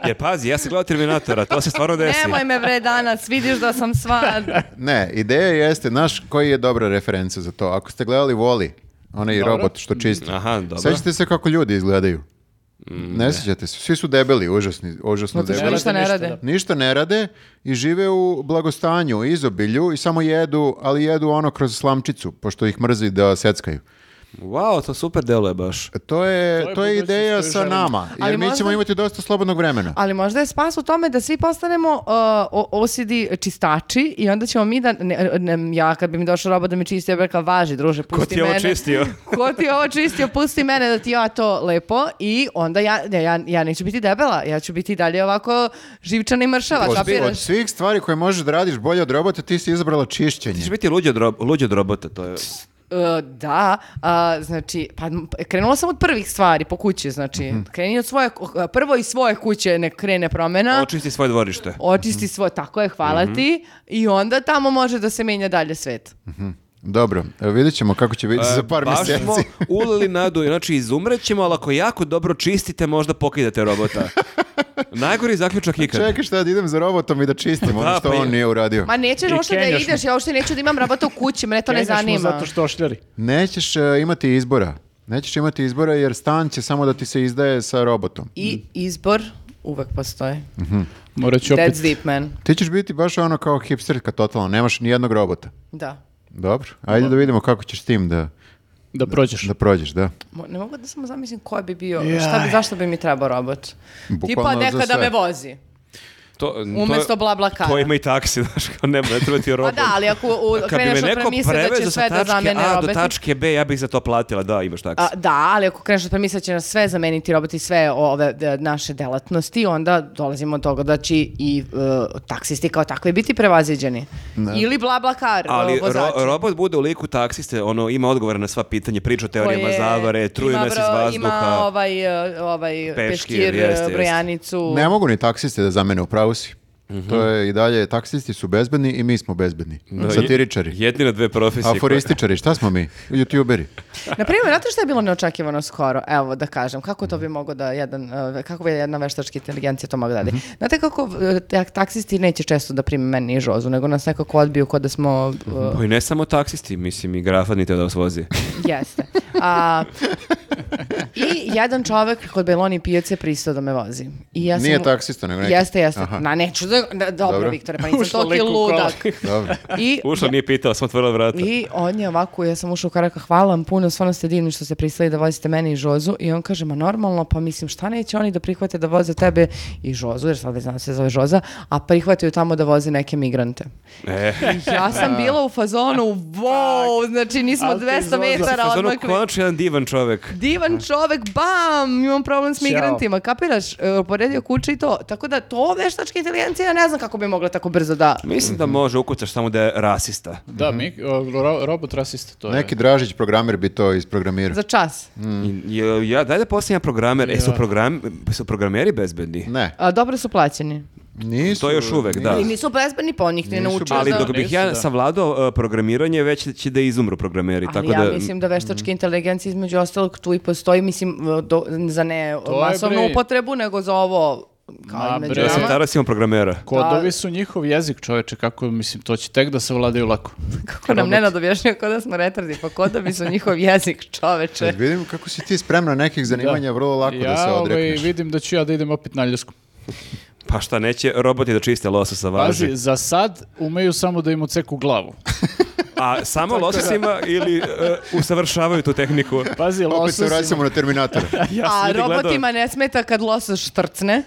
Speaker 3: Jer pazi, ja sam gledao Terminatora, to se stvarno desi.
Speaker 4: Nemoj me bre danas, vidiš da sam sva...
Speaker 1: Ne, ideja jeste, znaš koji je dobra referenca za to? Ako ste gledali Wall-E, onaj
Speaker 2: Dobro.
Speaker 1: robot što čisti.
Speaker 3: Aha, dobro.
Speaker 1: Sećate se kako ljudi izgledaju? ne sećate se. Svi su debeli, užasni, užasno
Speaker 4: Zato što
Speaker 1: debeli.
Speaker 4: ništa ne
Speaker 2: ništa,
Speaker 4: rade.
Speaker 2: da.
Speaker 1: Ništa ne rade i žive u blagostanju, izobilju i samo jedu, ali jedu ono kroz slamčicu, pošto ih mrzi da seckaju.
Speaker 3: Wow, to super deluje baš.
Speaker 1: To je, to
Speaker 2: To
Speaker 1: je,
Speaker 2: je
Speaker 1: ideja
Speaker 2: budućnost koju
Speaker 1: sa
Speaker 2: želimo.
Speaker 1: nama, jer
Speaker 4: Ali
Speaker 1: mi ćemo
Speaker 4: možda-
Speaker 1: imati dosta slobodnog vremena.
Speaker 4: Ali možda je spas u tome da svi postanemo uh, o- osidi čistači i onda ćemo mi da... Ne, ne, ja kad bi mi došao roba da mi čisti, ja bih rekla, važi druže, pusti
Speaker 5: ti je ovo
Speaker 4: mene.
Speaker 5: čistio?
Speaker 4: Ko ti je ovo čistio, pusti mene da ti ja to lepo i onda ja, ne, ja, ja neću biti debela, ja ću biti dalje ovako živčana i mršava,
Speaker 1: Od, od
Speaker 4: kapiraš?
Speaker 1: svih stvari koje možeš da radiš bolje od robota, ti si izabrala čišćenje.
Speaker 3: Ti ćeš biti luđi od, rob- luđi od robota, to je...
Speaker 4: E, da, a, znači, pa m- krenula sam od prvih stvari po kući, znači,
Speaker 5: Mhm.
Speaker 4: kreni od svoje, ku- prvo iz svoje kuće nek krene promena,
Speaker 3: Očisti svoje dvorište.
Speaker 4: očisti svoje, tako je, hvala
Speaker 3: Mhm.
Speaker 4: ti, i onda tamo može da se menja dalje svet.
Speaker 1: Dobro, e, vidjet ćemo kako će biti za par
Speaker 3: E, Baš
Speaker 1: mjeseci.
Speaker 3: smo ulili nadu, znači izumrećemo, ali ako jako dobro čistite, možda pokidate robota. Najgori zaključak ikad.
Speaker 1: Čekaj šta da idem za robotom i da čistim ono
Speaker 3: Da,
Speaker 1: što
Speaker 3: pa i-
Speaker 1: on nije uradio.
Speaker 6: Ma nećeš
Speaker 2: I
Speaker 6: uopšte da
Speaker 2: kenjaš mu.
Speaker 6: ideš, ja uopšte neću da imam rabata u kući, mene to ne
Speaker 2: Kenjaš mu
Speaker 6: zanima.
Speaker 2: zato što ošljari.
Speaker 1: Nećeš e, imati izbora. Nećeš imati izbora jer stan će samo da ti se izdaje sa robotom.
Speaker 4: I izbor uvek postoji.
Speaker 3: Znači
Speaker 2: Morat ću opet...
Speaker 4: That's deep, man.
Speaker 1: Ti ćeš biti baš ono kao hipsterka totalno, nemaš ni jednog robota.
Speaker 4: Da.
Speaker 1: Dobro, ajde da vidimo kako ćeš s tim da,
Speaker 2: Da prođeš.
Speaker 1: da prođeš, da.
Speaker 4: Mo- Ne mogu da samo zamislim ko bi bio,
Speaker 2: Jaj.
Speaker 4: šta bi, zašto bi mi trebao robot?
Speaker 1: Bukvalno
Speaker 4: Tipa
Speaker 1: za
Speaker 4: neka da
Speaker 1: sve.
Speaker 4: me vozi.
Speaker 3: To, to je-
Speaker 4: Umesto bla bla kara.
Speaker 3: To ima i taksi, znaš, kao ne, ne treba ti
Speaker 7: Pa
Speaker 3: robot.
Speaker 7: da, ali ako u,
Speaker 3: Kad bi
Speaker 7: kreneš
Speaker 3: me
Speaker 7: od
Speaker 3: neko
Speaker 7: premise da će
Speaker 3: prevezao sa
Speaker 7: sve da
Speaker 3: tačke
Speaker 7: zamene
Speaker 3: A do
Speaker 7: roboti.
Speaker 3: tačke B, ja bih za to platila, da, imaš taksi.
Speaker 4: A, da, ali ako kreneš od premisa da će nas sve zameniti roboti, sve ove e, naše delatnosti, onda dolazimo do toga da će i e, taksisti kao takvi biti prevaziđeni. Ili bla bla kar, e,
Speaker 3: Ali
Speaker 4: vozači.
Speaker 3: ro- robot bude u liku taksiste, ono, ima odgovore na sva pitanja, priča o
Speaker 4: koje
Speaker 3: teorijama zavare, truje
Speaker 4: ima
Speaker 3: nas iz
Speaker 4: bro-
Speaker 3: vazduha.
Speaker 4: Ima ovaj, e, ovaj
Speaker 3: Peškir,
Speaker 4: peškir, e,
Speaker 3: jeste, jeste.
Speaker 4: brojanicu.
Speaker 1: Ne mogu ni taksiste da zamene u pravu si. To je i dalje, taksisti su bezbedni i mi smo bezbedni. Satiričari.
Speaker 3: Jedni na dve profesije.
Speaker 1: Aforističari, šta smo mi? Youtuberi.
Speaker 4: Na primjer, znate što je bilo neočekivano skoro? Evo da kažem, kako to bi mogao da jedan, e, kako bi jedna veštačka inteligencija to mogla da radi?
Speaker 3: Mhm.
Speaker 4: Znate kako e, tak- taksisti neće često da prime meni i Žozu, nego nas nekako odbiju kod da smo... e,
Speaker 3: koje- Pa i ne samo taksisti, mislim i grafad ni te da vas vozi.
Speaker 4: Jeste. A, I jedan čovek kod Beloni pijace pristao da me vozi. I ja sam
Speaker 1: Nije
Speaker 4: mu-
Speaker 1: taksista, nego neki.
Speaker 4: Jeste, jeste.
Speaker 1: Aha.
Speaker 4: Na, neću da... da- dobro,
Speaker 1: Dobro.
Speaker 4: Viktore, pa nisam
Speaker 2: Ušla
Speaker 4: toki
Speaker 2: lik u kola.
Speaker 4: ludak.
Speaker 1: Dobro.
Speaker 4: I,
Speaker 3: Ušla nije pitao, sam otvorila vrata.
Speaker 4: I on je ovako, ja sam ušao u karaka, hvala vam puno, stvarno ste divni što ste pristali da vozite mene i Žozu. I on kaže, ma normalno, pa mislim, šta neće oni da prihvate da voze tebe i Žozu, jer sad već znam se zove Žoza, a prihvataju tamo da voze neke migrante.
Speaker 3: E.
Speaker 4: I ja sam bila u fazonu, wow, znači nismo
Speaker 2: Ali ti
Speaker 4: 200
Speaker 2: Žoza.
Speaker 4: metara
Speaker 3: Znaš, ono,
Speaker 4: odmakli.
Speaker 3: konačno jedan divan čovek.
Speaker 4: Divan čovek, bam, imam problem s migrantima, kapiraš, E, poredio kuće i to. Tako da to veštačka inteligencija, ne znam kako bi mogla tako brzo da...
Speaker 3: Mislim da može, ukucaš samo da je rasista.
Speaker 2: Da, mi, o, ro- robot rasista to je.
Speaker 1: Neki Dražić programer bi to isprogramirao.
Speaker 4: Za čas.
Speaker 3: I- je- ja, daj da postavljam programer. E, su, program, su programeri bezbedni?
Speaker 1: Ne,
Speaker 4: A, dobro su plaćeni.
Speaker 1: nisu.
Speaker 3: To još uvek, da.
Speaker 7: I nisu bezbedni, pa on njih ne
Speaker 1: Nisu
Speaker 7: naučio.
Speaker 3: Ali
Speaker 7: da-
Speaker 3: dok bih
Speaker 2: Jesu,
Speaker 3: ja
Speaker 2: da.
Speaker 3: savladao e, programiranje, već će da izumru programeri.
Speaker 4: Ali
Speaker 3: tako
Speaker 4: ja
Speaker 3: da, Mhm.
Speaker 4: mislim da veštačka inteligencija između ostalog tu i postoji, mislim, e, do- za ne
Speaker 2: To je,
Speaker 4: masovnu
Speaker 2: bre.
Speaker 4: upotrebu, nego za ovo kao
Speaker 2: Ma,
Speaker 4: i među
Speaker 2: bre.
Speaker 3: Ja sam
Speaker 4: nama.
Speaker 3: taras imam programera.
Speaker 4: Pa-
Speaker 2: Kodovi su njihov jezik, čoveče, kako, mislim, to će tek da se vladaju lako.
Speaker 4: Kako nam Nenad objašnjava kao da smo retardi, pa ko da bi su njihov jezik čoveče.
Speaker 1: Kad vidim kako si ti spremna nekih zanimanja vrlo lako da se
Speaker 2: ovaj,
Speaker 1: odrekneš.
Speaker 2: vidim da ću ja da idem opet na ljusku.
Speaker 3: Pa šta, neće roboti da čiste lososa važi.
Speaker 2: Pazi, za sad umeju samo da im oceku glavu.
Speaker 3: A samo lososima ili e, usavršavaju tu tehniku.
Speaker 2: Pazi,
Speaker 1: Opet se
Speaker 2: lososima-
Speaker 1: vraćamo na Terminatora.
Speaker 3: Ja sam
Speaker 4: A
Speaker 3: ljudi gledao-
Speaker 4: robotima ne smeta kad losos štrcne.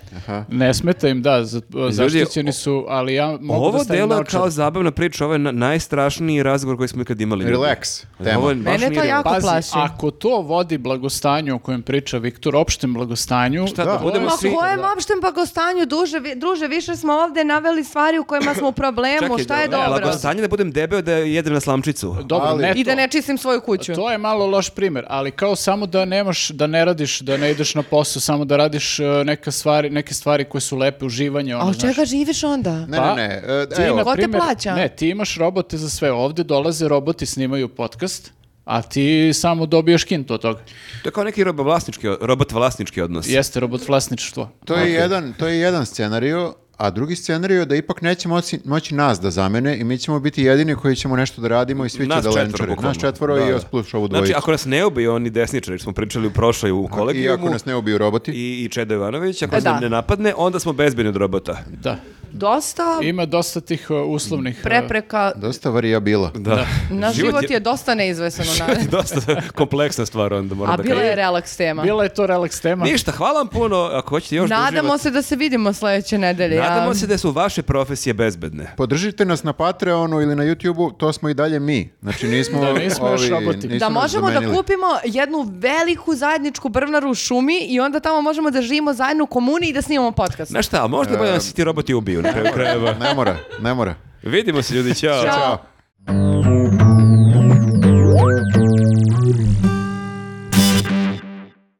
Speaker 2: Ne smeta im, da, za- zaštićeni su, ali ja mogu da
Speaker 3: Ovo
Speaker 2: stavim
Speaker 3: delo je
Speaker 2: naočare.
Speaker 3: kao zabavna priča, ovo je na- najstrašniji razgovor koji smo ikad imali.
Speaker 1: Relax, tema.
Speaker 3: Ovo je baš
Speaker 4: Mene
Speaker 3: nije
Speaker 4: to jako
Speaker 2: Pazi,
Speaker 4: plaši.
Speaker 2: ako to vodi blagostanju o kojem priča Viktor, opštem blagostanju...
Speaker 3: Šta,
Speaker 2: to
Speaker 3: da
Speaker 2: je-
Speaker 3: budemo
Speaker 7: Pa Ma
Speaker 3: svi-
Speaker 7: kojem opštem blagostanju, duže, vi- druže, više smo ovde naveli stvari u kojima smo u problemu,
Speaker 3: Čekaj,
Speaker 7: šta je
Speaker 3: da-
Speaker 7: dobro?
Speaker 3: Blagostanje da budem debeo da jedem na slamčicu.
Speaker 2: Dobro,
Speaker 1: Ali-
Speaker 2: ne
Speaker 4: I da
Speaker 2: to.
Speaker 4: ne čistim svoju kuću.
Speaker 2: To je malo loš primjer, ali kao samo da nemaš, da ne radiš, da ne ideš na posao, samo da radiš e, neke stvari, neke stvari koje su lepe, uživanje, ono,
Speaker 4: A od
Speaker 2: znaš.
Speaker 4: čega živiš onda?
Speaker 1: Ne,
Speaker 2: Pa,
Speaker 1: ne, ne. e,
Speaker 2: Ti,
Speaker 1: evo,
Speaker 2: na
Speaker 7: Ko te
Speaker 2: primjer-
Speaker 7: plaća?
Speaker 2: Ne, ti imaš robote za sve. Ovdje dolaze roboti, snimaju podcast, a ti samo dobiješ kintu od toga.
Speaker 3: To je kao neki robovlasnički, robot vlasnički odnos.
Speaker 2: Jeste robot vlasništvo.
Speaker 1: to, je jedan, to je jedan scenario, a drugi scenario je da ipak neće moći, moći nas da zamene i mi ćemo biti jedini koji ćemo nešto da radimo i svi će
Speaker 3: Nas
Speaker 1: da
Speaker 3: četvoro,
Speaker 1: lenčare.
Speaker 3: bukvalno.
Speaker 1: Nas četvoro
Speaker 3: Da,
Speaker 1: i
Speaker 3: da.
Speaker 1: još plus ovu dvojicu.
Speaker 3: Znači, ako nas ne ubiju oni desničari, što smo pričali u prošloj u
Speaker 1: I ako
Speaker 3: kolegijumu,
Speaker 1: nas ne ubiju roboti.
Speaker 3: i, i Čeda Ivanović, ako
Speaker 4: E,
Speaker 3: nas
Speaker 4: da.
Speaker 3: ne napadne, onda smo bezbedni od robota.
Speaker 2: Da.
Speaker 7: Dosta
Speaker 2: Ima dosta tih uh, uslovnih... uh,
Speaker 7: Pa- prepreka.
Speaker 1: Dosta varijabila.
Speaker 3: Da.
Speaker 4: Naš život je dosta neizvesan. onaj.
Speaker 3: dosta kompleksna stvar onda moram
Speaker 4: A
Speaker 3: da
Speaker 4: bila je
Speaker 3: kažem.
Speaker 4: relaks tema.
Speaker 2: Bila je to relaks tema.
Speaker 3: Ništa, hvala vam puno, ako hoćete još
Speaker 4: Nadamo se da se vidimo sledeće nedelje. ja-
Speaker 3: Nadamo se da su vaše profesije bezbedne.
Speaker 1: Podržite nas na Patreonu ili na YouTubeu, to smo i dalje mi. Znači nismo
Speaker 2: Da, nismo još
Speaker 1: ovi,
Speaker 2: roboti.
Speaker 1: nisu
Speaker 7: Da
Speaker 1: nas
Speaker 7: možemo da
Speaker 1: zamenili.
Speaker 7: kupimo jednu veliku zajedničku brvnaru u šumi i onda tamo možemo da živimo zajedno u komuni i da snimamo podcast.
Speaker 3: Znaš šta, možda bolje da se ti roboti ubiju na kraju krajeva.
Speaker 1: Ne mora, ne mora.
Speaker 3: Vidimo se ljudi, ćao.
Speaker 1: Ćao.